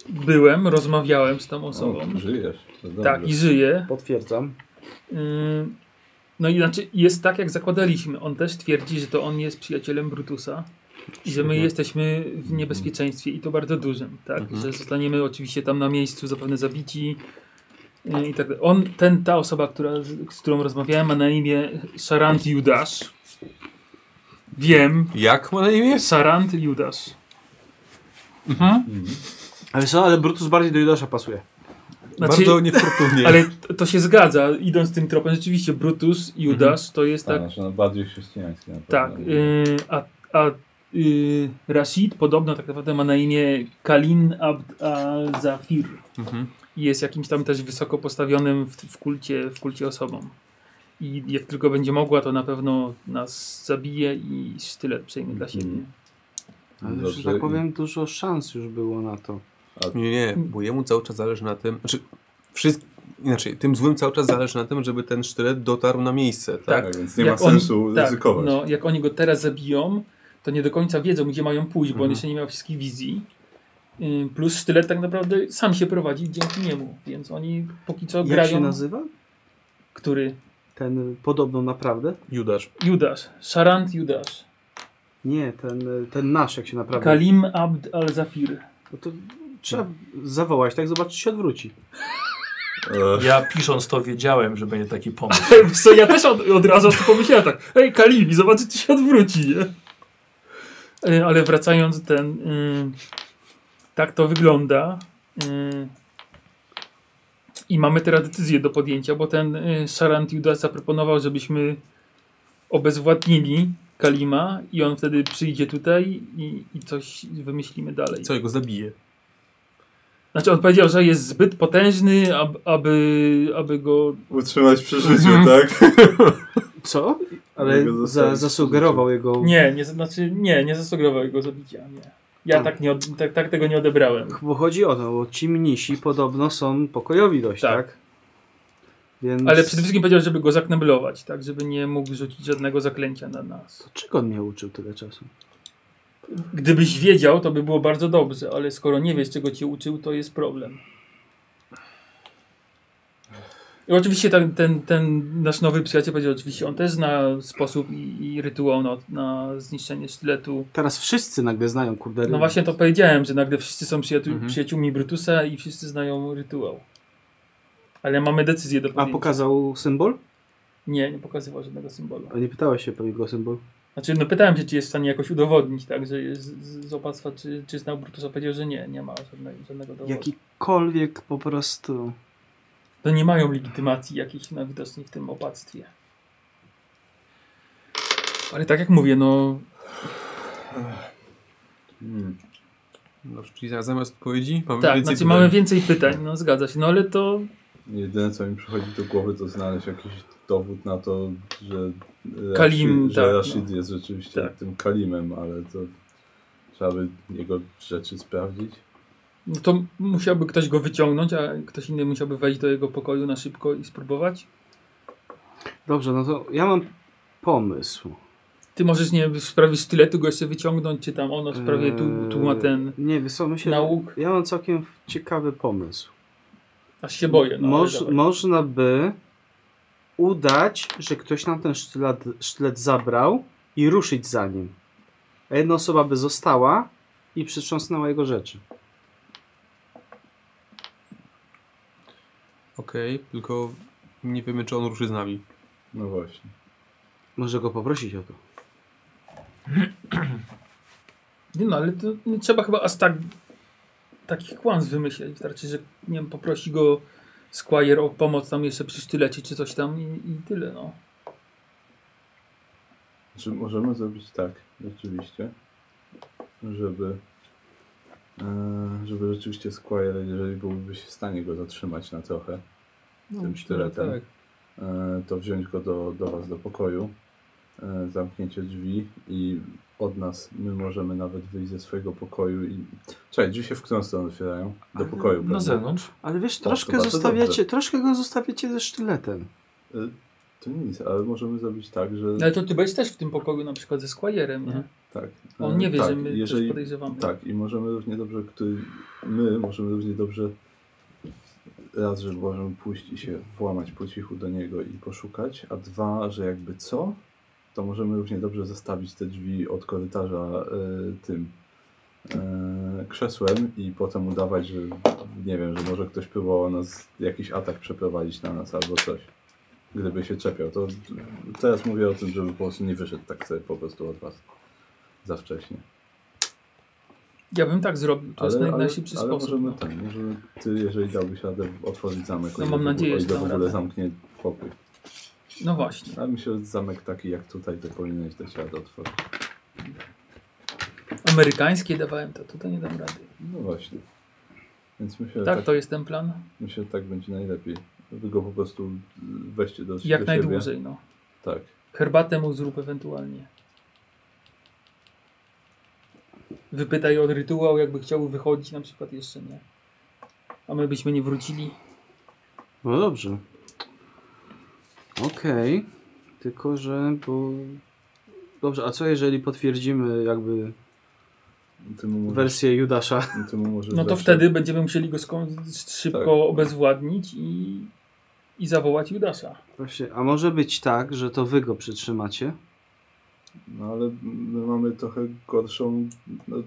D: Byłem, rozmawiałem z tą osobą.
C: O, żyjesz. To dobrze.
D: tak, i żyję.
B: Potwierdzam.
D: Ym, No i znaczy jest tak, jak zakładaliśmy. On też twierdzi, że to on jest przyjacielem Brutusa i że my jesteśmy w niebezpieczeństwie i to bardzo dużym, tak? Że zostaniemy oczywiście tam na miejscu zapewne zabici yy, i tak dalej. On, ten, ta osoba, która, z- z którą rozmawiałem ma na imię Sarant Judasz. Wiem,
E: Jak ma na imię?
D: Sarant Judasz. Mhm.
B: Ale co, ale Brutus bardziej do Judasza pasuje.
D: Znaczy-
E: Bardzo niefortunnie.
D: <laughs> Ale t- to się zgadza, idąc tym tropem, rzeczywiście Brutus, Judasz, to jest tak,
C: Tak, znaczy, no, bardziej chrześcijański. na
D: Tak,
C: pewno.
D: y, a, a y, Rashid podobno tak naprawdę ma na imię Kalin Abd al-Zafir.
E: Mhm.
D: I Jest jakimś tam też wysoko postawionym w, w, kulcie, w kulcie osobą. I jak tylko będzie mogła, to na pewno nas zabije i sztylet przejmie dla siebie.
C: Mhm.
B: Ale
C: Dobrze,
B: że
C: i-
B: tak powiem, dużo szans już było na to.
E: Nie, nie, bo jemu cały czas zależy na tym, znaczy wszystko, inaczej, tym złym cały czas zależy na tym, żeby ten sztylet dotarł na miejsce, tak?
C: Tak, więc nie
D: Jak
C: ma
D: on-
C: sensu ryzykować.
D: No, jak oni go teraz zabiją, to nie do końca wiedzą, gdzie mają pójść, bo on
E: Mhm.
D: jeszcze nie miał wszystkich wizji. Y, Plus sztylet tak naprawdę sam się prowadzi dzięki niemu, więc oni póki co
B: Jak
D: grają.
B: się nazywa?
D: Który?
B: Ten y, podobno naprawdę?
E: Judasz.
D: Judasz, Szarant Judasz,
B: Nie, ten, y, ten nasz, jak się naprawdę.
D: Kalim Abd al-Zafir.
B: No to trzeba zawołać, tak? Zobaczyć, czy się odwróci.
C: E,
A: Ja pisząc to wiedziałem, że będzie taki pomysł.
D: Co ja też od, od razu o tym pomyślałem tak, hej Kalim, i zobacz, czy się odwróci, nie? E, Ale wracając ten, ym, tak to wygląda. ym. I mamy teraz decyzję do podjęcia, bo ten y, Szarant Judasz zaproponował, żebyśmy obezwładnili Kalima i on wtedy przyjdzie tutaj i, i coś wymyślimy dalej.
E: Co, jego zabije?
D: Znaczy on powiedział, że jest zbyt potężny, ab, aby, aby go...
C: Utrzymać przy życiu,
D: Mhm.
C: tak?
B: Co?
C: Mogę
B: Ale za,
C: zostawić.
B: zasugerował jego.
D: Nie, nie znaczy nie, nie zasugerował jego zabicia, nie. Ja tak, nie od, tak, tak tego nie odebrałem.
B: Bo chodzi o to, bo ci mnisi podobno są pokojowi dość,
D: Tak.
B: tak? Więc.
D: Ale przede wszystkim powiedział, żeby go zakneblować, tak, żeby nie mógł rzucić żadnego zaklęcia na nas.
B: Czego on mnie uczył tyle czasu?
D: Gdybyś wiedział, to by było bardzo dobrze, ale skoro nie wiesz, czego cię uczył, to jest problem. I oczywiście ten, ten, ten nasz nowy przyjaciel powiedział, oczywiście on też zna sposób i, i rytuał na, na zniszczenie sztyletu.
B: Teraz wszyscy nagle znają, kurde.
D: No właśnie to powiedziałem, że nagle wszyscy są przyjaciół,
E: Mhm.
D: przyjaciółmi Brutusa i wszyscy znają rytuał. Ale mamy decyzję do
B: A
D: podjęcia.
B: pokazał symbol?
D: Nie, nie pokazywał żadnego symbolu.
B: A nie pytałeś się pewnie go o symbol.
D: Znaczy, no pytałem się, czy jest w stanie jakoś udowodnić, tak, że jest z, z opactwa, czy, czy znał Brutusa, powiedział, że nie, nie ma żadnego, żadnego dowodu.
B: Jakikolwiek po prostu.
D: To nie mają legitymacji jakiejś najwidoczniej w tym opactwie. Ale tak jak mówię, no
C: Hmm.
E: Dobrze, czyli za- No, zamiast odpowiedzi mamy
D: tak,
E: więcej
D: znaczy mamy
E: pytań.
D: więcej pytań, no zgadza się, no ale to
C: Jedyne co mi przychodzi do głowy to znaleźć jakiś dowód na to, że Rashid,
D: Kalim,
C: że
D: tak,
C: Rashid jest rzeczywiście
D: Tak.
C: tym Kalimem, ale to trzeba by jego rzeczy sprawdzić.
D: No to musiałby ktoś go wyciągnąć, a ktoś inny musiałby wejść do jego pokoju na szybko i spróbować.
B: Dobrze, no to ja mam pomysł.
D: Ty możesz nie wiem, w sprawie styletu go jeszcze wyciągnąć, czy tam ono w sprawie
C: Eee,
D: tu, tu ma ten
B: Eee, Nie, wysłamy się.
D: nauk.
B: Ja mam całkiem ciekawy pomysł.
D: Aż się boję. No, ale
B: Moż,
D: dawaj.
B: można by udać, że ktoś nam ten sztylet, sztylet zabrał i ruszyć za nim. A jedna osoba by została i przytrząsnęła jego rzeczy.
E: Okej, tylko nie wiemy, czy on ruszy z nami.
C: No właśnie.
B: Może go poprosić o to.
D: Nie no, ale to nie trzeba chyba aż tak takich kłamstw wymyśleć. Wystarczy, że nie wiem, poprosi go Squire o pomoc tam jeszcze przy stylecie czy coś tam i, i tyle, no.
C: Znaczy, Czy możemy zrobić tak, rzeczywiście, żeby E, żeby rzeczywiście Squire, jeżeli byłby w stanie go zatrzymać na trochę,
E: No,
C: tym
E: myślę, że
C: sztyletem.
E: tak.
C: e, to wziąć go do, do Was do pokoju, e, zamknięcie drzwi i od nas my możemy nawet wyjść ze swojego pokoju i... Czekaj, drzwi się w którą stronę otwierają? Do
B: Ale
C: pokoju,
A: Na
C: prawda?
A: zewnątrz.
B: Ale wiesz,
C: Tak,
B: troszkę,
C: to bardzo dobrze.
B: zostawiacie, troszkę go zostawiacie ze sztyletem.
C: To nic, ale możemy zrobić tak, że...
D: Ale to ty będziesz też w tym pokoju na przykład ze Squirem, nie?
C: Tak.
D: On nie wie,
C: tak,
D: że my coś
C: jeżeli,
D: podejrzewamy.
C: Tak, i możemy równie dobrze, który, my możemy równie dobrze raz, że możemy pójść i się włamać po cichu do niego i poszukać, a dwa, że jakby co, to możemy równie dobrze zostawić te drzwi od korytarza y, tym y, krzesłem i potem udawać, że nie wiem, że może ktoś próbował nas, jakiś atak przeprowadzić na nas albo coś. Gdyby się czepiał, to teraz mówię o tym, żeby po prostu nie wyszedł tak sobie po prostu od was za wcześnie.
D: Ja bym tak zrobił, to jest naj, najszybszy
C: ale
D: sposób.
C: Możemy,
D: no.
C: tak, możemy, ty, jeżeli dałbyś radę otworzyć zamek,
D: No
C: o ile
D: mam
C: w ogóle-
D: nadzieję,
C: o ile
D: że
C: w
D: dam
C: ogóle
D: radę.
C: zamknie pokój.
D: No właśnie.
C: Ale myślę, że zamek taki jak tutaj, to powinieneś dać radę otworzyć.
D: Amerykańskie dawałem to, tutaj nie dam rady.
C: No właśnie. Więc myślę, że
D: Tak,
C: tak,
D: to jest ten plan.
C: myślę, że tak będzie najlepiej. Wy go po prostu weźcie do,
D: Jak
C: do siebie.
D: najdłużej, no.
C: Tak.
D: Herbatę mu zrób ewentualnie. Wypytaj o rytuał, jakby chciał wychodzić na przykład jeszcze nie. A my byśmy nie wrócili.
B: No dobrze. Okej. Tylko, że bo... Dobrze, a co jeżeli potwierdzimy jakby
C: Ty mu możesz,
B: wersję Judasza? <laughs>
C: ty mu możesz
D: No to
C: zawsze-
D: wtedy będziemy musieli go skąd szybko
C: Tak.
D: obezwładnić i, i zawołać Judasza.
B: Właśnie, a może być tak, że to wy go przytrzymacie?
C: No ale my mamy trochę gorszą... No,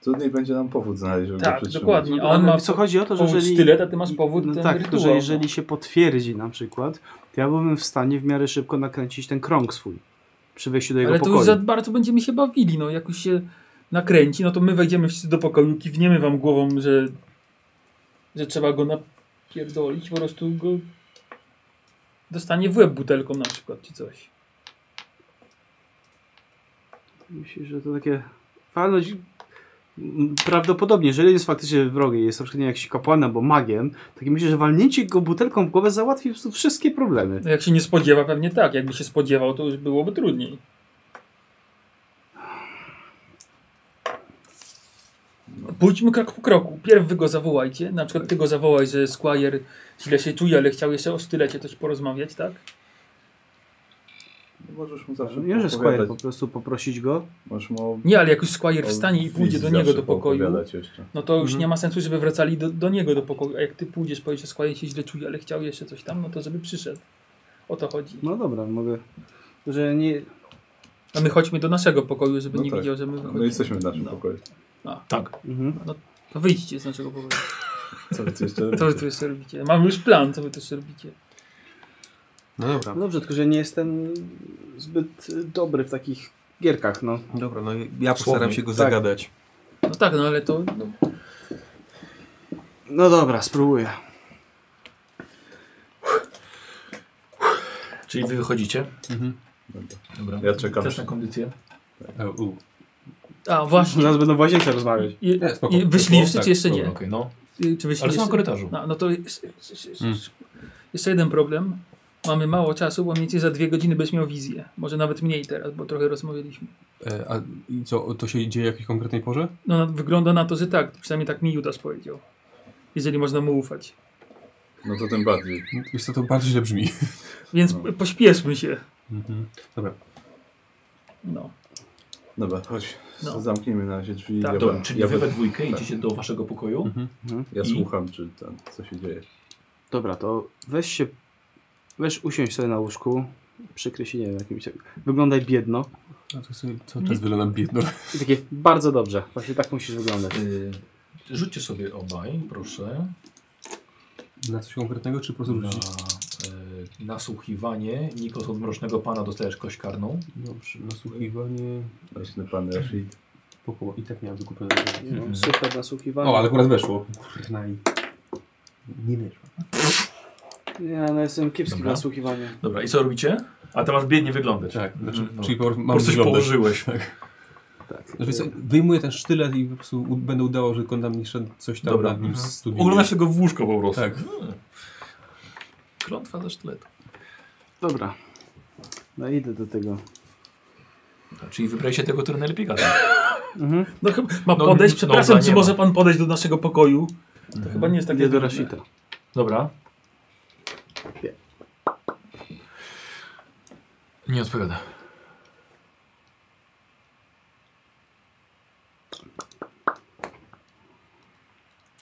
C: trudniej będzie nam powód znaleźć, żeby go
D: Tak,
C: przytrzymać.
D: dokładnie. A
B: No,
D: on
B: Ale
D: ma
B: co chodzi o to, że
D: powód
B: jeżeli...
D: sztylet, a ty masz powód
B: no
D: ten
B: tak,
D: rytuał.
B: że jeżeli się potwierdzi na przykład, to ja byłbym w stanie w miarę szybko nakręcić ten krąg swój przy wejściu do jego
D: Ale to
B: pokoju.
D: już za bardzo będziemy się bawili, no jak już się nakręci, no to my wejdziemy wszyscy do pokoju, kiwniemy wam głową, że, że trzeba go napierdolić, po prostu go dostanie w łeb butelką na przykład, czy coś.
B: Myślisz, że to takie... Walność... m, Prawdopodobnie, jeżeli jest faktycznie wrogiem, jest na przykład nie wiem, jakiś kapłan albo magiem, to taki myślę, że walnięcie go butelką w głowę załatwi po prostu wszystkie problemy.
D: No, jak się nie spodziewa, pewnie tak, jakby się spodziewał, to już byłoby trudniej. Pójdźmy krok po kroku. Pierw wy go zawołajcie, na przykład ty go zawołaj, że Squire źle się czuje, ale chciał jeszcze o sztylecie coś porozmawiać, tak?
C: Możesz mu zawsze
B: No, Nie, że Squire
C: opowiadać.
B: po prostu poprosić go.
C: Możesz mu o-
D: Nie, ale jak już Squire wstanie i
C: o
D: pójdzie do
C: wizji
D: niego
C: zawsze
D: do pokoju,
C: poopowiadać jeszcze.
D: no to już
B: Mhm.
D: nie ma sensu, żeby wracali do, do niego do pokoju. A jak ty pójdziesz, powiesz, że Squire się źle czuje, ale chciał jeszcze coś tam, no to żeby przyszedł. O to chodzi.
B: No dobra, mogę... Że nie...
D: A my chodźmy do naszego pokoju, żeby
C: No
D: nie
C: tak.
D: widział, że my
C: No
D: wychodzimy.
C: jesteśmy w naszym pokoju.
F: Tak.
B: Mhm.
D: To wyjdźcie z naszego pokoju.
C: Co wy tu jeszcze
D: Co wy tu jeszcze robicie? Mamy już plan, co wy tu jeszcze robicie.
E: No dobra.
B: No dobrze, tylko że nie jestem zbyt y, dobry w takich gierkach, no.
E: Dobra, no i ja postaram się go
B: Tak.
E: zagadać.
D: No tak, no ale to... No,
B: No dobra, spróbuję.
F: Czyli wy wychodzicie.
C: Dobra.
F: Dobra.
C: Ja czekam.
F: Też na kondycję.
E: E,
D: a właśnie.
B: Zaraz będą w łazience rozmawiać.
D: I,
E: Nie, spoko.
D: i
C: Tak,
D: wyszli jeszcze, czy jeszcze
F: Dobra,
D: nie?
F: okej, no.
D: Y, Czy wyszli
F: Ale są na
D: jeszcze?
F: korytarzu.
D: No, no to jest, jest, jest, jest-
E: Mm.
D: jeszcze jeden problem. Mamy mało czasu, bo mniej więcej za dwie godziny będziesz miał wizję. Może nawet mniej teraz, bo trochę rozmawialiśmy.
E: E, a i co, to się dzieje w jakiej konkretnej porze?
D: No na- wygląda na to, że tak. Przynajmniej tak mi Judasz powiedział. Jeżeli można mu ufać.
C: No to tym bardziej.
E: Wiesz co, to bardzo źle brzmi.
D: Więc
C: No.
D: p- pośpieszmy się.
E: Dobra.
D: No.
C: Dobra, chodź.
D: No.
C: Zamknijmy na razie drzwi.
D: Tak.
C: ja,
F: Dobra, czyli
C: ja,
F: wy we
C: we-
F: dwójkę
C: tak.
F: idziecie do waszego pokoju.
C: ja
F: i-
C: słucham, czy ten, co się dzieje.
B: Dobra, to weź się, weź usiądź sobie na łóżku, przykryj się, nie wiem, jakimś, wyglądaj biedno
E: A to sobie cały czas wygląda biedno.
B: i takie, bardzo dobrze, właśnie tak musisz wyglądać.
F: Y, rzućcie sobie obaj, proszę.
E: Na coś konkretnego, czy po prostu
F: Na
E: rzucić?
F: y, nasłuchiwanie. Nikos od Mrocznego Pana dostajesz kość karną.
E: Dobrze, nasłuchiwanie...
C: Właśnie pan Rashid.
E: Pokoło. I tak miałem wykupione.
B: No, super nasłuchiwanie.
E: O, ale akurat weszło. Kurna i... Nie weszło.
B: Ja no, jestem kiepski w
F: Dobra.
B: nasłuchiwaniu.
F: Dobra, i co robicie? A to masz biednie wyglądać.
E: Tak, znaczy,
A: Mhm.
F: Mm, no.
E: czyli po,
F: Po
E: mam
F: prostu się
E: wyglądać.
F: położyłeś.
E: Tak. Wiesz co,
B: Y,
E: Wyjmuję ten sztylet i po prostu u- będę udało, że kontam jeszcze coś tam
C: Dobra.
E: nad nim studiuje.
F: Ogląda się go w łóżko po prostu.
E: Tak.
F: Klątwa ze sztyletu.
B: Dobra. No idę do tego.
A: Czyli wybraliście tego, który najlepiej gada.
B: Mhm.
D: No chyba ma
A: No,
D: podejść,
A: no,
D: przepraszam,
A: no,
D: czy
A: nie
D: może pan podejść do naszego pokoju?
C: Mhm.
D: To chyba nie jest takie
B: Idę do
D: trudne.
B: Rashida.
A: Dobra.
B: Nie.
A: Nie odpowiada.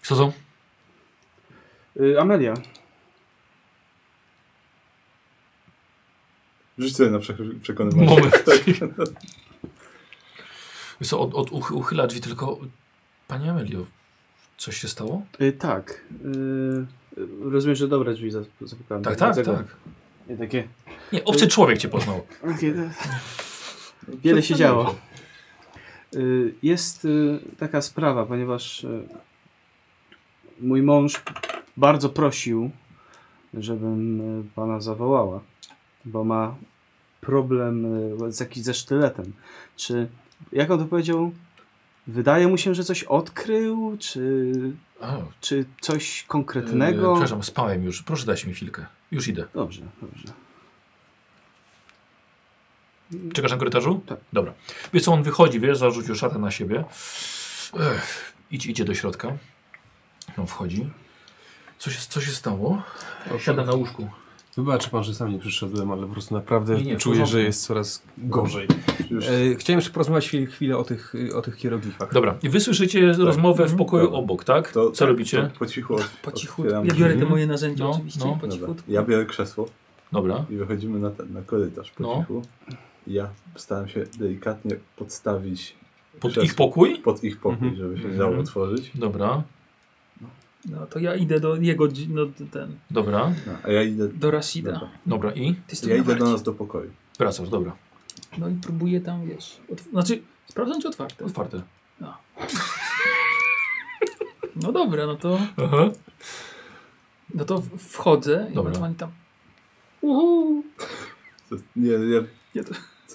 A: Co są?
B: Y, Amelia.
C: Rzuć sobie na przek- przekonywanie.
F: <laughs>
A: Moment. Wiesz Co, od, od uch, uchyla drzwi tylko... Pani Amelio, coś się stało?
B: Y, tak. Y, y, rozumiem, że dobre drzwi za- zapukałem.
A: Tak, tak,
B: Dlaczego?
A: tak.
B: Nie takie.
A: Nie, obcy człowiek cię poznał.
B: takie Wiele się działo. Y, Jest y, taka sprawa, ponieważ y, mój mąż bardzo prosił, żebym y, pana zawołała, bo ma problem y, z jakiś ze sztyletem. Czy, jak on to powiedział, wydaje mu się, że coś odkrył, czy,
A: A,
B: czy coś
A: e,
B: konkretnego?
A: przepraszam, spałem już. Proszę dać mi chwilkę. Już idę.
B: Dobrze, dobrze.
A: Czekasz na korytarzu?
B: Tak.
A: Dobra. Wiesz co, on wychodzi, wiesz, zarzucił szatę na siebie. Ech, idzie, idzie do środka. On wchodzi. Co się, co się stało? E, Siada na łóżku.
E: Wybaczy pan, że sam nie przyszedłem, ale po prostu naprawdę
A: Nie, nie, w
E: czuję,
A: porządku.
E: że jest coraz gorzej.
C: Już
E: E, chciałem jeszcze porozmawiać chwilę, chwilę o tych, y, o tych hieroglifach.
A: Dobra, i wysłyszycie rozmowę w pokoju
C: Tak. Mhm. Dobra.
A: obok, tak?
C: to,
A: co robicie?
C: To po cichu od,
D: Po cichu.
C: otwieram
D: Ja
C: drzwi.
D: biorę te moje narzędzia
A: No,
D: oczywiście.
A: no.
D: po
C: Dobra.
D: cichutku.
C: Ja biorę krzesło
A: Dobra.
C: i wychodzimy na, ten, na korytarz po
A: No.
C: cichu. Ja staram się delikatnie podstawić
A: Pod
C: Przez-
A: ich pokój?
C: pod ich pokój,
E: Mhm.
C: żeby się
A: Mhm.
C: dało otworzyć.
A: Dobra,
D: No to ja idę do jego, dzi- no, ten,
A: dobra,
C: No, a ja idę,
D: do Rasida.
C: dobra.
A: dobra i
D: Ty
C: ja idę do
D: do
C: nas do pokoju.
A: wracasz, dobra.
D: No i próbuję tam, wiesz, otw- znaczy sprawdzam czy otwarte.
A: Otwarte.
D: No dobra, no to,
A: Aha.
D: no to w- wchodzę i
A: Dobra.
D: ewentualnie tam.
C: Co- Nie, ja,
D: Ja to- <laughs>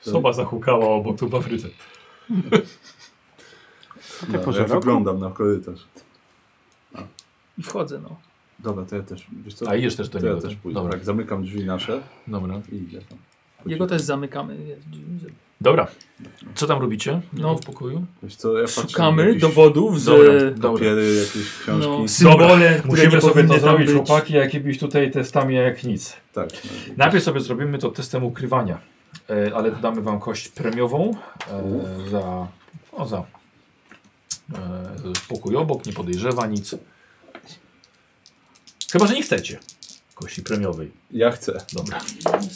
C: co,
A: Soba zahukała obok tu w Afryce.
C: no,
B: porze
C: ja
B: roku?
C: wyglądam na korytarz.
D: I wchodzę, no.
C: Dobra, to ja też, wiesz co,
A: A idziesz też do
C: to ja
A: niego.
C: też pójdę.
A: Dobra,
C: Tak, zamykam drzwi nasze
A: dobra.
C: i idę tam.
D: Jego też zamykamy. wiesz, drzwi, żeby-
A: Dobra, co tam robicie? No
D: No.
A: w pokoju?
C: Wiesz co, ja patrzę na
D: Szukamy
C: jakieś
D: dowodów, że
A: Dobra, dobra.
C: papiery, jakieś książki.
D: no, symbole, które nie
A: Musimy sobie
D: powinny
A: to
D: tam
A: zrobić,
D: być.
A: chłopaki, jak byś tutaj testami jak nic.
C: Tak. No,
A: Najpierw sobie zrobimy to testem ukrywania, e, ale dodamy wam kość premiową e, za, o, za e, pokój obok, nie podejrzewa nic. Chyba, że nie chcecie kości premiowej.
C: ja chcę.
A: Dobra.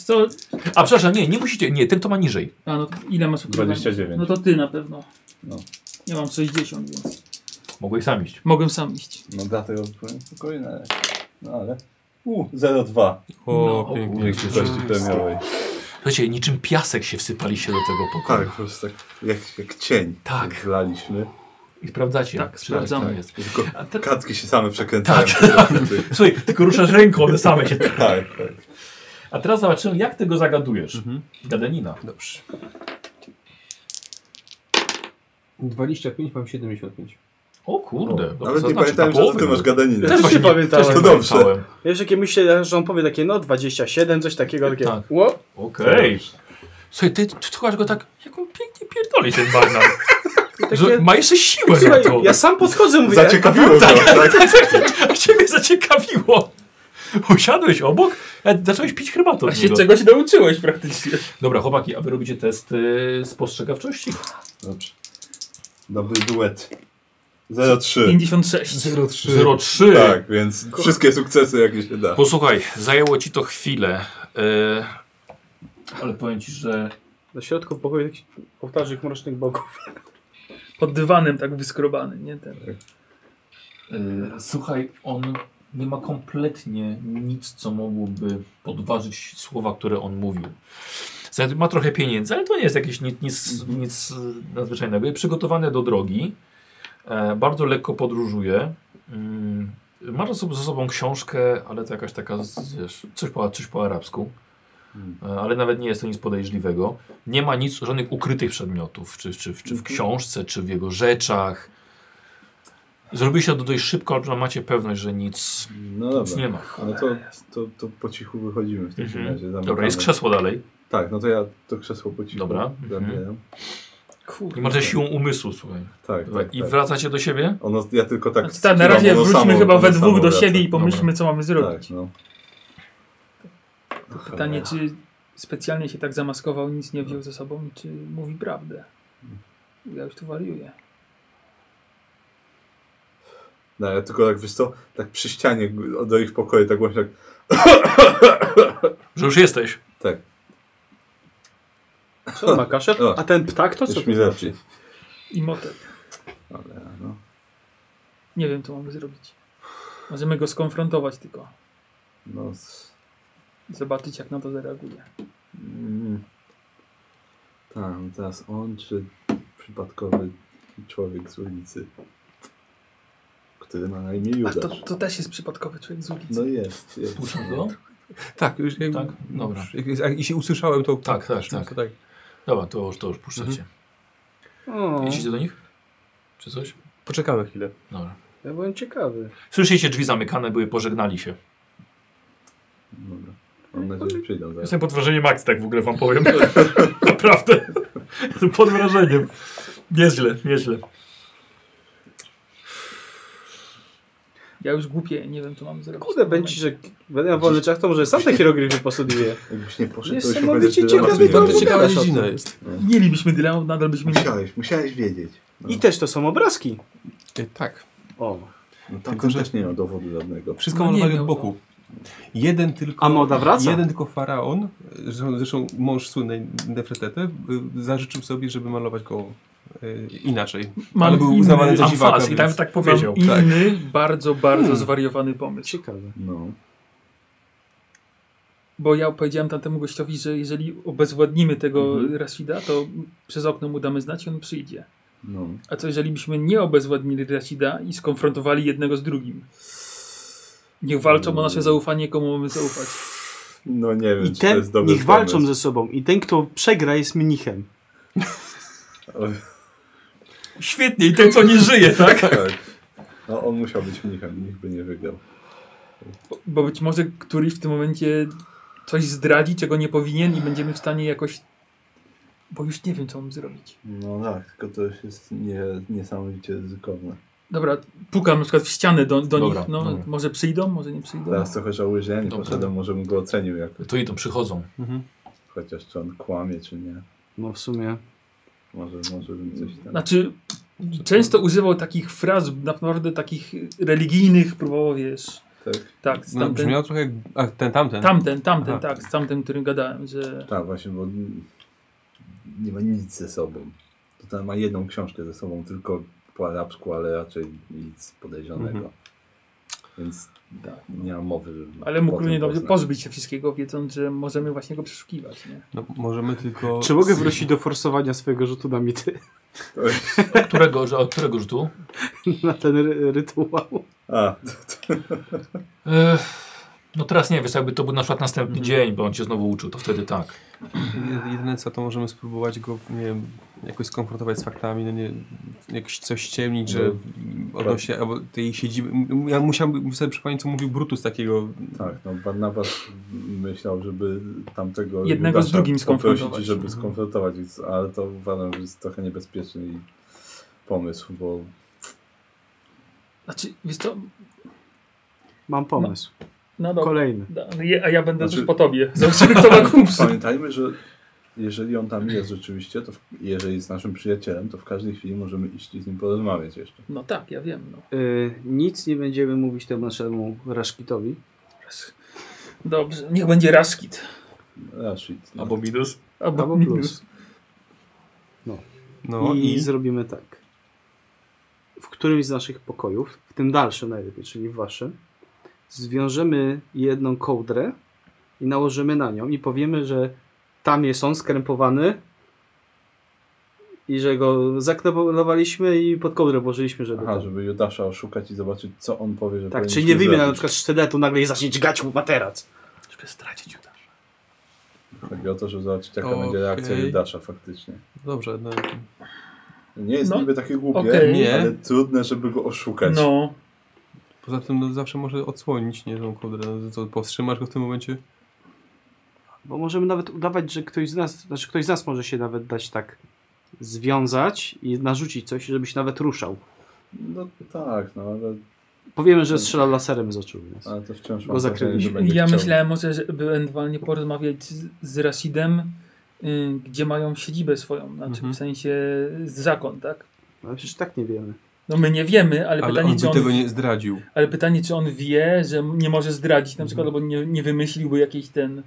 D: Co?
A: A przepraszam, nie, nie musicie, nie, ten kto ma niżej.
D: A no, ile masz ukrywania?
C: 29.
D: No to ty na pewno.
C: No.
D: Ja mam 60, więc
A: Mogłeś sam iść.
D: mogłem sam iść.
C: No dlatego byłem spokojny, ale- no ale... U, 0,2
E: O,
A: No,
E: pięknie.
A: kurde.
C: kości premiowej.
A: Słuchajcie, niczym piasek się wsypaliście do tego
C: Tak,
A: pokoju.
C: po prostu tak jak, jak cień.
A: Tak.
C: Wlaliśmy.
A: I sprawdzacie.
D: Tak,
A: czy
D: sprawdzamy.
A: tak jest.
C: Tylko
A: A te-
C: Kartki się same przekręcają.
A: Słuchaj, tylko ruszasz ręką, one same się...
C: <laughs> tak, tak.
A: A teraz zobaczymy, jak ty go zagadujesz. Gadanina.
E: Dobrze. 25, mam 75.
A: O kurde.
C: Nawet
A: dobra,
C: nie
A: zaznaczy,
C: pamiętałem,
A: na
C: że
A: połowę
C: o tym masz No
A: był.
C: gadaninę.
B: Też
A: właśnie-
B: się pamiętałem.
A: też
C: To
A: nie
C: dobrysze.
A: pamiętałem.
B: Wiesz, jakie myślę, że on powie takie, no 27, coś takiego, takie,
A: Tak.
B: ło,
A: Okej. Słuchaj, ty ty słuchasz go tak, jak on pięknie pierdoli ten barna. <laughs> Że
B: Takie-
A: ma jeszcze siłę na
B: Słuchaj,
A: to. <laughs>
B: ja sam podchodzę, mówię.
C: Zaciekawiło go. Tak.
A: A ciebie zaciekawiło. Usiadłeś obok, a zacząłeś pić herbatę
D: A
C: No
A: od
D: się
A: niego.
D: czegoś nauczyłeś praktycznie.
A: tak- Dobra, chłopaki, a wy robicie test y, spostrzegawczości?
C: Dobrze. Dobry duet. 0,3.
D: 56.
E: 03.
A: 03.
C: Tak, więc wszystkie sukcesy jakie się da.
A: Posłuchaj, zajęło ci to chwilę. y, ale powiem ci, że
B: Na środku pokoju jakiś ołtarzyk mrocznych bogów.
D: Pod dywanem tak wyskrobany, nie ten.
A: Y, Słuchaj, on nie ma kompletnie nic, co mogłoby podważyć słowa, które on mówił. Znaczy, Ma trochę pieniędzy, ale to nie jest jakieś nic, nic, nic y, nadzwyczajnego. Jest przygotowany do drogi, e, bardzo lekko podróżuje. Mm, Ma ze sobą- ze sobą książkę, ale to jakaś taka, z- wiesz, coś po, coś po arabsku. E, Ale nawet nie jest to nic podejrzliwego. Nie ma nic, żadnych ukrytych przedmiotów, czy, czy, czy w książce, czy w jego rzeczach. Zrobiliście to dość szybko, ale macie pewność, że nic,
C: No
A: nic nie
C: dobra.
A: ma.
C: No to, to, to po cichu wychodzimy w takim
A: Mhm.
C: razie. zamykamy.
A: Dobra, jest krzesło dalej.
C: Tak, no to ja to krzesło po cichu
A: Dobra.
D: mhm.
C: zabieram.
A: I macie siłą umysłu, słuchaj.
C: Tak, tak,
A: I
C: tak.
A: wracacie do siebie?
C: Ono, ja tylko tak
D: Tak, na
C: skiwam,
D: razie
C: ono
D: wróćmy
C: samo-
D: chyba
C: ono
D: we
C: samo
D: dwóch do
C: wraca.
D: siebie i pomyślmy, co mamy zrobić.
C: Tak, no.
D: Pytanie,
C: Tak.
D: czy specjalnie się tak zamaskował, nic nie wziął ze sobą, czy mówi prawdę? Ja już tu wariuję.
C: No, ale tylko tak, wiesz co, tak przy ścianie g- do ich pokoju, tak właśnie tak,
A: Że już jesteś.
C: tak,
B: Co ma kaszę?
C: O.
B: A ten ptak to co?
C: już mi lepiej.
D: znaczy? I motet.
C: Ale no,
D: Nie wiem, co mamy zrobić. Możemy go skonfrontować tylko.
C: no, s-
D: Zobaczyć, jak na to zareaguje.
C: mm. tam, teraz on czy przypadkowy człowiek z ulicy, który ma na imię
D: A to,
C: Judasz.
D: to też jest przypadkowy człowiek z ulicy.
C: No jest, jest.
A: Puszczam go?
E: Tak, już jak,
A: Tak? Dobra.
E: jak, jak, jeśli usłyszałem to...
A: Tak, tak,
E: to
A: tak. Dobra, to już, to już
C: Mhm.
A: puszczacie.
C: No.
B: O,
A: Idziecie do nich? Czy coś?
E: Poczekamy chwilę.
A: Dobra.
B: ja byłem ciekawy.
A: Słyszeliście drzwi zamykane, były, pożegnali się.
C: Tak. Dobra. Mam nadzieję, że przyjdą zaraz.
A: Jestem pod wrażeniem akcji, tak w ogóle wam powiem. <laughs> Naprawdę. <laughs> Jestem pod wrażeniem. Nieźle, nieźle.
D: Ja już głupie, nie wiem, co mamy zrobić.
B: Kurde, będzie, że będę miał wolny czas, to może sam te hieroglify posługuję.
C: Jakbyś nie poszedł, to już
B: Niesamowicie
C: będziesz dylemat
B: ciekawy
C: wiedział.
E: To
B: Opowiadasz
E: ciekawa
B: o tym.
E: dziedzina jest.
D: Mielibyśmy dylemat, nadal
E: <laughs>
D: byśmy nie...
C: Musiałeś, musiałeś wiedzieć. No.
B: I też to są obrazki.
E: E, Tak.
B: O.
C: No,
B: tak,
C: tamten też nie miał dowodu żadnego.
E: Wszystko
D: No
E: no,
D: nie
E: malowali
D: miał
E: od boku. Jeden tylko...
B: A moda wraca?
E: Jeden tylko faraon, zresztą, zresztą mąż słynnej Nefretete, y, zażyczył sobie, żeby malować go y, inaczej.
D: Mam
E: Ale był
D: inny
E: uznawany za
A: Mam
E: dziwaka,
A: faz i tam
E: więc...
A: tak
D: Mam
A: powiedział.
D: inny, bardzo, bardzo
B: Hmm.
D: zwariowany pomysł.
B: Ciekawe.
C: No.
D: Bo ja powiedziałem tamtemu gościowi, że jeżeli obezwładnimy tego
B: Mhm.
D: Rasida, to przez okno mu damy znać i on przyjdzie.
C: No.
D: A co jeżeli byśmy nie obezwładnili Rasida i skonfrontowali jednego z drugim? Niech walczą o nasze zaufanie, komu mamy zaufać.
C: no nie wiem,
B: I
C: czy to
B: ten,
C: jest dobry
B: niech walczą
C: pomysł.
B: ze sobą. I ten, kto przegra, jest mnichem.
F: Świetnie, i ten co nie żyje,
C: <laughs>
F: tak?
C: Tak. No on musiał być mnichem, nikt by nie wygrał.
D: Bo- Bo być może któryś w tym momencie coś zdradzi, czego nie powinien i będziemy w stanie jakoś... Bo już nie wiem, co mam zrobić.
C: No tak, tylko to już jest nie, niesamowicie ryzykowne.
D: Dobra, pukam na przykład w ścianę do, do
A: Dobra,
D: nich. No,
A: dobra.
D: Może przyjdą, może nie przyjdą.
C: Teraz trochę żałuję, że ja nie
A: Dobra.
C: poszedłem, może bym go ocenił jak
A: To idą, przychodzą.
E: Mhm.
C: chociaż czy on kłamie, czy nie.
B: No w sumie.
C: Może, może bym coś tam...
D: Znaczy, często używał takich fraz, naprawdę takich religijnych, próbował, wiesz,
C: Tak,
D: tak, z
E: No,
D: tamten,
E: brzmiało trochę jak... A, ten, tamten.
D: tamten, tamten,
E: Aha.
D: tak, z tamten, którym gadałem, że
C: tak właśnie, bo nie ma nic ze sobą. To ten ma jedną książkę ze sobą, tylko po arabsku, ale raczej nic podejrzanego.
E: Mhm.
C: Więc
D: Tak.
C: nie ma mowy, żeby...
D: ale mógł
C: potem
D: równie dobrze
C: poznać.
D: pozbyć się wszystkiego, wiedząc, że możemy właśnie go przeszukiwać, nie?
E: No, możemy tylko...
B: Czy mogę wrócić do forsowania swojego rzutu na mity? <laughs>
A: Od którego, że- od którego rzutu?
B: Na ten ry- rytuał?
C: A,
A: Ech, No teraz nie, wiesz, jakby to był na przykład następny
F: Mhm.
A: dzień, bo on cię znowu uczył, to wtedy tak.
E: Je- Jedyne co, to możemy spróbować go, nie wiem, jakoś skonfrontować z faktami, no nie, jakoś coś ściemnić, że odnośnie albo tej siedziby. M- Ja musiałbym sobie przypomnieć, co mówił Brutus takiego,
C: Tak, no Barnabas myślał, żeby tamtego
D: Jednego
C: Judasza
D: z drugim
C: poprosić,
D: skonfrontować.
C: żeby skonfrontować, więc- ale to uważam, że jest trochę niebezpieczny i- pomysł, bo
D: Znaczy, wiesz co,
B: Mam pomysł.
D: no dobra,
B: Kolejny.
D: da- je- a ja będę
C: Znaczy-
D: już po tobie, <laughs> zobaczymy kto ma głupszy.
C: pamiętajmy, że jeżeli on tam jest rzeczywiście, to w, jeżeli jest naszym przyjacielem, to w każdej chwili możemy iść i z nim porozmawiać jeszcze.
D: No tak, ja wiem, no.
B: Y, nic nie będziemy mówić temu naszemu Raszkitowi.
D: Dobrze, niech będzie Raskit.
C: Rashid. No.
F: Albo minus.
D: Albo,
B: Albo
D: minus.
B: plus.
E: no
B: I,
E: i...
B: zrobimy tak. W którymś z naszych pokojów, w tym dalszym najlepiej, czyli w waszym, zwiążemy jedną kołdrę i nałożymy na nią i powiemy, że tam jest on skrępowany i że go zaknebowaliśmy i pod kołdrę włożyliśmy, żeby...
C: Aha,
B: to-
C: żeby Judasza oszukać i zobaczyć, co on powie, że
B: Tak,
C: powinniśmy
B: czyli nie wyjmie na
C: zrobić.
B: przykład sztyletu nagle i zacznie dźgać mu materac.
F: Żeby stracić uda.
C: Chodzi o to, żeby zobaczyć jaka
E: Okej.
C: będzie reakcja Judasza faktycznie.
E: Dobrze, no,
C: Nie jest
D: No.
C: niby takie głupie,
D: Okej.
E: Nie.
C: ale trudne, żeby go oszukać.
D: No,
E: poza tym no, zawsze może odsłonić, nie tą kołdrę. No, co, powstrzymasz go w tym momencie?
B: Bo możemy nawet udawać, że ktoś z nas, znaczy ktoś z nas może się nawet dać tak związać i narzucić coś, żebyś nawet ruszał.
C: No tak, no ale,
B: Powiemy, że strzela laserem z oczu. Więc.
C: ale to wciąż
B: Go
C: mam wrażenie,
B: zakryliśmy.
C: że
D: I-
C: będzie
D: ja
C: chciał.
D: myślałem może, żeby ewentualnie porozmawiać z, z Rasidem, y, gdzie mają siedzibę swoją, znaczy
E: Mhm.
D: w sensie zakon, tak?
B: Ale przecież tak nie wiemy.
D: No my nie wiemy, ale,
E: Ale,
D: pytanie,
E: on
D: czy
E: by
D: on,
E: tego nie zdradził.
D: ale pytanie, czy on wie, że nie może zdradzić na przykład, albo nie, nie wymyśliłby jakiejś ten...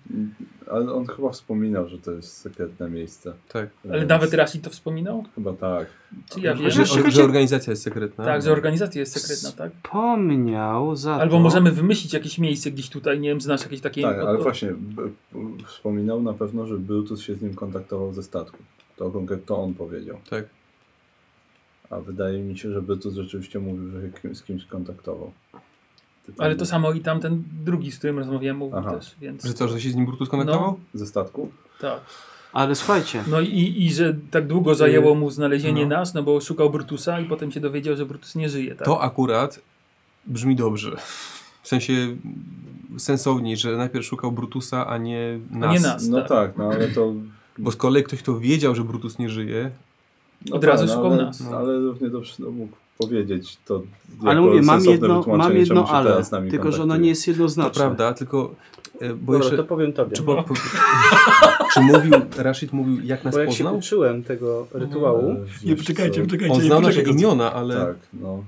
C: Ale on chyba wspominał, że to jest sekretne miejsce.
E: Tak.
D: Ale
C: Więc
D: nawet Rasid to wspominał?
C: Chyba tak.
D: Czy ja
E: Że,
D: wiem?
E: że,
B: Że-
E: or- że organizacja jest sekretna. No.
D: Tak, że organizacja jest sekretna, tak?
B: Pomniał za
D: Albo
B: to,
D: możemy wymyślić jakieś miejsce gdzieś tutaj, nie wiem, znasz jakieś takie...
C: Tak,
D: od-
C: ale
D: od-
C: właśnie b- b- wspominał na pewno, że Brutus się z nim kontaktował ze statku. To konkretnie to on powiedział.
E: Tak.
C: A wydaje mi się, że Brutus rzeczywiście mówił, że się kim, z kimś kontaktował. Tylko
D: Ale
C: nie-
D: to samo i tamten drugi, z którym rozmawiałem, mówił
C: Aha.
D: też, więc...
E: Że co, że się z nim Brutus
D: No,
E: kontaktował?
C: Ze statku?
D: Tak.
B: Ale słuchajcie,
D: No i, i że tak długo zajęło mu znalezienie
E: No.
D: nas, no bo szukał Brutusa i potem się dowiedział, że Brutus nie żyje, tak?
E: To akurat brzmi dobrze. W sensie mm, sensowniej, że najpierw szukał Brutusa, a nie nas.
D: Nie nas.
C: No
D: Tak.
C: tak, no ale to...
E: Bo z kolei ktoś, kto wiedział, że Brutus nie żyje,
C: No
D: Od razu
C: tak, no,
D: szukał
C: ale,
D: nas.
C: No. Ale równie dobrze no, mógł powiedzieć to
B: ale
C: jako
B: mówię, mam
C: sensowne
B: jedno,
C: wytłumaczenie,
B: mam
C: czemu
B: jedno
C: się
B: ale,
C: teraz z nami
B: tylko że ono
C: kontaktuje.
B: nie jest
E: to
B: jednoznaczne.
E: prawda, tylko e, bo
B: Znaczy. Dobra,
E: jeszcze...
B: to powiem tobie.
E: Czy, po, <laughs> po, czy mówił, Rashid mówił, jak nas
B: Bo jak się
E: poznał? Mhm.
B: uczyłem tego rytuału,
C: E,
F: Nie,
C: wiesz co?
F: poczekajcie, poczekajcie.
E: On
F: nie,
E: znał nasze
F: poczekajcie.
E: imiona, ale
C: Tak, no,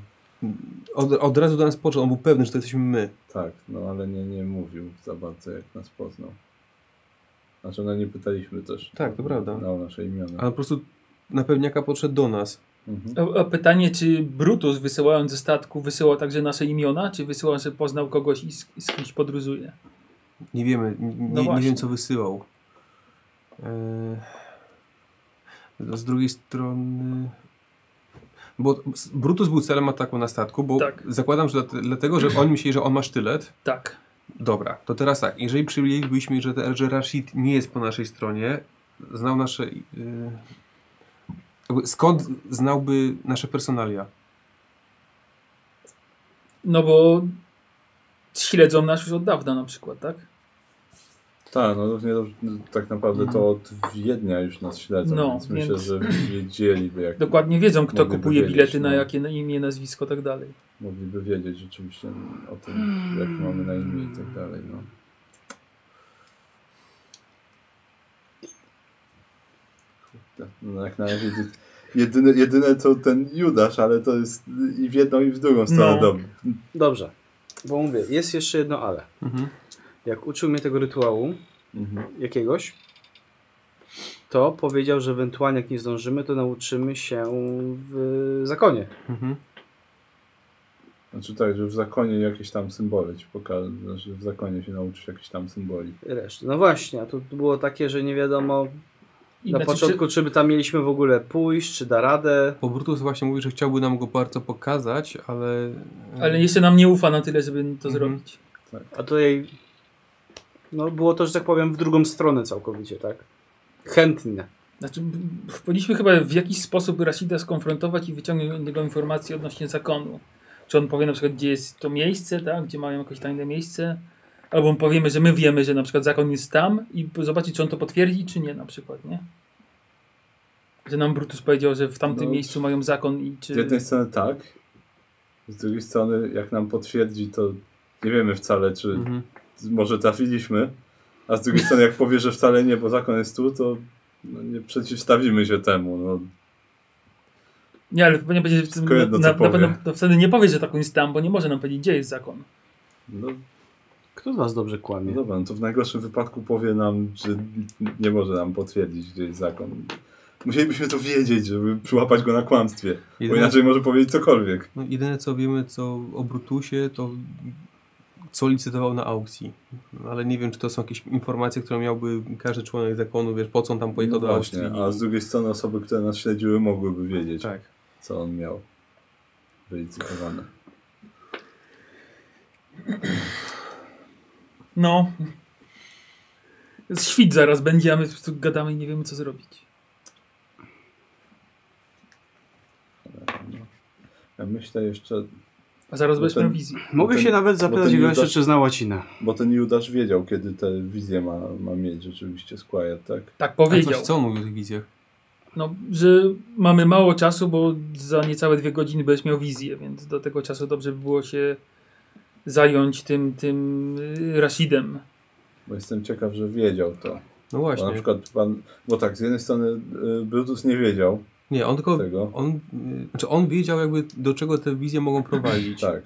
E: od, od razu do nas poczuł, on był pewny, że to jesteśmy my.
C: tak, no ale nie, nie mówił za bardzo jak nas poznał. Znaczy, no nie pytaliśmy też.
E: Tak, to prawda.
C: Znał nasze imiona.
E: Ale po prostu na pewniaka podszedł do nas.
C: Mhm.
D: A, a pytanie, czy Brutus wysyłając ze statku wysyłał także nasze imiona, czy wysyłał, że poznał kogoś i z, z kimś podróżuje?
E: Nie wiemy, n-
D: No
E: nie, nie
D: właśnie.
E: wiem co wysyłał. E, Z drugiej strony... Bo s- Brutus był celem ataku na statku, bo
D: Tak.
E: zakładam, że dlate- dlatego, że on myśli, że on ma sztylet.
D: Tak.
E: Dobra, to teraz tak. Jeżeli przyjęlibyśmy, że, te- że Rashid nie jest po naszej stronie, znał nasze... Yy, jakby skąd znałby nasze personalia?
D: No bo śledzą nas już od dawna na przykład, tak?
C: Tak, no równie dobrze, no, tak naprawdę to od Wiednia już nas śledzą,
D: Mhm. No,
C: więc myślę,
D: więc-
C: że wiedzieliby, jak
D: Dokładnie wiedzą, kto
C: Mogliby
D: kupuje
C: wiedzieć,
D: bilety,
C: no.
D: na jakie na imię, nazwisko, tak dalej.
C: mogliby wiedzieć rzeczywiście o tym,
D: Hmm.
C: jak mamy na imię i tak dalej. No. Kurde, No, jak na razie jedy- jedyne, jedyne to ten Judasz, ale to jest i w jedną i w drugą stronę
D: No.
C: dobry.
B: dobrze, bo mówię, jest jeszcze jedno ale.
E: Mhm.
B: Jak uczył mnie tego rytuału jakiegoś, to powiedział, że ewentualnie jak nie zdążymy, to nauczymy się w zakonie.
E: Mhm.
C: Znaczy tak, że w zakonie jakieś tam symbole ci pokażę, znaczy w zakonie się nauczysz jakichś tam symboli.
B: Reszty. No właśnie, a tu było takie, że nie wiadomo
D: I
B: na
D: znaczy,
B: początku, czy by tam mieliśmy w ogóle pójść, czy da radę.
E: Bo Brutus właśnie mówi, że chciałby nam go bardzo pokazać, ale... e,
D: Czy, ale jeszcze nam nie ufa na tyle, żeby to
E: Mhm.
D: zrobić.
B: A tutaj no, było to, że tak powiem, w drugą stronę całkowicie, tak? Chętnie.
D: Znaczy, b- b- powinniśmy chyba w jakiś sposób Rasida skonfrontować i wyciągnąć od niego informacje odnośnie zakonu. Czy on powie na przykład, gdzie jest to miejsce, tak? gdzie mają jakieś tajne miejsce, albo mu powiemy, że my wiemy, że na przykład zakon jest tam i po- zobaczyć, czy on to potwierdzi, czy nie na przykład, nie? Że nam Brutus powiedział, że w tamtym
C: No,
D: miejscu mają zakon i czy...
C: Z jednej strony tak, z drugiej strony jak nam potwierdzi, to nie wiemy wcale, czy
E: Mhm.
C: może trafiliśmy, a z drugiej strony jak powie, że wcale nie, bo zakon jest tu, to no, nie przeciwstawimy się temu. No.
D: Nie, ale powinien powiedzieć, że w tym-
C: Tylko jedno,
D: na,
C: co
D: na, na
C: powie.
D: pewno to wtedy nie powie, że zakon jest tam, bo nie może nam powiedzieć, gdzie jest zakon.
C: No,
B: Kto z was dobrze
C: no
B: kłamie?
C: dobra, no to w najgorszym wypadku powie nam, że nie może nam potwierdzić, gdzie jest zakon. Musielibyśmy to wiedzieć, żeby przyłapać go na kłamstwie, bo
E: Jedyne-
C: inaczej może powiedzieć cokolwiek.
E: No, jedyne co wiemy co o Brutusie, to co licytował na aukcji. No, Ale nie wiem, czy to są jakieś informacje, które miałby każdy członek zakonu, wiesz, po co on tam pojechał
C: No
E: do Austrii.
C: właśnie, a z drugiej strony osoby, które nas śledziły, mogłyby wiedzieć,
E: Tak.
C: co on miał wylicytowane.
D: No. Świt zaraz będzie, a my po prostu gadamy i nie wiemy co zrobić.
C: Ja myślę jeszcze,
D: A zaraz
C: No
D: bez
C: ten-
D: prowizji.
B: Mogę
C: Bo ten-
B: się nawet
C: bo
B: zapytać
C: ten
B: go jeszcze,
C: Judasz-
B: czy zna łacina.
C: bo ten Judasz wiedział, kiedy te wizje ma, ma mieć rzeczywiście Squire, tak?
D: Tak
E: A coś,
D: powiedział.
E: co on mówił o tych wizjach?
D: No, że mamy mało czasu, bo za niecałe dwie godziny będziesz miał wizję, więc do tego czasu dobrze by było się zająć tym, tym y, Rashidem.
C: Bo jestem ciekaw, że wiedział to.
E: No
C: Bo na
E: właśnie.
C: przykład pan, bo tak, z jednej strony y, Brutus nie wiedział
E: Nie, on tylko...
C: tego,
E: On, y, znaczy on wiedział jakby do czego te wizje mogą prowadzić.
C: tak.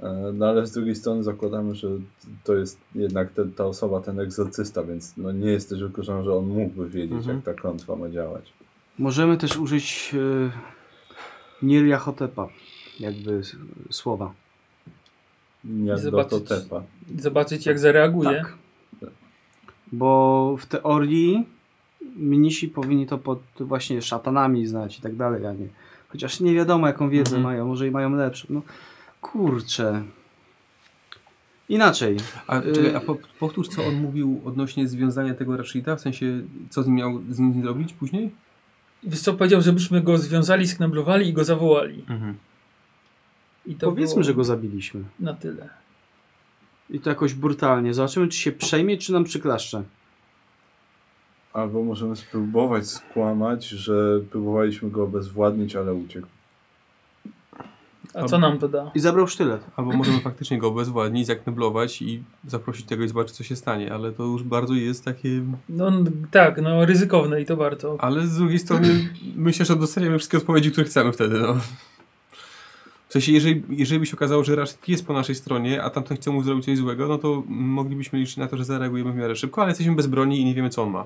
C: E, No ale z drugiej strony zakładamy, że to jest jednak ten, ta osoba, ten egzorcysta, więc no nie jest też wykluczone, że on mógłby wiedzieć,
E: Mhm.
C: jak ta klątwa ma działać.
B: Możemy też użyć y, Nirjahotepa, jakby s- słowa.
C: Jak do
D: Zobaczyć.
C: Totepa.
D: Zobaczyć jak zareaguje.
B: Tak. Bo w teorii mnisi powinni to pod właśnie szatanami znać i tak dalej, a nie. Chociaż nie wiadomo, jaką wiedzę
E: Mhm.
B: mają, może i mają lepszą. No kurczę. Inaczej.
E: A,
B: Y-
E: czekaj, a po, powtórz co on mówił odnośnie związania tego Rashida, w sensie co z nim miał z nim zrobić później?
D: Wiesz co, powiedział, żebyśmy go związali, sknablowali i go zawołali. I to
B: Powiedzmy,
D: było
B: że go zabiliśmy.
D: na tyle.
B: I to jakoś brutalnie. Zobaczymy, czy się przejmie, czy nam przyklaszcze.
C: Albo możemy spróbować skłamać, że próbowaliśmy go obezwładnić, ale uciekł.
D: A co nam to da?
B: I zabrał sztylet.
E: Albo możemy faktycznie go obezwładnić, zakneblować i zaprosić tego i zobaczyć co się stanie, ale to już bardzo jest takie...
D: No n- tak, no ryzykowne i to warto.
E: Ale z drugiej strony myślę, że dostaniemy wszystkie odpowiedzi, które chcemy wtedy, no. W sensie, jeżeli, jeżeli by się okazało, że Rashid jest po naszej stronie, a tamten chce mu zrobić coś złego, no to moglibyśmy liczyć na to, że zareagujemy w miarę szybko, ale jesteśmy bez broni i nie wiemy, co on ma.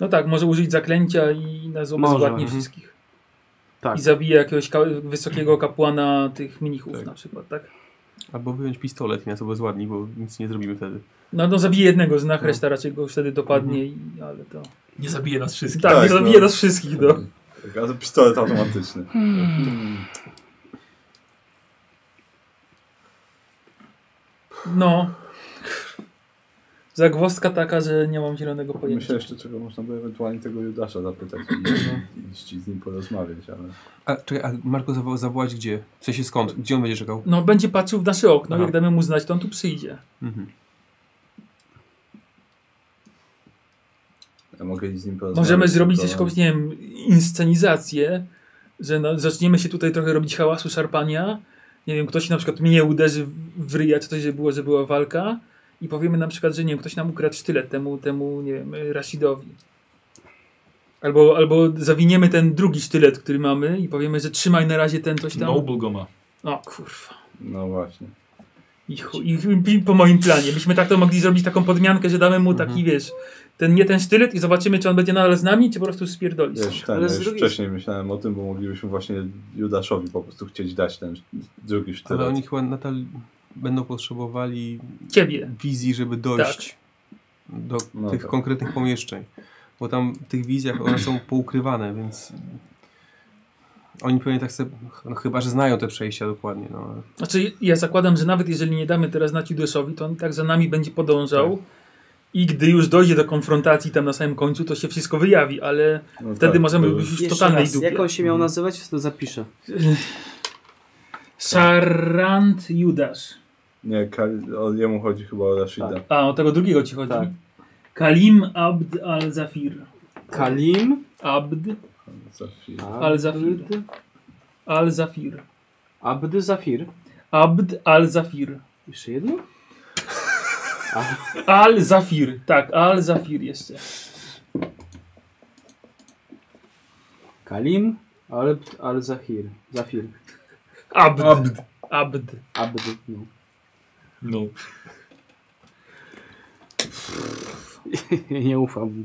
D: No tak, może użyć zaklęcia i nas
B: Może,
D: obezwładni
B: mhm.
D: wszystkich.
B: Tak.
D: I zabije jakiegoś ka wysokiego kapłana tych mnichów
E: Tak.
D: na przykład, tak?
E: Albo wyjąć pistolet i nas obezwładni, bo nic nie zrobimy wtedy.
D: No, no zabije jednego z nach,
E: No. Mhm.
D: reszta raczej go wtedy dopadnie, i, ale to...
F: Nie zabije nas wszystkich.
D: Tak,
C: Tak,
D: nie
C: no.
D: zabije nas wszystkich, no.
E: Mhm.
C: Tak, ale pistolet
D: <laughs>
C: automatyczny.
D: No. Zagwozdka taka, że nie mam zielonego pojęcia.
C: Myślę jeszcze, czego można by ewentualnie tego Judasza
D: <clears throat>
C: zapytać i iść z nim porozmawiać, ale...
E: A czekaj, a Marko zawo- zawołać gdzie? W sensie skąd? Gdzie on będzie czekał?
D: No, będzie patrzył w nasze okno,
E: Aha.
D: jak damy mu znać, to on tu przyjdzie.
E: Mhm.
C: Ja mogę iść z nim porozmawiać.
D: Możemy zrobić też
C: to-
D: jakąś, nie wiem, inscenizację, że no, zaczniemy się tutaj trochę robić hałasu, szarpania. Nie wiem, ktoś na przykład mnie uderzy w- w ryja, czy coś, żeby było, że była walka. I powiemy na przykład, że nie wiem, ktoś nam ukradł sztylet temu, temu nie wiem, y, Rashidowi. Albo, albo zawiniemy ten drugi sztylet, który mamy i powiemy, że trzymaj na razie ten coś tam.
F: Noble go ma.
D: O kurwa.
C: No właśnie.
D: I, chu- i, i, i po moim planie. Myśmy tak to mogli zrobić taką podmiankę, że damy mu taki, wiesz, ten nie ten sztylet i zobaczymy, czy on będzie nadal z nami, czy po prostu spierdoli.
C: Ja już, ten,
B: Ale
C: ja
B: z
C: już
B: drugiej-
C: wcześniej myślałem o tym, bo moglibyśmy właśnie Judaszowi po prostu chcieć dać ten drugi sztylet.
E: Ale oni chyba nadal będą potrzebowali
D: Ciebie.
E: wizji, żeby dojść do
C: No
E: tych
C: tak.
E: konkretnych pomieszczeń. Bo tam w tych wizjach one są poukrywane, więc oni pewnie tak sobie, no chyba, że znają te przejścia dokładnie. No.
D: Znaczy, ja zakładam, że nawet jeżeli nie damy teraz znać Judaszowi, to on i tak za nami będzie podążał. I gdy już dojdzie do konfrontacji tam na samym końcu, to się wszystko wyjawi, ale
C: No
D: wtedy
C: tak,
D: możemy
C: to-
D: być już w
B: Jeszcze
D: totalnej
B: raz,
D: dupie.
B: Jak on się miał nazywać, to zapiszę.
D: Sarant Judasz.
C: Nie, Kal- o, jemu chodzi chyba o Rashida.
B: Tak.
D: A, o tego drugiego ci chodzi.
B: Tak.
D: Kalim Abd al-Zafir.
B: Kalim
D: Abd
C: Za chwilę.
D: Al-Zafir. al-Zafir.
B: Abdy Zafir.
D: Abd al-Zafir.
B: Jeszcze jedno?
D: Al-Zafir, tak, al-Zafir jeszcze.
B: Kalim Abd al-Zahir. Zafir.
D: Abd. Abd. Abd.
B: Abd. No.
F: No.
B: <laughs> Nie ufam. mu.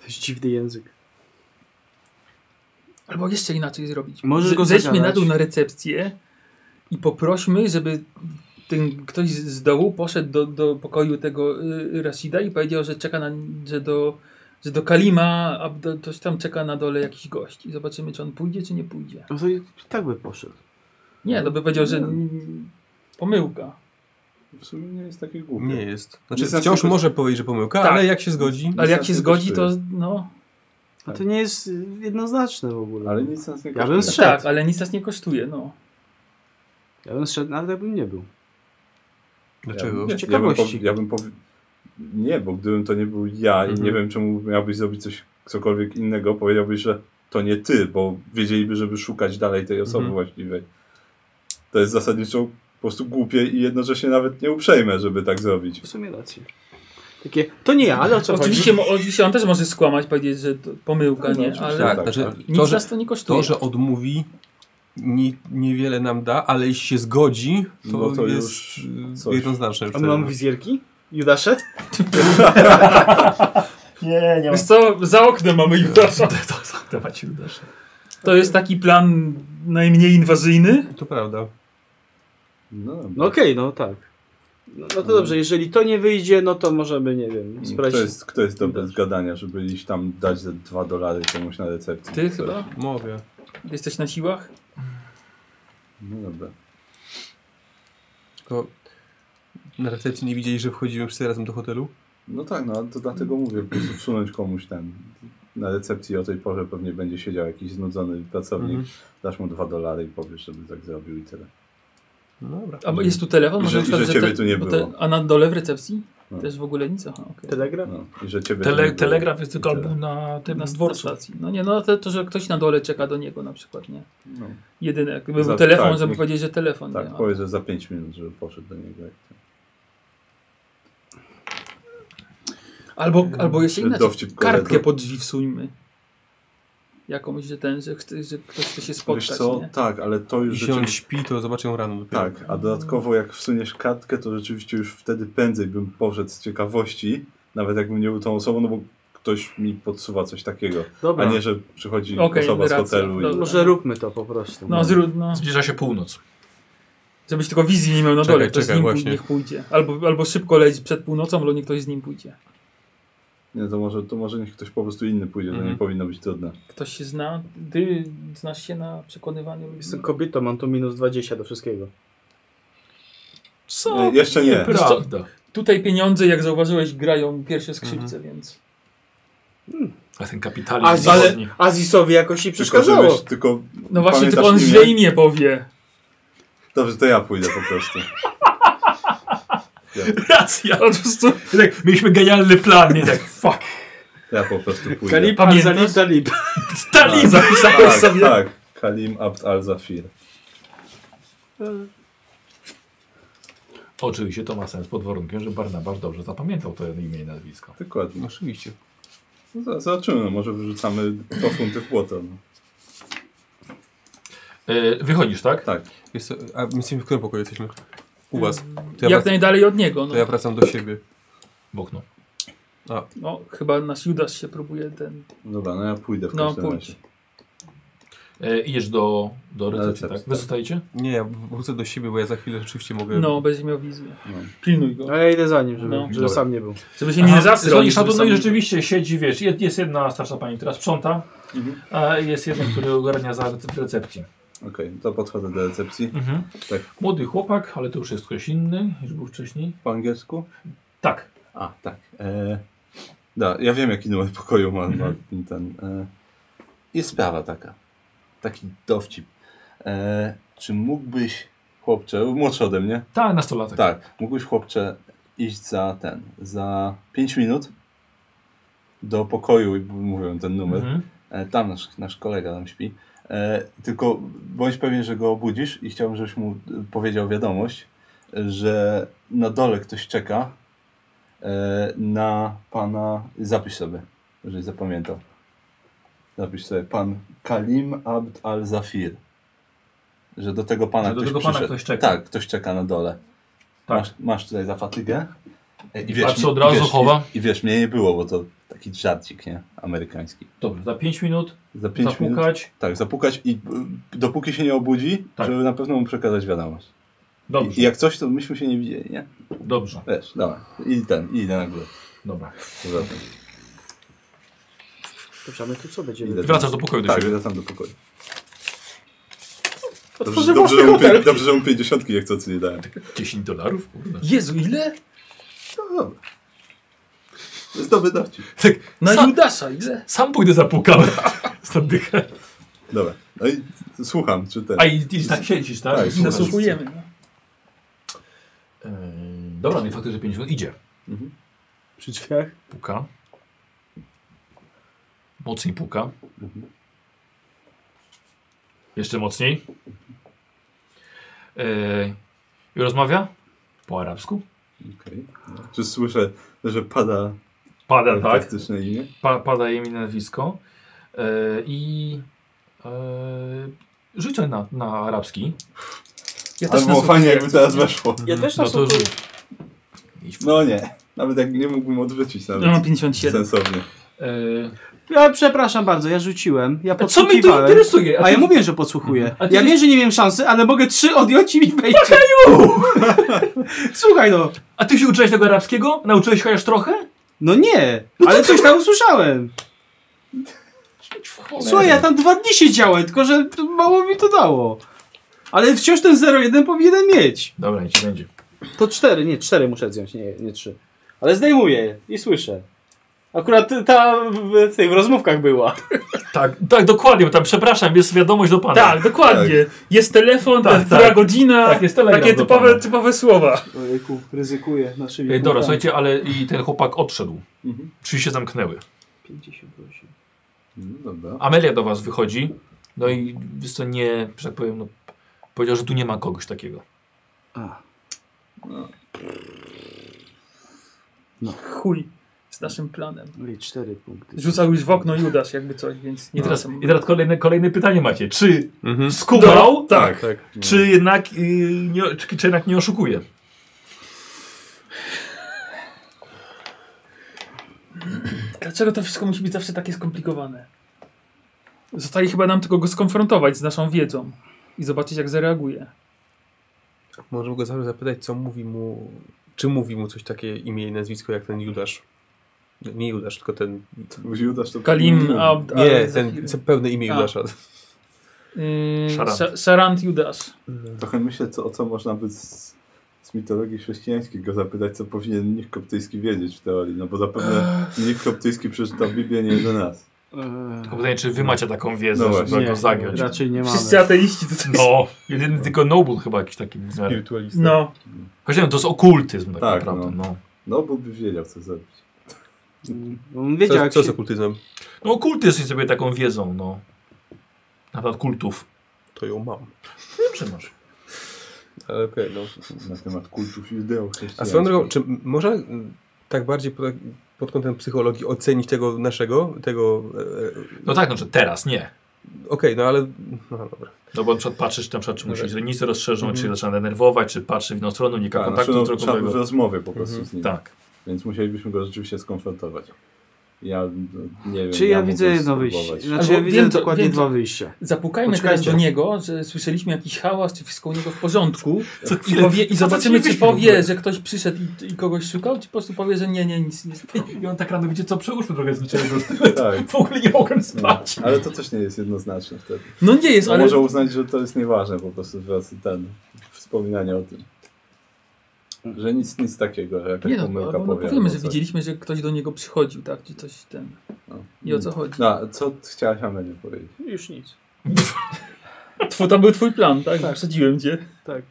B: To jest dziwny język.
D: Albo jeszcze inaczej zrobić.
B: Możesz
D: Z-
B: go
D: Zejdźmy na
B: zagadać.
D: dół na recepcję i poprośmy, żeby ten ktoś z dołu poszedł do, do pokoju tego y, Rashida i powiedział, że czeka na, że do, że do Kalima, a do, ktoś tam czeka na dole jakiś gość. I zobaczymy, czy on pójdzie, czy nie pójdzie.
B: No to i tak by poszedł.
D: Nie, to by powiedział, że mm, pomyłka.
C: W sumie nie jest takie głupie.
E: Nie jest. Znaczy,
C: Jest na
E: wciąż
C: przykład-
E: może powiedzieć, że pomyłka,
D: Tak.
E: ale jak się zgodzi.
D: Ale jak
C: nas
D: się
C: nie
D: zgodzi, to
C: kosztuje.
D: no.
B: A to nie jest y, jednoznaczne w ogóle.
C: Ale nic nas nie
B: Ja bym
C: kosztuje.
B: strzelał.
D: Tak,
B: Przed.
D: ale nic nas nie kosztuje, no.
B: Ja bym szedł, nawet jakbym nie był.
E: Dlaczego?
C: Ja, ja bym,
B: ciekawości.
C: powi- ja bym powi- Nie, bo gdybym to nie był ja i
E: Mhm.
C: nie wiem, czemu miałbyś zrobić coś, cokolwiek innego, powiedziałbyś, że to nie ty, bo wiedzieliby, żeby szukać dalej tej osoby
E: Mhm.
C: właściwej. To jest zasadniczo po prostu głupie i jednocześnie nawet nieuprzejme, żeby tak zrobić.
B: W sumie rację. Takie, to nie ja, ale o co
D: Oczywiście,
B: chodzi?
D: mo- oczywiście on też może skłamać, powiedzieć, że to pomyłka,
C: No, no,
D: nie,
C: oczywiście.
D: ale
E: Tak,
C: tak,
E: znaczy,
C: tak.
D: nic
E: to, że,
D: nas to nie kosztuje.
E: to, że odmówi, ni, niewiele nam da, ale jeśli się zgodzi, to,
C: No to
E: jest
C: już
E: y,
C: coś.
E: jednoznaczne.
B: A my mamy wizjerki? Judasze?
A: Nie, nie
D: Wiesz co, za oknem mamy <laughs> Judasza.
A: <laughs> To macie udasz.
D: To jest taki plan najmniej inwazyjny.
E: To prawda.
C: No, dobra.
B: No okej, no tak. No, no to dobrze, jeżeli to nie wyjdzie, no to możemy, nie wiem,
C: kto,
B: sprawdzić.
C: jest, kto jest dobry z gadania, żeby iść tam dać ze dwa dolary komuś na recepcji?
D: Ty
C: Coś.
D: chyba?
E: Mówię.
D: Jesteś na siłach?
C: No dobra.
E: Tylko na recepcji nie widzieli, że wchodzimy wszyscy razem do hotelu?
C: No tak, no to dlatego mówię, po prostu wsunąć komuś ten. Na recepcji o tej porze pewnie będzie siedział jakiś znudzony pracownik,
E: Mhm.
C: dasz mu dwa dolary i powiesz, żeby tak zrobił i tyle.
E: No dobra.
D: A bo jest tu telefon?
C: I że-
D: na przykład,
C: i że ciebie
D: te-
C: tu nie
D: bo
C: było.
D: a na dole w recepcji?
C: No.
D: Też w ogóle nic? Aha, okej.
B: Telegram?
C: No, i że ciebie to nie
F: Tele,
C: było.
F: telegraf jest tylko
C: I tyle.
F: albo na tym na
D: Na
F: dworcu.
D: stacji. No nie, no to, to, że ktoś na dole czeka do niego na przykład, nie?
C: No,
D: Jedyne, jakby
C: Za-
D: był telefon,
C: tak,
D: żeby
C: niech-
D: powiedzieć, że telefon,
C: tak,
D: nie? A-
C: powiedz, że za pięć minut, żeby poszedł do niego. jak to.
D: Albo, albo jeszcze
C: Że
D: inaczej,
C: dowcip
D: kartkę
C: kolega.
D: pod drzwi wsuńmy. Jakąś, że ten, że, chce, że ktoś chce się
C: Wiesz
D: spotkać,
C: co,
D: nie?
C: tak, ale to już
E: Jeśli on
C: rzeczywiście...
E: śpi, to zobaczę rano dopiero.
C: Tak, a dodatkowo jak wsuniesz kartkę, to rzeczywiście już wtedy prędzej bym poszedł z ciekawości, nawet jakbym nie był tą osobą, no bo ktoś mi podsuwa coś takiego, a
B: Dobra,
C: nie, że przychodzi
D: Okej,
C: osoba z
D: racja.
C: hotelu i...
D: Dobra.
B: może róbmy to po prostu.
D: No, zrób, no.
F: Zbliża się północ.
D: Żebyś tylko wizji nie miał na
E: Czekaj,
D: dole, ktoś
E: czekaj,
D: z nim
E: właśnie.
D: niech pójdzie. Albo, albo szybko leć przed północą, albo niech ktoś z nim pójdzie.
C: Nie, to może, to może niech ktoś po prostu inny pójdzie, to
E: Mhm.
C: nie powinno być trudne.
D: Ktoś się zna, ty znasz się na przekonywaniu ludzi.
B: Jestem kobietą, mam tu minus 20 do wszystkiego.
F: Co?
C: Nie, E, jeszcze nie.
F: Prawda.
D: Tutaj pieniądze, jak zauważyłeś, grają pierwsze skrzypce,
E: Mhm.
D: więc...
F: A ten kapitalizm.
B: Azis,
F: Ale...
B: Azisowi jakoś nie
C: Tylko,
B: przeszkadzało.
C: żebyś, tylko
D: No właśnie,
C: pamiętasz
D: tylko on źle imię powie.
E: Tak.
C: Dobrze, to ja pójdę po prostu.
F: Racja. Po prostu, <laughs> tak, mieliśmy genialny plan, nie tak, <laughs> fuck.
C: Ja po prostu pójdę.
B: Kalib,
D: Pamiętasz?
B: Azalib, Zalib.
F: Tali zapisałeś
C: tak,
F: sobie.
C: tak. Kalim Abd al-Zafir.
A: Tak. Oczywiście to ma sens pod warunkiem, że Barnabasz dobrze zapamiętał to imię i nazwisko.
C: Dokładnie.
E: Oczywiście.
C: No, za- zobaczymy, może wyrzucamy dwa funty w błoto. No.
A: E, wychodzisz, tak?
C: Tak.
E: Jest, to- a my jesteśmy w którym pokoju jesteśmy? U was. To ja,
D: jak
E: wrac-
D: najdalej od niego, no.
E: to ja wracam do siebie.
A: W okno.
D: no. Chyba nasz Judasz się próbuje ten...
C: Dobra, no ja pójdę w
D: No,
C: każdym
D: pójdź.
C: razie.
A: E, idziesz do, do recepcji, tak?
C: recepcji,
A: Wy
C: tak.
A: zostajecie?
E: Nie, ja wrócę do siebie, bo ja za chwilę rzeczywiście mogę...
D: No, będzie miał wizję.
C: No.
D: Pilnuj go.
B: A ja idę za nim, żeby,
D: No.
B: żeby sam nie był.
D: Żeby się nie zasrał.
A: Dzwonisz na
D: żeby
A: to, no i
D: sam-
A: rzeczywiście siedzi, wiesz, jed- jest jedna starsza pani, która sprząta,
C: Mhm.
A: a jest jeden, który ogarnia za recep- recepcję.
C: Okej, to podchodzę do recepcji. Tak.
A: Młody chłopak, ale to już jest ktoś inny niż był wcześniej.
C: Po angielsku?
A: Tak.
C: A, tak. E, da, ja wiem, jaki numer pokoju ma, ma ten. E, jest sprawa taka. Taki dowcip. E, czy mógłbyś, chłopcze, młodszy ode mnie?
A: Tak, nastolatek.
C: Tak, mógłbyś, chłopcze, iść za ten, za 5 minut do pokoju, i mówią ten numer.
A: Mhm.
C: E, tam nasz, nasz kolega tam śpi. E, tylko bądź pewien, że go obudzisz i chciałbym, żebyś mu e, powiedział wiadomość, e, że na dole ktoś czeka e, na pana. Zapisz sobie, żebyś zapamiętał. Zapisz sobie pan Kalim Abd al-Zafir. Że do tego pana
A: Że do
C: ktoś
A: tego pana
C: przyszedł.
A: ktoś czeka.
C: Tak, ktoś czeka na dole.
A: Tak.
C: Masz, masz tutaj za fatygę. E, I wiesz,
A: Patrzę
C: mi-
A: od razu,
C: i wiesz,
A: chowa.
C: I, I wiesz, mnie nie było, bo to taki żarcik, nie? Amerykański.
A: Dobrze, za 5 minut
C: Za 5 minut.
A: zapukać.
C: Tak, zapukać i y, dopóki się nie obudzi,
A: Tak.
C: żeby na pewno mu przekazać wiadomość. I,
A: Dobrze,
C: I jak coś, to myśmy się nie widzieli, nie?
A: dobrze,
C: Wiesz, dobra. I ten, i idę na górę.
A: dobra.
C: Dobra, tam.
B: Dobrze, a my tu co będziemy?
C: Idę.
A: Wracasz do pokoju do
C: Tak,
A: siebie.
C: idę tam do pokoju. Dobrze, dobrze, że mu pię- dobrze, że mu pięćdziesiątki jak co nie dałem.
A: Tak. 10 dolarów? Kurwa.
D: Jezu, ile?
C: No dobra. To jest dobry dowcip.
D: Na
A: Sa-
D: Judasa, ile?
A: Tak, Sam pójdę zapukam. <laughs> Zadychę.
C: Dobra. No i słucham, czy ten.
A: A i, i tak siedzisz, tak?
C: Tak,
A: I słuchasz.
D: Zasłuchujemy. No.
A: Yy, dobra, no i faktycznie 50 idzie.
B: Przy drzwiach?
A: Puka. Mocniej puka. Jeszcze mocniej. Yy, I rozmawia? Po arabsku?
C: Okej. No. Czy słyszę, że pada
A: Pada, tak?
C: fantastyczne imię?
A: Pa, pada jej imię, nazwisko. Yy, I yy, rzucę na, na arabski.
D: Ja
C: Ale
D: też
C: było
D: nasłuchuję.
C: fajnie, jakby teraz weszło.
B: Ja też
A: No
B: na
A: to
B: słuchu.
A: rzuć. Idź w-
C: No nie. Nawet jak nie mógłbym odwrócić
D: Ja mam
A: No,
C: nawet
D: 57.
C: sensownie.
A: Yy,
B: Ja przepraszam bardzo, ja rzuciłem. Ja
A: co mnie to
B: podsłuchiwałem.
A: interesuje?
B: A ja mówię, że podsłuchuję.
A: A ty-
B: Ja wiem, że nie miałem szansy, ale mogę trzy odjąć i mi wejdzie. <laughs> Słuchaj no.
A: A ty się uczyłeś tego arabskiego? Nauczyłeś chociaż trochę?
B: No nie, ale coś tam usłyszałem. Słuchaj, ja tam dwa dni siedziałem, tylko że to mało mi to dało. Ale wciąż ten 0,1 powinienem mieć.
A: Dobra, niech ci będzie.
B: To cztery, nie, cztery muszę zdjąć, nie, nie trzy. Ale zdejmuję i słyszę. Akurat ta w, w tych rozmówkach była.
A: Tak, tak, dokładnie, bo tam przepraszam, jest wiadomość do pana.
D: Tak, dokładnie. Jest telefon,
A: Tak,
D: tak, która
A: tak.
D: godzina,
A: Tak, jest telegram
D: takie
A: do
D: typowe,
A: pana.
D: typowe słowa.
B: Ojejku, ryzykuję naszymi
A: Ej, Dobra,
B: punktami.
A: E, słuchajcie, ale i ten chłopak odszedł.
C: Mhm.
A: Drzwi się zamknęły.
B: 58.
C: No dobra.
A: Amelia do was wychodzi, no i wiesz co, nie, że tak powiem, no, powiedział, że tu nie ma kogoś takiego.
B: A,
D: Chuj z naszym planem.
B: no i cztery punkty.
D: Rzucał już w okno Judasz, jakby coś, więc nie
A: I teraz,
D: tracę.
A: i teraz kolejne, kolejne pytanie macie. Czy
E: Mhm.
A: skumał,
C: Tak.
A: czy, jednak, y, nie, czy, czy jednak nie oszukuje?
D: Dlaczego to wszystko musi być zawsze takie skomplikowane? Zostaje chyba nam tylko go skonfrontować z naszą wiedzą i zobaczyć, jak zareaguje.
E: Możemy go zawsze zapytać, co mówi mu, czy mówi mu coś takie imię i nazwisko jak ten Judasz. Nie Judasz, tylko ten...
C: Musi udasz to.
D: Kalim Abd
E: Nie,
D: Zafir.
E: ten pełne imię
D: A.
E: Judasza.
D: Yy,
A: Szarant.
D: Sza- Szarant Judasz.
C: Trochę myślę, co, o co można by z, z mitologii chrześcijańskiej go zapytać, co powinien niech koptyjski wiedzieć w teorii. No bo zapewne niech koptyjski przeczytał Biblię nie do nas.
A: Tylko pytanie, czy wy macie taką wiedzę,
C: No
A: żeby
C: właśnie.
A: go zagiąć?
B: Raczej Eee, nie mamy.
D: Wszyscy ateiści to coś.
A: No, jedyny tylko Noble chyba jakiś taki w miarę.
E: Wirtualista.
D: No.
A: Chociaż nie, no, to jest okultyzm tak,
C: Tak,
A: naprawdę. No.
C: No bo by wiedział, co zrobić.
B: Mm, On
E: Co,
B: wiedział,
E: co
B: jak
E: jest
B: się...
E: okultyzmem?
A: no okultyzm jest sobie taką wiedzą, no. Na temat kultów.
E: To ją mam.
A: Wiem, że masz.
E: Ale okej, no.
C: Na temat kultów judeo
E: A swoją drogą, czy m- można m, tak bardziej pod, pod kątem psychologii ocenić tego naszego, tego... E, e,
A: No tak, znaczy teraz nie.
E: Okej, no ale... No dobra.
A: No bo na przykład patrzysz na przykład, czy mu się źrenice rozszerzą, czy się zaczyna denerwować, czy patrzy w inną stronę, unika
C: tak, znaczy,
A: kontaktu
C: no, trzeba by w
A: wzrokowego.
C: rozmowie po
B: Mhm.
C: prostu z nim.
A: Tak.
C: Więc musielibyśmy go rzeczywiście skonfrontować. Ja no, nie wiem.
B: Czy ja,
C: mógłbym
B: widzę jedno wyjście?
C: spróbować.
B: Znaczy,
D: Albo
B: ja widzę
D: wiem, co-
B: dokładnie
D: wiem, co-
B: dwa wyjścia.
D: Zapukajmy
B: Poczekajcie.
D: teraz do niego, że słyszeliśmy jakiś hałas, czy wszystko u niego w porządku.
A: Co
D: I,
A: chwilę-
D: powie, i
A: co to
D: zobaczymy,
A: ci
D: czy
A: wyśpi w ogóle?
D: powie, że ktoś przyszedł i, i kogoś szukał, czy po prostu powie, że nie, nie, nic nie
A: I on tak rano, wiecie co, przełóżmy trochę z niczego.
C: <laughs> Tak.
A: W ogóle nie mogłem
C: No,
A: spać.
C: ale to też nie jest jednoznaczne wtedy.
D: No nie jest,
C: No,
D: ale
C: Może uznać, że to jest nieważne po prostu teraz ten wspominanie o tym. Że nic, nic takiego, że jakaś
D: nie no,
C: pomyłka
D: albo no,
C: powiem.
D: powiemy, że widzieliśmy, że ktoś do niego przychodził, tak, czy coś ten. I o co chodzi?
C: No, a co chciałaś Amelie powiedzieć?
B: Już nic.
D: Tw- to był twój plan, tak? Wyprzedziłem cię.
B: Tak.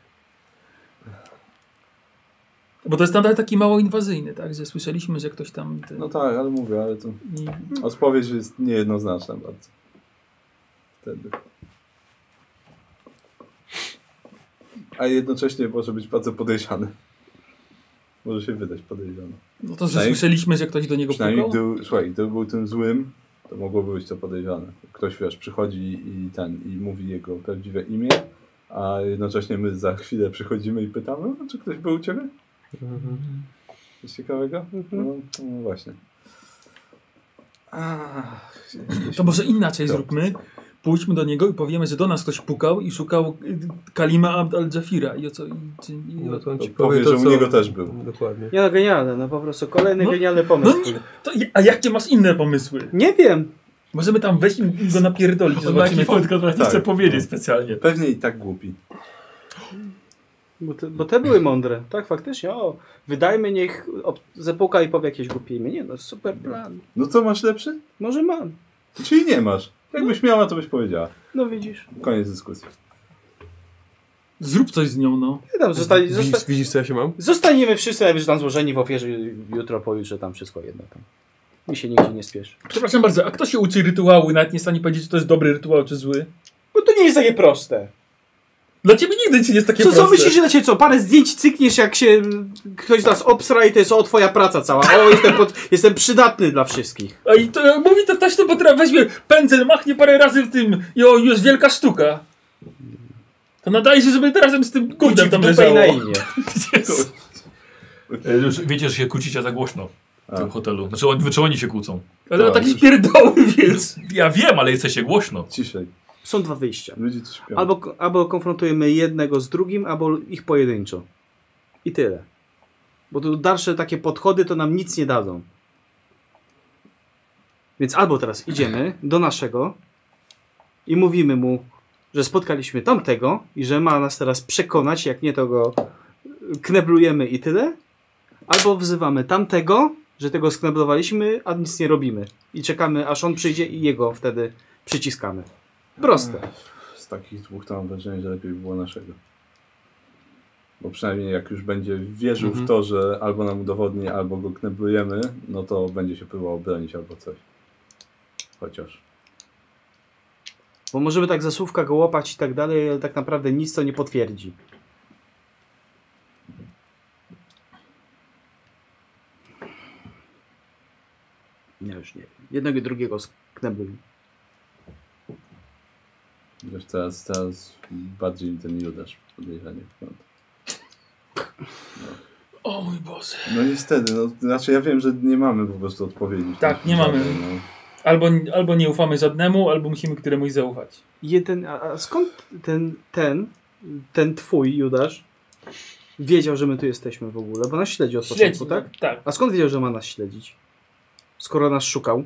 D: Bo to jest nadal taki mało inwazyjny, tak, że słyszeliśmy, że ktoś tam... Ten,
C: No tak, ale mówię, ale to
D: i,
C: odpowiedź jest niejednoznaczna bardzo. Wtedy. A jednocześnie może być bardzo podejrzany. Może się wydać podejrzany.
D: no to, że
C: Przynajmniej-
D: słyszeliśmy, że ktoś do niego
C: Przynajmniej
D: pukał.
C: gdy, słuchaj, gdyby był tym złym, to mogłoby być to podejrzane. Ktoś wiesz, przychodzi i ten i mówi jego prawdziwe imię, a jednocześnie my za chwilę przychodzimy i pytamy, "A czy ktoś był u ciebie? Coś ciekawego? No, no właśnie. Ach,
D: To może inaczej
C: To.
D: zróbmy. Pójdźmy do niego i powiemy, że do nas ktoś pukał i szukał y, Kalima Abd al-Jafira. I o co. I, czy- i o,
E: No to on
C: to
E: ci
C: powie,
E: powie to,
C: że u
E: co...
C: niego też był.
E: Dokładnie.
B: Nie no, genialne, no po prostu kolejny
D: No,
B: genialny
D: no
B: pomysł.
D: nie, to, a jakie masz inne pomysły?
B: Nie wiem.
D: Możemy tam wejść i go napierdolić. Zobaczymy.
F: podcast nie
C: Tak.
F: chcę powiedzieć specjalnie.
C: Pewnie i tak głupi.
B: Bo te, bo te były mądre. Tak, faktycznie. O, wydajmy niech ob- zapuka i powie jakieś głupie imię. No, super plan.
C: No co masz lepszy?
B: Może mam.
C: Czyli nie masz. Jakbyś miała, to byś powiedziała.
B: No widzisz.
C: Koniec dyskusji.
G: Zrób coś z nią, no.
B: Nie tam, zostań,
E: Widzisz,
B: zosta
E: widzisz, co ja się mam?
B: zostaniemy wszyscy, najwyżej tam złożeni w ofierze jutro, pojutrze, tam wszystko jedno. Tam. Mi się nigdzie nie spieszy.
D: Przepraszam bardzo, a kto się uczy rytuału i nawet nie jest w stanie powiedzieć, czy to jest dobry rytuał, czy zły?
B: Bo to nie jest takie proste.
D: Dla ciebie nigdy ci nie jest takie
B: Co, co
D: proste.
B: myślisz, że na ciebie co? Parę zdjęć cykniesz, jak się mm, ktoś z nas obsra i to jest o, twoja praca cała. O, jestem, pod, jestem przydatny dla wszystkich.
D: A i to e, mówi to ktoś, kto potra- weźmie pędzel, machnie parę razy w tym i o, jest wielka sztuka. To nadaje się, żeby razem z tym
B: Kłóci
D: kurdem
B: w
D: tam
B: dupę i
D: leżało.
B: na imię.
F: E, Już wiecie, że się kłócicie za głośno w
C: A.
F: tym hotelu. Znaczy, oni, czy oni się kłócą?
D: Ale o
C: Tak,
D: takich
C: już.
D: pierdoły, więc...
F: Ja wiem, ale jesteście głośno.
C: Ciszej.
B: Są dwa wyjścia.
C: Ludzie coś śpią.
B: Albo, albo konfrontujemy jednego z drugim, albo ich pojedynczo. I tyle. Bo tu dalsze takie podchody to nam nic nie dadzą. Więc albo teraz idziemy do naszego i mówimy mu, że spotkaliśmy tamtego i że ma nas teraz przekonać, jak nie to go kneblujemy i tyle. Albo wzywamy tamtego, że tego skneblowaliśmy, a nic nie robimy. I czekamy, aż on przyjdzie i jego wtedy przyciskamy. Proste.
C: Z takich dwóch to mam wrażenie, że lepiej by było naszego. Bo przynajmniej jak już będzie wierzył
E: Mhm.
C: w to, że albo nam udowodni, albo go kneblujemy, no to będzie się próbował bronić albo coś. Chociaż.
B: Bo możemy tak za słówka go łapać i tak dalej, ale tak naprawdę nic to nie potwierdzi. Ja już nie wiem. Jednego i drugiego sknebli.
C: Wiesz, teraz, teraz bardziej ten Judasz podejrzanie wygląda.
D: O mój Boże.
C: No niestety, no, znaczy ja wiem, że nie mamy po prostu odpowiedzi.
D: Tak, nie mamy.
C: No.
D: Albo, albo nie ufamy żadnemu, albo musimy któremuś zaufać.
B: Jeden, a, a skąd ten, ten, ten twój Judasz wiedział, że my tu jesteśmy w ogóle? Bo nas śledzi od początku, tak?
D: Tak.
B: A skąd wiedział, że ma nas śledzić? Skoro nas szukał?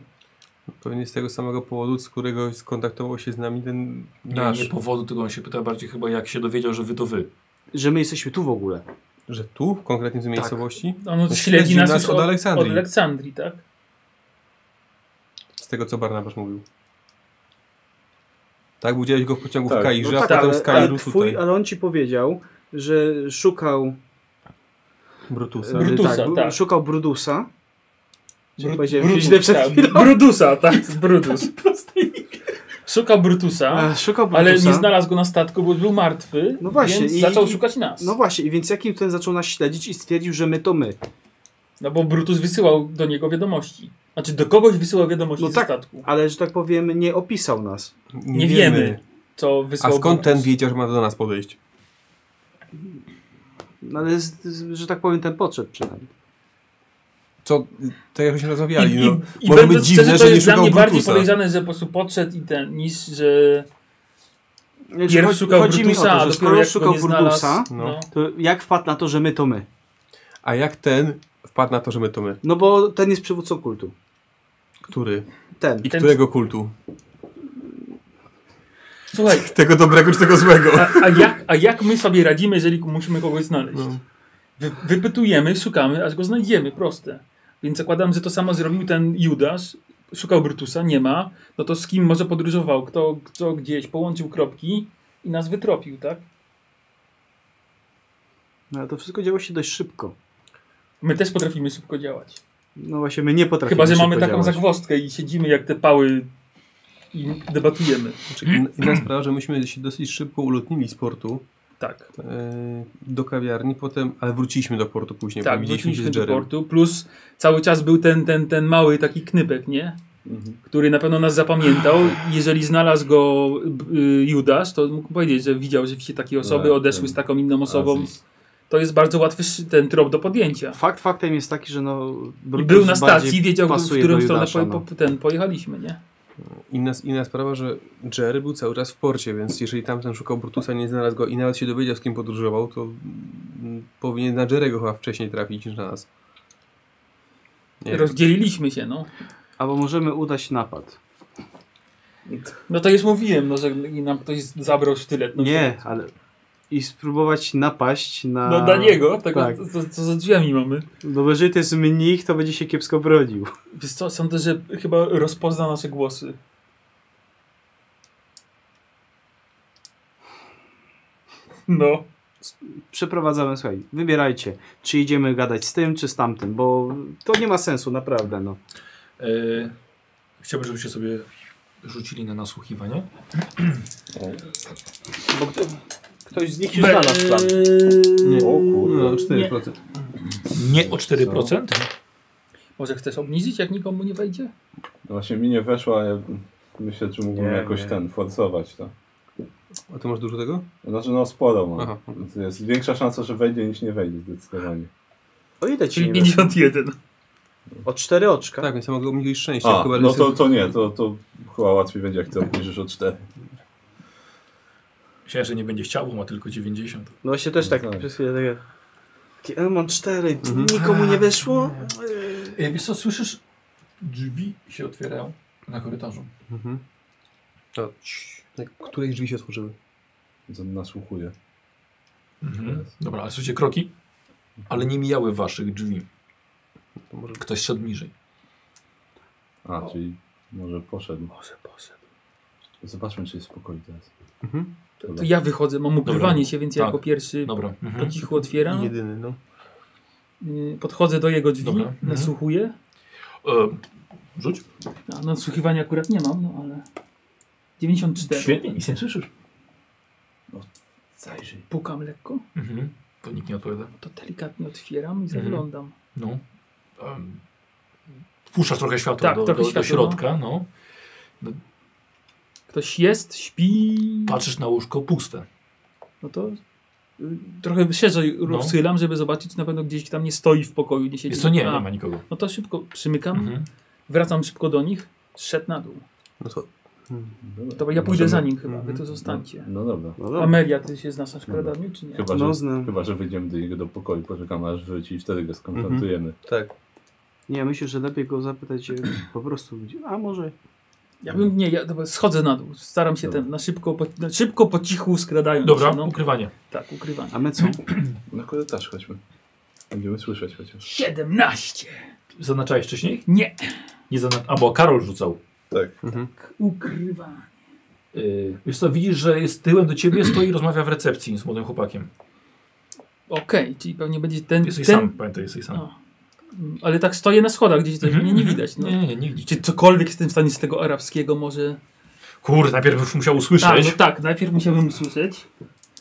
E: Pewnie z tego samego powodu, z którego skontaktował się z nami ten
F: Nie, nie
E: nasz.
F: powodu, tylko on się pyta bardziej chyba, jak się dowiedział, że wy to wy.
B: Że my jesteśmy tu w ogóle.
E: Że tu, w konkretnie z miejscowości?
D: On
E: To
D: śledzi, nas, już od,
E: Aleksandrii.
D: Od Aleksandrii, tak?
E: Z tego, co Barnabasz mówił. Tak, bo widziałeś go w pociągu
C: Tak,
E: w
C: no
E: Kairze, a
B: tak,
E: potem
B: ale,
E: z
B: ale,
E: Kairu
B: twój,
E: tutaj.
B: ale on ci powiedział, że szukał
E: Brutusa.
B: E,
D: Brutusa,
B: tak, br-
D: tak.
B: Szukał Brudusa. Br- powiedziałem
D: Brutus,
B: źle przed
D: tak.
B: chwilą.
D: <laughs> Brudusa, tak,
B: <laughs>
D: Brutus. Szuka Brutusa,
B: A, szukał Brudusa.
D: ale nie znalazł go na statku, bo był martwy,
B: No właśnie,
D: więc
B: i-
D: zaczął
B: i-
D: szukać nas.
B: No
D: No,
B: właśnie, i więc jakim ten zaczął nas śledzić i stwierdził, że my to my.
D: No bo Brutus wysyłał do niego wiadomości. Znaczy do kogoś wysyłał wiadomości
B: No
D: ze
B: tak.
D: statku,
B: Ale, że tak powiem, nie opisał nas.
D: Nie wiemy. co
E: A
D: wysłał
E: skąd ten
D: Brutus.
E: wiedział, że ma do nas podejść?
B: No ale, z, z, że tak powiem, ten podszedł przynajmniej.
E: Co, tak jak się
D: I,
E: rozmawiali,
D: i,
E: no.
D: i
E: Może
D: będę
E: być dziwne,
D: szczerze,
E: że
D: to
E: nie
D: jest dla
E: szukał
D: mnie bardziej
E: Brutusa.
D: podejrzane, że po prostu podszedł i ten, niż że
B: Znaczy,
D: pierw
B: chodzi-
D: szukał
B: chodzi mi o
D: Brutusa,
B: to,
D: a
B: że
D: dopiero
B: skoro
D: jak go
B: szukał
D: nie znalazł,
B: Brudusa,
E: no.
D: no.
B: to jak wpadł na to, że my to my?
E: A jak ten wpadł na to, że my to my?
B: No bo ten jest przywódcą kultu.
E: Który?
B: Ten.
E: I
D: Ten-
E: którego kultu?
D: Słuchaj,
E: Tego dobrego czy tego złego?
D: a, a, jak, a jak my sobie radzimy, jeżeli musimy kogoś znaleźć?
E: No.
D: Wy, wypytujemy, szukamy, aż go znajdziemy, proste. Więc zakładam, że to samo zrobił ten Judasz. Szukał Brutusa, nie ma. No to z kim może podróżował? Kto, kto gdzieś połączył kropki i nas wytropił, tak?
B: No ale to wszystko działo się dość szybko.
D: My też potrafimy szybko działać.
B: No właśnie, my nie potrafimy
D: Chyba, że
B: szybko
D: mamy taką
B: działać.
D: zagwozdkę i siedzimy jak te pały i debatujemy.
E: Znaczy, in- Inna sprawa, że myśmy się dosyć szybko ulotnili z portu
D: Tak.
E: e, do kawiarni, potem, ale wróciliśmy do portu później,
D: Tak,
E: bo widzieliśmy się
D: wróciliśmy
E: z
D: do
E: Jerem.
D: portu, plus cały czas był ten, ten, ten mały taki knypek, nie?
C: Mhm.
D: Który na pewno nas zapamiętał. Jeżeli znalazł go y, Judasz, to mógł powiedzieć, że widział, że się takie osoby
B: Tak,
C: No,
D: odeszły
C: ten
D: z taką inną osobą.
C: Aziz.
D: To jest bardzo łatwy szy- ten trop do podjęcia.
B: Fakt faktem jest taki, że no...
D: I
B: Brutus
D: był na stacji,
B: bardziej
D: wiedział, w
B: pasuje
D: którą
B: do
D: stronę
B: Judasza,
D: po,
B: no.
D: po, ten, pojechaliśmy, nie?
E: Inna, inna sprawa, że Jerry był cały czas w porcie, więc jeżeli tamten szukał Brutusa, nie znalazł go i nawet się dowiedział, z kim podróżował, to mm, powinien na Jerego chyba wcześniej trafić niż na nas. Nie,
D: Rozdzieliliśmy się, no.
B: Albo możemy udać napad.
D: No to już mówiłem, no, że i nam ktoś zabrał sztylet. No,
B: Nie, ale... I spróbować napaść na...
D: No dla niego, tego,
B: Tak.
D: co, co- co za drzwiami mamy.
B: No bo jeżeli to jest mnich, to będzie się kiepsko bronił.
D: Wiesz co, sądzę, że chyba rozpozna nasze głosy. No.
B: Przeprowadzamy, słuchaj, wybierajcie, czy idziemy gadać z tym, czy z tamtym, bo to nie ma sensu, naprawdę, no.
A: E, chciałbym, żebyście sobie rzucili na nasłuchiwanie.
B: Bo kto, ktoś z nich już znalazł plan.
D: Eee,
E: Nie.
C: O kurde.
E: No, 4%.
A: Nie o 4%.
D: Może chcesz obniżyć, jak nikomu nie wejdzie?
C: No Właśnie mi nie weszła, a ja myślę, czy mógłbym
B: Nie,
C: jakoś
B: nie.
C: ten, forsować to.
E: A ty masz dużo tego?
H: Tak.
C: Znaczy no sporo mam.
E: Aha.
C: To Jest większa szansa, że wejdzie niż nie wejdzie zdecydowanie.
B: O ile ci
D: Czyli
B: nie weszło?
D: 51.
B: O cztery oczka?
E: Tak, więc ja mogę mieć szczęście.
C: A,
E: chyba, że
C: no
E: jestem-
C: to, to nie, to, to chyba łatwiej będzie jak ty obniżysz o 4.
A: Myślałem, że nie będzie chciał, bo ma tylko 90.
B: No właśnie też tak,
C: No tak.
B: przez chwilę takie... takie e, mam cztery, nikomu nie weszło?
A: E, wiesz co, słyszysz? Drzwi się otwierają na korytarzu.
E: Mhm. To, cii, tak, której drzwi się otworzyły?
C: Nasłuchuję.
A: Mhm. Dobra, ale słyszycie kroki, ale nie mijały waszych drzwi.
E: To może...
A: Ktoś szedł niżej.
C: A, czyli może poszedł. Może poszedł. Zobaczmy, czy jest spokojny teraz.
E: Mhm.
D: To ja wychodzę, mam ukrywanie
A: Dobra.
D: się, więc
A: Tak.
D: jako pierwszy
A: Dobra.
D: po
A: Mhm.
D: cichu otwieram.
E: Jedyny, no.
D: Y, Podchodzę do jego drzwi,
A: Dobra. Mhm.
D: nasłuchuję.
A: E, rzuć.
D: A nadsłuchiwania akurat nie mam, no ale... 94.
A: Świetnie, nic nie słyszysz.
C: Zajrzyj.
D: Pukam lekko,
A: Mhm. To nikt nie odpowiada.
D: to delikatnie otwieram i
A: Mhm.
D: zaglądam.
A: No. Em, Wpuszczasz trochę światła
D: Tak,
A: do,
D: trochę
A: do,
D: światła,
A: do środka. No.
D: Ktoś jest, śpi.
A: no. Patrzysz na łóżko puste.
D: No to y, trochę szerzej
A: No.
D: rozsylam, żeby zobaczyć, czy na pewno gdzieś tam nie stoi w pokoju, nie siedzi.
A: Jest to nie,
D: A,
A: nie ma nikogo.
D: No to szybko przymykam,
A: Mhm.
D: wracam szybko do nich, szedł na dół.
E: no to...
D: Dobra, ja pójdę za nim chyba, wy tu
E: Mhm.
D: zostańcie.
C: No dobra.
B: No dobra.
D: Amelia, ty się znasz na szkradaniu, czy nie?
C: Chyba, że,
B: No znam.
C: chyba, że wyjdziemy do niego do pokoju, poczekamy aż wróci i wtedy go skonfrontujemy.
E: Tak.
B: Nie, myślę, że lepiej go zapytać e, po prostu, gdzie- a może...
D: Ja bym, nie, ja dobra, schodzę na dół, staram się
C: Dobra.
D: ten, na szybko, po, na szybko, po cichu skradając
A: Dobra,
D: się, no.
A: ukrywanie.
D: Tak, ukrywanie.
B: A my co?
C: Na korytarz chodźmy. Będziemy słyszeć chociaż.
D: 17!
A: Zaznaczałeś wcześniej?
D: Nie!
A: Nie zaznaczałeś. A bo Karol rzucał.
C: Tak.
D: Ukrywanie.
A: Yy, wiesz co, widzisz, że jest tyłem do ciebie, stoi i rozmawia w recepcji z młodym chłopakiem.
D: Okej, czyli pewnie będzie ten,
A: Jesteś
D: ten...
A: sam, pamiętaj, jesteś sam. Mhm,
D: No. Mm, Ale tak stoję na schodach gdzieś, to mnie nie widać. No.
A: Nie, nie, nie widzicie.
D: Czy cokolwiek jestem w stanie z tego arabskiego może...
A: Kurde, najpierw już musiał
D: Tak,
A: usłyszeć.
D: no tak, najpierw musiałbym usłyszeć.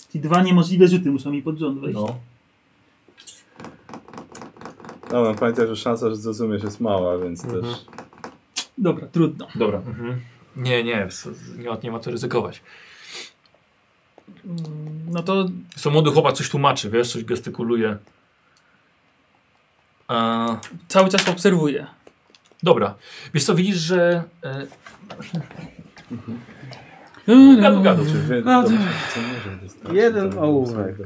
D: Czyli dwa niemożliwe rzuty muszą mi pod rząd wejść.
A: No.
C: Dobra, pamiętaj, że szansa, że zrozumiesz jest mała, więc
E: Mhm.
C: też...
D: Dobra, trudno.
A: Dobra. Mhm. Nie, nie, s- nie, ma- nie ma co ryzykować.
D: Mm, No to
A: Co młody chłopak coś tłumaczy, wiesz, coś gestykuluje. A,
D: cały czas obserwuję.
A: dobra. Wiesz co, widzisz, że... E,
D: No,
A: gadu, gadu.
C: Czy Znaczy, wy...
B: A,
C: dobrze, co może wystarczy,
B: Jeden
C: to-
B: ołówek.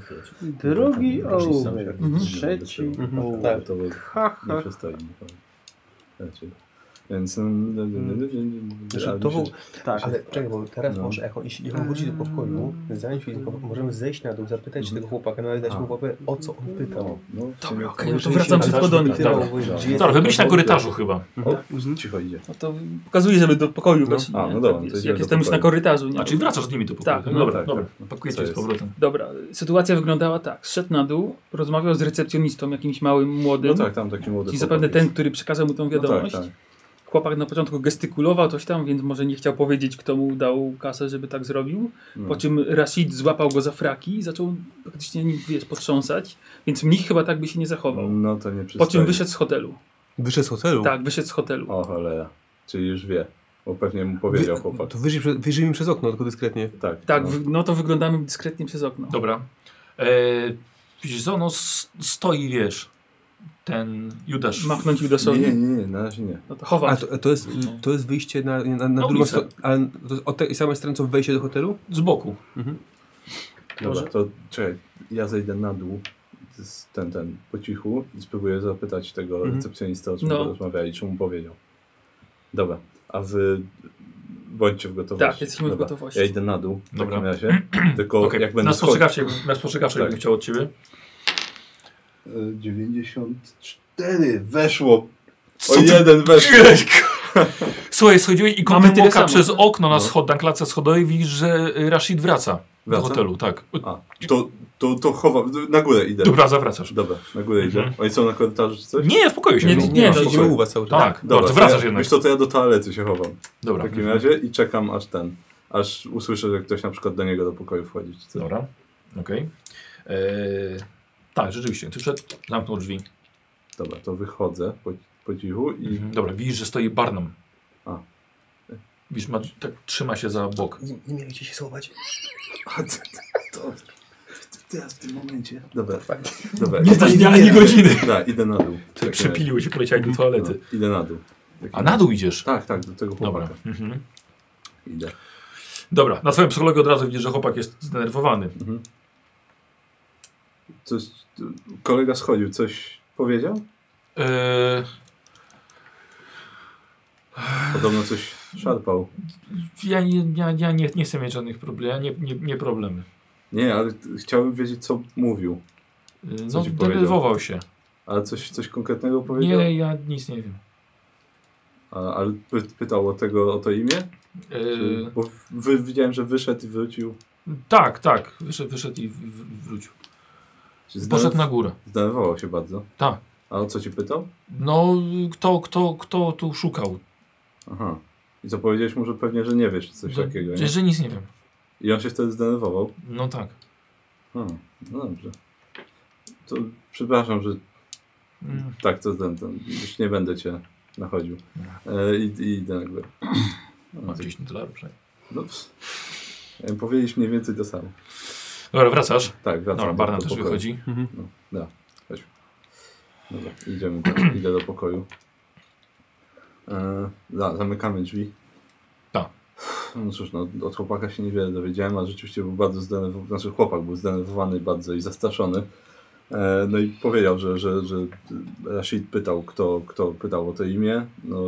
B: Drugi ołówek,
C: Mhm.
B: trzeci
E: Mhm.
B: ołówek.
C: Tak, to był...
B: Ha,
C: Nie
B: ha.
C: przystoi nikomu. Znaczy, Więc... mm,
B: Mhm.
H: Znaczy,
C: no, ale
H: to
C: mi się-
H: był,
B: Tak.
H: ale czekaj, bo teraz
C: No.
H: może jako, jeśli on wróci do pokoju, zanim się
E: Mm.
H: możemy zejść na dół,
E: Mhm.
H: zapytać tego chłopaka, no ale dać
C: A.
H: mu łapę, o co on pytał.
C: No,
D: Dobra, okej,
H: Bo
D: no to
H: jeżeli
D: wracam
H: się
D: szybko do nich.
H: pytał,
A: Dobra.
H: bo gdzie jest
A: Dobra, wy byliście na
H: dowód,
A: korytarzu chyba.
C: Mhm. Cicho idzie.
D: No to pokazuję, żeby do pokoju wejść.
C: A,
D: nie?
C: no dobra,
D: Tak
C: to
D: jest,
C: idziemy
D: Jak
C: do
D: jestem już na
C: pokoju.
D: korytarzu. Nie?
A: A, czyli wracasz z nimi do pokoju.
D: Tak, no
A: dobra,
C: tak,
A: dobra.
C: tak. Co
A: Pakujecie z
C: jest?
A: powrotem.
D: Dobra, sytuacja wyglądała tak. Szedł na dół, rozmawiał z recepcjonistą, jakimś małym, młodym.
C: No tak, tam taki młody
D: Czyli Mhm. zapewne
C: chłopak
D: ten,
C: jest.
D: który przekazał mu tą
C: No
D: wiadomość.
C: Tak, tak.
D: Chłopak na początku gestykulował coś tam, więc może nie chciał powiedzieć, kto mu dał kasę, żeby tak zrobił.
C: No.
D: Po czym Rashid złapał go za fraki i zaczął praktycznie nim, wiesz, potrząsać. Więc mnich chyba tak by się nie zachował.
C: No to nie
D: Po
C: przystaje.
D: czym wyszedł z hotelu.
E: Wyszedł z hotelu?
D: Tak, wyszedł z hotelu.
C: O cholera. Czyli już wie. Bo pewnie mu
E: Wy,
C: powiedział chłopak.
E: to wyjrzyj, prze- wyjrzyj mi przez okno, tylko dyskretnie.
C: Tak.
D: Tak,
C: no.
D: wy- no to wyglądamy dyskretnie przez okno.
A: Dobra. E, widzisz co, no s- stoi, wiesz, ten Judasz.
D: Machnąć
C: Nie,
D: Judaszowi.
C: nie, nie, nie, na razie nie.
D: No to
E: A
D: chować.
E: to, to, jest, to jest wyjście na, na, na
A: Na
E: drugą
A: ulicę.
E: stronę, ale to jest od tej samej strony co wejście do hotelu?
A: Z boku.
C: Dobra, to czekaj. Ja zejdę na dół. z- Ten, ten, po cichu i spróbuję zapytać tego
E: Mhm.
C: recepcjonista, o czym
D: No.
C: rozmawiali, czy mu powiedział. Dobra, a wy bądźcie w gotowości.
D: Tak, jesteśmy w
C: Dobra,
D: gotowości.
C: Ja idę na dł w
A: Dobra.
C: takim razie. Tylko
A: Okej,
C: jak będę
A: na
C: schodził...
A: spostrzegawczy, na spostrzegawczy
C: Tak.
A: bym chciał od ciebie.
C: Y, 94 weszło. O jeden weszło.
F: Słuchaj, schodziłeś i
D: Mamy
F: kątem
D: tyle
F: oka
D: samo.
F: przez okno na,
C: No.
F: schod, na klatce schodowej widzisz, że y, Rashid wraca,
C: Wraca?
F: do hotelu. Tak.
C: A, to, to, to chowam, na górę idę.
F: Dobra, zawracasz.
C: Dobra, na górę idę. Oni są na korytarzu czy coś?
F: Nie, w pokoju się.
D: Nie,
F: no.
D: nie, nie,
C: no,
E: Siedzimy u was cały czas.
F: Tak,
C: Dobra,
F: dobra, wracasz
C: ja,
F: jednak.
C: Wiesz co, to ja do toalety się chowam. W
F: Dobra.
C: takim razie i czekam aż ten, aż usłyszę, że ktoś na przykład do niego do pokoju wchodzi. Czy coś.
A: Dobra, okej. Eee, tak, rzeczywiście, ty przed zamknął drzwi.
C: Dobra, to wychodzę po, po cichu i
A: Dobra, widzisz, że stoi Barnum.
C: Mhm. A.
A: Widzisz, ma, tak trzyma się za bok.
I: Nie, nie mieliście się schować.
C: A to, <laughs> to, to teraz w tym momencie. Dobra, tak. dobra.
A: Nie znasz dnia ani godziny.
C: <laughs> Da, idę na dół. Tak,
A: Ty przepiliły się, poleciałeś do toalety.
C: No, idę na dół.
A: A na dół idziesz.
C: Tak, tak, do tego
A: Dobra.
C: chłopaka
A: Mhm.
C: idę.
A: Dobra, na swoim psychologu od razu widzisz, że chłopak jest zdenerwowany.
C: Coś, kolega schodził, coś powiedział?
A: E,
F: Eee,
C: Podobno coś szarpał.
F: ja nie, ja, ja nie, nie chcę mieć żadnych problemów. Ja nie, nie, nie problemy.
C: Nie, ale chciałbym wiedzieć, co mówił.
F: Eee,
C: Co
F: No,
C: ci powiedział?
F: denerwował się.
C: Ale coś, coś konkretnego powiedział?
F: Nie, ja nic nie wiem.
C: A, ale py, pytał o tego, o to imię?
F: Eee,
C: Czy, bo wy, widziałem, że wyszedł i wrócił.
F: tak, tak. Wyszedł, wyszedł i w- w- wrócił.
C: Czy zdener-
F: Poszedł na górę.
C: Zdenerwował się bardzo.
F: Tak.
C: A o co cię pytał?
F: No, kto, kto, kto tu szukał?
C: Aha. I co powiedziałeś mu, że pewnie, że nie wiesz, czy coś
F: Że-
C: takiego.
F: Że,
C: Nie?
F: że nic nie wiem.
C: I on się wtedy zdenerwował.
F: No tak.
C: Hmm, no dobrze. To przepraszam, że
F: Mm.
C: tak to ten, ten. Już nie będę cię nachodził. E, i, I idę na
F: <clears throat>
C: górę.
A: Ma 10 dolarów przynajmniej.
C: No, ps. E, Powiedzieliśmy mniej więcej to samo.
A: Dobra, wracasz.
C: Tak, wracam.
A: Dobra,
C: do-
A: Barnum
C: do
A: też
C: pokoju.
A: wychodzi.
C: Dobra, idziemy, do, <clears throat> idę do pokoju. E, da, zamykamy drzwi.
A: Tak.
C: No cóż, no, od chłopaka się niewiele dowiedziałem, a rzeczywiście był bardzo zdenerwowany, znaczy chłopak był zdenerwowany bardzo i zastraszony. E, no i powiedział, że, że, że Rashid pytał, kto, kto pytał o to imię. No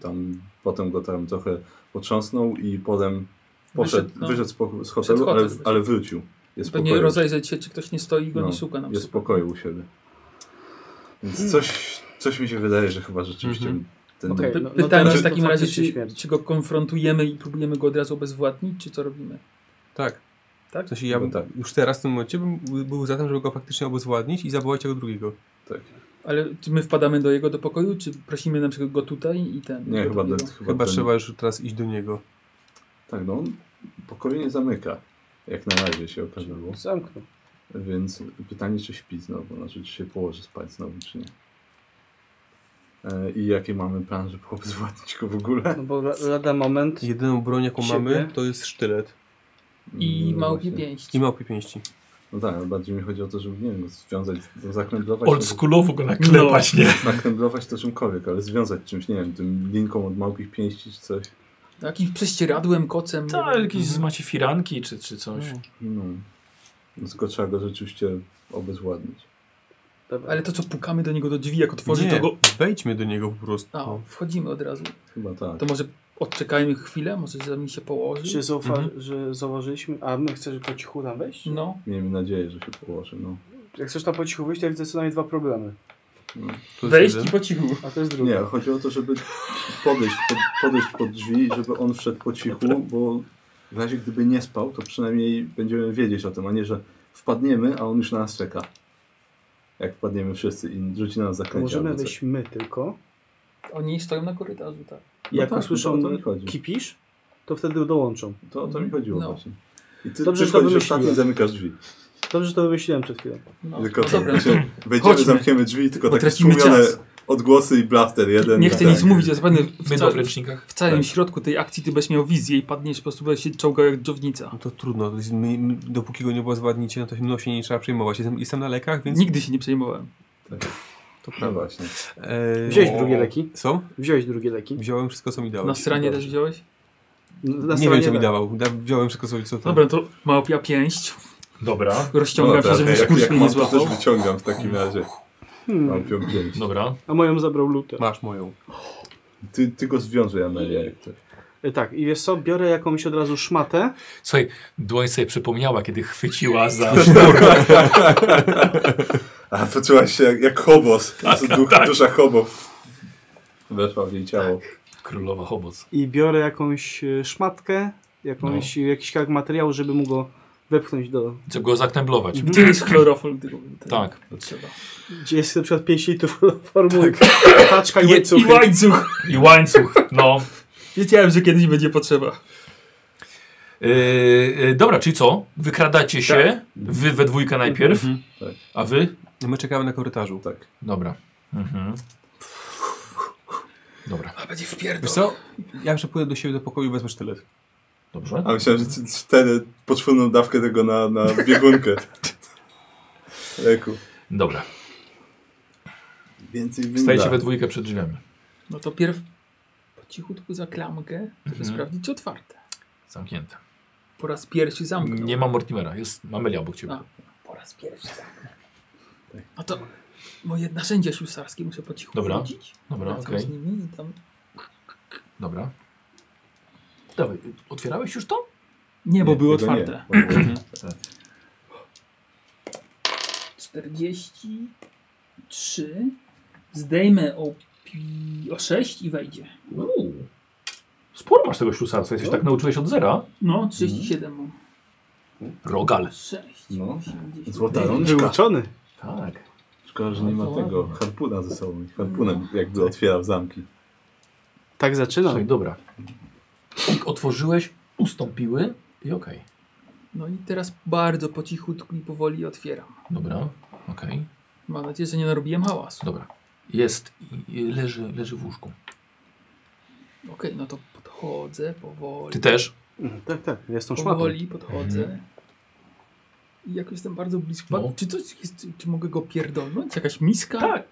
C: tam potem go tam trochę potrząsnął i potem poszedł,
D: Wyszedł, no.
C: wyszedł, z, poko- z
D: Przed
C: hotelu,
D: hotel
C: ale,
D: wyszedł.
C: ale wrócił. Jest w
D: Pewnie
C: pokoju.
D: rozejrzeć się, czy ktoś nie stoi i go
C: No,
D: nie szuka na
C: jest w
D: przykład.
C: pokoju u siebie.
D: Hmm.
C: Więc coś, coś mi się wydaje, że chyba rzeczywiście
D: Mhm.
C: ten
B: Okej.
D: Py-
B: No, no
D: Pytanie
B: teraz
D: w takim
B: to
D: razie,
B: faktycznie
D: czy,
B: śmierć.
D: czy go konfrontujemy i próbujemy go od razu obezwładnić, czy co robimy?
E: Tak.
D: Tak?
E: W sensie ja bym
C: No tak.
E: już teraz w tym momencie bym był za tym, żeby go faktycznie obezwładnić i zawołać tego drugiego.
C: Tak.
D: Ale czy my wpadamy do jego do pokoju, czy prosimy na przykład go tutaj i ten?
C: Nie,
D: go
C: chyba,
D: drugiego?
C: do, chyba,
E: Chyba
C: ten,
E: trzeba już teraz iść do niego.
C: Tak, no on pokoju nie zamyka. Jak na razie się okazało.
B: Zamknął.
C: Więc pytanie, czy śpi znowu, znaczy czy się położy spać znowu, czy nie. E, I jakie mamy plan, żeby obezwładnić go w ogóle?
B: No bo la- lada moment.
E: Jedyną broń, jaką
B: Siebie?
E: mamy, to jest sztylet
D: I
C: No
D: małpie
C: właśnie.
D: pięści.
E: i małpie pięści.
C: No tak, ale bardziej mi chodzi o to, żeby, nie wiem, no, związać, zaknęblować...
F: Oldschoolowo go naklepać,
C: No. <laughs>
F: nie?
C: Zaknęblować to czymkolwiek, ale związać czymś, nie wiem, tym linką od małpich pięści czy coś.
D: Jakim Tak, prześcieradłem, kocem. nie
F: Tak,
D: wiem.
F: jakieś z macie firanki czy, czy coś.
C: No. no tylko trzeba go rzeczywiście obezwładnić.
B: Dobra.
D: Ale to co, pukamy do niego do drzwi, jak otworzy
E: Nie,
D: to go... No.
E: wejdźmy do niego po prostu.
D: A,
C: No.
D: wchodzimy od razu.
C: Chyba tak.
D: To może odczekajmy chwilę, może za mi się położy.
B: Czy zauwa
C: Mhm.
B: że zauważyliśmy, a my chcesz po cichu tam wejść?
D: No,
C: Miejmy nadzieję, że się położy. No.
B: Jak chcesz tam po cichu wyjść, to ja widzę co najmniej dwa problemy.
E: To jest
D: wejść
E: jeden.
D: i po cichu.
B: A to jest drugi.
C: Nie, chodzi o to, żeby podejść pod, podejść pod drzwi, i żeby on wszedł po cichu, bo w razie gdyby nie spał, to przynajmniej będziemy wiedzieć o tym, a nie, że wpadniemy, a on już na nas czeka. Jak wpadniemy wszyscy i rzuci na nas zaklęcie.
E: no
B: Możemy
C: albo coś.
B: wyjść my tylko.
D: Oni stoją na korytarzu, tak.
B: I
C: No
B: jak
C: tak,
B: usłyszą
C: no to o to mi chodzi.
B: kipisz, to wtedy dołączą.
C: To o to mi chodziło
D: No.
C: właśnie. I
B: Dobrze,
C: ty, Dobrze,
B: że
C: ty
B: to
C: wchodzisz
B: wymyśliłem.
C: ostatni i zamykasz drzwi.
B: Dobrze, że to wymyśliłem przed chwilą.
D: No,
C: Tylko
D: no dobra.
C: się- wejdziemy,
D: Chodźmy.
C: zamkniemy drzwi i tylko
D: Bo
C: takie
D: tracimy
C: stłumione
D: czas.
C: odgłosy i blaster jeden.
D: Nie chcę
C: tak.
D: nic mówić, ja zapewne w,
F: My dwa w
D: całym-
F: ręcznikach.
D: w całym
C: Tak.
D: środku tej akcji ty będziesz miał wizję i padniesz po prostu, będziesz się czołgał jak dżownica.
E: No to trudno, to jest, my, my, dopóki go nie obezwładnicie, no to mną się nie trzeba przejmować. Jestem, jestem na lekach, więc...
D: Nigdy się nie przejmowałem.
E: To
C: No
E: prawda.
C: właśnie.
E: E,
B: Wziąłeś drugie leki?
E: Co?
B: Wziąłeś drugie leki.
E: Wziąłem wszystko, co mi dałeś.
D: Na stronie też wziąłeś?
B: Na
E: nie
B: stronie
E: wiem, co mi
B: tak.
E: dawał. Da, wziąłem wszystko, co, co
D: Dobra, to małpia pięść.
A: Dobra,
D: Rozciągam się,
C: tak,
D: żeby
C: jak, jak
D: skurcz mnie nie
C: mam, to też
D: złapał. No.
C: wyciągam w takim razie. Mam piąć. pięć.
A: dobra.
B: A moją Hmm, zabrał lutę.
E: masz moją.
C: Ty, ty go związuj, Amelia, jak coś.
B: E, Tak, i wiesz co, biorę jakąś od razu szmatę.
A: Słuchaj, dłoń sobie przypomniała, kiedy chwyciła
C: <laughs>
A: za sznur.
C: A poczuła się jak, jak hobos.
D: <laughs> Tak,
C: du, Dusza hobof. Weszła w jej ciało.
A: Królowa Hoboc.
B: I biorę jakąś e, szmatkę, jakąś,
A: No.
B: jakiś kawałek materiału, żeby mu go wepchnąć do...
A: Chcę go zakneblować.
D: Gdzie jest chlorofol? Gdy go-
A: Tak.
B: Gdzie jest na przykład 5 litrów <laughs> formuły,
A: Tak.
B: taczka i
D: I, I
B: łańcuchy.
D: łańcuch.
A: I łańcuch, <laughs> no.
D: Wiedziałem, że kiedyś będzie potrzeba.
A: Yy, yy, dobra, czyli co? Wykradacie się, wy we dwójkę najpierw,
C: Tak.
A: a wy?
E: My czekamy na korytarzu.
C: Tak.
A: Dobra. Mhm. Dobra,
E: Wiesz co? Ja przepłyję do siebie do pokoju, wezmę sztylet.
A: dobrze.
C: A myślałem, że c- c- wtedy poczwórną dawkę tego na, na biegunkę. <laughs> Leku.
A: Dobra.
C: Więcej
A: Stajecie
C: winda.
A: we dwójkę przed drzwiami.
D: No to pierw po cichutku za klamkę, żeby
A: Mhm.
D: sprawdzić czy otwarte.
A: Zamknięte.
D: Po raz pierwszy zamknął.
A: Nie ma Mortimera, jest Mamelia obok ciebie.
D: A. Po raz pierwszy zamknął. No to moje narzędzia ślusarskie muszę po cichu
A: Dobra.
D: wchodzić.
A: Dobra,
D: Wracam
A: okej.
D: z nimi i tam...
A: Dobra. Dawaj, otwierałeś już to?
D: Nie, bo było
C: tego nie.
D: otwarte. Mhm.
C: Bo było-
D: 43. Zdejmę o, pi- o 6 i wejdzie.
A: Uuu. Sporo masz tego ślusarstwa, jesteś tak nauczyłeś od zera.
D: No, 37 mam.
A: Rogal.
D: 6.
C: No.
D: 80.
C: Złota rączka.
B: Wyuczony.
A: Tak.
C: Szkoda, że nie ma tego harpuna ze sobą. Harpunem jakby otwierał zamki.
B: Tak zaczynam.
A: Słuchaj, No, dobra. Jak otworzyłeś, ustąpiły i okej.
D: No i teraz bardzo po cichutku i powoli otwieram.
A: Dobra, okej.
D: Mam nadzieję, że nie narobiłem hałasu.
A: Dobra. Jest, i- i leży, leży w łóżku.
D: Okej, no to podchodzę powoli.
A: Ty też?
B: Mhm, Tak, tak, ja z tą szmatą.
D: Powoli
C: Mhm.
D: podchodzę. I jak jestem bardzo blisko.
A: No. Tak.
D: Czy coś jest, czy, czy mogę go pierdolnąć? Jakaś miska?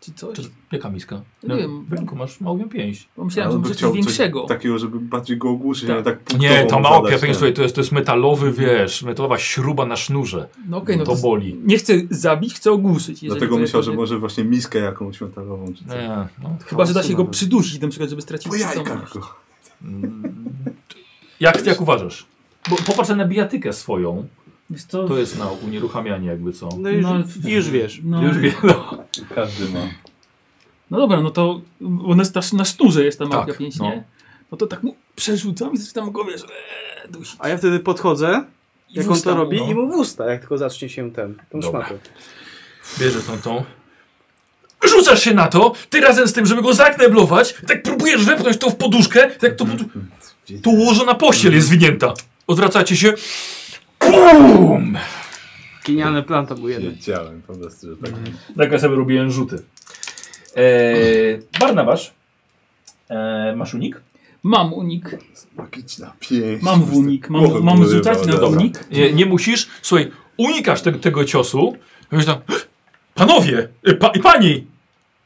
D: Czy coś?
A: Czy, jaka miska?
D: No nie wiem.
A: W ręku masz małą pięść.
D: Bo myślałem,
C: Ale
D: że
C: on by
D: może coś
C: chciał coś tak-
D: większego.
C: Takiego, żeby bardziej go ogłuszyć,
D: Tak.
C: ale tak
A: Nie,
C: punktową
A: ta mała
C: zadać,
A: pięść,
C: tak.
A: słuchaj, to jest, to jest metalowy, wiesz, metalowa śruba na sznurze.
D: No okej, no
A: to
D: to,
A: boli.
D: nie chcę zabić, chcę ogłuszyć. jeżeli
C: Dlatego
D: to
C: myślał,
D: jest-
C: że może właśnie miskę jakąś świątalową czy coś.
A: Nie, no.
D: Chyba, że da się go
B: Hałasu
D: przydusić, na przykład, żeby stracił
C: Po
D: przytomność.
C: jajkach go.
A: Mm. Jak, jak uważasz? Bo popatrz na bijatykę swoją.
J: Wiesz co?
A: To jest na unieruchamianie jakby co.
B: No już,
J: No,
B: już wiesz.
J: No,
A: Już wiem. No.
C: Każdy ma.
D: No dobra, no to ona jest na, na sznurze jest ta małka
A: Tak,
D: pięć,
A: no.
D: nie? No to tak mu przerzucam i zaczynam go, wiesz, eee, dusić.
B: A ja wtedy podchodzę,
D: I
B: jak on
D: wustam
B: to
D: mu,
B: robi
D: no.
B: i mu w usta, jak tylko zacznie się ten, tą
A: Dobra.
B: szmatę.
A: Bierzesz tą tą. Rzucasz się na to, ty razem z tym, żeby go zakneblować, tak próbujesz wepchnąć to w poduszkę, tak to... podu- Tu ułożona pościel jest zwinięta. Odwracacie się. BUM!
B: Genialny plan to był jeden.
C: Wiedziałem po prostu, że tak.
K: Tak ja sobie robiłem rzuty. Eee, Barnabasz. Eee, masz unik?
D: Mam unik.
C: Magiczna pięść.
D: Mam w unik, mam- mam rzucać na unik?
A: Nie, nie musisz. Słuchaj, unikasz te, tego ciosu. Mówisz tam, panowie, y, pa, i pani,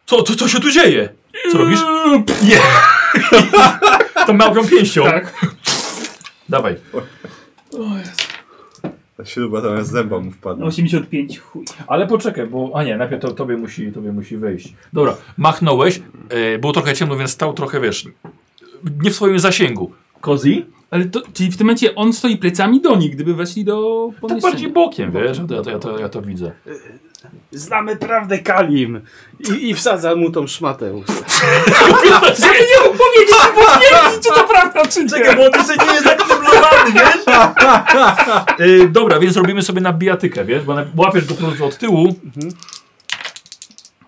A: co, co, co się tu dzieje? Co robisz?
K: Eee,
A: Nie. <laughs> Tą małą pięścią. Tak. Dawaj.
C: Ta śruba tam z zęba mu
A: No,
C: wpadła.
J: 85, chuj.
K: Ale poczekaj, bo... A nie, najpierw to, tobie, musi, tobie musi wejść.
A: Dobra, machnąłeś. E, było trochę ciemno, więc stał trochę, wiesz, nie w swoim zasięgu.
K: Kozi?
D: Ale to, czyli w tym momencie on stoi plecami do nich, gdyby weszli do
A: Tak
D: pomieszczenia.
A: bardziej bokiem, wiesz, ja to, ja, to, ja, to, ja to widzę.
B: Znamy prawdę Kalim! I, i wsadza mu tą szmatę w usta.
A: Żeby nie mógł powiedzieć, bo nie widzi, czy to prawda, czy nie. Czekaj, bo on jeszcze nie jest zakoblowany, wiesz? y, dobra, więc robimy sobie na bijatykę, wiesz? Bo na, łapiesz go po prostu od tyłu.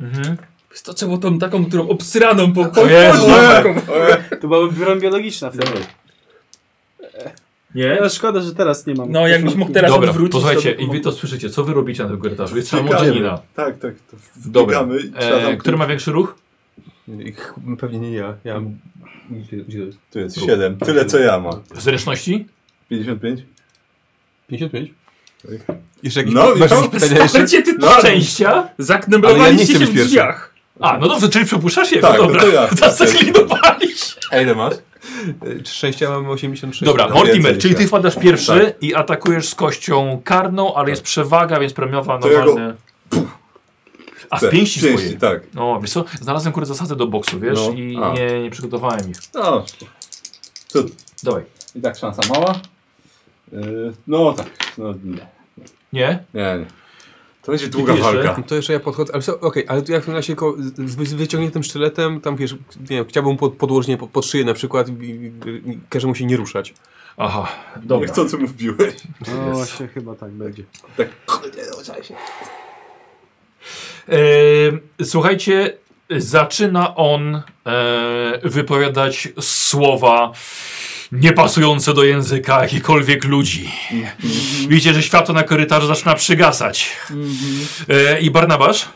A: Mhm.
D: Wiesz co, trzeba tą taką, którą obsraną po... po...
A: O Jezu.
B: To była broń biologiczna wtedy.
K: Nie?
B: No, szkoda, że teraz nie mam.
D: No jakbyś mógł teraz
A: Dobra,
D: odwrócić.
A: posłuchajcie,
D: to by
A: i wy to słyszycie, co wy robicie na tym korytarzu? Jest
C: Biegamy.
A: samodzielna.
C: Tak, tak. To
A: Dobra,
C: wbiegamy i trzeba
A: e,
C: zamknąć.
A: który ma większy ruch?
E: Ich, pewnie nie ja. ja gdzie, gdzie to jest?
C: Tu jest 7. Tyle co ja mam.
A: Zręczności?
C: 55?
E: 55?
C: Tak.
E: Jeszcze jakieś
C: No,
E: masz
C: i to-
E: jakieś pytania jeszcze?
D: Słuchajcie, ty
C: No, ale-
A: Szczęścia?
E: Ale ja nie
D: zakneblowaliście
E: chcę
D: się
E: być
D: w
E: pierwszy.
D: drzwiach.
A: A, no dobrze, czyli przepuszczasz jego,
C: Tak,
A: dobra.
C: to
A: <laughs>
C: ja.
A: Teraz zaklinowaliś.
E: A ile masz? Y, Szczęścia mam 86.
A: Dobra,
C: No,
A: Mortimer,
C: więcej Tak.
A: czyli ty
C: niż ja.
A: wpadasz pierwszy i atakujesz z kością karną, ale jest przewaga, więc premiowa
C: To ja go-
A: normalnie. A z pięści swojej.
C: tak.
A: No, wiesz co, znalazłem kurde zasady do boksu, wiesz,
C: No,
A: i
C: a.
A: nie, nie przygotowałem ich.
C: No, Cud.
A: Dawaj.
C: I tak szansa mała. Yy, no tak. No, nie.
A: Nie?
C: nie, nie. To będzie długa
A: jeszcze?
C: walka.
E: To jeszcze ja podchodzę, ale co- okej, ale tu ja w tym razie ko- z, z wyciągniętym sztyletem, tam wiesz, nie wiem, chciałbym pod, podłożnie pod, pod szyję na przykład i, i, i każę mu się nie ruszać.
A: Aha,
C: Nie
A: dobra.
C: chcą, co mu wbiłeś.
B: No właśnie, chyba tak będzie.
C: Tak, kurde, zaczęła się.
A: E, słuchajcie, zaczyna on e, wypowiadać słowa niepasujące do języka jakichkolwiek ludzi.
C: Mhm.
A: Widzicie, że światło na korytarzu zaczyna przygasać. E, I Barnabasz?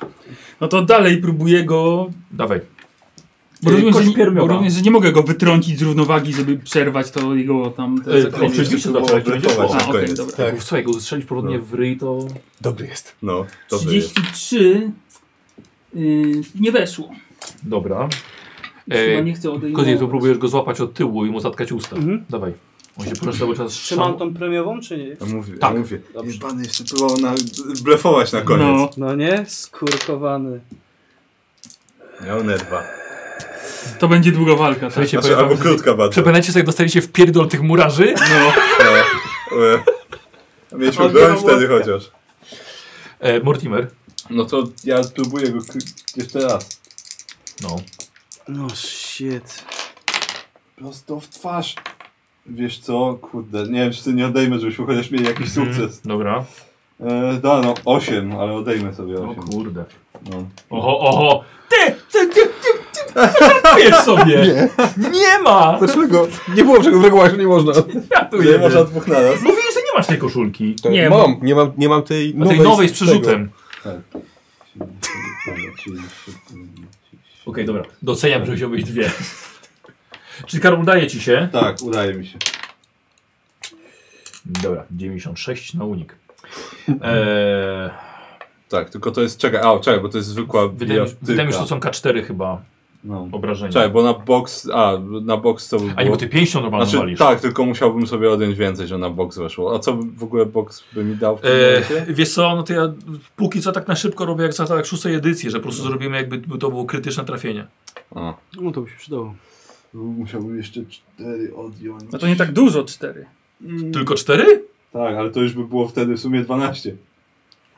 D: No to dalej próbuję go.
A: Dawaj.
D: Bo
A: Yy,
D: rozumiem,
A: kość
D: że, nie-
A: piermiowa.
D: bo rozumiem, że nie mogę go wytrącić z równowagi, żeby przerwać to jego tam. Te
A: Yy,
D: zaklęcie.
A: oczywiście,
C: Było
A: zawsze będzie
C: brytować
A: szło.
D: A,
C: na
D: okej,
C: koniec.
D: dobra.
A: Tak. Słuchaj, go strzelić porządnie w ryj to...
I: Dobry jest.
C: No, to by jest.
D: 33 yy, nie weszło.
A: Dobra.
D: Chyba
A: E,
D: nie chcę odejmować.
A: Kozje, tu próbujesz go złapać od tyłu i mu zatkać usta.
B: Mhm.
A: Dawaj. On się proszę cały czas
B: Trzymam
A: szam-
B: tą premiową, czy nie?
C: Ja mówię,
A: Tak.
C: ja mówię.
B: Dobrze.
C: Nie, pan jeszcze próbował na, blefować na koniec.
B: No nie? Skurkowany.
C: Miał nerwa.
D: To będzie długa walka. Tak?
A: Słuchajcie,
C: Znaczy,
A: powiem
C: albo
A: wam,
C: krótka bardzo.
A: Przypominacie sobie, jak dostaliście w pierdol tych murarzy?
C: E, e, Mieliśmy broń wtedy chociaż.
A: E, Mortimer.
C: No to ja spróbuję go k- jeszcze raz.
A: No.
B: No shit.
C: Prosto w twarz. Wiesz co, kurde, nie wiem czy ty nie odejmę, żebyśmy chociaż mieli jakiś sukces.
A: Mhm. Dobra.
C: E, da, no 8, ale odejmę sobie
A: O
C: 8.
A: kurde.
C: No.
A: Oho, oho. Ty, ty, ty, ty, ty, ty sobie. Nie. nie ma.
E: Dlaczego? Nie było czego wygłaś, nie można.
C: Nie można dwóch naraz.
A: Mówiłeś, że nie masz tej koszulki.
E: To
D: Nie,
E: mam, nie mam, nie mam tej
A: A
E: nowej.
A: tej nowej z
E: No tego.
A: przerzutem. Okej, dobra. Doceniam, że wziąłeś dwie. Czyli Karol udaje ci się.
C: Tak, udaje mi się.
A: Dobra, 96 na
C: <laughs>
A: unik. E, Eee,
C: Tak, tylko to jest, czekaj, a czekaj, bo to jest zwykła
A: wydaje, mi,
C: bijatyka.
A: wydaje mi się, że to są K4 chyba
C: No.
A: obrażenia.
C: Czekaj, bo na box, a na box to by
A: A nie,
C: było...
A: bo ty pięścią normalnie
C: Znaczy,
A: walisz.
C: tak, tylko musiałbym sobie odjąć więcej, że na box weszło. A co w ogóle box by mi dał w tym momencie?
F: E, wiesz co, no to ja póki co tak na szybko robię jak za tak szóstej edycji, że po prostu zrobimy jakby to było krytyczne trafienie.
C: A.
B: No to by się przydało.
C: Musiałbym jeszcze cztery odjąć.
D: No to nie tak dużo, No 4.
A: Mm,
F: Tylko cztery?
C: Tak, ale to już by było wtedy w sumie 12.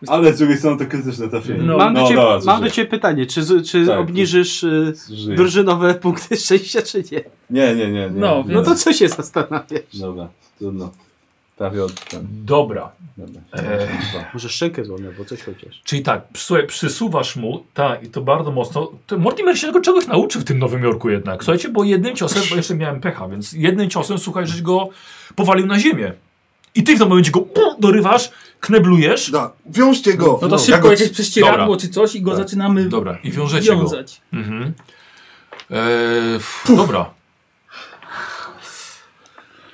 C: Ale z drugiej strony to krytyczne trafienie.
D: No.
B: Mam, do, ciebie,
C: dobra,
B: mam
C: zużyję.
B: do ciebie pytanie, czy, z- czy
C: Tak.
B: obniżysz y,
C: Zużyję.
B: drużynowe punkty szczęścia, czy nie?
C: Nie, nie, nie. nie.
D: No,
C: nie.
B: No to co się zastanawiasz?
C: Dobra, trudno. Trafię od ten.
A: Dobra.
C: Dobra.
A: Eee.
C: Dwa.
B: Może szczękę złamę, bo coś chociaż.
A: Czyli tak, słuchaj, przysuwasz mu, tak, i to bardzo mocno. To Mortimer się tego czegoś nauczył w tym Nowym Jorku jednak. Słuchajcie, bo jednym ciosem, bo jeszcze miałem pecha, więc jednym ciosem, słuchaj, żeś go powalił na ziemię. I ty w tym momencie go pum, dorywasz, kneblujesz.
C: Da, wiążcie go!
D: No to
C: Ja
D: szybko
C: go-
D: jakieś prześcieradło
A: Dobra.
D: czy coś i go zaczynamy
A: Dobra, i wiążecie go.
D: wiązać.
A: Mhm. Eee, f- dobra.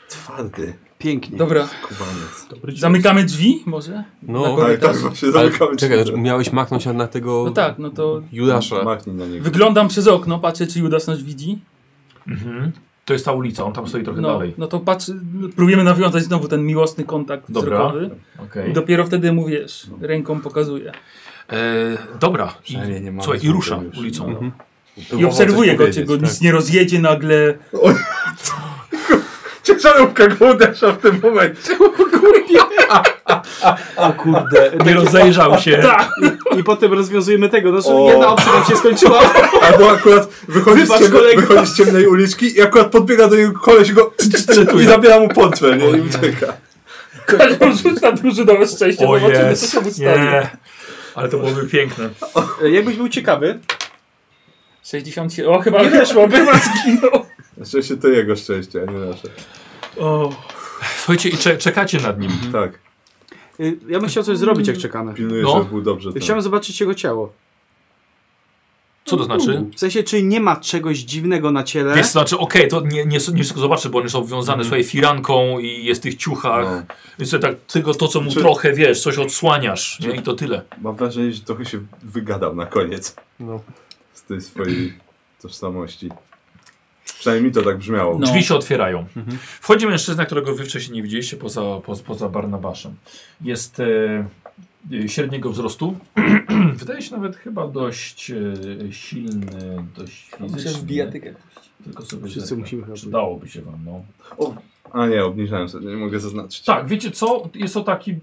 C: Twardy,
B: Pięknie.
D: Dobra,
C: kubaniec.
D: zamykamy drzwi może?
E: No,
C: Tak, tak, właśnie
E: ale,
C: zamykamy
E: czekaj,
C: drzwi.
E: znaczy miałeś machnąć na- na tego
D: No tak, no to
E: Judasza.
C: Machnij na niego.
D: wyglądam przez okno, patrzę czy Judas nas widzi.
A: Mhm. To jest ta ulica, on tam stoi trochę
D: No,
A: dalej.
D: no to patrz, no, próbujemy nawiązać znowu ten miłosny kontakt
A: Dobra.
D: wzrokowy.
A: Okej.
D: I dopiero wtedy mu wiesz, ręką pokazuję.
A: Eee, dobra. I,
C: Przynajmniej nie mamy
A: słuchaj, i
C: złego
A: rusza
C: już.
A: ulicą.
C: No.
D: I obserwuję go, czy go
C: tak.
D: nic nie rozjedzie nagle. <laughs>
F: Ciężarówka go uderza w tym momencie.
B: O kurde.
A: Nie rozejrzał się.
D: Tak!
B: I potem rozwiązujemy tego, no
C: O.
B: że jedna opcja nam się skończyła. <laughs>
C: Albo akurat wychodzi z,
B: Wybacz,
C: ciemne,
B: kolego.
C: wychodzi z ciemnej uliczki i akurat podbiega do niego koleś i go i zabiera mu portfel, nie? I ucieka.
D: Każdą rzuć na drużynowe szczęście,
A: O
D: zobaczymy
A: jest.
D: co się mu stanie.
A: Nie. Ale to byłoby piękne.
B: E, Jakbyś był ciekawy,
D: 60 się... O, chyba nie weszło, chyba <laughs> zginął.
C: Na szczęście to jego szczęście, a nie nasze.
D: O.
A: Słuchajcie, i cze czekacie nad nim.
C: Tak,
B: e, ja bym chciał coś zrobić, jak czekamy.
C: pilnuję,
A: No.
C: żeby był dobrze. Tam.
B: Chciałem zobaczyć jego ciało.
A: Co to znaczy?
B: W sensie, czy nie ma czegoś dziwnego na ciele?
A: Wiesz, to znaczy, okej, to nie, nie, nie wszystko zobaczy, bo one są obwiązane swojej firanką i jest w tych ciuchach.
C: Mhm. No.
A: Więc sobie tak, tylko to, co mu
C: Czy-
A: trochę wiesz, coś odsłaniasz. Nie? I to tyle.
C: Mam wrażenie, że trochę się wygadał na koniec
E: No.
C: z tej swojej tożsamości. Przynajmniej mi to tak brzmiało.
D: No.
A: Drzwi się otwierają. Wchodzi mężczyzna, którego wy wcześniej nie widzieliście poza, poza, poza Barnabaszem. Jest e, e, średniego wzrostu. <clears throat> Wydaje się nawet chyba dość e, silny, dość fizyczny.
D: Musisz bijatykę.
A: Tylko sobie
B: Wszyscy
A: zerknę.
B: musimy chyba
A: Przydałoby się wam, no.
C: A nie, obniżałem sobie, nie mogę zaznaczyć.
A: Tak, wiecie co? Jest to taki...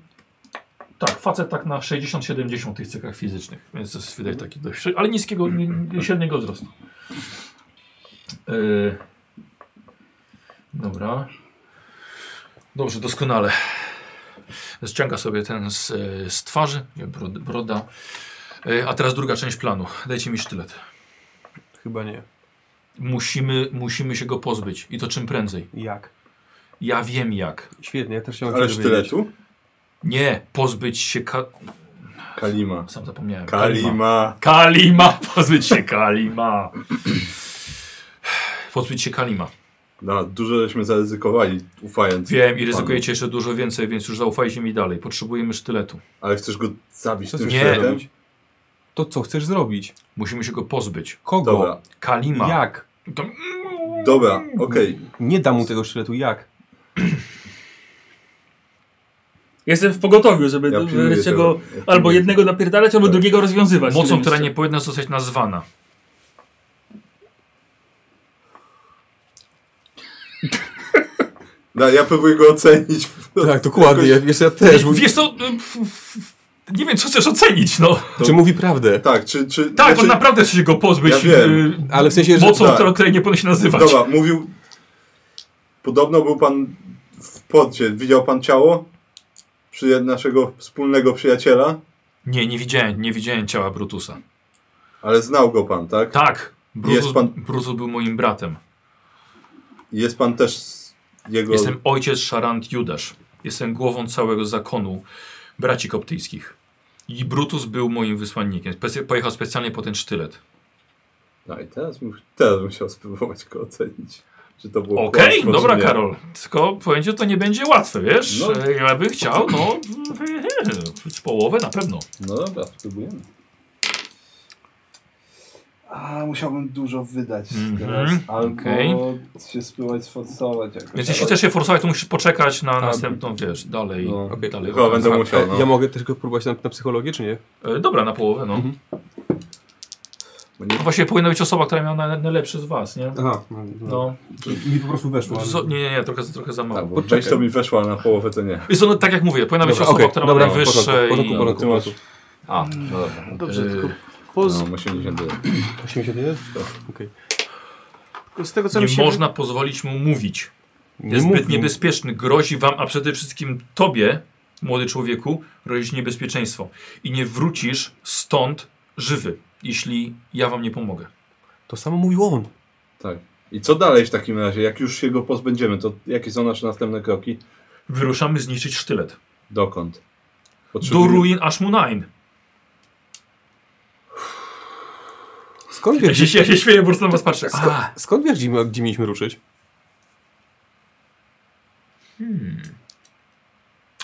A: Tak, facet tak na 60-70 tych cechach fizycznych, więc to jest wydaje taki dość... Ale niskiego, nie- nie- średniego wzrostu. Yy, dobra. Dobrze, doskonale. Ściąga sobie ten z, e, z twarzy, nie, brod- broda. E, A teraz druga część planu. Dajcie mi sztylet.
E: Chyba nie.
A: Musimy, musimy się go pozbyć i to czym prędzej.
E: Jak?
A: Ja wiem jak.
E: Świetnie, ja też chciałem
C: Ale
E: się dowiedzieć.
C: sztyletu?
A: Nie, pozbyć się ka...
C: Kalima.
A: Sam zapomniałem.
C: Kalima.
A: Kalima, <laughs> pozbyć się Kalima. Pozbyć się Kalima.
C: No, dużo żeśmy zaryzykowali, ufając.
A: Wiem i ryzykujecie jeszcze dużo więcej, więc już zaufajcie mi dalej. Potrzebujemy sztyletu.
C: Ale chcesz go zabić
E: Co
C: tym
A: chcesz
C: sztyletem?
E: zrobić? To co chcesz zrobić?
A: Musimy się go pozbyć.
E: Kogo?
C: Dobra,
A: Kalima.
E: Jak?
A: To...
C: dobra, okej.
E: Nie dam mu tego sztyletu, jak?
D: Jestem w pogotowiu, żeby
C: Ja
D: d-
C: pilnuję
D: wreszcie
C: tego.
D: go
C: Ja pilnuję.
D: albo jednego napierdalać, albo
C: Tak.
D: drugiego rozwiązywać.
A: Mocą, która
D: Oczywiście.
A: nie powinna zostać nazwana.
C: No, ja próbuję go ocenić.
E: Tak, dokładnie, ja, wiesz, ja też. Mówi,
A: Wiesz co... y, f- f- Nie wiem, co chcesz ocenić, no.
E: czy mówi
C: <laughs>
E: prawdę?
C: Tak, czy... czy
A: Tak,
C: znaczy-
A: on naprawdę chce się go pozbyć.
C: Ja wiem.
A: y,
E: Ale w sensie, że...
A: Mocą,
C: tak.
A: która, której nie powinno się nazywać.
C: Dobra, mówił... Podobno był pan w porcie. Widział pan ciało? Przy naszego wspólnego przyjaciela?
A: Nie, nie widziałem, nie widziałem ciała Brutusa.
C: Ale znał go pan, tak?
A: Tak, Brutus,
C: Jest pan-
A: Brutus był moim bratem.
C: Jest pan też z jego...
A: Jestem ojciec Szarant Judasz. Jestem głową całego zakonu braci koptyjskich. I Brutus był moim wysłannikiem. Spec- pojechał specjalnie po ten sztylet.
C: No i teraz bym, teraz bym chciał spróbować go ocenić. Czy to było
A: Okej,
C: kłamstwo, czy
A: dobra
C: nie.
A: Karol. Tylko powiem ci, to nie będzie łatwe, wiesz?
C: No.
A: E, Ja bym chciał, no, e, z połowę na pewno.
C: No dobra, spróbujemy. A, musiałbym dużo wydać
A: Mhm, teraz. Albo okej.
C: się spróbować sforsować jakoś.
A: Więc jeśli chcesz się forsować, to musisz poczekać na
C: Tak.
A: następną, wiesz, dalej.
C: No.
E: Okej.
A: dalej
C: Chyba będę
A: okazję.
C: musiał, no.
E: Ja mogę też go próbować na, na psychologię, czy nie?
A: E, Dobra, na połowę, no.
C: Mhm. Bo nie-
A: No Właśnie powinna być osoba, która miała naj- najlepszy z was,
C: Tak.
A: nie?
E: Aha. No,
A: No.
E: Mi po prostu weszło. ale-
A: Zo- nie, nie, nie, trochę, trochę za
C: No. Tak,
A: mało.
C: bo
E: Poczekaj.
C: część to mi weszła, a na połowę to nie. No,
A: Jest ono, tak jak mówię, powinna być
E: Dobra,
A: osoba,
E: okej,
A: która
E: dobra,
A: ma
E: w porządku,
A: najwyższe
E: w porządku,
A: i...
E: w porządku.
C: Ty masz... A, no dobra.
B: Dobrze,
A: Yy.
B: tylko, poz...
C: No, 81.
E: 81? Okej.
B: tylko z tego co
A: Nie
B: mi się...
A: można pozwolić mu mówić.
E: Nie
A: Jest zbyt
E: mów mi.
A: niebezpieczny, grozi wam, a przede wszystkim tobie, młody człowieku, grozi niebezpieczeństwo. I nie wrócisz stąd żywy, jeśli ja wam nie pomogę.
E: To samo mówił on.
C: Tak. I co dalej w takim razie? Jak już się go pozbędziemy, to jakie są nasze następne kroki?
A: Wyruszamy zniszczyć sztylet.
C: Dokąd?
A: Do
C: Potrzebuję-
A: ruin Ashmunain.
E: Skąd
A: Ja
E: wiesz,
A: się, ja się śmieję, po prostu na was patrzę. A,
E: skąd wiesz gdzie, gdzie mieliśmy ruszyć?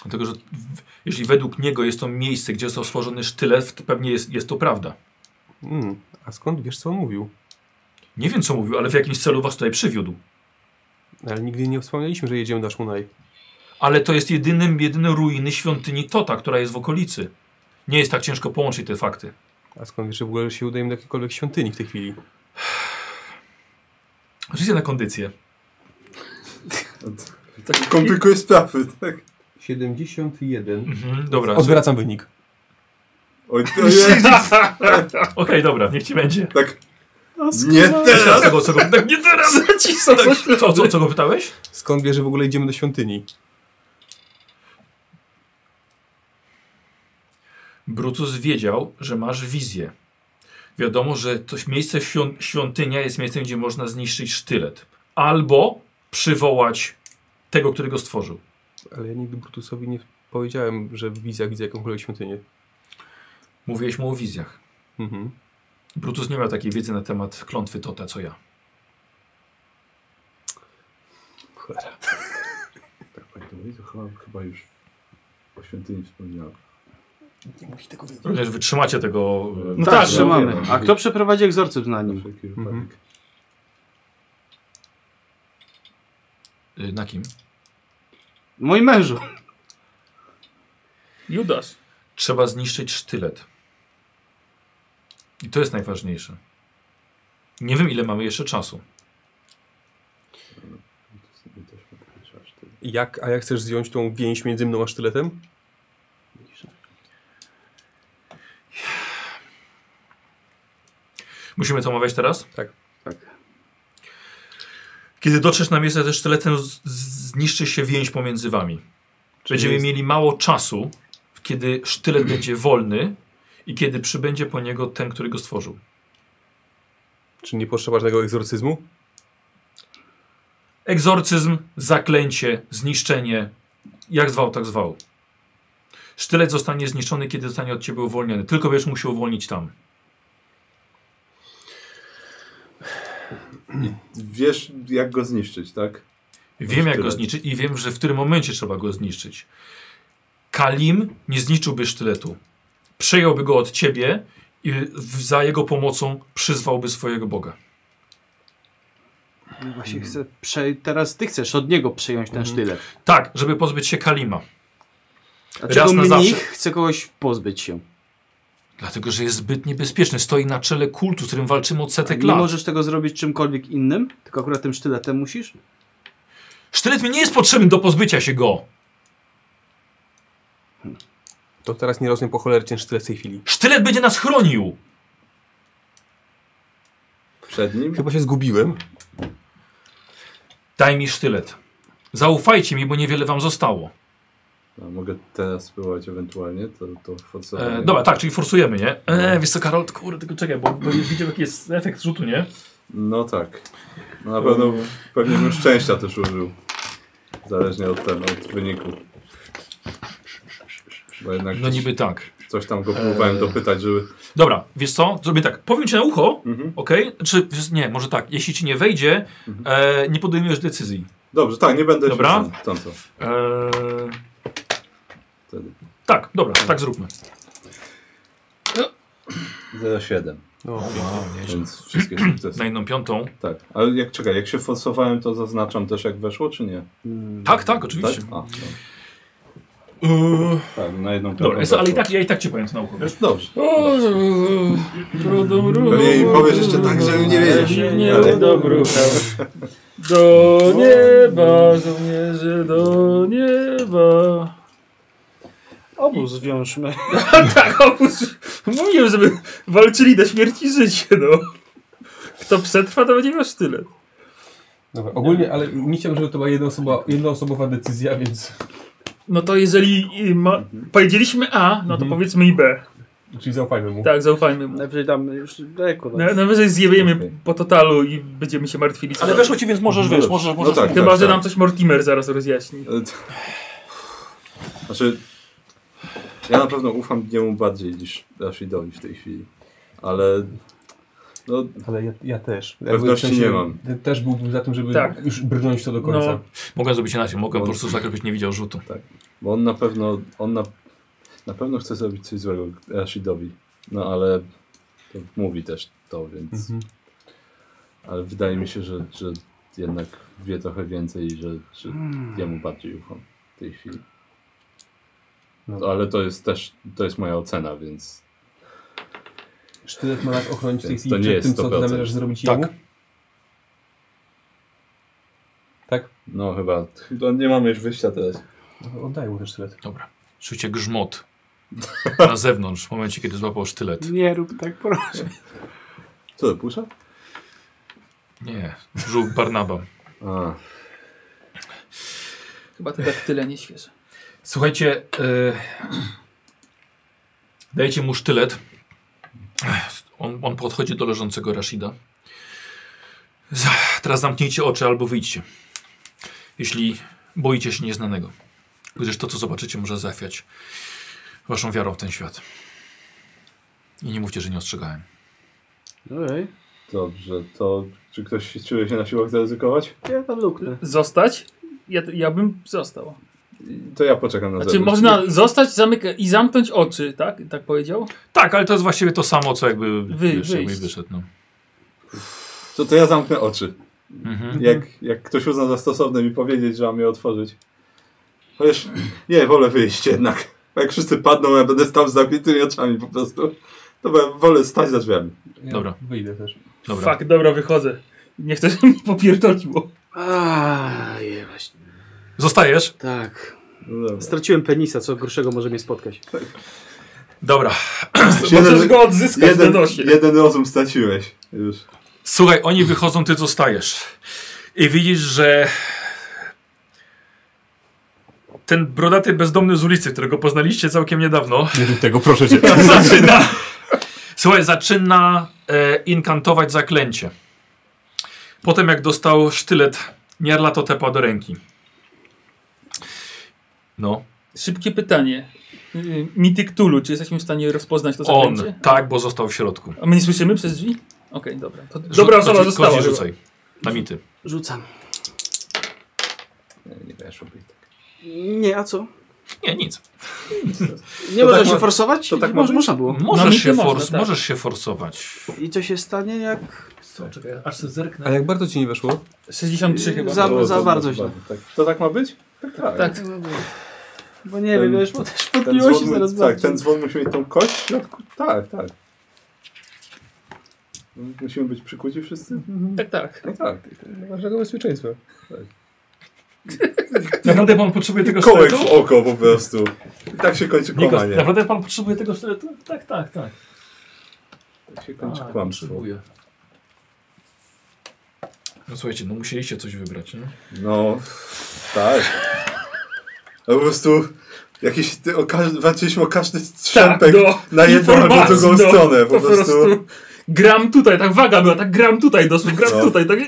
A: Dlatego, że w, jeśli według niego jest to miejsce, gdzie został stworzony sztylet, to pewnie jest, jest to prawda.
E: Mm, a skąd wiesz, co on mówił?
A: Nie wiem, co mówił, ale w jakimś celu was tutaj przywiódł.
E: Ale nigdy nie wspomnieliśmy, że jedziemy do Szmunaj.
A: Ale to jest jedyny, jedyne ruiny świątyni Tota, która jest w okolicy. Nie jest tak ciężko połączyć te fakty.
E: A skąd wiesz, że w ogóle się udajemy do jakiejkolwiek świątyni w tej chwili?
A: Życie na kondycję.
C: Tak komplikuje sprawy, tak?
E: 71.
A: Mhm, dobra. Okej,
E: Odwracam wynik.
C: Oj,
A: <laughs>
C: to jest...
A: dobra, niech ci będzie.
C: Tak. Nie teraz!
A: Teraz tego, co go, tak, nie teraz! Tak, co, co, co go pytałeś?
E: Skąd wiesz, że w ogóle idziemy do świątyni?
A: Brutus wiedział, że masz wizję. Wiadomo, że to miejsce świąt, świątynia jest miejscem, gdzie można zniszczyć sztylet. Albo przywołać tego, który go stworzył.
E: Ale ja nigdy Brutusowi nie powiedziałem, że w wizjach widzę jakąkolwiek świątynię.
A: Mówiłeś mu o wizjach.
E: Mhm.
A: Brutus nie miał takiej wiedzy na temat klątwy Tota, co ja.
C: To chyba, chyba już o świątyni wspomniałem.
A: Również wytrzymacie tego... e,
B: No
C: Tak,
B: tak,
C: no,
B: że mamy.
C: wiadomo.
B: A kto przeprowadzi egzorcyzm na
C: Na
B: nim?
C: wszelki wypadek.
E: Mhm.
A: y, Na kim?
B: Mój mężu.
D: Judasz.
A: Trzeba zniszczyć sztylet. I to jest najważniejsze. Nie wiem, ile mamy jeszcze czasu.
E: Jak, a jak chcesz zjąć tą więź między mną a sztyletem?
A: Musimy to omawiać teraz?
E: Tak.
B: Tak.
A: Kiedy dotrzesz na miejsce ze sztyletem, z- z- zniszczy się więź pomiędzy wami. Będziemy
E: jest-
A: mieli mało czasu, kiedy sztylet będzie wolny i kiedy przybędzie po niego ten, który go stworzył.
E: Czy nie potrzeba żadnego egzorcyzmu?
A: Egzorcyzm, zaklęcie, zniszczenie, jak zwał, tak zwał. Sztylet zostanie zniszczony, kiedy zostanie od ciebie uwolniony. Tylko będziesz musiał uwolnić tam.
C: Wiesz, jak go zniszczyć, tak?
A: Wiem, jak go
C: Sztylet.
A: zniszczyć i wiem, że w którym momencie trzeba go zniszczyć. Kalim nie zniszczyłby sztyletu. Przejąłby go od ciebie i w- za jego pomocą przyzwałby swojego Boga.
B: No Właśnie chcę prze... teraz ty chcesz od niego przejąć ten sztylet.
A: Tak, żeby pozbyć się Kalima. na
B: Dlaczego mnich
A: zawsze.
B: chce kogoś pozbyć się?
A: Dlatego, że jest zbyt niebezpieczny. Stoi na czele kultu, z którym walczymy od setek
B: Nie
A: Tak, lat.
B: możesz tego zrobić czymkolwiek innym, tylko akurat tym sztyletem musisz?
A: Sztylet mi nie jest potrzebny do pozbycia się go.
E: To teraz nie rozumiem po cholerę ten sztylet w tej chwili.
A: Sztylet będzie nas chronił.
C: Przed nim?
E: Chyba się zgubiłem.
A: Daj mi sztylet. Zaufajcie mi, bo niewiele wam zostało.
C: A mogę teraz spróbować ewentualnie, to, to forsowanie.
A: E, dobra, tak, czyli forsujemy, nie? E, wiesz co, Karol, kurde, tylko czekaj, bo, bo widział jaki jest efekt rzutu, nie?
C: No tak. No na pewno pewnie bym szczęścia też użył. Zależnie od, ten, od wyniku. Bo jednak
A: No niby tak.
C: coś tam go próbowałem
A: Eee.
C: dopytać, żeby...
A: Dobra, wiesz co? Zrobię tak. Powiem ci na ucho,
C: Mhm.
A: okej? Czy wiesz, nie, może tak. Jeśli ci nie wejdzie, e, nie podejmujesz decyzji.
C: Dobrze, tak, nie będę
A: Dobra.
C: się... Tam co.
A: E,
C: Wtedy.
A: tak, dobra, tak zróbmy.
C: 0,7. Więc wszystkie
A: Na
C: sukcesy.
A: jedną piątą.
C: Tak, ale jak czekaj, jak się forsowałem, to zaznaczam też jak weszło, czy nie?
A: Tak, tak,
C: Tak?
A: oczywiście.
C: A, no.
A: Eee,
C: tak na jedną piątą
A: dobra, jest, ale i
C: weszło.
A: tak, ja i tak cię powiem na ucho. Wiesz?
C: Dobrze.
D: Trudno,
C: Pewnie im No powiesz jeszcze tak, że nie wiedziesz.
D: nie
C: Ale-
D: do brucha. Do nieba, żołnierze, do nieba.
B: Obóz zwiążmy.
D: Tak, obóz. Mówiłem, żeby walczyli do śmierci i życie, no. Kto przetrwa, to będzie miał sztylet.
E: Dobra, ogólnie, ale nie chciałbym, żeby to była jednoosobowa, jednoosobowa decyzja, więc...
D: No to jeżeli y, ma... powiedzieliśmy A, no to powiedzmy i B.
E: Czyli zaufajmy mu.
D: Tak, zaufajmy mu.
B: Najwyżej tam już daleko.
A: No,
D: Na- Najwyżej zjebiemy
C: Okej.
D: po totalu i będziemy się martwili. co
A: Ale
D: dalej.
A: weszło ci, więc możesz, wiesz, możesz,
C: No
A: możesz.
C: tak.
D: Chyba, że nam coś Mortimer zaraz rozjaśni.
C: E, t- Znaczy, ja na pewno ufam niemu bardziej niż Rashidowi w tej chwili, ale no,
E: Ale ja, ja też.
C: Pewności
E: Jakby w sensie
C: nie mam.
E: te- Też byłbym za tym, żeby
D: Tak.
E: już brnąć to do końca.
D: No.
A: Mogę zrobić inaczej, mogę po prostu tak, żebyś nie widział rzutu.
C: bo on na pewno, on na, na pewno chce zrobić coś złego Rashidowi, no ale to mówi też to, więc,
E: Mhm.
C: ale wydaje mi się, że, że jednak wie trochę więcej i że, że
E: Hmm.
C: jemu bardziej ufam w tej chwili.
E: No.
C: No, ale to jest też, to jest moja ocena, więc
E: Sztylet ma nas ochronić w tej
C: Więc
E: chwili
C: to nie
E: przed
C: jest
E: tym, co
C: 100%.
E: ty zamierzasz zrobić
A: Tak.
E: jemu? Tak?
C: no chyba, chyba nie mamy już wyjścia teraz.
E: No, Oddaję mu ten sztylet.
A: Dobra. Czujcie
C: <laughs>
A: grzmot na zewnątrz, w momencie, kiedy złapał sztylet.
B: Nie rób tak, proszę.
C: Co, to pusza?
A: Nie, żółw Barnaba.
C: A,
D: Chyba to tak tyle nieświeże.
A: Słuchajcie, y... dajecie mu sztylet. Ech, On, on podchodzi do leżącego Rashida. Za- Teraz zamknijcie oczy albo wyjdźcie. Jeśli boicie się nieznanego. Gdyż to, co zobaczycie, może zachwiać waszą wiarą w ten świat. I nie mówcie, że nie ostrzegałem.
B: Okej.
C: dobrze, to czy ktoś czuje się na siłach zaryzykować?
B: Ja tam luknę.
D: Zostać? Ja, ja bym został.
C: To ja poczekam na
D: Znaczy, można zostać zamyka i zamknąć oczy, tak? Tak powiedział?
A: Tak, ale to jest właściwie to samo, co jakby
D: Wy-
A: wiesz, jakbyś
D: wyjść.
A: wyszedł. No.
C: To, to ja zamknę oczy.
A: Mhm.
C: Jak, jak ktoś uzna za stosowne mi powiedzieć, że mam je otworzyć. Chociaż nie, wolę wyjść jednak. Bo jak wszyscy padną, ja będę stał z zamkniętymi oczami po prostu. To bo- wolę stać za drzwiami.
E: Ja
A: Dobra.
E: Wyjdę też.
A: Dobra.
D: Fuck, dobra, wychodzę. Nie chcę, żeby mi popierdoliło.
B: Aaaa, właśnie.
A: Zostajesz?
B: Tak.
C: No dobra.
B: Straciłem penisa, co gorszego może mnie spotkać.
A: Dobra.
D: Możesz go odzyskać na
C: jeden,
D: nosie.
C: jeden rozum straciłeś już.
A: Słuchaj, oni wychodzą, ty zostajesz. I widzisz, że ten brodaty bezdomny z ulicy, którego poznaliście całkiem niedawno,
E: Nie rób tego, proszę <laughs> cię.
A: zaczyna. Słuchaj, zaczyna e, inkantować zaklęcie. Potem jak dostał sztylet Nierlatotepa do ręki. No,
D: Szybkie pytanie. Yy, Mityk Tulu, czy jesteśmy w stanie rozpoznać to
A: on,
D: zaklęcie?
A: tak, bo został w środku.
D: A my nie słyszymy przez drzwi? Okej, dobra. To dobra
A: Rzu-
D: osoba
A: kości-
D: została.
A: kości
D: chyba.
A: rzucaj. Na mity.
B: Rzucam.
C: Nie, nie weszło mi tak.
B: Nie, a co?
A: Nie, nic.
B: Nie można
C: tak
B: się
C: ma-
B: forsować?
C: to tak
B: Mo-
C: ma być?
B: Można było.
A: No, Możesz,
D: mity
A: się,
D: No, można,
A: fors-
D: tak.
A: możesz się forsować.
B: I co się stanie, jak
L: Co, czekaj, aż sobie zerknę.
E: A jak bardzo ci nie weszło?
D: 63 E, chyba.
B: Za-
C: To- to-
B: bardzo
C: to-
B: źle.
C: tak. To tak ma być? Tak, tak.
D: Tak.
B: Bo nie
C: Ten-
B: wiem, wiesz, bo też
C: Ten
B: podbiło się
C: dzwon,
B: zaraz
C: mu- tak,
B: bardziej.
C: ten dzwon musi mieć tą kość w środku. Tak, tak. Musimy być przykuci wszyscy?
D: Tak, tak.
C: No tak.
M: Naszego bezpieczeństwa.
L: Tak Naprawdę pan potrzebuje tego
C: Kołek
L: sztyletu?
C: w oko po prostu. I tak się kończy
L: Nikos,
C: kłamanie.
L: naprawdę pan potrzebuje tego sztyletu? Tak, tak, tak.
C: Tak się kończy
L: A,
C: kłamstwo.
L: potrzebuję. No słuchajcie, no musieliście coś wybrać, nie?
C: No, tak. A po prostu jakiś, ty, o, każdy, walczyliśmy o każdy strzępek
D: no.
C: na jedną albo
D: Informacji,
C: drugą
D: no.
C: stronę. Po,
D: Po
C: prostu,
D: prostu gram tutaj, tak waga była, tak gram tutaj dosłownie, gram
C: No.
D: tutaj, tak i-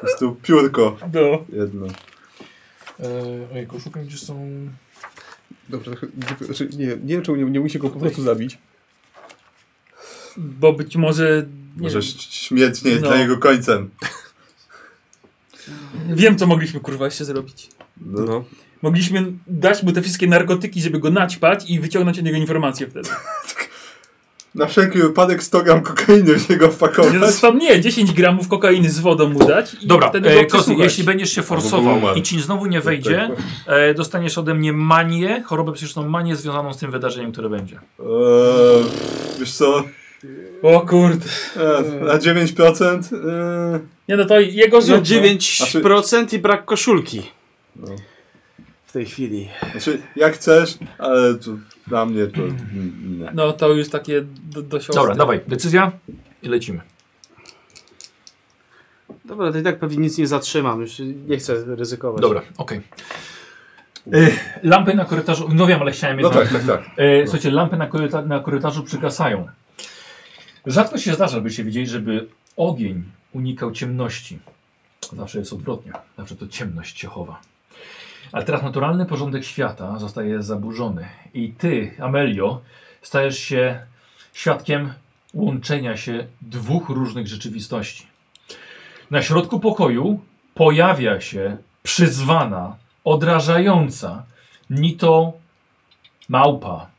C: po prostu piórko
D: no.
C: jedno.
L: Eee, ojejku, szukam gdzie są...
E: Dobrze, trochę- tylko- znaczy, nie, nie wiem czemu nie, nie musi go po prostu zabić.
D: Bo być może... Nie
C: Może ś- śmierć nie jest
D: No.
C: dla jego końcem.
D: wiem, wiem, co mogliśmy kurwa jeszcze zrobić.
C: No,
E: No.
D: Mogliśmy dać mu te wszystkie narkotyki, żeby go naćpać i wyciągnąć od niego informacje wtedy.
C: Na wszelki wypadek 100 gram kokainy w niego
D: Nie, no
C: wpakować.
D: zostaw, nie, 10 gramów kokainy z wodą mu dać i
A: Dobra,
D: wtedy
A: e,
D: go
A: Kozy,
D: przesłuchać.
A: jeśli będziesz się
C: Albo
A: forsował
C: umarł. Tak,
A: i ci znowu nie wejdzie, e, dostaniesz ode mnie manię, chorobę psychiczną, manię związaną z tym wydarzeniem, które będzie.
C: Eee, wiesz co?
D: O kurde.
C: Eee, na 9%? Eee,
D: Nie no to jego
B: No
D: życie.
B: 9% i brak koszulki.
C: No.
B: W tej chwili.
C: znaczy, jak chcesz, ale tu, dla mnie to mm, nie.
D: No to już takie do, do siostry.
C: no.
A: Dobra, dawaj, decyzja i lecimy.
B: Dobra, to i tak pewnie nic nie zatrzymam, już nie chcę ryzykować.
A: Dobra, okej. E, Lampy na korytarzu, no wiem, ale chciałem
C: No
A: jednak...
C: tak, tak, tak.
A: E, słuchajcie, lampy na, koryta na korytarzu przygasają. Rzadko się zdarza, byście widzieli, żeby ogień unikał ciemności. Zawsze jest odwrotnie. Zawsze to ciemność się chowa. Ale teraz naturalny porządek świata zostaje zaburzony. I ty, Amelio, stajesz się świadkiem łączenia się dwóch różnych rzeczywistości. Na środku pokoju pojawia się przyzwana, odrażająca, ni to małpa,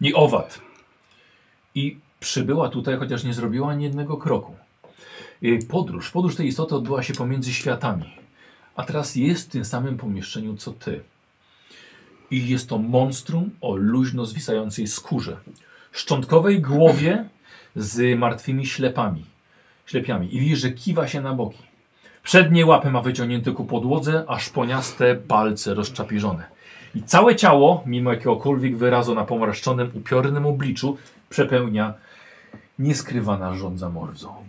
A: nie owad. I przybyła tutaj, chociaż nie zrobiła ani jednego kroku. Jej podróż, podróż tej istoty odbyła się pomiędzy światami. A teraz jest w tym samym pomieszczeniu co ty. I jest to monstrum o luźno zwisającej skórze, szczątkowej głowie z martwymi ślepami, ślepiami. I widzisz, że kiwa się na boki. Przednie łapy ma wyciągnięte ku podłodze, a szponiaste palce rozczapieżone. I całe ciało, mimo jakiegokolwiek wyrazu na pomarszczonym, upiornym obliczu, przepełnia nieskrywana żądza mordzą.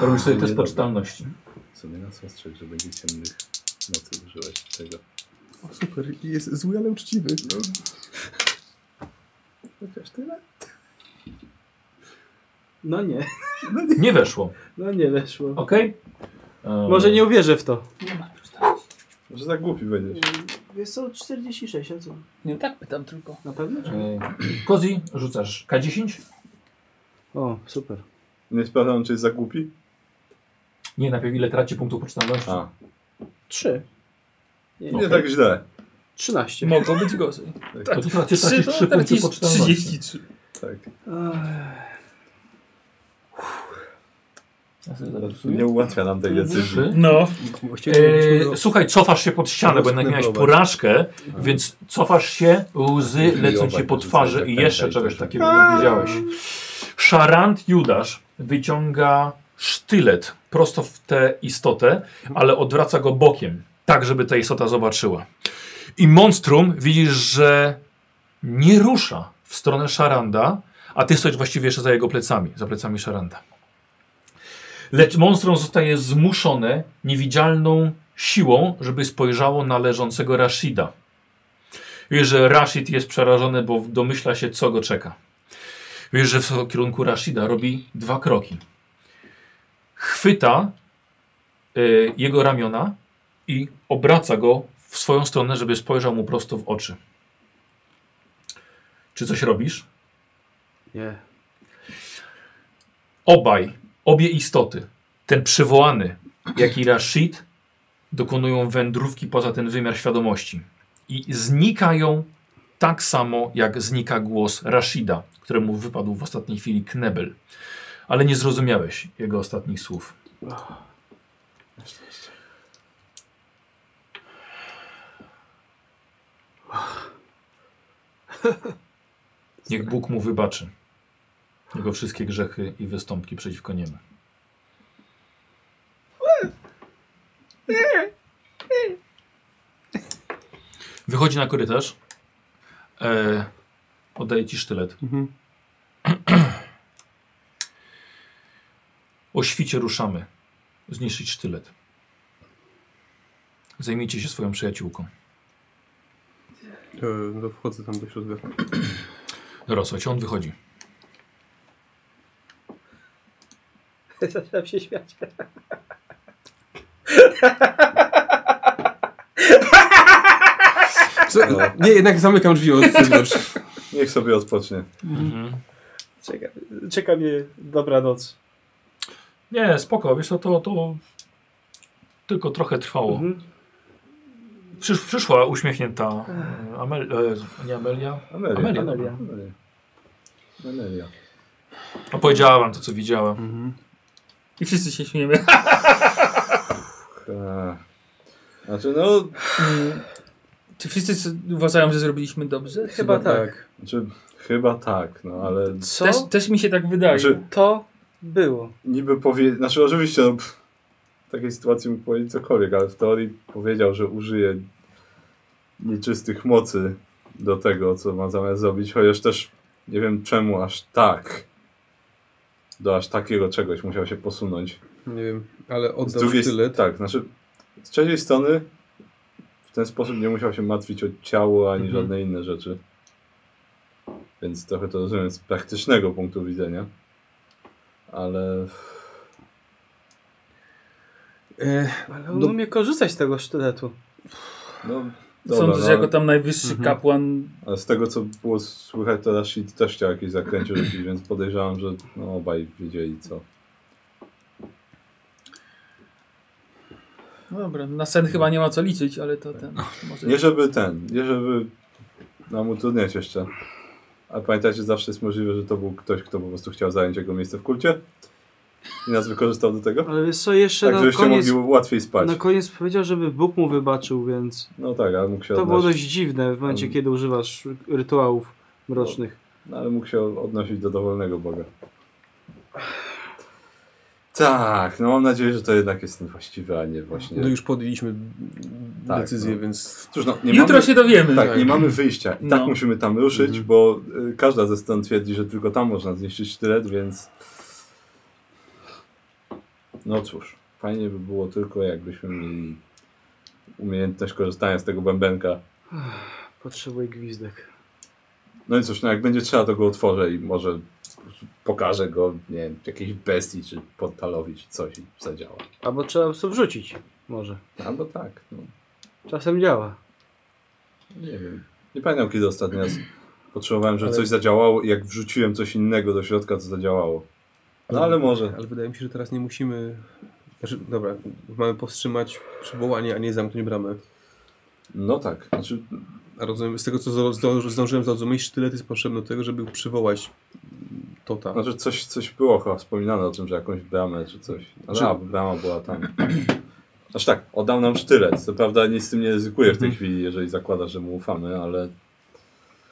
A: Robisz sobie test poczytalności.
C: Sobie nas ostrzeg, że będzie ciemnych nocy używać tego. No.
E: O, super, jest zły, ale uczciwy.
C: Chociaż tyle?
B: No nie,
A: Nie weszło, Ehm,
B: no nie weszło.
A: ok?
B: Może nie uwierzę w to.
C: Może za głupi
B: Yy,
C: będziesz.
B: Jest to 46, a co?
D: Nie, tak pytam tylko.
B: Na pewno?
A: e, Kozi, rzucasz K10?
B: O, super.
C: Nie sprawdzam, czy jest za głupi?
A: Nie, najpierw ile traci punktów poczytalności?
C: A,
B: 3. Nie,
C: nie tak źle.
B: 13.
D: Mogło być <laughs> gorzej.
A: To ty tracisz
D: Trzy,
A: 3
D: no, to
A: punkty
D: tracisz
A: poczytalności.
D: 33.
C: Tak.
A: Ja sobie zapisuję.
C: Nie ułatwia nam tej decyzji.
A: Trzy.
D: No,
E: Właściwie
A: Eee, słuchaj, cofasz się pod ścianę, bo jednak miałeś
E: skleplować.
A: porażkę, więc cofasz się, łzy lecą ci po twarzy i jeszcze czegoś takiego nie widziałeś. Szarant Judasz wyciąga sztylet prosto w tę istotę, ale odwraca go bokiem. tak żeby ta istota zobaczyła. I monstrum widzisz, że nie rusza w stronę Szaranda, a ty stoisz właściwie jeszcze za jego plecami, za plecami Szaranda. Lecz monstrum zostaje zmuszone niewidzialną siłą, żeby spojrzało na leżącego Rashida. Wiesz, że Rashid jest przerażony, bo domyśla się, co go czeka. Wiesz, że w kierunku Rashida robi dwa kroki. Chwyta y, jego ramiona i obraca go w swoją stronę, żeby spojrzał mu prosto w oczy. Czy coś robisz?
B: <laughs> Nie.
A: Obaj, obie istoty, ten przywołany, jak i Rashid, dokonują wędrówki poza ten wymiar świadomości i znikają tak samo, jak znika głos Rashida, któremu wypadł w ostatniej chwili knebel. Ale nie zrozumiałeś jego ostatnich słów. Niech Bóg mu wybaczy jego wszystkie grzechy i wystąpki przeciwko niemu. Wychodzi na korytarz. E, oddaje ci sztylet.
E: Mhm.
A: <clears throat> O świcie ruszamy. Zniszczyć sztylet. Zajmijcie się swoją przyjaciółką.
E: E, no wchodzę tam do środka.
A: Dobra, słuchajcie, on wychodzi.
B: Zaczynam się śmiać.
E: Co? Nie, jednak zamykam drzwi od zewnątrz.
C: Niech sobie odpocznie.
B: Czeka, czeka mnie dobranoc.
A: Nie, spoko, wiesz co, to, to tylko trochę trwało.
B: Mhm.
A: Przysz, przyszła uśmiechnięta e, Amel, e, nie Amelia,
C: Amelia.
A: Amelia,
C: Amelia. Amelia. Amelia.
A: Tak. opowiedziała wam to, co widziała.
D: I wszyscy się śmiejemy. <laughs>
C: Tak. Znaczy, no,
D: Mm. Czy wszyscy s- uważają, że zrobiliśmy dobrze?
B: Chyba tak.
C: znaczy, chyba tak, no ale.
B: Co
D: Też, też mi się tak wydaje.
C: Znaczy,
B: to było?
C: niby powie... Znaczy oczywiście no, pff, w takiej sytuacji mógł powiedzieć cokolwiek, ale w teorii powiedział, że użyje nieczystych mocy do tego, co ma zamiar zrobić, chociaż też nie wiem czemu aż tak. Do aż takiego czegoś musiał się posunąć.
E: Nie wiem, ale
C: Z
E: oddał
C: drugiej
E: tyle.
C: strony, tak, znaczy z trzeciej strony w ten sposób nie musiał się martwić o ciało ani żadne inne rzeczy. Więc trochę to rozumiem z praktycznego punktu widzenia. Ale
E: E,
B: Ale on
E: Do-
B: umie korzystać z tego sztyletu.
C: No, dobra,
D: Sądzę,
C: no,
D: że jako tam najwyższy kapłan
C: ale z tego co było słychać, to Rashid też chciał jakieś zakręcie robić, więc podejrzewam, że no, obaj wiedzieli co.
D: No Dobra, na sen chyba nie ma co liczyć, ale to ten. Może...
C: Nie żeby ten, nie żeby nam utrudniać jeszcze. Ale pamiętajcie, zawsze jest możliwe, że to był ktoś, kto po prostu chciał zająć jego miejsce w kulcie i nas wykorzystał do tego.
B: Ale wiesz co, jeszcze
C: Tak,
B: na
C: żebyście
B: Znaczy, no, koniec,
C: mogli łatwiej spać.
B: na koniec powiedział, żeby Bóg mu wybaczył, więc
C: No tak, ale mógł się
B: to było dość
C: odnosić,
B: dziwne w momencie,
C: Mm.
B: kiedy używasz rytuałów mrocznych.
C: no, ale mógł się odnosić do dowolnego Boga. Tak, no mam nadzieję, że to jednak jest ten właściwy, a nie właśnie...
E: no już podjęliśmy
C: Tak,
E: decyzję,
C: no.
E: więc
C: Cóż, no, nie
D: Jutro
C: mamy-
D: się dowiemy.
C: Tak, nie mamy wyjścia. I tak
D: No.
C: musimy tam ruszyć,
E: Mhm.
C: bo y, każda ze stron twierdzi, że tylko tam można zniszczyć sztylet, więc... No cóż, fajnie by było tylko jakbyśmy mieli umiejętność korzystania z tego bębenka.
B: Potrzebuję gwizdek.
C: No i cóż, no jak będzie trzeba, to go otworzę i może pokażę go, nie wiem, jakiejś bestii czy portalowi czy coś i zadziała.
B: Albo trzeba po prostu wrzucić. Może.
C: Albo tak, no
B: Czasem działa.
C: nie wiem. Nie pamiętam kiedy ostatni <clears throat> raz potrzebowałem, żeby coś zadziałało i jak wrzuciłem coś innego do środka, to zadziałało. No ale może.
E: ale wydaje mi się, że teraz nie musimy. Znaczy, dobra, mamy powstrzymać przywołanie, a nie zamknąć bramę.
C: No tak, znaczy,
E: A rozumiem, z tego co zdo- zdo- zdążyłem zrozumieć, sztylet jest potrzebny do tego, żeby przywołać Tota.
C: znaczy coś, coś było chyba wspominane o tym, że jakąś bramę czy coś. Znaczy,
E: Czy-
C: a, brama była tam. <clears throat> Znaczy tak, oddał nam sztylet. Co prawda nic z tym nie ryzykuję w tej chwili, jeżeli zakładasz, że mu ufamy, ale...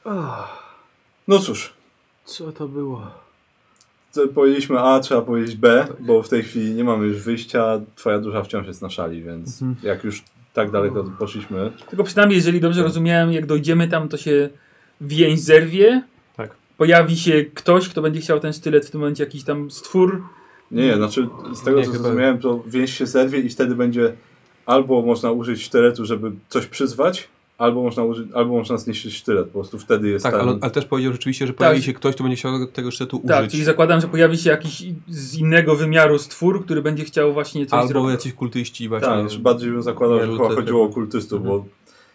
B: Och,
C: No cóż,
B: co to było?
C: co powiedzieliśmy A, trzeba powiedzieć B, bo w tej chwili nie mamy już wyjścia, twoja dusza wciąż jest na szali, więc jak już tak daleko poszliśmy.
D: Tylko przynajmniej, jeżeli dobrze rozumiałem, jak dojdziemy tam, to się więź zerwie.
N: Tak.
D: Pojawi się ktoś, kto będzie chciał ten sztylet w tym momencie, jakiś tam stwór.
C: Nie, nie, znaczy z tego
E: Nie,
C: co
E: chyba-
C: zrozumiałem, to więź się zerwie i wtedy będzie albo można użyć sztyletu, żeby coś przyzwać, albo można, użyć, albo można zniszczyć sztylet. Po prostu wtedy jest
E: Tak,
C: ten...
E: ale, ale też powiedział rzeczywiście, że pojawi
C: Tak.
E: się ktoś, kto będzie chciał tego sztyletu użyć.
D: Tak, czyli zakładam, że pojawi się jakiś z innego wymiaru stwór, który będzie chciał właśnie coś
E: Albo
D: zrobić.
E: jacyś kultyści właśnie.
C: Tak, już bardziej bym zakładał, że
E: Wielu
C: chyba
E: te- Mhm. te-
C: chodziło o kultystów, bo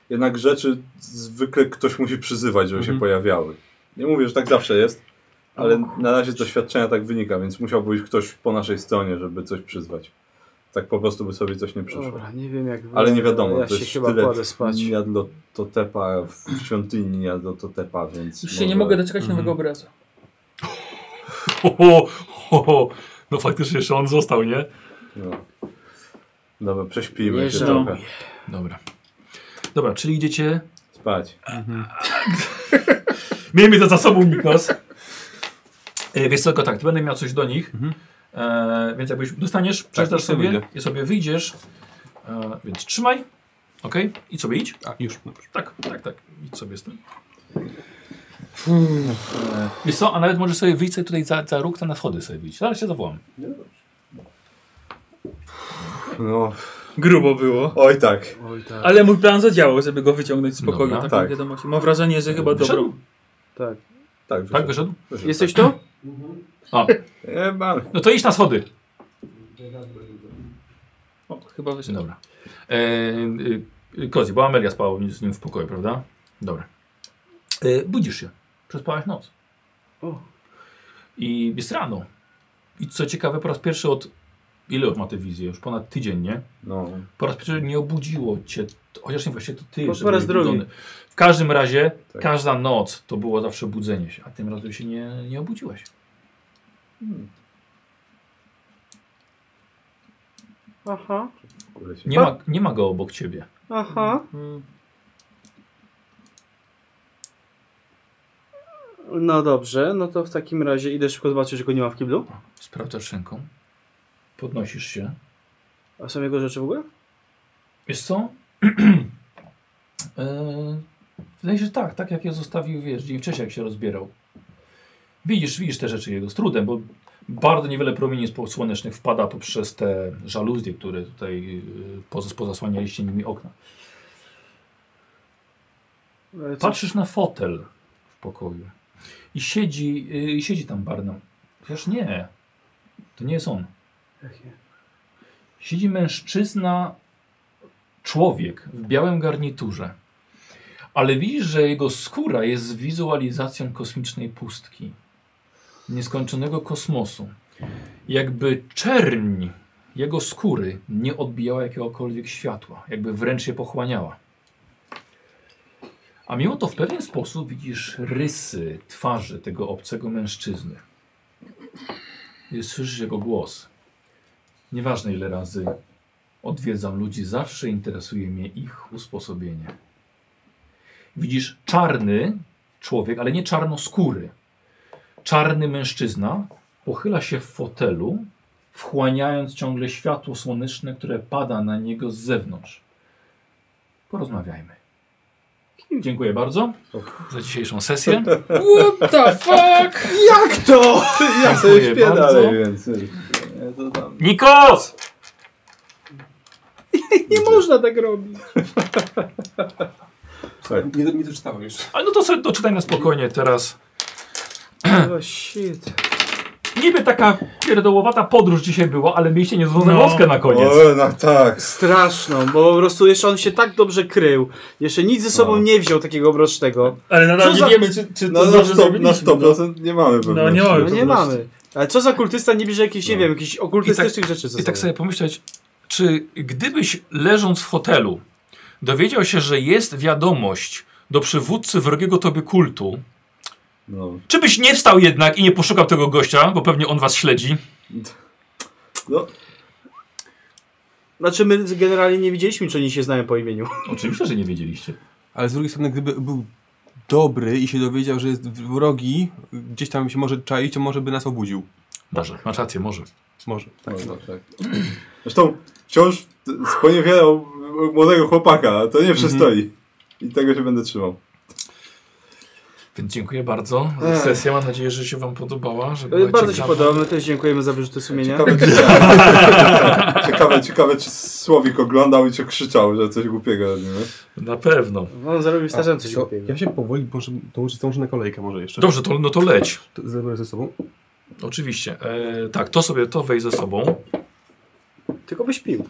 C: jednak rzeczy zwykle ktoś musi przyzywać, żeby się
E: Mhm.
C: pojawiały. Nie mówię, że tak zawsze jest, ale na razie z doświadczenia tak wynika, więc musiałby być ktoś po naszej stronie, żeby coś przyzwać. Tak po prostu by sobie coś nie przyszło.
B: Dobra, nie wiem jak wy,
C: Ale nie wiadomo,
B: ja
C: to
B: się
C: jest
B: chyba kładę
C: sztylet
B: spać.
C: Jadlototepa w świątyni Jadlototepa, więc...
D: Już się
C: może-
D: nie mogę doczekać nowego obrazu.
A: <laughs> Ho, ho, ho, ho. No faktycznie jeszcze on został, nie?
C: No. Dobra, prześpijmy
B: Nie
C: się
D: żałuję.
C: trochę.
A: Dobra. Dobra, czyli idziecie.
C: Spać.
E: Mhm.
A: Miejmy to za sobą, <laughs> Nikos. E, Wiesz co, tylko tak, ty będę miał coś do nich. E, więc jakbyś dostaniesz, przeczytasz
E: to
A: sobie
E: wyjdzie.
A: Mhm. i sobie wyjdziesz. E, więc trzymaj. Ok, i sobie idź.
E: A, już. dobrze.
A: Tak, tak, tak. Idź sobie z tym. E, Wiesz co, a nawet możesz sobie wyjść sobie tutaj za, za róg, tam na schody sobie wyjść. Zaraz się zawołam.
C: No,
D: Grubo było.
C: oj tak.
B: Oj tak,
D: Ale mój plan zadziałał, żeby go wyciągnąć z pokoju.
A: Dobra.
D: taką
C: Tak.
D: wiadomość. Mam wrażenie, że chyba
A: Wyszedł?
D: dobrą.
B: tak.
C: Tak,
A: Tak,
C: wyszedł.
A: wyszedł?
C: Wyszedł,
B: Jesteś tu?
A: A,
C: tak. E, mam.
A: no to idź na schody.
D: O, chyba wyszedł.
A: Dobra. E, y, Kozi, bo Amelia spała z nim w pokoju, prawda? Dobra. E, budzisz się. Przespałaś noc.
B: O.
A: I jest rano. I co ciekawe, po raz pierwszy od... Ile już ma tę wizję? Już ponad tydzień, nie?
C: No.
A: Po raz pierwszy nie obudziło cię. Chociaż nie właśnie to ty jeszcze
B: po raz
A: byłeś
B: drugi.
A: budzony. W każdym razie,
C: Tak.
A: każda noc to było zawsze budzenie się. A tym razem się nie, nie obudziłeś.
B: Aha,
C: Kurde się.
A: Nie ma, nie ma go obok ciebie.
B: aha.
D: Mm.
B: No dobrze, no to w takim razie idę szybko zobaczyć, że go nie ma w kiblu.
A: Sprawdzasz ręką. Podnosisz się.
B: A są jego rzeczy w ogóle?
A: Wiesz co? <clears throat> Eee, Wydaje się, że tak, tak jak je zostawił, wiesz, dzień wcześniej, jak się rozbierał. Widzisz, widzisz te rzeczy jego z trudem, bo bardzo niewiele promieni spo- słonecznych wpada poprzez te żaluzje, które tutaj yy, poz- pozasłanialiście nimi okna.
B: E, co-
A: Patrzysz na fotel w pokoju i siedzi, yy, i siedzi tam Barnum. Chociaż nie, to nie jest on.
B: Jakie?
A: Siedzi mężczyzna, człowiek w białym garniturze. Ale widzisz, że jego skóra jest wizualizacją kosmicznej pustki, nieskończonego kosmosu. Jakby czerń jego skóry nie odbijała jakiegokolwiek światła, jakby wręcz je pochłaniała. A mimo to w pewien sposób widzisz rysy twarzy tego obcego mężczyzny. I Słyszysz jego głos. Nieważne ile razy odwiedzam ludzi, zawsze interesuje mnie ich usposobienie. Widzisz czarny człowiek, ale nie czarnoskóry. Czarny mężczyzna pochyla się w fotelu, wchłaniając ciągle światło słoneczne, które pada na niego z zewnątrz. Porozmawiajmy. Dziękuję bardzo za dzisiejszą sesję.
D: What the fuck?
C: Jak to? Ja sobie
A: Dziękuję
C: śpię
A: bardzo.
C: dalej, więc... Ja to tam...
A: Nikos!
B: Nie można tak robić. <clears throat>
C: Słuchaj,
E: Nie, nie doczytałem jeszcze.
A: A no to sobie doczytaj na spokojnie teraz.
B: Oh shit.
A: Niby taka pierdołowata podróż dzisiaj była, ale mieliście niezłą no. na koniec.
C: o, no tak.
B: Straszną, bo po prostu jeszcze on się tak dobrze krył. Jeszcze nic ze sobą
C: No.
B: nie wziął takiego mrocznego.
D: Ale nadal
B: Co
D: nie
B: za-
D: wiemy, czy, czy
C: No
D: to
C: na
D: dobrze
C: 100%, na
D: zrobiliśmy. no.
C: 100% nie mamy pewności.
D: nie mamy.
B: No nie mamy. Ale co za kultysta nie bierze jakichś, nie
C: No.
B: wiem, jakichś okultystycznych rzeczy ze
A: I tak
B: sobą?
A: sobie pomyśleć, czy gdybyś leżąc w hotelu dowiedział się, że jest wiadomość do przywódcy wrogiego tobie kultu,
C: No.
A: czy byś nie wstał jednak i nie poszukał tego gościa, bo pewnie on was śledzi?
C: No,
B: Znaczy my generalnie nie widzieliśmy, czy oni się znają po imieniu.
A: Oczywiście, że nie wiedzieliście.
E: Ale z drugiej strony, gdyby był dobry i się dowiedział, że jest wrogi, gdzieś tam się może czaić, to może by nas obudził.
A: Może, masz rację, może.
E: Może.
C: tak, no, tak. Zresztą wciąż sponiewierał młodego chłopaka, to
D: Mhm.
C: nie przystoi. I tego się będę trzymał.
A: Więc dziękuję bardzo za
B: Ech.
A: sesję. Mam nadzieję, że się Wam podobała. Że
B: Tak. E,
A: była
B: Bardzo się
A: ciekawa.
B: podoba, my też dziękujemy za wyrzuty sumienia. <laughs>
C: Ciekawe czy, ciekawe, ciekawe, czy Słowik oglądał i czy krzyczał, że coś głupiego robimy.
A: Na pewno.
B: On zarobił starzem coś no.
E: Co?
B: głupiego.
E: Ja się powoli, może to już zdążę na kolejkę może jeszcze.
A: Dobrze, to, no to leć.
E: To Zabiorę ze sobą.
A: Oczywiście. E, tak, to sobie to weź ze sobą.
B: Tylko byś pił.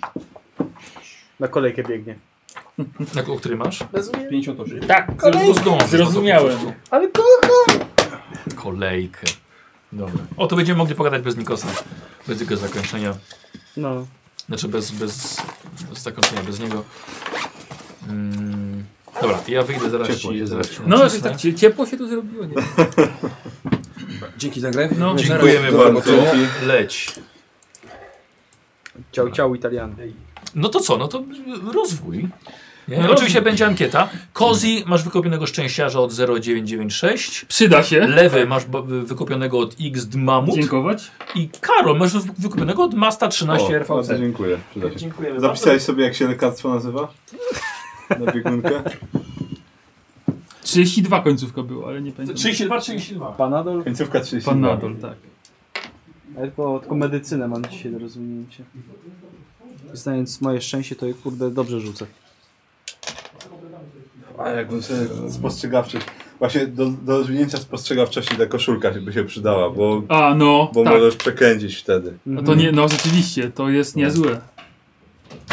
B: Na kolejkę biegnie.
A: Na, o który masz?
B: Rozumiem?
E: 58.
D: Tak,
A: To zdążysz,
D: zrozumiałem.
A: no to po
B: Ale to
A: prostu Kolejkę. Dobra. O, to będziemy mogli pogadać bez Nikosa. Bez jego zakończenia.
B: No.
A: Znaczy bez, bez, bez zakończenia, bez niego. Mm, dobra, ja wyjdę zaraz
C: Ciepło
A: ci,
C: się
A: zaraz ci
D: No,
A: nacisnę.
D: że tak cie- ciepło się tu zrobiło. Nie?
E: Dzięki za grę.
D: No,
A: Dziękujemy
C: Dobra,
A: bardzo.
C: dzięki.
A: Leć.
B: Ciao, ciao, Italian.
A: No to co? No to rozwój. Nie?
D: No
A: Oczywiście będzie ankieta. Kozi masz wykopionego szczęściarza od 0996.
D: Przyda się.
A: Lewy masz bo- wykopionego od X Dmamut.
D: Dziękować.
A: I Karol masz wy- wykopionego od Masta 13
C: O, bardzo
A: RVC.
C: dziękuję. Przyda się.
A: Dziękujemy
C: Zapisałeś sobie, jak się lekarstwo nazywa? Na biegunkę?
D: 32 końcówka była, ale nie
A: bardzo.
D: pamiętam.
A: 32, 32.
B: Panadol?
C: Końcówka 30.
D: Pan Nadol, tak.
B: Ja tylko, tylko medycynę mam dzisiaj do rozwinięcia. Znając moje szczęście, to je kurde dobrze rzucę.
C: A jakbym sobie spostrzegawczy. Właśnie do, do rozwinięcia spostrzegawczości ta koszulka by się przydała, bo,
D: A, no,
C: bo
D: tak.
C: możesz przekręcić wtedy.
D: No to nie, no rzeczywiście, to jest niezłe.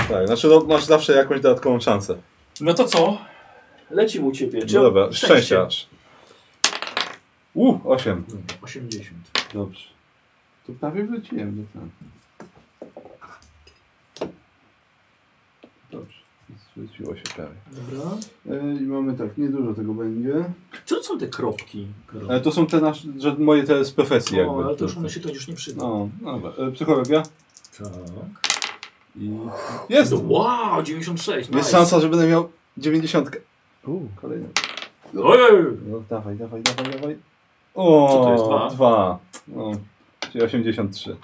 C: Tak, znaczy no, masz zawsze jakąś dodatkową szansę.
A: No to co? Lecimy u ciebie.
C: No dobra, szczęścia. U, 8.
A: 80.
C: Dobrze. To prawie wróciłem do tam. Dobrze. Zwróciło się prawie.
A: Dobra.
C: E, I mamy tak, niedużo tego będzie.
A: Co są te kropki? Karol?
C: Ale to są te nasze, że moje te z profesji jakby. tak.
A: O, No, ale to już mi się to już nie przyda.
C: No, dobra. E, psychologia. No.
A: Tak.
C: I... Jest!
A: Wow, 96.
C: Jest szansa, że będę miał 90. Uuu, kolejny.
A: Ojej.
C: No, dawaj, dawaj, dawaj, dawaj. O,
A: Co to jest, dwa?
C: Dwa. No, czyli 83.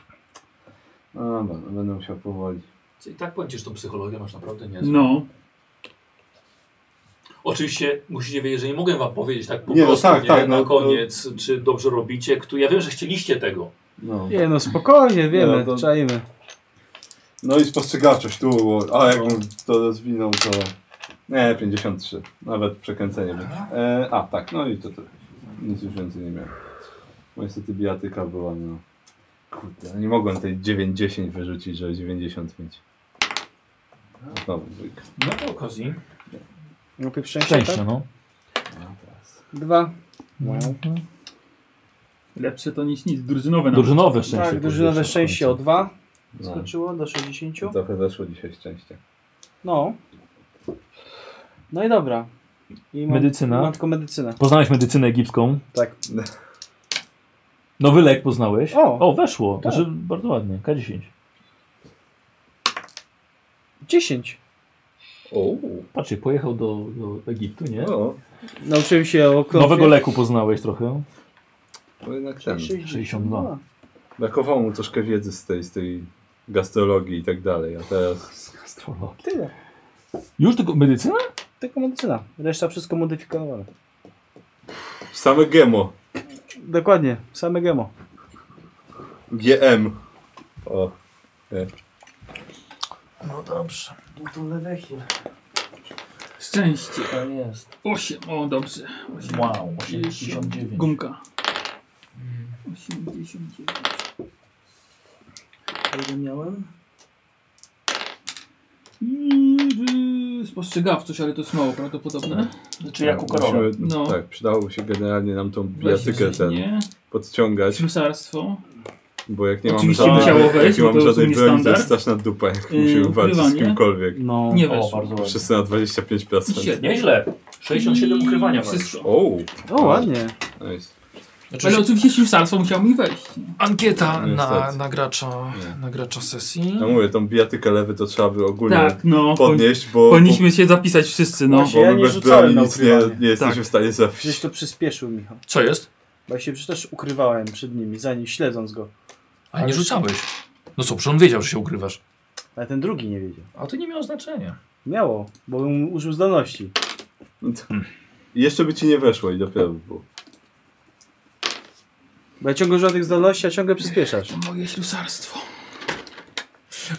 C: Dobra, no będę musiał powoli.
A: I tak płacisz tą psychologię, masz naprawdę
C: Mm.
A: niezłą.
D: No.
A: Oczywiście musicie wiedzieć, że nie mogę wam powiedzieć tak po
C: Nie, no
A: prostu
C: tak,
A: nie,
C: tak,
A: na
C: no,
A: koniec, czy dobrze robicie. Kto, ja wiem, że chcieliście tego.
C: No.
B: Nie no, spokojnie, wiemy,
C: No, to-
B: czaimy.
C: no i spostrzegawczość tu, było. a jakbym to rozwinął, to... Nie, 53. Nawet przekręcenie. by- E, a, tak, no i to tyle. Nic już więcej nie miałem. Bo niestety bijatyka była, no... Kurde, no nie mogłem tej 9-10 wyrzucić, żeby 90 mieć. Znowu dwójka.
A: No to okazji.
B: Najpierw szczęście, No, tak?
A: no.
B: Dwa. Tak,
D: Lepsze to niż nic, drużynowe nawet.
A: Drużynowe
B: Tak, drużynowe szczęście o dwa.
C: No.
B: Skoczyło do 60.
C: Trochę zeszło dzisiaj szczęście.
B: No. No i dobra. I mam,
A: Medycyna.
B: Mam tylko medycynę.
A: Poznałeś medycynę egipską.
B: Tak.
A: Nowy lek poznałeś.
B: O.
A: weszło. Znaczy,
B: Tak.
A: bardzo ładnie. K10.
B: 10.
C: O,
A: Patrzcie, pojechał do, do Egiptu, nie?
C: no,
B: Nauczyłem się o klątwie.
A: leku poznałeś trochę.
C: to jednak ten.
A: 62.
C: Brakowało mu troszkę wiedzy z tej, z tej gastrologii i tak dalej, a teraz...
A: Astrologii.
B: Tyle.
A: Już tylko medycyna?
B: Tylko medycyna. Reszta wszystko modyfikowane.
C: Same GEMO.
B: Dokładnie. Same gemo.
C: GM. O,
F: No dobrze. Tu lewechil.
D: Szczęście.
F: To jest.
D: 8, o dobrze. 8.
F: Wow,
D: 89.
F: 89.
D: Gumka. 89.
F: A Ile miałem?
D: I, y, Spostrzegawczość, ale to jest mało prawdopodobne.
F: Znaczy jak u Karola.
C: musimy,
D: No.
C: Tak, przydałoby się generalnie nam tą bijatykę
D: Weź,
C: ten
D: Nie.
C: podciągać,
D: Ślusarstwo.
C: bo jak nie mamy
D: Oczywiście
C: żadnej,
D: musiało
C: jak
D: wejść,
C: nie
D: bo
C: mamy
D: to
C: żadnej
D: rozumiem
C: broni, to
D: standard.
C: jest straszna dupa, jak
D: Yy,
C: musimy walczyć z
D: ukrywanie.
C: kimkolwiek.
B: No.
D: Nie
F: O,
D: weszło.
F: bardzo ładnie.
C: Wszyscy na 25%.
D: Siedem.
A: Nieźle. 67 ukrywania
D: I
A: masz.
D: Wszystko.
C: O,
B: O, ładnie.
C: nice.
A: Znaczy,
D: Ale
C: Znaczy-
D: oczywiście ślusarstwo musiało mi wejść. nie?
F: Ankieta na,
C: No Niestety.
F: na, gracza,
C: Nie.
F: na gracza sesji.
C: No mówię, tą bijatykę lewy to trzeba by ogólnie
D: Tak, no.
C: podnieść, bo...
D: Powinniśmy się zapisać wszyscy, no.
C: Bo
B: Ja
C: my
B: nie
C: bez
B: rzucałem
C: broni
B: na
C: nic nie,
B: ukrywanie.
C: nie jesteśmy
D: Tak.
C: w stanie zabić.
B: Przecież to przyspieszył Michał.
A: Co jest?
B: Bo ja się przecież też ukrywałem przed nimi, zanim śledząc go.
A: Ale nie rzucałeś. No co, przecież on wiedział, że się ukrywasz.
B: Ale ten drugi nie wiedział.
A: A to nie miało znaczenia.
B: Miało, bo bym użył zdolności.
C: No to-
D: Hmm.
C: I jeszcze by ci nie weszło i dopiero by było.
B: Bo ja ciągle żadnych zdolności, a ciągle przyspieszasz.
G: Moje ślusarstwo.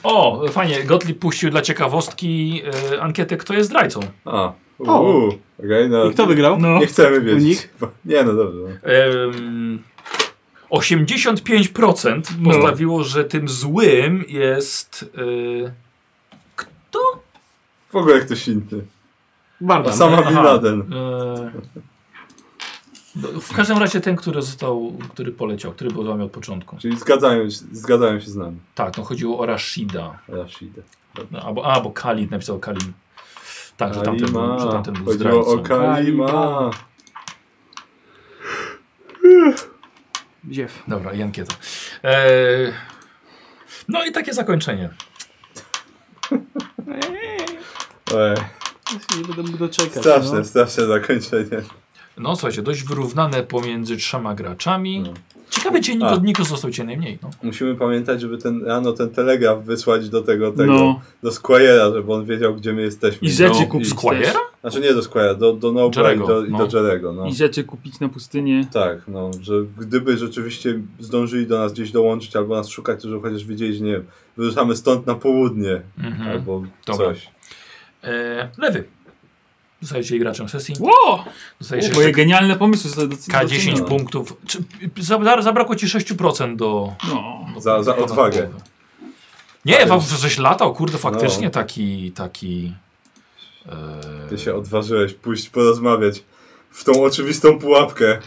A: O, fajnie, Gottlieb puścił dla ciekawostki e, ankietę, kto jest zdrajcą.
C: A.
B: O.
C: Uuu. Okej, no.
B: I kto wygrał?
G: No.
C: Nie chcemy wiedzieć.
B: Unik?
C: Nie, no dobrze. no.
A: Em, 85%
G: No.
A: postawiło, że tym złym jest... E,
C: W ogóle ktoś inny.
B: Barda.
C: Osama
A: no. Aha.
C: Bin Laden.
A: e, no, w każdym razie ten, który został, który poleciał, który był z wami od początku.
C: Czyli zgadzają się, zgadzają się z nami.
A: Tak, no chodziło o Rashida.
C: Rashidę.
A: No, albo, a, bo Khalid napisał Kalim. Tak, że tamten, był, że
C: Kalima.
A: tamten był
C: Chodziło o
A: zdrajcą.
C: Kalima.
B: Dziew.
A: Dobra, i ankieta. Eee, no i takie zakończenie.
C: Ej,
B: Ja się Nie będę mógł doczekać.
C: straszne,
B: no.
C: straszne zakończenie.
A: No słuchajcie, dość wyrównane pomiędzy trzema graczami.
C: No.
A: Ciekawe, gdzie
C: A.
A: Niko, Niko został cię najmniej. No.
C: Musimy pamiętać, żeby ten rano ten telegraf wysłać do tego, tego
G: No.
C: do Squire'a, żeby on wiedział, gdzie my jesteśmy.
G: I rzeczy
C: No,
G: kupić
A: Squire'a?
G: też.
C: Znaczy nie do Squire'a, do, do Nobla i
A: Jerego,
C: do, i
A: no.
C: do Jerego. No.
G: I rzeczy kupić na pustynię.
C: Tak, no, że gdyby rzeczywiście zdążyli do nas gdzieś dołączyć albo nas szukać, to żeby chociaż wiedzieli, że nie wiem, wyruszamy stąd na południe
G: Hmm,
A: Mhm.
C: albo
A: Dobra.
C: coś.
A: Eee, lewy. Zostajecie graczem sesji.
G: Ło!
A: Dostajesz
G: Moje
A: jeszcze
G: genialne pomysły zostały doc-
A: K10
G: docenione.
A: punktów. Czy, za- zabrakło ci 6% do...
G: No.
C: Za- za
A: ponad
C: odwagę.
A: połowy. Nie, wam żeś latał, kurde, faktycznie
C: No.
A: taki, taki... eee,
C: Ty się odważyłeś pójść porozmawiać w tą oczywistą pułapkę.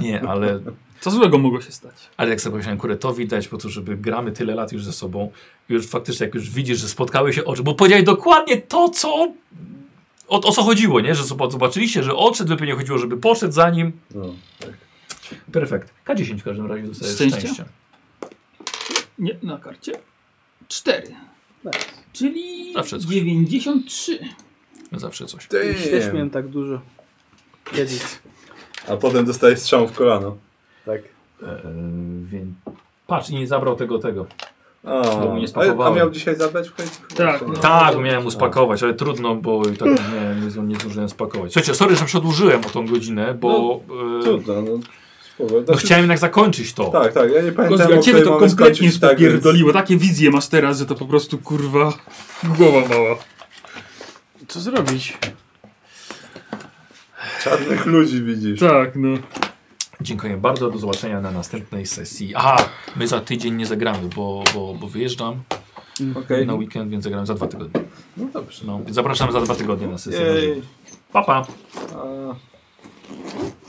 A: nie, ale
G: Co złego mogło się stać?
A: Ale jak sobie pomyślałem, kurde, to widać po to, żeby gramy tyle lat już ze sobą, już faktycznie jak już widzisz, że spotkały się oczy, bo powiedziałeś dokładnie to, co... O, o co chodziło, nie? Że zob- zobaczyliście, że odszedł, wypełnienie chodziło, żeby poszedł za nim.
C: No.
A: Perfekt. K10 w każdym razie dostajesz
G: Szczęścia?
A: szczęście. szczęście.
G: Nie, na karcie. Cztery.
C: Tak.
G: Czyli
A: Zawsze coś.
G: 93.
A: No Zawsze coś.
B: Już też miałem tak dużo. Kiedyś.
C: A potem dostajesz strzał w kolano.
B: Tak.
A: Eee, więc... Patrz, i nie zabrał tego, tego.
C: A,
A: Bo nie
C: a,
A: spakowałem.
C: miał dzisiaj zabrać w końcu?
G: Tak.
C: Chyba, że nie.
A: Tak, miałem uspakować, ale trudno, bo i tak nie, nie, zdążyłem- nie zdążyłem spakować. Słuchajcie, sorry, że przedłużyłem o tą godzinę, bo... eee,
C: Trudno, no. Spoko.
A: no,
C: Znaczy,
A: chciałem jednak zakończyć to.
C: Tak, tak, ja nie
G: Kozu,
C: pamiętam,
G: ja ciebie
C: o której
G: to
C: mamy
G: kompletnie
C: skończyć, tak, więc...
G: spierdoliło. Takie wizje masz teraz, że to po prostu kurwa głowa mała.
B: Co zrobić?
C: Czarnych ludzi widzisz.
G: Tak, no.
A: Dziękuję bardzo, do zobaczenia na następnej sesji. Aha, my za tydzień nie zagramy, bo, bo, bo wyjeżdżam
C: Okej.
A: na weekend, więc zagramy za dwa tygodnie.
C: No dobrze.
A: No, więc zapraszam za dwa tygodnie na sesję.
C: Jej.
A: Pa, pa.
C: A...